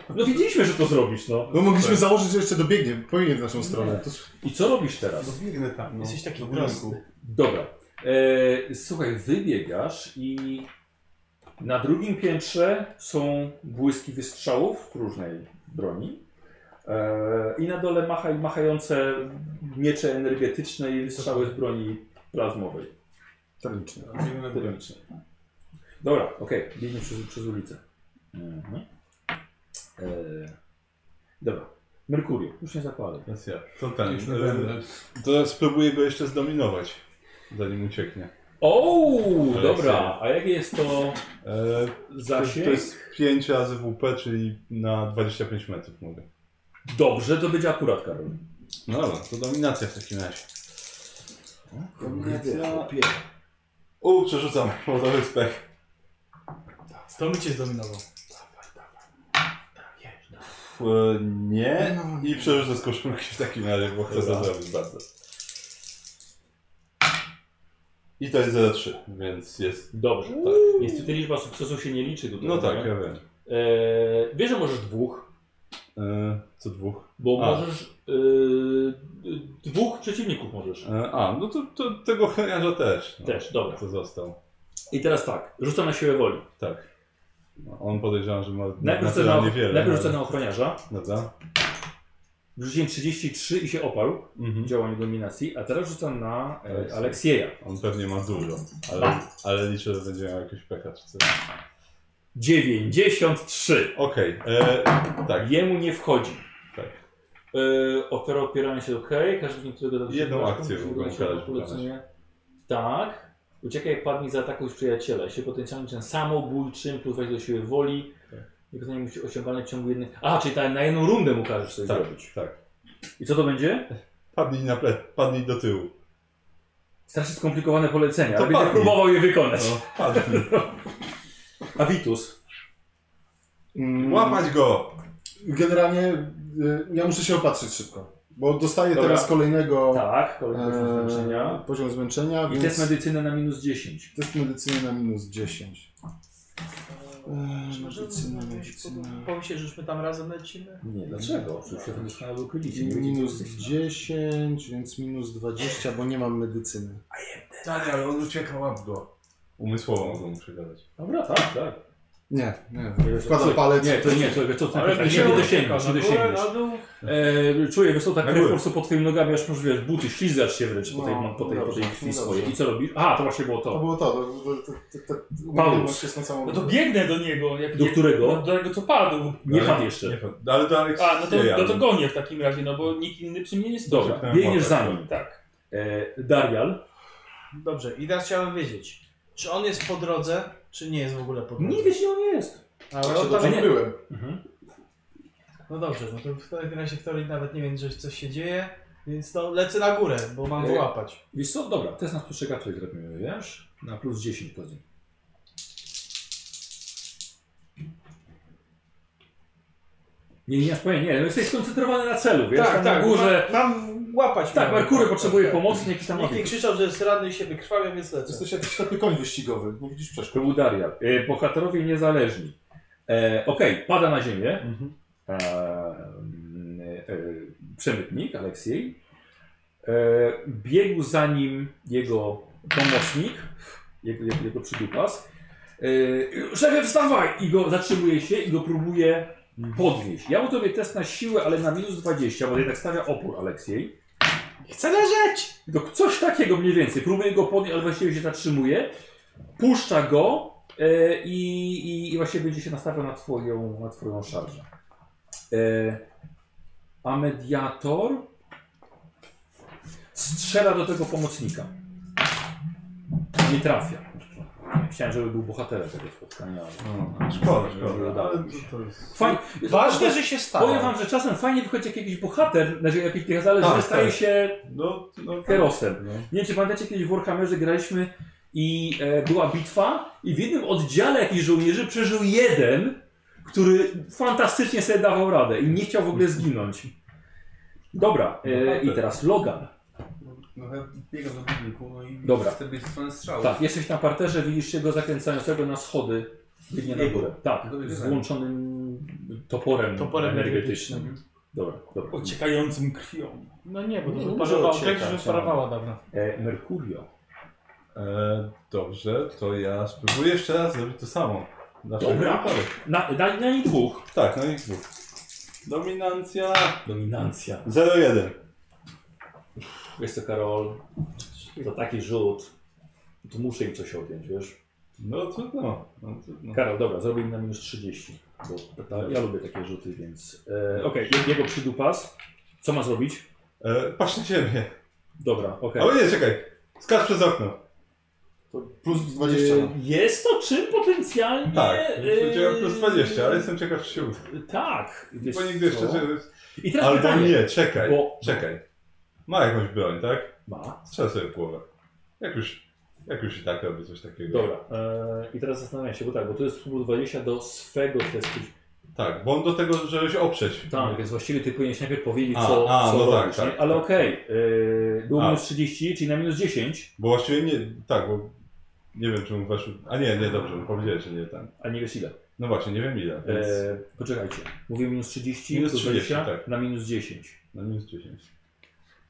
No wiedzieliśmy, że to zrobisz, no. Bo mogliśmy założyć, że jeszcze dobiegnie, pobiegnie w naszą stronę. To s- I co robisz teraz? Biegnę tam. No. Jesteś taki Do budynku. prosty. Dobra. E, słuchaj, wybiegasz i na drugim piętrze są błyski wystrzałów różnej broni. E, I na dole macha, machające miecze energetyczne i wystrzały z broni plazmowej. Termiczny. Biegnę na górę. Dynamiczne. Dobra, okej, biegnie przez, przez ulicę. Mhm. E, dobra, Merkurio, już nie zakładam. Więc ja. To ten. y, Już nie będę. To ja spróbuję go jeszcze zdominować, zanim ucieknie. O, Ale dobra, serio. a jak jest to E, to, zasięg? to jest 5 razy WP, czyli na 25 metrów mówię. Dobrze, to będzie akurat, Karol. No dobra, to dominacja w takim razie. Kombinacja. U, przerzucam, bo to wyspech. To mi cię zdominował. Pff, nie. I przerzucę z koszulki w takim razie, bo chcę to zrobić bardzo. I to jest 0,3, więc jest... Dobrze. Tak. Niestety liczba sukcesów się nie liczy tutaj. No tak, nie? ja wiem. E, wiesz, że możesz dwóch, E, co dwóch? bo A. możesz. E, dwóch przeciwników możesz. E, a, no to, to tego cheniarza też. No, Też, dobra. To został. I teraz tak, rzucam na siłę woli. Tak. No, on podejrzewam, że ma Najpierw rzucę na, naturalnie wiele. najpierw rzucę ale- na ochroniarza. Dobra. Wrzuciłem 33 i się oparł w Mhm. działaniu dominacji, a teraz rzucam na e, Aleksieja. Aleksieja. On pewnie ma dużo, ale, ale liczę, że będzie miał jakiś pecha czy coś. 93. Okej, e, tak. Jemu nie wchodzi. Tak. E, opera opieramy się ok. Każdy z nich, którego tam Jedną przyjmujesz, akcję przyjmujesz, mogą karać, polecenie. Tak. Uciekaj, padnij, zaatakuj przyjaciela. Jeśli potencjalnie czyn samobójczym, plus weź do siły woli. Tak. Wykonanie musi osiągane w ciągu jednej... A, czyli ta, na jedną rundę mu każesz coś Tak, zrobić. tak. I co to będzie? Padnij na ple, padnij do tyłu. Strasznie skomplikowane polecenia, To ale będę padnij. próbował je wykonać. No, padnij. Avitus. Mm, Łapać go! Generalnie y, ja muszę się opatrzyć szybko, bo dostaję Dobra. teraz kolejnego Tak, kolejny poziom e, zmęczenia. poziom zmęczenia, I więc test medycyny na minus 10. test medycyny na minus 10. E, Czy możemy medycyna, jakoś medycyna... po- Pomyśleć, żeśmy tam razem lecimy? Nie, dlaczego? Przecież się to doskonale ukrylicie. Minus znaczy. 10, więc minus 20, bo nie mam medycyny. Tak, ale on ucieka, łap go. Umysłowo mogę mu przegadać. Dobra, tak, tak. Nie, nie. Wkładam palec. Nie, to nie, to, to, znaczy? Tak, to Ale nie, wisiało nie kilka dosięgniesz, na nie górę, no. dosięgniesz. na dół. E, czuję, wiesz co, ta Na krew po górę. prostu pod twoimi nogami, aż może wiesz, buty, ślizgasz się wręcz po tej, No, po tej, po tej dobrze, krwi no swojej. dobrze. I co robisz? Aha, to właśnie było To to. było to. to, to, to, to, to umiejętność jest na samą No to biegnę do No niego. Jak Do jak- którego? Do tego co padł. Nie Ale- padł jeszcze. Nie padł. Ale do Aleksieja. A, no to, no to gonię w takim razie, no bo nikt inny przy mnie nie stoi. Dobra, Czekałem biegniesz łapać. za nim. Tak. E, Darial. Dobrze, i teraz chciałem wiedzieć, czy on jest po drodze, czy nie jest w ogóle po drodze? Nie wiesz, gdzie on jest. Ale Właśnie on tam... dobrze nie. Mhm. byłem. No dobrze, no to w takim razie w teorii nawet nie wiem, że coś się dzieje, więc no lecę na górę, bo mam go Nie. łapać. Wiesz co, dobra, test na spostrzegawczość zrobimy, wiesz? Na plus 10 powiedzmy. Nie, nie, nie, nie, jesteś skoncentrowany na celu, wiesz? tam na górze. Tak, ma- mam łapać. Tak, mam. Merkury potrzebuje tak. pomocy, jakiś tam Nikt nie krzyczał, że jest ranny i się wykrwawia, więc lecę. Jesteś jakiś ślepy koń wyścigowy, nie widzisz przeszkód. To był Darial. E, bohaterowie niezależni. E, Okej, pada na ziemię. Mhm. E, e, przemytnik, Aleksiej. E, biegł za nim jego pomocnik, jego, jego, jego przydupas. E, szefie, wstawaj! I go zatrzymuje się i go próbuje podnieść. Ja mu tobie test na siłę, ale na minus 20, bo jednak stawia opór Aleksiej. Chcę leżeć! To coś takiego mniej więcej. Próbuje go podnieść, ale właściwie się zatrzymuje. Puszcza go e, i, i, i właśnie będzie się nastawiał na twoją, na twoją szarżę. E, a mediator strzela do tego pomocnika. Nie trafia. Chciałem, żeby był bohaterem tego spotkania. No, szkoda, szkoda. Ale to, to jest... Fajnie. Ważne, że się stało. Powiem wam, że czasem fajnie wychodzi jak jakiś bohater, znaczy jakiś niezależny, Tak, staje tak. się No, no, herosem. No. Nie wiem, czy pamiętacie, kiedyś w Warhammerze graliśmy i e, była bitwa i w jednym oddziale jakichś żołnierzy przeżył jeden, który fantastycznie sobie dawał radę i nie chciał w ogóle zginąć. Dobra, e, i teraz Logan. No ja biegam do budynku, no i Dobra. z tej strony strzał. Tak, jesteś na parterze, widzisz się go zakręcającego na schody, biegnie na górę. Tak, z włączonym toporem, Toporem energetycznym. Dobra, dobra. Ociekającym krwią. No nie, bo Nie, to nie wyparowała, uciekać, krew już wyparowała dawno. E, Mercurio. E, dobrze, to ja spróbuję jeszcze raz zrobić to samo. Na Dobra. wszelki wypadek. Na, na, na nich dwóch. Tak, no i dwóch. Dominancja Dominancja. 0-1. Wiesz co, Karol, to taki rzut, to muszę im coś odjąć, wiesz? No trudno, no trudno. Karol, dobra, zrobię im na minus 30, bo ta, ja lubię takie rzuty, więc... E, Okej, je- jego przydupas, co ma zrobić? E, patrz na ciebie. Dobra, okej. Ale nie, czekaj. Skacz przez okno. To plus 20. E, Jest to czym potencjalnie... Tak, e, powiedziałem plus yy. 20, ale jestem ciekaw, czy się uda. Tak, wiesz Bo nigdy jeszcze... co? Czy... I teraz Albo pytanie, nie, czekaj, bo... czekaj. Ma jakąś broń, tak? Ma, Strzel sobie w głowę. Jak już, jak już i tak robi coś takiego. dobra. E, I teraz zastanawiam się, bo tak, bo to jest plus 20 do swego testu. Tak, bo on do tego, żeby się oprzeć. Tak, więc właściwie ty powinieneś najpierw powiedzieć, A, co, a, co no tak, robisz, tak, nie? Ale tak. okej, yy, było A. minus 30, czyli na minus 10, Bo właściwie nie, tak, bo nie wiem, czy mu weszł. A nie, nie, dobrze, bo powiedziałeś, że nie ten. a nie wiesz ile. No właśnie, nie wiem ile, więc E, poczekajcie, mówię minus 30, Minus plus 30, 20, tak. na minus 10. na no minus 10.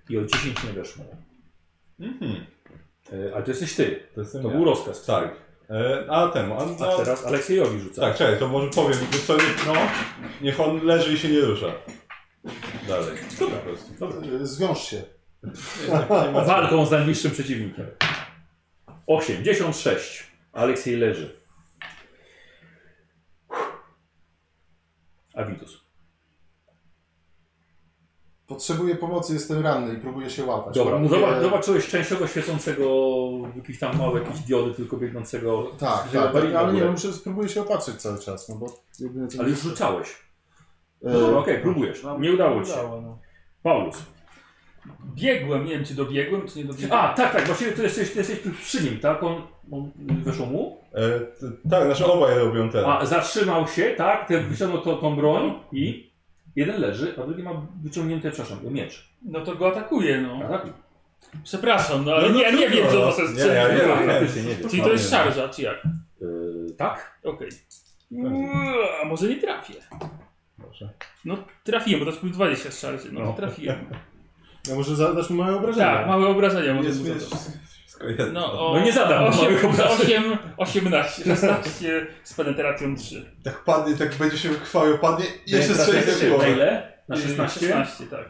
I o 10 nie weszło. Mhm, E, ale to jesteś ty, to jestem to ja. był rozkaz. Tak. E, a temu, a, A teraz Aleksejowi rzuca. Tak, czekaj, to może powiem, wiesz co, niech, no, niech on leży i się nie rusza. Dalej. Dobra. Po prostu. Dobra, Zwiąż się. Walką z najbliższym przeciwnikiem. 86. Aleksiej leży. Avitus. Potrzebuję pomocy, jestem ranny i próbuję się łapać. Dobra, Mówię- zobacz, zobaczyłeś częściowo świecącego, jakiś tam mały, jakieś diody tylko biegnącego. Tak, z- tak, bardziej tak, ale w nie, ogóle. muszę, spróbuję się opatrzyć cały czas, no bo jedyne co... Ale już rzucałeś. E, No dobra, okej, próbujesz. Nie udało ci się. Udało, no. Paulus. Biegłem, nie wiem czy dobiegłem, czy nie dobiegłem. A, tak, tak, właściwie ty jesteś, ty jesteś przy nim, tak? On, on weszło mu? E, t, tak, znaczy obaj robią ten. A zatrzymał się, tak? Ten wyciągnął to, tą broń i jeden leży, a drugi ma wyciągnięty, przepraszam, miecz. No to go atakuje, no. Tak? Przepraszam, no ale nie, ja nie wiem co was jest. Nie, ja nie Tak, wiem, faktycznie, nie wiem. Czyli to jest szarża, czy jak? Yy, tak? Okej. Ua, A może nie trafię. Dobrze. No trafiłem, bo to jest plus 20 z szarży, no to trafiłem. Ja może zadasz mi moje obrażenia. Tak, małe obrażenia może Jest, mu jest zadać. wszystko jedno. No, o, No nie zadam małych obrażeń. 8, 18, 16 z penetracją 3. Jak padnie, tak będzie się chwały, padnie i jeszcze Teraz strzeli jeszcze w Na głowę. ile? Na 16? 16, Y, tak.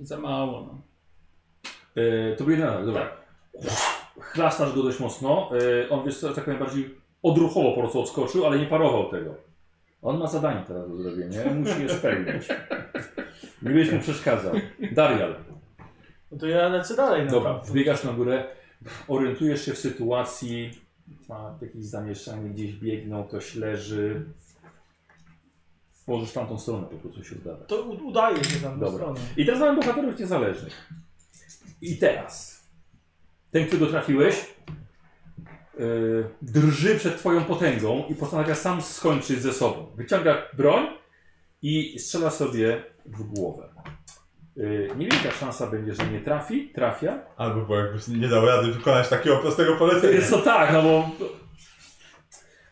Za mało, no. Yy, to był jeden atak, dobra. Chlastasz go dość mocno. Yy, on, wiesz co, tak najbardziej odruchowo po prostu odskoczył, ale nie parował tego. On ma zadanie teraz do zrobienia, musi je spełnić. Nie będziesz mu przeszkadzał. Darial. no to ja lecę dalej. No. Dobra, wbiegasz na górę, orientujesz się w sytuacji, ma jakieś zamieszanie, gdzieś biegną, ktoś leży. Możesz tamtą stronę po prostu się udawać. To u- udaje się tam Dobra. Dobra. stronę. I teraz mamy bohaterów niezależnych. I teraz. Ten, którego trafiłeś, yy, drży przed twoją potęgą i postanawia sam skończyć ze sobą. Wyciąga broń i strzela sobie w głowę. Yy, niewielka szansa będzie, że nie trafi. Trafia. Albo bo jakbyś nie dał rady wykonać takiego prostego Jest polecenia. to tak, no bo...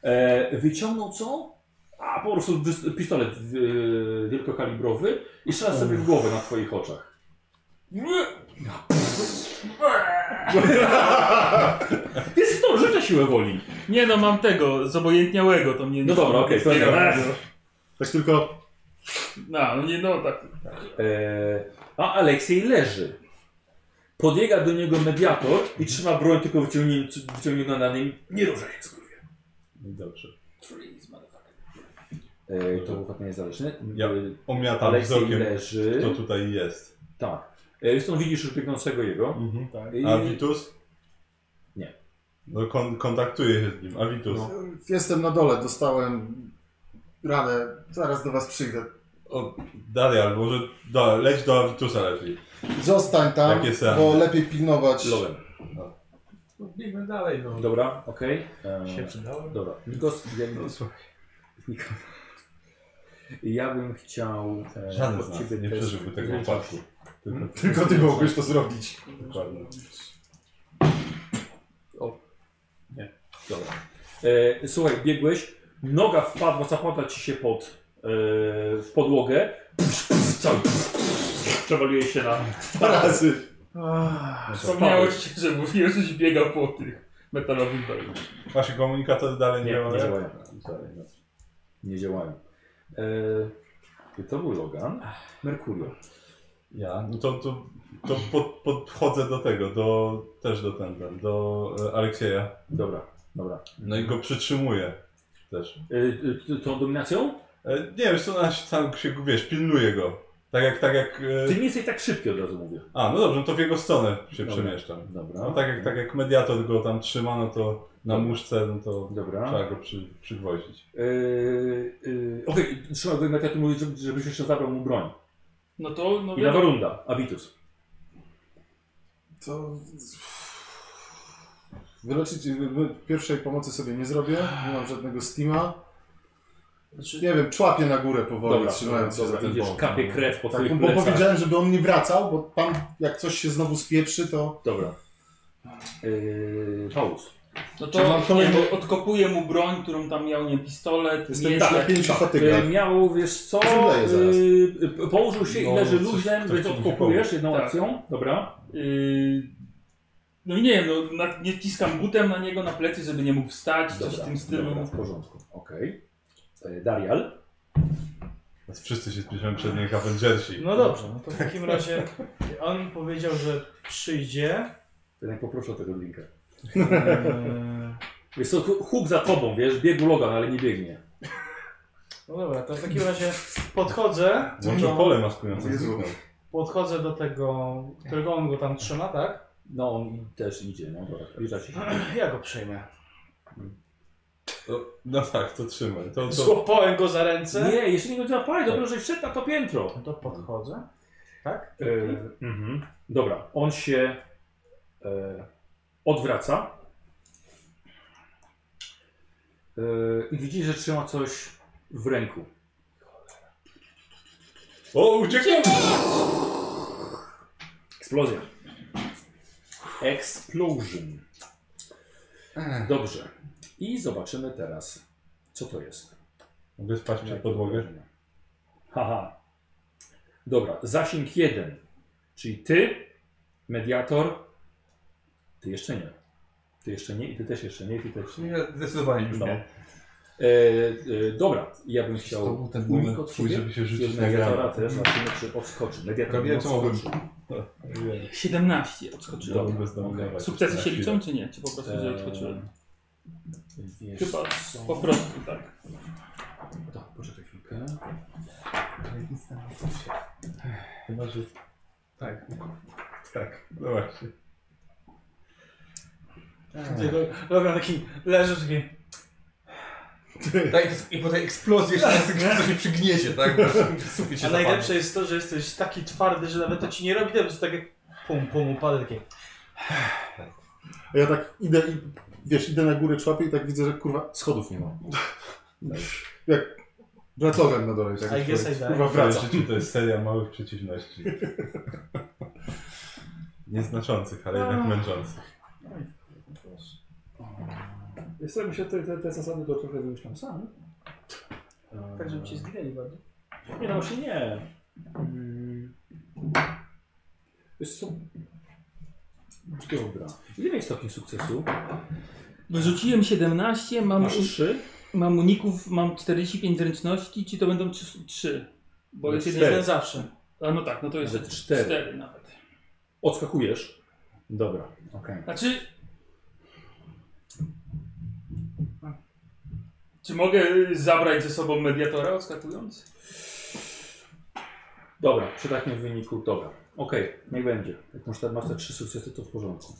E, wyciągnął co? A po prostu dys- pistolet e, wielkokalibrowy i strzela sobie w głowę na twoich oczach. Jest to, życzę siłę woli. Nie no, mam tego, zobojętniałego, to mnie No dobra, okej, to nie ma. Tak tylko... No, no nie no, tak. E, a Aleksiej leży. Podbiega do niego mediator i trzyma broń tylko wyciągnięci- wyciągnięta na nim. Nie ruszaj się, skurwie. Dobrze. E, to był patent niezależny. E, Ja- Omiatam Aleksiej wzrokiem, leży. kto tutaj jest. Tak. E, Zresztą widzisz już biegnącego jego. Mhm. I... A Vitus? Nie. No kon kontaktuję się z nim. A Vitus? No. Jestem na dole, dostałem ranę, zaraz do was przyjdę. O, dalej, albo może do, leć do Avitusa lepiej. Zostań tam, Takie same. bo lepiej pilnować... Lowem. No, biegnę dalej, no. Dobra, okej. E, Się przydałem. Dobra. Nikos, ja, No, Nikos. ja bym chciał e, Żaden od z nas ciebie nie test- przeżyłby tego upadku. Tylko, Tylko ty mogłeś to zrobić. dokładnie. Dobra. E, słuchaj, biegłeś, noga wpadła, zapadła ci się pod, e, w podłogę. Pff, pff, Cały pff, pff, przewaliłeś się na... Dwa razy. Wspomniałeś, się, że mówiłem, żeś biegał po tych metalowych belach. Właśnie komunikator dalej nie, Nie, ma. nie działają. Dalej, no. Nie działają. E, to był Logan. Merkurio. Ja, no to, to, to pod, podchodzę do tego, do, też do ten, ten do e, Aleksieja. Dobra, dobra. No i go przytrzymuję też. E, e, t- tą dominacją? E, nie wiem, co ona się tam się, wiesz, pilnuje go. Tak jak, tak jak... E... Ty nie jesteś tak szybki od razu mówię. A, no dobrze, no to w jego stronę się Dobra. przemieszczam. Dobra. No tak jak, tak jak mediator go tam trzyma, no to na muszce, no to Dobra. trzeba go przy, przygwoździć. Yy, yy, Okej, trzymaj go Matia, ty mówisz, żeby- żebyś jeszcze zabrał mu broń. No to, no I nowa runda, Avitus. To... Wyleczyć, wy- pierwszej pomocy sobie nie zrobię, nie mam żadnego steama. Znaczy, Nie wiem, człapię na górę powoli, Dobra, trzymając się dobra, za ten idziesz, bok. kapie krew po Tak, twoich bo plecach. powiedziałem, żeby on nie wracał, bo pan jak coś się znowu spieprzy, to... Dobra. Yy, Paulus. No Czy to mam kolejny- nie, odkopuję mu broń, którą tam miał, nie pistolet, Jestem nie już na tak. pięciu Yy, fatygach. miał, wiesz co, Zemdleję zaraz. yy, położył się i No, leży coś- luźnym, coś więc ci musi odkopujesz pomóc. jedną Tak. akcją. Dobra. Yy, no i nie wiem, no, na, nie ciskam butem na niego na plecy, żeby nie mógł wstać, coś w tym stylu. Dobra, w porządku. Okej. Yy, Darial. Więc wszyscy się spieszymy przed nim Avengersi. No dobrze, no to w takim razie on powiedział, że przyjdzie. Jednak poproszę o tego linka. Eee, Jest to huk za tobą, wiesz, biegł Logan, ale nie biegnie. No dobra, to w takim razie podchodzę, Znaczy, Włączył No. pole maskujące Jezu. zniknął. podchodzę do tego, którego on go tam trzyma, tak? No on też idzie, no dobra, zbliża się. Ja go przejmę. No, no tak, to trzymaj. No To, to... Złapałem go za ręce. Nie, jeszcze nie go złapali, dobrze, że wszedł na to piętro. No to podchodzę. Tak? E, mhm. Dobra, on się e, odwraca. E, I widzi, że trzyma coś w ręku. O, uciekł! Eksplozja. Explosion. Dobrze. I zobaczymy teraz, co to jest. Mogę spać przed podłogę? Haha. Dobra, zasięg 1. Czyli ty, mediator. Ty jeszcze nie. Ty jeszcze nie, i ty też jeszcze nie, i ty też nie. Ja Zdecydowanie już No. nie. E, e, dobra, ja bym To chciał był ten unik moment, od twój, siebie. żeby się rzucić na Mediatora granat. też, zobaczymy czy odskoczy. Mediator Robię, nie co mogłem. odskoczył. 17 odskoczyłem. Dobra, bez domu okej. dawać. Sukcesy Na się chwilę. liczą, czy nie? Czy po prostu, że Eee, odskoczyłem? wiesz Chyba co? po prostu, tak. Tak, poczekaj chwilkę. Chyba, że... Tak. Tak, no właśnie. Tego Logan taki leży taki. Tak, i po tej eksplozji jeszcze raz coś się przygniecie, tak? Supie się A najlepsze jest to, że jesteś taki twardy, że nawet to ci nie robi, to po prostu takie pum pum upadł takie. A ja tak idę i, wiesz, idę na górę człapię i tak widzę, że kurwa schodów nie ma. Jak ratowem na dole. Tak I guess I die. kurwa wraca. Twoje życie to jest seria małych przeciwności. Nieznaczących, ale jednak męczących. Ja sobie się te, te, te zasady to trochę wymyślam sam. Tak, żeby cię zginęli bardziej. Nie no właśnie nie. Mm. Wiesz co? Dobra. Ile miałeś stopni sukcesu? Wyrzuciłem 17, mam, Masz 3? mam uników, mam 45 zręczności, czy to będą 3? Bo jest jeden. Jeden zawsze. A no tak, no to jeszcze No Nawet cztery. 4 nawet. Odskakujesz. Dobra, okej. Znaczy. Czy mogę zabrać ze sobą mediatora odskakując? Dobra, przy takim wyniku, dobra. Okej, niech będzie. Jak masz, te- masz te trzy sukcesy, to w porządku.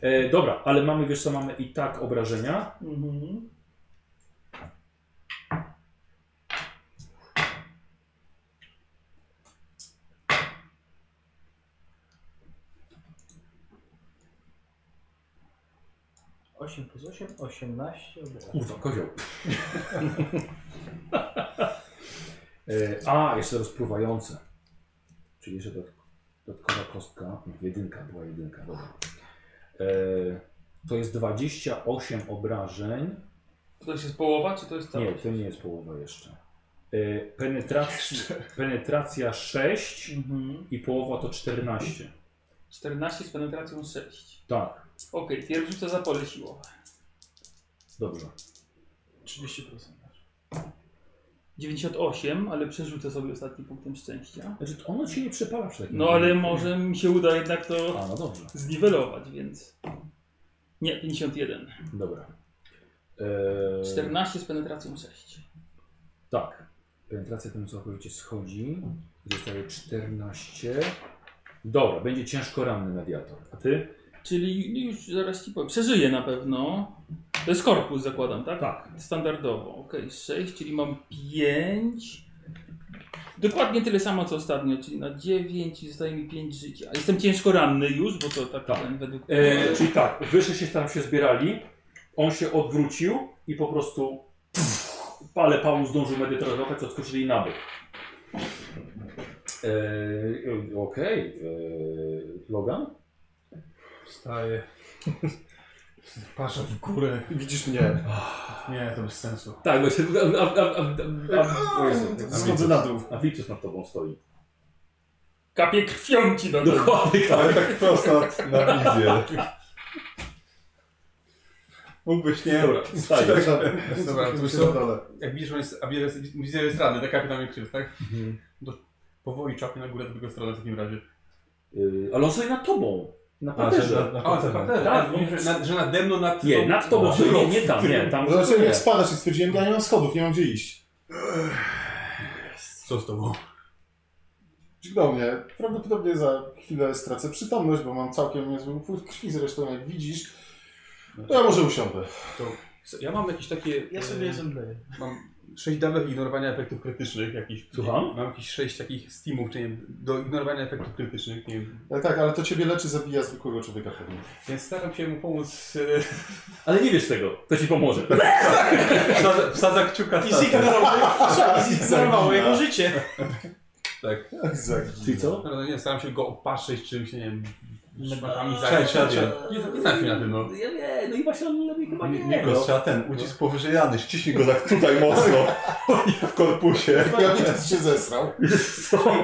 E, dobra, ale mamy, wiesz co, mamy i tak obrażenia. Mhm. Osiem plus osiem, 18. Kurwa, kozioł. e, a, jeszcze rozpruwające. Czyli jeszcze dodatk- dodatkowa kostka. Jedynka, była jedynka, dobra. E, to jest 28 obrażeń. To też jest połowa, czy to jest Nie, całość? to nie jest połowa jeszcze. E, penetracja, penetracja 6 Mhm. i połowa to 14. 14 z penetracją 6. Tak, Okej, pierwszy to za pole siłowe. dobrze. 30%. 98, ale przerzucę sobie ostatni punktem szczęścia. Znaczy, to ono się nie przepala przy takim No ale może mi się uda jednak to A, no dobrze, zniwelować, więc... Nie, 51. dobra. Eee, 14 z penetracją 6. Tak. Penetracja temu całkowicie schodzi. Zostaje 14. Dobra, będzie ciężko ranny mediator. A ty? Czyli już zaraz ci powiem. Przeżyję na pewno. To jest korpus, zakładam, tak? Tak. Standardowo. Ok, 6, czyli mam 5. Dokładnie tyle samo co ostatnio, czyli na 9 i zostaje mi 5 życia. Jestem ciężko ranny już, bo to tak, Tak. ten według... E, czyli tak, wyżej się tam się zbierali, on się odwrócił i po prostu pff, ale Paul zdążył medytera złapać, odskoczyli na bok. E, e, Okej, e, Logan? Wstaję. Patrzę w górę. Widzisz mnie. Nie, to bez sensu. Tak, no się, a, a, a, a, a, o Jezu, Schodzę na dół. a, a Vitus nad tobą stoi. Kapie krwią ci do tego. Dokładnie tak. Ale tak prosto na wizję. Mógłbyś nie. Dobra, wstaje. Przepraszam. Dobra, Się to co? na dole. Jak widzisz, on jest, a widzę, widzę jest ranny, tak jak na mnie krzyw, tak? Mhm. To powoli czapnie na górę do drugą stronę w takim razie. Y, Ale on stoi nad tobą. Na A, że parterze. na- na A, on jest parterze. partnerem, Tak, tak, że, na, że nade mną, nad Nie, tą- nad tobą A, stoi. Nie, nie tam, nie. Tam Zobaczyłem nie. Znaczy, jak spadasz i stwierdziłem, ja nie mam schodów, nie mam gdzie iść. Co z tobą? Dźgnął mnie. Prawdopodobnie za chwilę stracę przytomność, bo mam całkiem niezły upływ krwi, zresztą jak widzisz. To ja może usiądę. Ja mam jakieś takie... Ja sobie e, je zemdleję. Mam sześć dawek ignorowania efektów krytycznych jakichś. Słucham? Mam jakieś sześć takich steamów, czy nie wiem, do ignorowania efektów krytycznych, nie wiem. Ale tak, ale to ciebie leczy, zabija zwykłego człowieka pewnie. Więc staram się mu pomóc. Ale nie wiesz tego. To ci pomoże. e, Wsadza, wsadza kciuka w I tatę. zignorowałem jego życie. Tak. Zagina. Czyli co? No, no, nie, staram się go opatrzyć czymś, nie wiem, szmatami Trzeba- zajęć. trzeba- Nie, nie znam się na tym, no. Ja nie, no i właśnie on lepiej chyba nie. Nie, nie, no. trzeba ten ucisk powyżej rany, ściśnij go tak tutaj mocno w korpusie. Tak, Ja bym teraz się zesrał.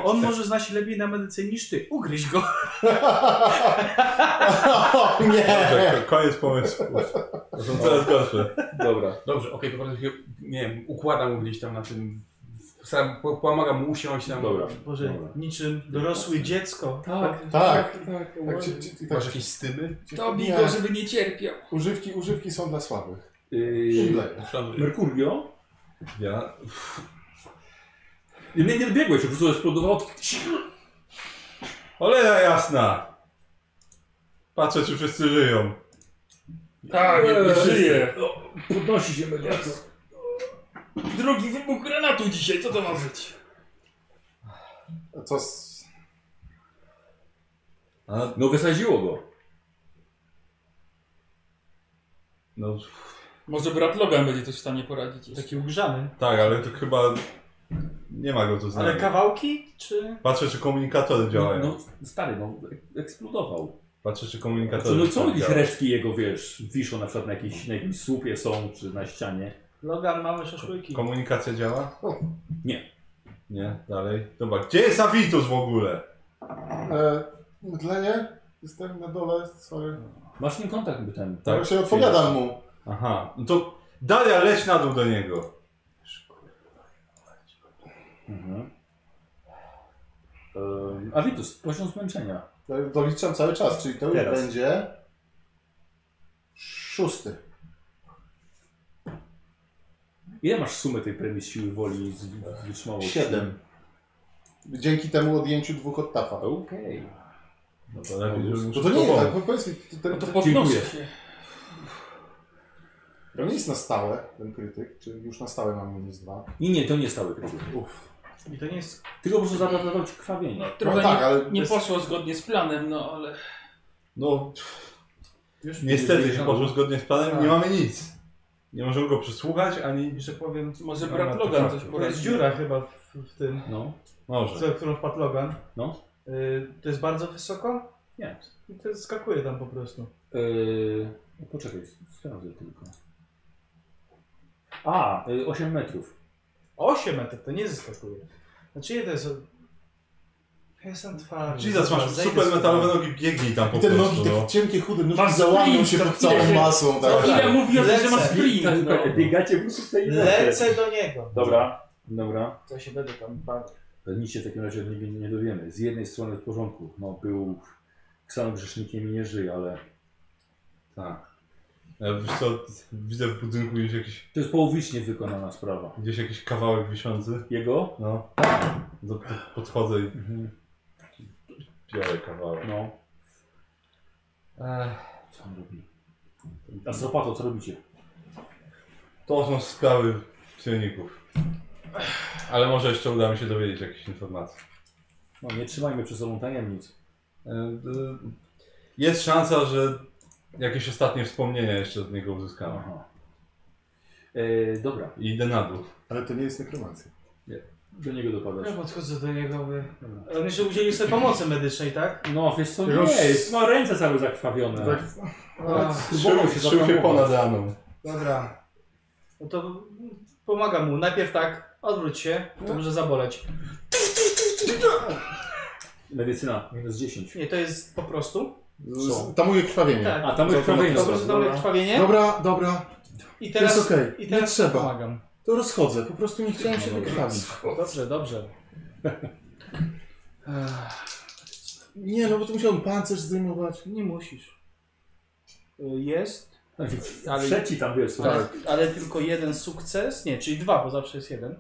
On może zna się lepiej na medycynie niż ty. Ugryź go. o nie! Dobrze, ko- koniec pomysłu. To są coraz gorsze. Dobra. Dobrze, okej, to bardzo się, nie wiem, układam go gdzieś tam na tym. Staram, po- pomagam mu usiąść tam. Dobra. Boże, Dobra. niczym dorosłe dziecko. Tak. Tak. tak. Tak, ci, ci, tak. Masz jakieś stymy? To bij Nie. go, żeby nie cierpiał. Używki, używki są dla słabych. Yy, Szymleje. Szanuję. Mercurio? Ja Nie, nie biegłeś, po prostu eksplodowało. Cholera jasna! Patrzę, czy wszyscy żyją. Tak, Eee, żyje. Podnosi się mediator. Drugi wybuch granatu dzisiaj, co to ma być? A co z... A, No wysadziło go. no Może brat Logan będzie coś w stanie poradzić. jeszcze. Taki ugrzany. tak, ale to chyba nie ma go tu Ale znaleźć. kawałki, czy... Patrzę, czy komunikatory działają. No stary, no eksplodował. Patrzę, czy Co, komunikatory no co jakieś działają. resztki jego, wiesz, wiszą na przykład na jakimś, na jakimś słupie są, czy na ścianie. Logan, mamy szaszłyki. Komunikacja działa? Nie. Nie, dalej. Dobra, gdzie jest Avitus w ogóle? E, mdlenie? Jestem na dole, sorry. Masz z nim kontakt by ten. Tak, się odpowiadam mu. Aha, no to Daria, leć na dół do niego. Mhm. Ehm, A Vitus, poziom zmęczenia. Ja Doliczam Tak, cały czas, czyli to już Teraz. będzie... Szósty. Ile masz sumy tej premii siły woli i z- wytrzymałości? Siedem. Dzięki temu odjęciu dwóch od tafa. Okej. No to lepiej, żeby No mu to nie, pomóc. tak, bo powiedz mi, to, No ten, to to, podnoszę Dziękuję. się. nie jest na stałe, ten krytyk, czy już na stałe mam minus dwa. Nie, nie, to nie stały krytyk. Uff. I to nie jest... Tylko po prostu zabrał ci krwawienie. No, trochę no tak, nie, ale... nie bez- poszło zgodnie z planem, no ale... No, Już niestety, Już się poszło zgodnie z planem, nie Tak. mamy nic. Nie możemy go przesłuchać, ani... że powiem... Może No, brat no, to Logan tak. coś To jest poradzi. dziura chyba w, w tym, No. Może. za którą wpadł Logan. No. Y, to jest bardzo wysoko? Nie. I to skakuje tam po prostu. Yy, poczekaj, sprawdzę tylko. A, yy, 8 metrów. 8 metrów, to nie zeskakuje. Znaczy ile to jest... Ja Jestem twardy. Jesus, masz Zejdę super z- metalowe nogi, biegnij tam po I te prostu, nogi, no. te cienkie, chude Ma nogi załamią się sprint, pod całą ile- masą. Tak, Ile tak. mówi o tym, że ma Lecę. sprint, tak, no. E, Biegacie po prostu w tej Lecę do niego. Dobra, dobra. E, To się będę tam bawił. Nic się w takim razie od niego nie dowiemy. Z jednej strony w porządku, no był samym grzesznikiem i nie żyje, ale Tak. Ja wiesz co, widzę w budynku gdzieś jakiś, to jest połowicznie wykonana sprawa. gdzieś jakiś kawałek wiszący. Jego? No. Do, do, podchodzę i Mhm. biorę kawałek. No. Co on robi? A z łopatą co robicie? To są sprawy silników. Ale może jeszcze uda mi się dowiedzieć jakichś informacji. No nie trzymajmy przy sobą tajemnic. E, e, Jest szansa, że jakieś ostatnie wspomnienia jeszcze od niego uzyskałem. No. Aha. E, dobra, I idę na dół. Ale to nie jest nekromancja. do niego Ja No. dopadasz. podchodzę do niego, mówię. Ale oni się udzieli sobie pomocy medycznej, tak? No wiesz co, Roz- nie jest, ma ręce całe zakrwawione. Tak. Ach, Próbował Tak. się Szychy zahamować. ponad raną. dobra. No to pomagam mu. Najpierw tak, odwróć się, to może zaboleć. Medycyna, minus 10. Nie, to jest po prostu. Co? Tamuje krwawienie. Tak. A tam jest krwawienie. Po prostu tam Dobra. No, krwawienie. Dobra, dobra. I teraz, jest okej, i nie teraz trzeba. pomagam. To rozchodzę. Po prostu nie chciałem się wykrwawić. Dobrze, dobrze. Ech, Nie, no bo to musiałem pancerz zdejmować. Nie musisz. Y, Jest, Ale- Trzeci tam tak. wiesz, ale, Tak. słuchaj. ale tylko jeden sukces. Nie, czyli dwa, bo zawsze jest jeden.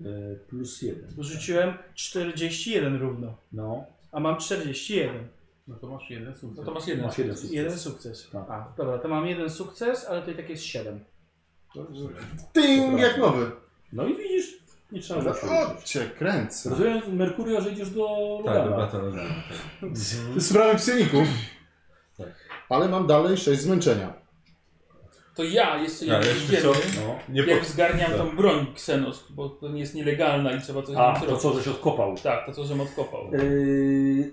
E, plus jeden. Rzuciłem 41 równo, No, a mam 41. No to masz jeden sukces. No to masz jeden. masz jeden sukces. Jeden sukces. Tak. A, dobra, to mam jeden sukces, ale to i tak jest 7. Ting, jak nowy. No i widzisz, nie trzeba No, było się O, uczyć. cię kręcę. Rozumiem, Merkurio, że idziesz do Tak, do Lugana. brata Lodana, tak. Sprawy psioników. Ale mam dalej 6 zmęczenia. To ja jeszcze Ale jak jeszcze idziemy, co? No. Nie po... jak zgarniam tak. tą broń Xenos, bo to nie jest nielegalna i trzeba coś z A, to nią zrobić. co, żeś odkopał. Tak, to co, żem odkopał. Yy,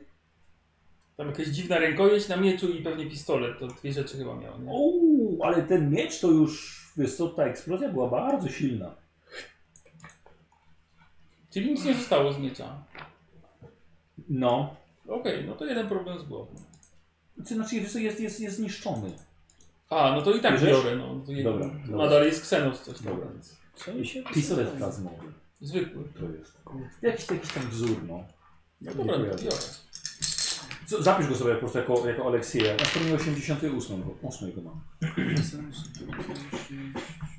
Tam jakaś dziwna rękojeść na mieczu i pewnie pistolet, to dwie rzeczy chyba miał, nie? Uuu, ale ten miecz to już, wiesz co, ta eksplozja była bardzo silna. Czyli nic nie zostało z miecza. No. Okej, no to jeden problem z głową. Czy Znaczy, wiesz co, jest, jest, jest zniszczony. A, no to i tak Bierzesz? biorę, no. To jego, Dobra, to dobra. Nadal jest Xenos coś tam, Dobra. więc... Co mi się Pistolet wysypało? plazmowy. Zwykły. To jest. Jakiś, jakiś tam wzór, no. No dobra, Nie no to kojarzę. biorę. Co, Zapisz go sobie po prostu jako, jako Aleksję. Na stronie 88 go, 8 go mam.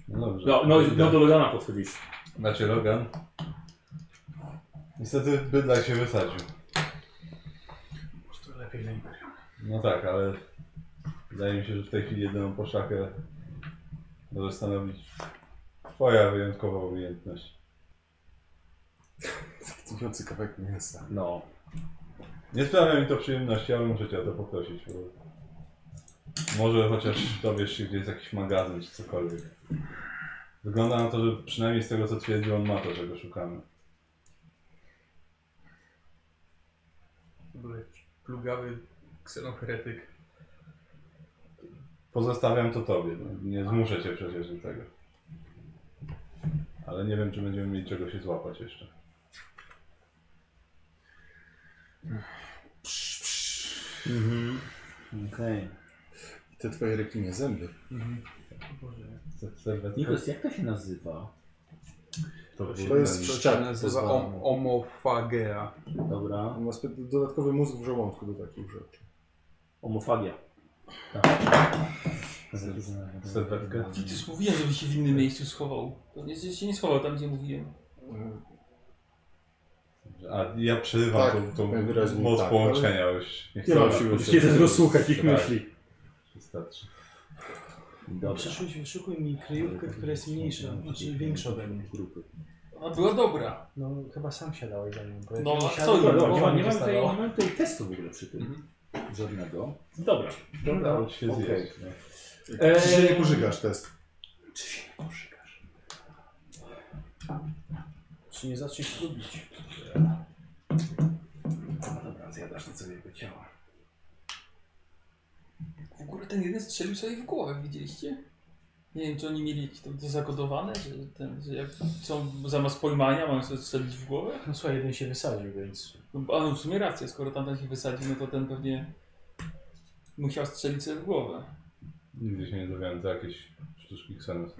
No dobrze. No, no, no do Logana podchodzisz. Macie Logan. Niestety bydlak się wysadził. Może to lepiej dla Imperium. No tak, ale wydaje mi się, że w tej chwili jedyną poszakę może stanowić twoja wyjątkowa umiejętność. Tłumiący kawałek mięsa. No. Nie sprawia mi to przyjemności, ale muszę cię o to poprosić. Bo może chociaż dowiesz się, gdzie jest jakiś magazyn czy cokolwiek. Wygląda na to, że przynajmniej z tego co twierdził, on ma to, czego szukamy. To był jakiś plugawy ksenoheretyk. Pozostawiam to tobie. no. Nie zmuszę cię przecież do tego. Ale nie wiem, czy będziemy mieli czego się złapać jeszcze. Mhm. Okej. Te twoje rekinie zęby. Boże. Se- Serwetka? Nikos, jak to się nazywa? To, To jest To szczep. nazywa om omofagea. Dobra. On ma spe- dodatkowy mózg w żołądku do takich rzeczy. Homofagia. Tak. Serwetka. Przecież mówiłem, żeby się w innym miejscu schował. To nie, że się nie schował tam, gdzie mówiłem. A ja przerywam Tak, tą, tą najwyraźniej moc tak, połączenia już. Nie Nie chcę mam was siły Musicie się też rozsłuchać ich Tak. myśli. Wystarczy. Dobrze. Przyszuj, wyszukuj mi kryjówkę, która jest mniejsza, znaczy większa ode mnie. Grupy. Ona była dobra. No chyba sam siadałeś za nią. bo jak No, nie a siadłem, co to Dobra, innego? głowa nie mam, mi nie mam tutaj, została. nie mam tutaj testu w ogóle przy Mhm. tym. Żadnego. Dobra. Udało ci się Okej. zjeść. no. Eee. Czy się nie pożygasz test? Czy się poszykasz? Czy nie zaczniesz lubić? No dobra, zjadasz to co jego ciała. W ogóle ten jeden strzelił sobie w głowę, widzieliście? Nie wiem, czy oni mieli jakieś tam to zakodowane, że, ten, że jak są zamiast pojmania, mają sobie strzelić w głowę? No słuchaj, jeden się wysadził, więc... No, bo- a no w sumie rację, skoro tamten się wysadził, no to ten pewnie musiał strzelić sobie w głowę. Nigdy się nie dowiadam za jakieś sztuczki ksenos.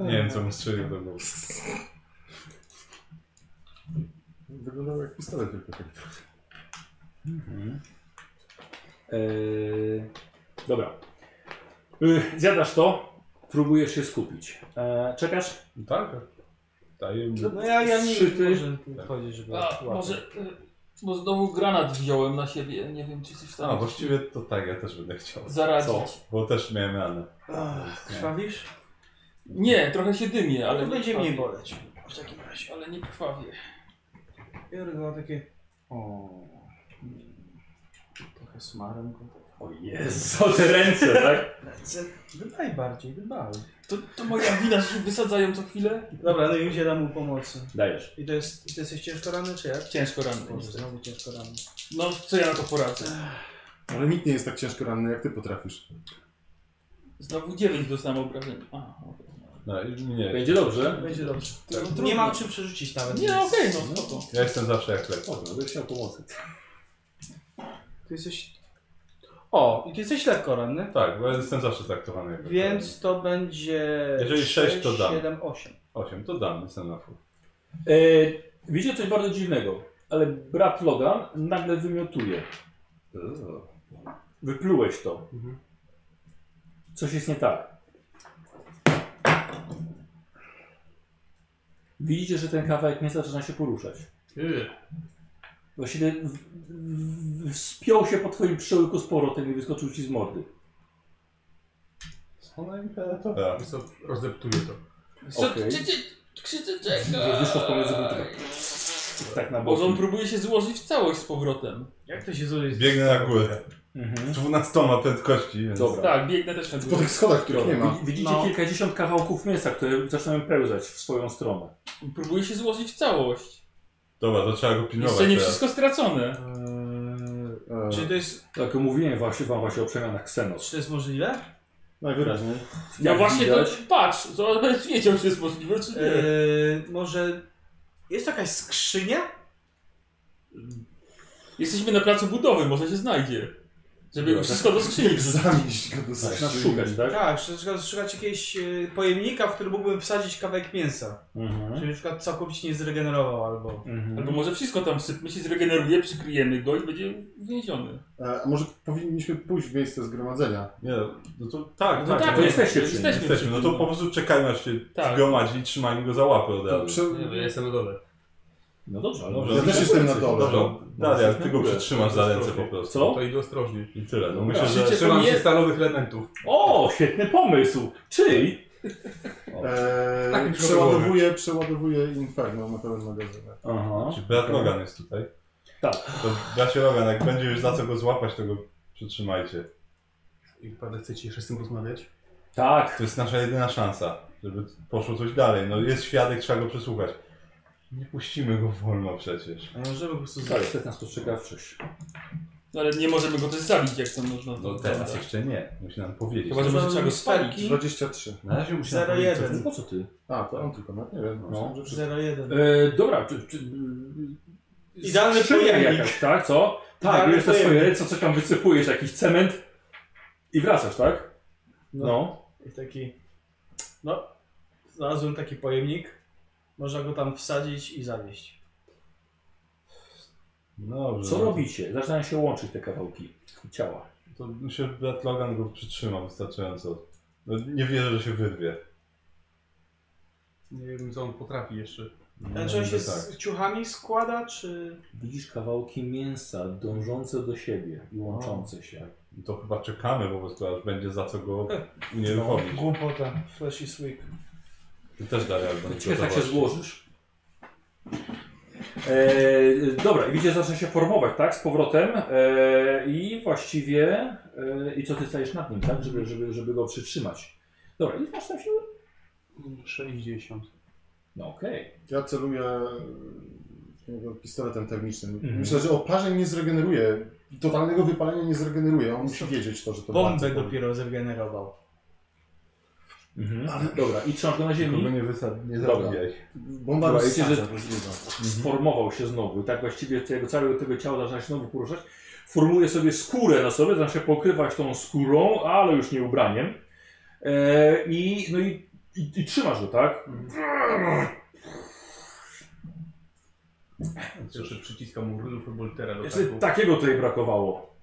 Nie wiem, co mu strzelił do głowy. Wyglądało jak pistolet tylko tak. Mhm. Eee, dobra. Eee, Zjadasz to, próbujesz się skupić. Eee, czekasz? Tak? Daję mu... No ja, ja nie Zszyty. może powiedzieć, żeby... A łapać. może y, Bo znowu granat wziąłem na siebie. Nie wiem, czy coś tam. A, właściwie to tak, ja też będę chciał. Zaradzić. Bo też miałem ranę. Ach, Krwawisz? Nie, trochę się dymię, ale. Ale nie No, będzie krwawię. mniej boleć. W takim razie. Ale nie krwawię. Biorę go na takie... O. hmm, Trochę smarem go. O Jezu, te ręce, tak? Ręce. Dbaj bardziej, dbaj. To, to moja wina, że się wysadzają co chwilę? Dobra, no i udzielam mu pomocy. Dajesz. I to jest... Ty jesteś ciężko ranny, czy jak? Ciężko ranny. Boże, jestem. znowu ciężko ranny. No, co ja na to poradzę? Ale nikt nie jest tak ciężko ranny, jak ty potrafisz. Znowu 9 dostałem obrażeń. A, okej. No i nie. Będzie dobrze. Będzie dobrze. To Nie trudno. mam czym przerzucić nawet. Nie, więc- okej, no spoko. Ja jestem zawsze jak lepiej. Dobrze, będę chciał pomocy. Ty jesteś... O, i ty jesteś lekko ranny. Tak, bo ja jestem zawsze traktowany jak Więc to będzie... Jeżeli sześć, to dam. 7, 8. 8, to dam, jestem na full. E, widzicie coś bardzo dziwnego, ale brat Logan nagle wymiotuje. Wyplułeś to. Mhm. Coś jest nie tak. Widzicie, że ten kawałek nie zaczyna się poruszać. Yy. Właściwie w- w- wspiął się po twoim przełyku z powrotem i wyskoczył ci z mordy. Ona Tak. imperatora. Więc to rozdeptuję to. Co, Okej. czy, czy, krzyczę, Wiesz, czekaj. wyszło w pomiędzy buty. Tak na Boże, on boku. próbuje się złożyć w całość z powrotem. Jak to się zrobi? Biegnę na górę. Z Mhm. 12 prędkości, więc... Dobra. Tak, biegnę też na Po górę. tych schodach, których nie ma. Tak. Widzi- Widzicie No. kilkadziesiąt kawałków mięsa, które zaczynają pełzać w swoją stronę. Próbuje się złożyć w całość. Dobra, to trzeba go pilnować Jeszcze nie teraz. wszystko stracone. Eee, Czy to jest... Tak, mówiłem właśnie wam właśnie o przemianach Xenos. Czy to jest możliwe? Najwyraźniej. No właśnie to widać- patrz, to będziesz wiedział, czy jest możliwe, czy nie. Eee, może jest jakaś skrzynia? Jesteśmy na placu budowy, może się znajdzie. Żeby Dobra. wszystko do skrzyni wrzucić. Zamieść go do Zaczyna skrzyni. szukać, tak? Tak, szukać, szukać jakiegoś e, pojemnika, w którym mógłbym wsadzić kawałek mięsa. Mhm. No Żeby na przykład całkowicie nie zregenerował albo... Albo może wszystko tam sypmy się zregeneruje, przykryjemy go i będzie więziony. Eee, a może powinniśmy pójść w miejsce zgromadzenia? Nie, no to tak, No tak. tak, to no, jesteście przy nim, jesteśmy, Jesteśmy, no to po prostu czekajmy aż się Tak. zgromadzi i trzymajmy go za łapę od To razu. prze... Nie, no ja jestem na dole. No dobrze, ale Dobrze. Ja też jestem na dole. Dobra, Daria, ty go przytrzymasz za ręce po prostu. Co? To idę ostrożnie. I tyle, no myślę, Życie że... Trzymam nie- się stalowych elementów. O, świetny pomysł! Czyli... Eee, Takim przeładowuję, przeładowuję Inferno na pełen magazyn. Aha. Czy brat Logan jest tutaj? Tak. To bracie Logan, jak będzie już za co go złapać, to go przytrzymajcie. I naprawdę chcecie jeszcze z tym rozmawiać? Tak. To jest nasza jedyna szansa, żeby poszło coś dalej. No jest świadek, trzeba go przesłuchać. Nie puścimy go wolno przecież. A możemy po prostu... Tak, jest nas spostrzegawczość. No ale nie możemy go też zabić, jak tam można. No teraz jeszcze nie, musi nam powiedzieć. Chyba, że Możemy może trzeba go robić spalić. sferki. 23. Na razie musi nam Zero powiedzieć, co jeden. Mhm. No po co ty? A, to Tak. on tylko, no nie wiem. myślałem, że wszyscy- 0,1. E, dobra, czy... czy Idealny skrzynia pojemnik. jakaś, tak? Co? Tak, Idealny bierzesz te swoje pojemnik. ręce, coś tam wysypujesz, jakiś cement i wracasz, tak? No. I taki... No, znalazłem taki pojemnik. Można go tam wsadzić i zawieść. No dobrze. Co no to- robicie? Zaczynają się łączyć te kawałki ciała. To myślę, że brat Logan go przytrzyma wystarczająco. No, nie wierzę, że się wyrwie. Nie wiem, co on potrafi jeszcze. Ten czy Znaczy, on się tak. z ciuchami składa, czy... Widzisz kawałki mięsa dążące do siebie i łączące się. To chyba czekamy po prostu, aż będzie za co go unieruchomić. Głupota. Flash is weak. Ty też Daria będziesz Ciekawe, jak tak się gotować. złożysz. E, dobra, i widzisz, zaczyna się formować, tak? Z powrotem. E, I właściwie. E, I co ty stajesz nad nim, tak? Żeby, żeby, żeby go przytrzymać. Dobra, i masz tam siłę? 60. No okej. Ja celuję e, jego pistoletem termicznym. Mhm. Myślę, że oparzeń nie zregeneruje. Totalnego wypalenia nie zregeneruje. On musi wiedzieć to, że to Bombę bardzo- dopiero zregenerował. Ale- Mhm. Dobra, i trzymasz go na Tylko go ziemi. nie, wysad... nie Dobra. zabijaj. Bomba Dobra, rozsadza, wiecie, że- rozluźnia. Sformował się znowu. I tak właściwie tego całego tego ciała zaczyna się znowu poruszać. Formuje sobie skórę na sobie, zaczyna się pokrywać tą skórą, ale już nie ubraniem. E, I no i, i, i trzymasz go, tak? Jeszcze przyciskam mu Rudolf Boltera do Jeszcze taku. takiego tutaj brakowało.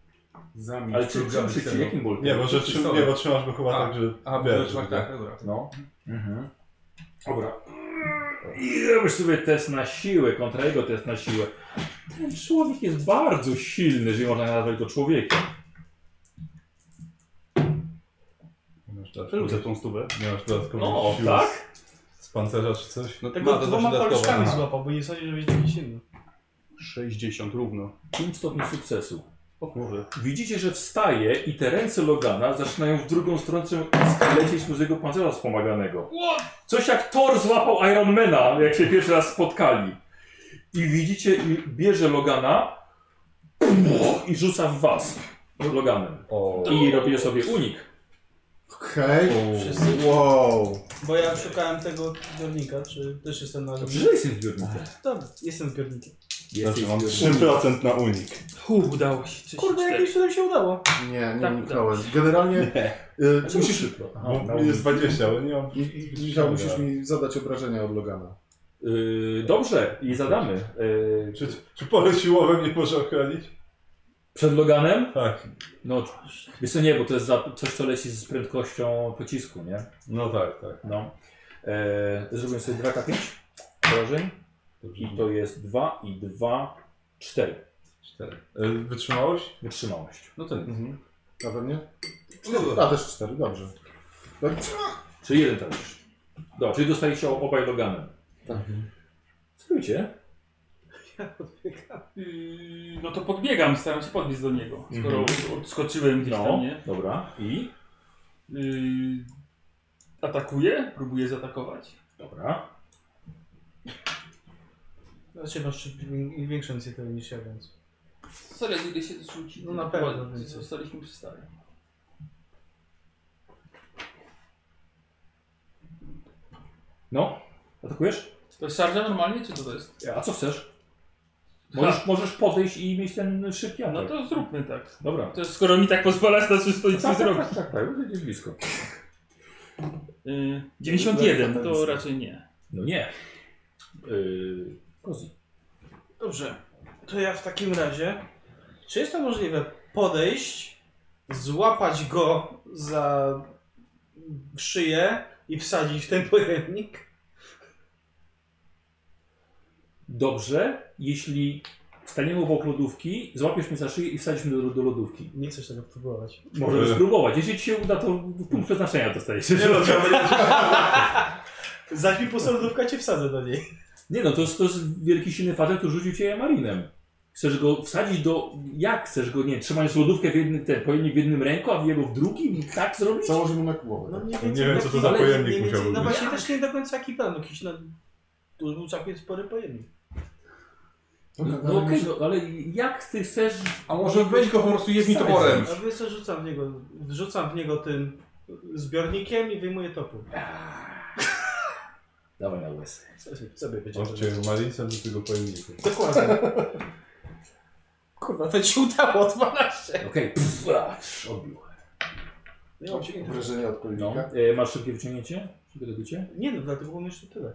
Zamiast Ale czy, czym programu czy, czy, celu. jakim boltem? Nie, bo, że to trzym... pistolet. nie, bo trzymasz go chyba A, tak, że... A, wiesz, wiesz, że- tak, tak, dobra. No. Mhm. No. Dobra. I robisz sobie test na siłę, kontra jego test na siłę. Ten człowiek jest bardzo silny, jeżeli można nazwać go człowiekiem. Masz dodatkowy- Przerzucę tą stówę. Nie masz dodatkowo No, sił tak? z, z pancerza czy coś? No Tego dwoma paluszkami złapał, bo nie sądzi, że będzie taki silny. 60 równo. 5 stopni sukcesu. O kurde. Widzicie, że wstaje i te ręce Logana zaczynają w drugą stronę lecieć mu z jego pancerza wspomaganego. Coś jak Thor złapał Ironmana, jak się pierwszy raz spotkali. I widzicie, i bierze Logana pff, i rzuca w was Loganem. O, I robię sobie unik. Okej. Wszyscy? Wow. Bo ja szukałem tego zbiornika, czy też jestem na Dobrze, że jestem zbiornikiem. Dobra, jestem zbiornikiem. Jesteś znaczy, mam zbiornikiem. 3% na unik. Hu, udało się. Cześć, Kurde, jakimś cudem się udało. Nie, nie Tak, uniknąłem. Generalnie y, Znaczy, musisz, Szybko. Aha, Bo no. jest 20, ale nie mam... Michał, musisz mi zadać obrażenia od Logana. Yy, dobrze, i zadamy. Yy, Czy, czy pole siłowe mnie może ochronić? przed Loganem? Tak, No, wiesz co, nie, bo to jest za, coś, co leci z prędkością pocisku, nie? no tak, tak. No. Eee, zrobię sobie 2K5 obrażeń Dobrze. i to jest 2 i 2, 4. Cztery. E, Wytrzymałość? Wytrzymałość. No to nie. Mhm. A we mnie? Cztery. A też 4, dobrze. Tak, Czyli jeden trafisz. Dobra, czyli dostaliście obaj loganem. Tak. Co robicie? Yy, no to podbiegam, staram się podbiec do niego. Skoro Mhm. odskoczyłem gdzieś tam, No, nie? dobra. I? Yy, atakuję, próbuję zaatakować. Dobra. Znaczy masz wi- większą inicjatywę niż ja, więc. Sorry, ile się zrzuci. No na pewno, Ładnie, więc- Zostaliśmy przy stare. No, atakujesz? To jest szarża normalnie, czy co to jest? A co chcesz? Możesz, możesz podejść i mieć ten szybki atak. No to zróbmy tak. Dobra. To jest, skoro mi tak pozwalasz, to wszystko nic nie Tak, zrobić. tak, tak, tak, jest blisko. Yy, 91, to Tak, Lekko raczej nie. No nie. Yy, Kozi. Dobrze. To ja w takim razie. Czy jest to możliwe podejść, złapać go za szyję i wsadzić w ten pojemnik? Dobrze, jeśli staniemy obok lodówki, złapiesz mnie za szyję i wsadzisz mnie do, do lodówki. Nie chcesz tego próbować. Możemy spróbować. Jeśli ci się uda, to punkt przeznaczenia dostajesz. Nie no, Za chwilę posądówka cię wsadzę do niej. no to, jest, to jest wielki silny facet, który rzucił cię marinem. Chcesz go wsadzić do... Jak chcesz go, nie wiem, trzymając lodówkę w jednym, ten pojemnik w jednym ręku, a jego w drugim i tak zrobić? Założymy na głowę. No Tak. mniej Nie więcej wiem, co to taki- za ale pojemnik mniej więcej- musiałby No być. właśnie też nie do końca jaki plan, jakiś no... To był całkiem spory pojemnik. No, ale okej, może- no, ale jak ty chcesz... A może weź go po prostu jedni Wsadź. toporem. A więc co, rzucam w niego, rzucam w niego tym zbiornikiem i wyjmuję topór. Dawaj na łez. Co by- Co by wiedział? Może cię Marisa do tego pojemnika. Dokładnie. Kurwa, to ci udało, 12. Okej, pff, a, trz, odbił. Obrażenia od No. pojemnika. E, masz szybkie wyciągnięcie? Szybkie dobycie? Nie no, dlatego mam jeszcze tyle.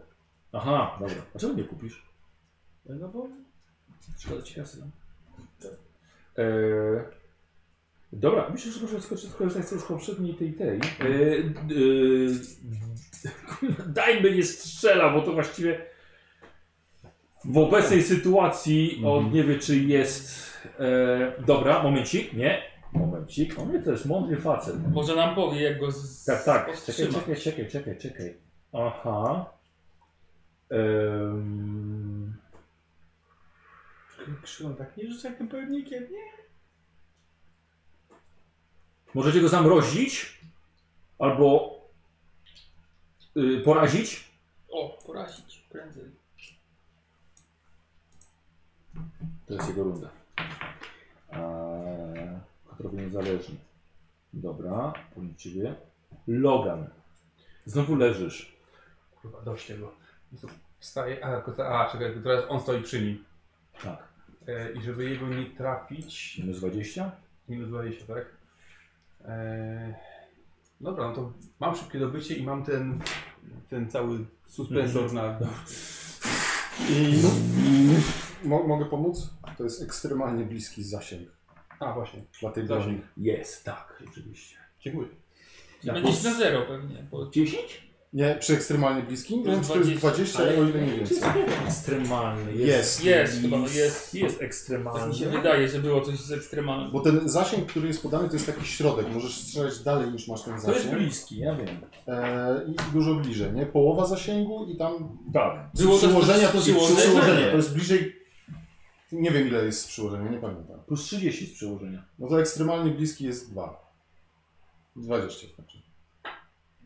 Aha, dobra. A czemu nie kupisz? No bo Szkoda ci kasy. no. Eee, dobra, myślę, że możemy skorzy- skorzystać sobie z poprzedniej tej tej. Eee, d- eee, dajmy nie strzela, bo to właściwie w obecnej sytuacji on nie wie, czy jest. Eee, dobra, momencik, nie. Momencik. On mnie to jest mądry facet. Może nam powie, jak go z... Tak, tak. Czekaj, powstrzyma. czekaj, czekaj, czekaj, czekaj. Aha. Ehm, krzywą tak, nie rzucaj tym pojemnikiem, nie? Możecie go zamrozić albo y, porazić. O, porazić prędzej. To jest jego runda. Eee, Kontrowy niezależny. Dobra, powiem ciebie. Logan. Znowu leżysz. Kurwa, dość go. Wstaje, a, tylko- a czekaj, to teraz on stoi przy nim. Tak. E, I żeby jego nie trafić, Minus 20. minus 20, tak? E, dobra, no to mam szybkie dobycie i mam ten, ten cały suspensor na... I... Mo mogę pomóc? To jest ekstremalnie bliski zasięg A, właśnie, dla tej Zasięg. broni. Jest, tak, rzeczywiście. dziękuję. Będziesz na zero pewnie. Bo... 10? Nie, przy ekstremalnie bliskim? Plus Więc to jest 20, ale- tak? o ile nie więcej. Ekstremalny. Jest. Jest, chyba, no jest. Jest Tak mi ekstremalny. się wydaje, że było coś z ekstremalnym. Bo ten zasięg, który jest podany, to jest taki środek. Możesz strzelać dalej niż masz ten To jest zasięg. bliski, ja wiem. E, I dużo bliżej, nie? Połowa zasięgu i tam Tak. Było też przyłożenia to, jest przyłożenie. przyłożenie. To jest bliżej. Nie wiem ile jest przyłożenia, nie pamiętam. Plus 30 z przełożenia. No to ekstremalnie bliski jest 2. 20 znaczy.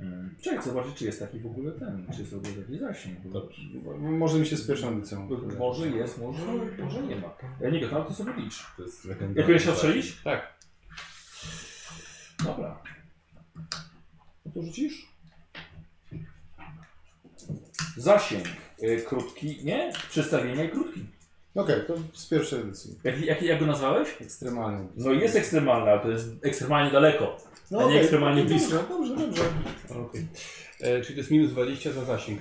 Mm. Czekaj, zobaczyć, czy jest taki w ogóle ten, czy jest w ogóle taki zasięg. bo- Dobrze. bo- Może mi się z pierwszą edycją. bo- Może jest, może, może nie ma. Ja nie wiem, ale to sobie licz. To jest legendarny. Jak będziesz strzelić? Tak. Dobra. No to rzucisz? Zasięg y, krótki, nie? Przedstawienie krótki. Okej, to z pierwszej edycji. Jak, jak, jak go nazwałeś? Ekstremalnie. No jest ekstremalny, ale to jest ekstremalnie daleko. No A nie okej, ekstremalnie no blisko. Dobrze, dobrze, dobrze. Okej. E, Czyli to jest minus 20 za zasięg.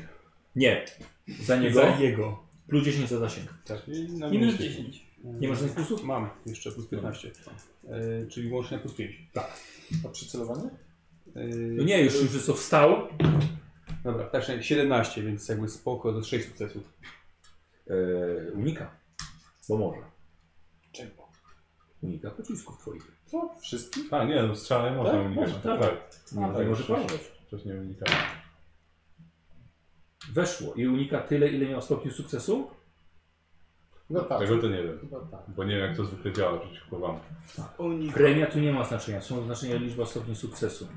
Nie. Za niego Za jego. plus 10 za zasięg. Tak. I na Minus 10. Nie masz żadnych plusów? Mam jeszcze plus 15. E, czyli łącznie plus 5. A przycelowanie? E, No nie, już, już co wstał. Dobra, tak, czyli 17, więc jakby spoko, to 6 sukcesów. E, unika. Bo może. Czego? Unika pocisków twoich. Co? Wszystkich? A nie, no strzelanie można Tak, unikać. można, tak. Nie, tak, może przecież- próbować. Przecież nie unikałem. Weszło i unika tyle, ile miał stopni sukcesu. No tak. Tego to nie wiem. Chyba tak. Bo nie wiem jak to zwykle działa przeciwko wam. Unik. Premia tu nie ma znaczenia, są znaczenia liczba stopni sukcesu.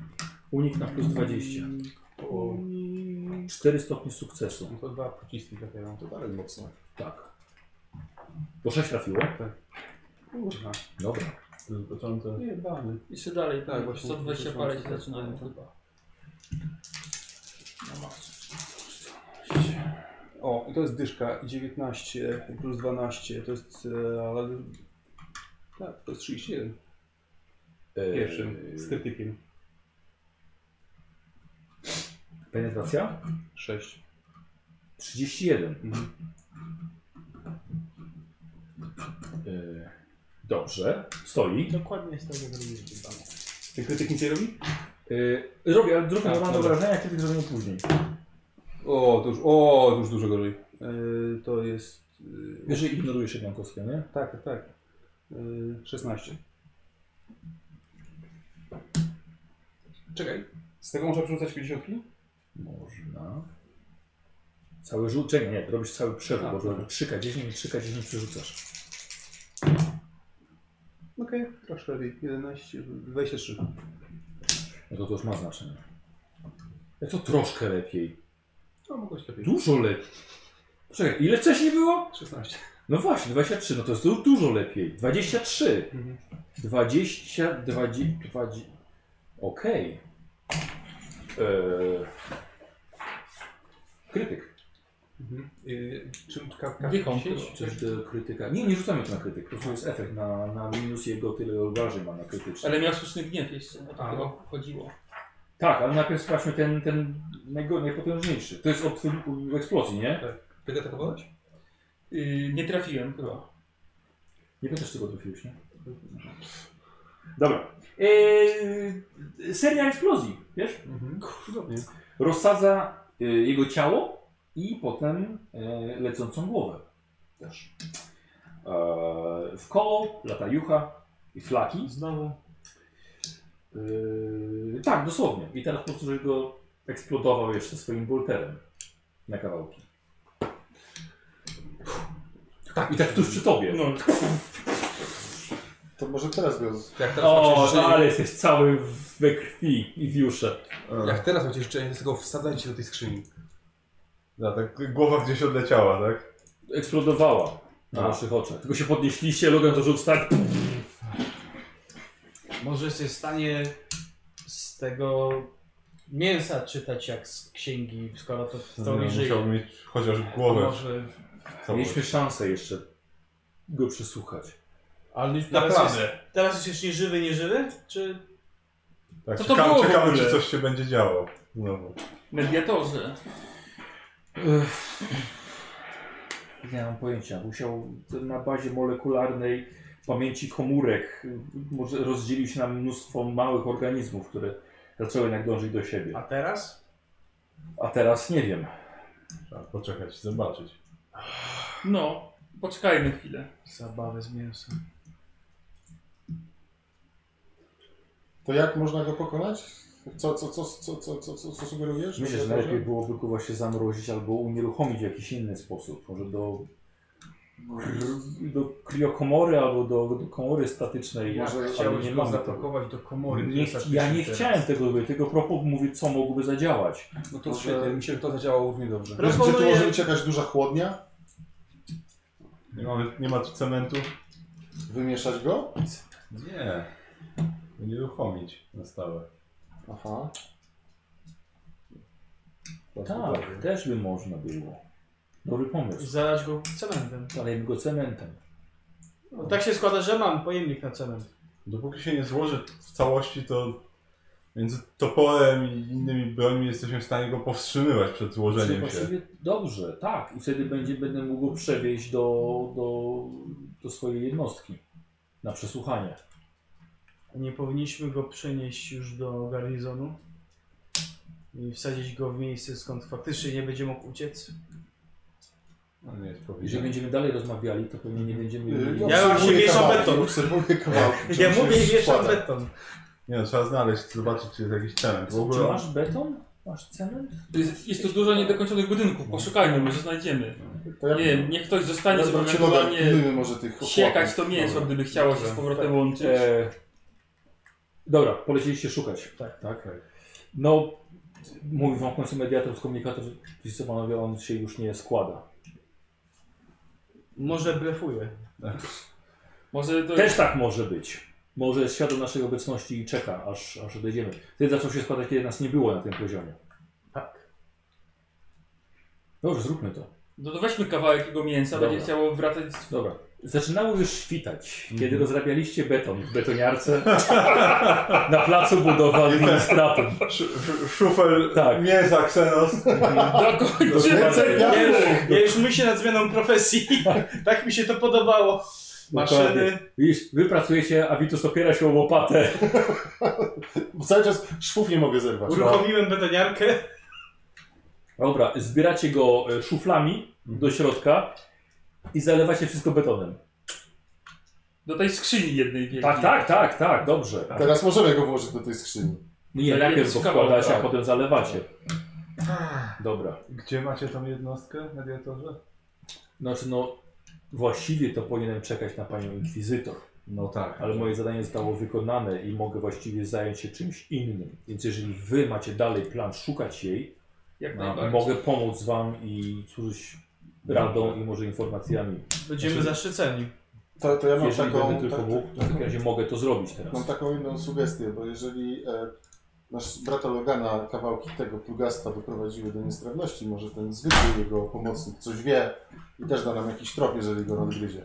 Unik na plus 20. O, 4 stopnie sukcesu. no to dwa pociski trafiają. No To dalej mocno. Tak. Bo 6 trafiło? Tak. Kurwa. Dobra. To jest początek. Nie, bany. Jeszcze dalej, Tak, tak, właśnie. 120 parę tak. się zaczynają No. chyba. O, i to jest dyszka. i 19 plus 12 to jest. E, ale... Tak, to jest 31. E, Pierwszym. Z krytykiem. Penetracja? 6. 31. Mhm. Yy, dobrze. Stoi. Dokładnie jest tak, tego zrobiłem. Ten krytyk nic nie robi? Yy, robię, ale druga Tak, mam do dobra. wrażenia, kiedy zrobimy później. O, to już, o, to już dużo gorzej. E, to jest. E, Jeżeli ignorujesz jedną kostkę, nie? tak, tak, tak. E, 16. Czekaj. Z tego można przerzucać 50? Można. Całe rzucenie, nie, robisz cały przerzut, A, bo dobra. 3K10 i 3K10 przerzucasz. Okej, troszkę lepiej. 11, 23. No to to już ma znaczenie. Ja to troszkę lepiej. No, mogłeś lepiej. Dużo lepiej. Czekaj, ile wcześniej było? 16. No właśnie, 23, no to jest du- dużo lepiej. 23. Mhm. 20, 20, 20. Okej. Eee... Krytyk. Mhm. Y, czym kartka? Dychą, Coś do krytyka. Nie, nie rzucamy tu na krytyk. Po prostu jest efekt na, na minus jego tyle obrażeń ma na krytyczne. Ale miał słuszny gniew jeszcze, o to A, chyba no. chodziło. Tak, ale najpierw sprawdźmy ten, ten najgo- najpotężniejszy. To jest od w- w eksplozji, nie? Tak. Y, Ty go atakowałeś? Yy, nie trafiłem chyba. Nie pytasz, czego trafiłeś, nie? Dobra. Eee, seria eksplozji, wiesz? Mhm. Cudownie. Rozsadza e, jego ciało i potem e, lecącą głowę też. E, w koło lata jucha i flaki. Znowu. E, tak, dosłownie. I teraz po prostu, że go eksplodował jeszcze swoim bolterem na kawałki. Tak, i tak tuż przy tobie. No, To może teraz go. z- Jak teraz macie O, życzenie- ale jesteś cały we krwi i w jusze. Jak teraz macie jeszcze z tego wsadzajcie do tej skrzyni. No, tak głowa gdzieś odleciała, tak? Eksplodowała na A. waszych oczach. Tylko się podnieśliście, Logan to rzuc tak. Może jesteś w stanie z tego mięsa czytać jak z księgi, skoro to w No, teorii żyje. musiałbym mieć chociaż To głowę. Może, całą. Mieliśmy szansę jeszcze go przesłuchać. ale teraz Naprawdę. jest, teraz jest już nieżywy, nieżywy? Czy Tak, Co to czekamy, było w czekamy ogóle? czy coś się będzie działo. No, Znowu. mediatorze. Nie mam pojęcia. Musiał na bazie molekularnej pamięci komórek y, może rozdzielić na mnóstwo małych organizmów, które zaczęły jednak dążyć do siebie. a teraz? A teraz nie wiem. Trzeba poczekać i zobaczyć. No, poczekajmy chwilę. Zabawę z mięsem. To jak można go pokonać? Co, co, co, co, co, co, co, co sugerujesz? Myślę, że najlepiej byłoby go właśnie zamrozić albo unieruchomić w jakiś inny sposób. Może do, do kriokomory albo do, do komory statycznej. Ja ale Chciałeś nie go mamy tego. zaatakować do komory. Nie, która jest ja nie teraz. chciałem tego robić, tylko propos mówi, co mogłoby zadziałać. No to Może- świetnie, mi się to zadziałało równie dobrze. Wiesz, gdzie tu Proponuję- może być jakaś duża chłodnia? Nie, mamy, nie ma tu cementu? Wymieszać go? Nie. Będzie uruchomić na stałe. Aha. Tak, też by można było. Dobry I pomysł. zalać go cementem. Zalejmy go cementem. No, tak się składa, że mam pojemnik na cement. Dopóki się nie złoży w całości, to między toporem i innymi brońmi jesteśmy w stanie go powstrzymywać przed Czyli złożeniem się. właściwie dobrze, tak. I wtedy będzie, będę mógł go przewieźć do, do, do swojej jednostki na przesłuchanie. Nie powinniśmy go przenieść już do garnizonu i wsadzić go w miejsce, skąd faktycznie nie będzie mógł uciec. No nie jest Jeżeli powiedziane. będziemy dalej rozmawiali, to pewnie nie będziemy... mieli- Ja już się obserwuję mieszam tak kawałki, beton. Obserwuję kawałki. Ja żeby mówię się i mieszam składa. beton. Nie no, trzeba znaleźć, zobaczyć czy jest jakiś cement. W Czy ogóle masz beton? Masz cement? Jest, jest tu dużo niedokończonych budynków, poszukajmy, może znajdziemy. To Nie jak- wiem, niech ktoś zostanie, żeby Dobra, przygoda, ewentualnie pilnujmy może tych siekać to chłopaków. No. mięso, Dobra. gdyby chciało Tak. się z powrotem łączyć. E, dobra, polecieliście szukać. Tak, tak. No, mówi wam w końcu mediator z komunikator, że wiecie co panowie, on się już nie składa. Może blefuję. Może to Też tak może być. Może jest świadom naszej obecności i czeka, aż, aż odejdziemy. Wtedy zaczął się składać, kiedy nas nie było na tym poziomie. Tak. Dobrze, zróbmy to. No to weźmy kawałek jego mięsa, Dobra. będzie chciało wracać. z- Dobra. Zaczynało już świtać, kiedy rozrabialiście beton w betoniarce na placu budowy administratum. sz- sz- szufel Tak. mięsa Xenos. Dokończymy Ręce ten piachu! Ja już myślę nad zmianą profesji. tak mi się to podobało. Maszyny. Widzisz, wy pracujecie, a Witus opiera się o łopatę. Bo Cały czas szwów nie mogę zerwać. Uruchomiłem betoniarkę. Dobra, zbieracie go e, szuflami do środka i zalewacie wszystko betonem. Do tej skrzyni jednej wielkiej. Tak, tak, tak, tak, dobrze. No. Teraz możemy go włożyć do tej skrzyni. Nie, Ale najpierw go jest kawał, wkładacie, a tak. potem zalewacie. Dobra. Gdzie macie tą jednostkę, mediatorze? Znaczy no, właściwie to powinienem czekać na panią inkwizytor. No tak. Ale moje zadanie zostało wykonane i mogę właściwie zająć się czymś innym. Więc jeżeli wy macie dalej plan szukać jej, Jak No, najbardziej. mogę pomóc wam i służyć radą i może informacjami. Będziemy zaszczyceni. To, to ja mam Jeżeli będę taką... tylko tak- mógł, to w takim razie mogę to zrobić teraz. Mam taką jedną sugestię, bo jeżeli e, nasz brata Logana kawałki tego plugastwa doprowadziły do niestrawności, może ten zwykły jego pomocnik coś wie i też da nam jakiś trop, jeżeli go nadgryzie.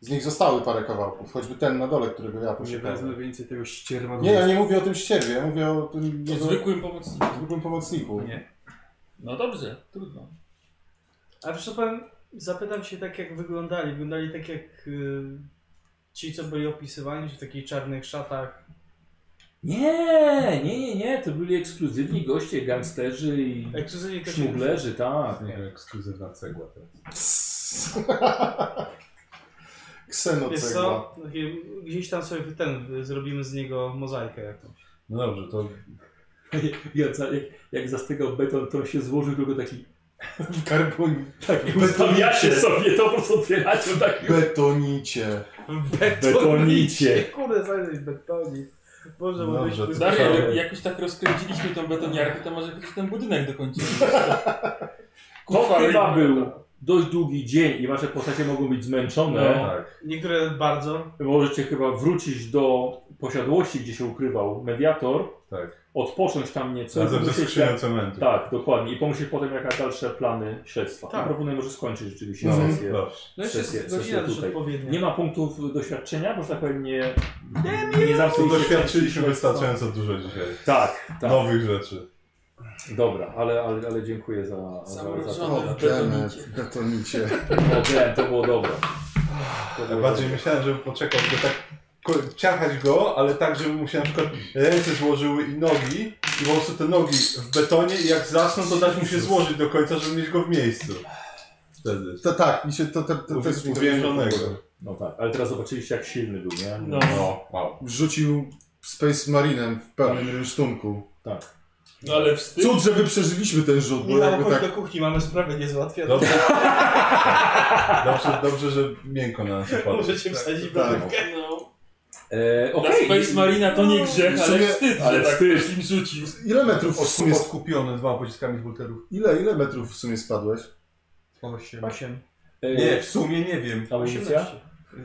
Z nich zostały parę kawałków, choćby ten na dole, którego ja Nie wezmę posiadam. więcej tego ścierwa. do Nie, ja ust. nie mówię o tym ścierwie, ja mówię o tym O jego zwykłym pomocniku. zwykłym pomocniku. Nie. No dobrze, trudno. A wiesz co powiem, zapytam się tak jak wyglądali. Wyglądali tak jak y, ci, co byli opisywani, że w takich czarnych szatach. Nie, nie, nie, nie, to byli ekskluzywni goście, gangsterzy i Ekskluzywnie też- szmuglerzy, tak. To jest ekskluzywna cegła teraz. Wiesz Ksenocegła. co? Takie- Gdzieś tam sobie ten y, zrobimy z niego mozaikę jakąś. No dobrze, to Ja, za- jak, jak zastygał beton, to się złożył tylko taki... W karbonie. Tak, ustawiacie sobie, to po prostu otwieracie tak. Betonicie. Betonicie. Kurde, zajrzeć betonik. Boże, Dobrze, mogę to- Daria, Sorry. jak- jak już tak rozkręciliśmy tą betoniarkę, to może chociaż ten budynek dokończymy. To Kurwa, chyba ryba. był dość długi dzień i wasze postacie mogą być zmęczone. tak. Niektóre bardzo. Możecie chyba wrócić do posiadłości, gdzie się ukrywał mediator, Tak. odpocząć tam nieco. i Razem ze pomyśleć, skrzynią jak- cementu. Tak, dokładnie. I pomyśleć potem, jakie dalsze plany śledztwa. Tak. I proponuję może skończyć rzeczywiście No. sesję. Dobrze. No jeszcze Sesję- jest godzina sesję też tutaj. odpowiednia. Nie ma punktów doświadczenia, bo że tak powiem nie... Nie zawsze Doświadczyliśmy wystarczająco dużo dzisiaj. Tak, tak. Nowych rzeczy. Dobra, ale, ale, ale dziękuję za... za, za No, to. Zamrożony. O, demet, betonicie. O, damn, to było dobre. To Ja było bardziej dobre. myślałem, żeby poczekać, by tak ko- ciachać go, ale tak, żeby mu się na przykład ręce złożyły i nogi, I po prostu te nogi w betonie i jak zasną, to dać mu się złożyć do końca, żeby mieć go w miejscu. Wtedy. To tak, mi się to, to, to, to, to Uwięzionego. No tak, ale teraz zobaczyliście jak silny był, nie? No. No, wow. Rzucił Space Marinem w pełnym rynsztunku. No ale wstyd. Cud, żeby przeżyliśmy ten rzut, bo Michał, jakby chodź tak... do kuchni, mamy sprawę niezałatwioną. Dobrze, dobrze, dobrze, że miękko na nas opadło. Możecie wsadzić tak. bramkę. No. E, Dla okej. Space Marina to nie grzech, W ale sumie- wstyd, ale że tak wstyd. ktoś im rzucił. Ile metrów w sumie... Jest kupione dwa pociskami z bulterów. Ile, ile metrów w sumie spadłeś? 8. Osiem. E, Nie, w sumie nie wiem. Amunicja?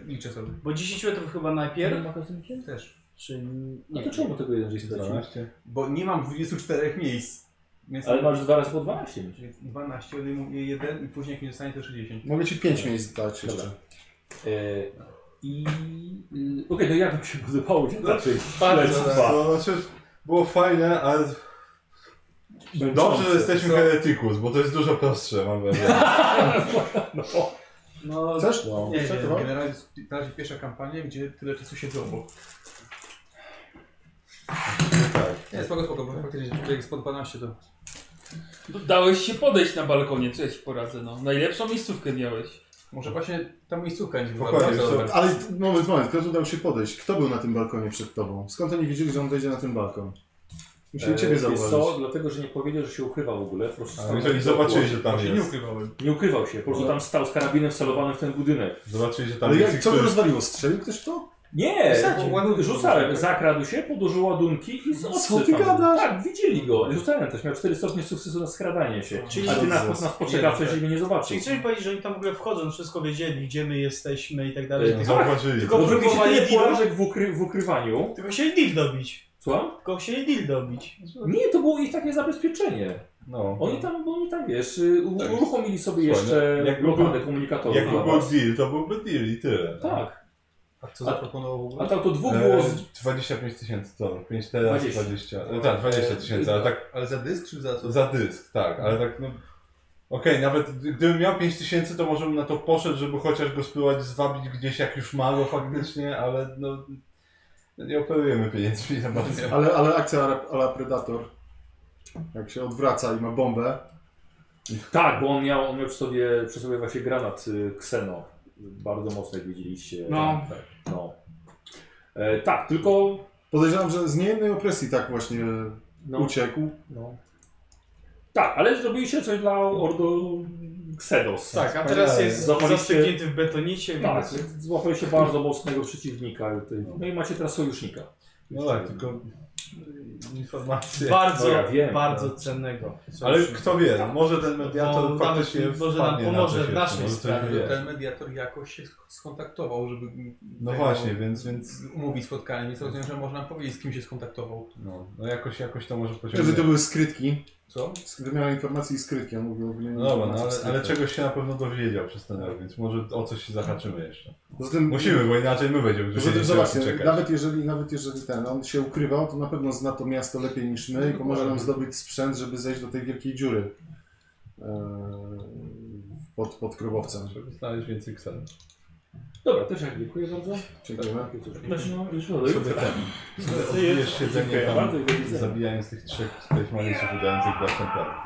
Liczę sobie. Bo 10 metrów chyba najpierw, Też. czy No nie. Mhm. to czemu tego jeden jest dwa? Bo nie mam 24 miejsc. Więc Ale masz dwa razy po 12 mieć. Czyli 12, odejmuję jeden i później jak mi zostanie to 60. Mogę ci 5 miejsc dać jeszcze. Dobra. E, I... y, Okej, no ja bym się podobało się zacząć. Bardzo. Dwa. To znaczy, było fajne, ale dobrze, że jesteśmy heretikus, bo to jest dużo prostsze, mam wrażenie. No, Chcesz? No. nie wiem. Generalnie to jest na razie pierwsza kampania, gdzie tyle czasu siedzę obok. tak. Nie, spoko, spoko, bo faktycznie jak jest po 12 to... Dałeś się podejść na balkonie, co ja ci poradzę, no. Najlepszą miejscówkę miałeś. Może właśnie ta miejscówka nie była Dokładnie, bardzo co- dobra. Ale t- moment, moment, kto dał się podejść? Kto był na tym balkonie przed tobą? Skąd oni wiedzieli, że on wejdzie na ten balkon? Musieli ciebie E, wiesz co? zauważyć. Dlatego, że nie powiedział, że się ukrywa w ogóle. Po prostu stał Jeżeli na- zobaczyli, że tam Tam się nie jest. ukrywałem. Nie ukrywał się, po prostu tam stał z karabinem wcelowanym w ten budynek. Zobaczyli, że tam Ale jest. jak, i co go który- rozwaliło? Strzelił ktoś w to? Nie, Wsadził. bo ładunki rzucałem, zakradł się, podłożył ładunki i z Co ty odsypał. gadasz? Tak, widzieli go. Rzucałem też, miał 4 stopnie sukcesu na skradanie się. Czyli- A ty nas, Jezus. nas poczekawczo, Jeden, żeby nie zobaczył. Czyli chcesz mi powiedzieć, że oni tam w ogóle wchodzą, wszystko wiedzieli, gdzie my jesteśmy i tak dalej. Ej, Mhm. Tylko- Zauważyli. Tylko Dobrze, mi się próbowali tyle deala, porażek w, ukry, w ukrywaniu. tylko się deal dobić. Słucham? Tylko się deal dobić. Nie, to było ich takie zabezpieczenie. No. Oni tam, bo oni tam, wiesz, y, u- Tak. uruchomili sobie Słuchaj, jeszcze no, jakby blokadę był- komunikatorów. Jak na był was. deal, to byłby deal i tyle. Tak. A co zaproponował w A ogóle? tam to dwóch było... E, Z... 25 tysięcy dolarów, 5 teraz 20. 20. E, tak, 20 tysięcy, ale tak Ale za dysk czy za co? za dysk, tak, ale tak no... Okej, nawet gdybym miał 5 tysięcy, to może bym na to poszedł, żeby chociaż go spróbować zwabić gdzieś, jak już ma go faktycznie, ale no... no Nie operujemy pieniędzmi za bardzo. Ale, ale akcja a la Predator. Jak się odwraca i ma bombę. Tak, bo on miał, on miał przy, sobie, przy sobie właśnie granat y, Xeno. Bardzo mocno, jak widzieliście. No. Tak, no. E, tak tylko... Podejrzewam, że z niejednej opresji tak właśnie No, uciekł. no. Tak, ale zrobiliście coś dla Ordo Xenos. Tak, a teraz jest Zapaliście- zastygnięty w betonicie, Tak, więc... złapaliście bardzo mocnego przeciwnika. tutaj. No i macie teraz sojusznika. No tak, tylko... Informacje. Bardzo, No ja wiem, bardzo cennego. Ale kto no. wie, może ten mediator No, faktycznie nawet może nam wpadnie na pomoże coś w jeszcze, naszej może coś sprawie. wie. Ten mediator jakoś się skontaktował, żeby... No właśnie, więc... więc Umówić spotkanie, więc rozumiem, że można nam powiedzieć, z kim się skontaktował. no, no jakoś, jakoś to może Że pociągnąć. to były skrytki. Co? Miała informacji i skrytki. On mówił, że nie No dobra, no, ale, ale czegoś się na pewno dowiedział przez ten rok, więc może o coś się zahaczymy jeszcze. Poza tym, Musimy, bo inaczej my będziemy Poza tym musieli teraz zobaczcie, czekać. nawet jeżeli, nawet jeżeli ten, on się ukrywał, to na pewno zna to miasto lepiej niż my i pomoże nam zdobyć sprzęt, żeby zejść do tej wielkiej dziury eee, pod, pod grobowcem. Żeby znaleźć więcej ksen. Dobra, też jak dziękuję bardzo. Dziękujemy. Znaczy, no, już no, Sobie ten. Odbijesz siedzenie Dziękuję tam, bardzo i do widzenia. zabijając tych trzech space manisów udających dla templariów.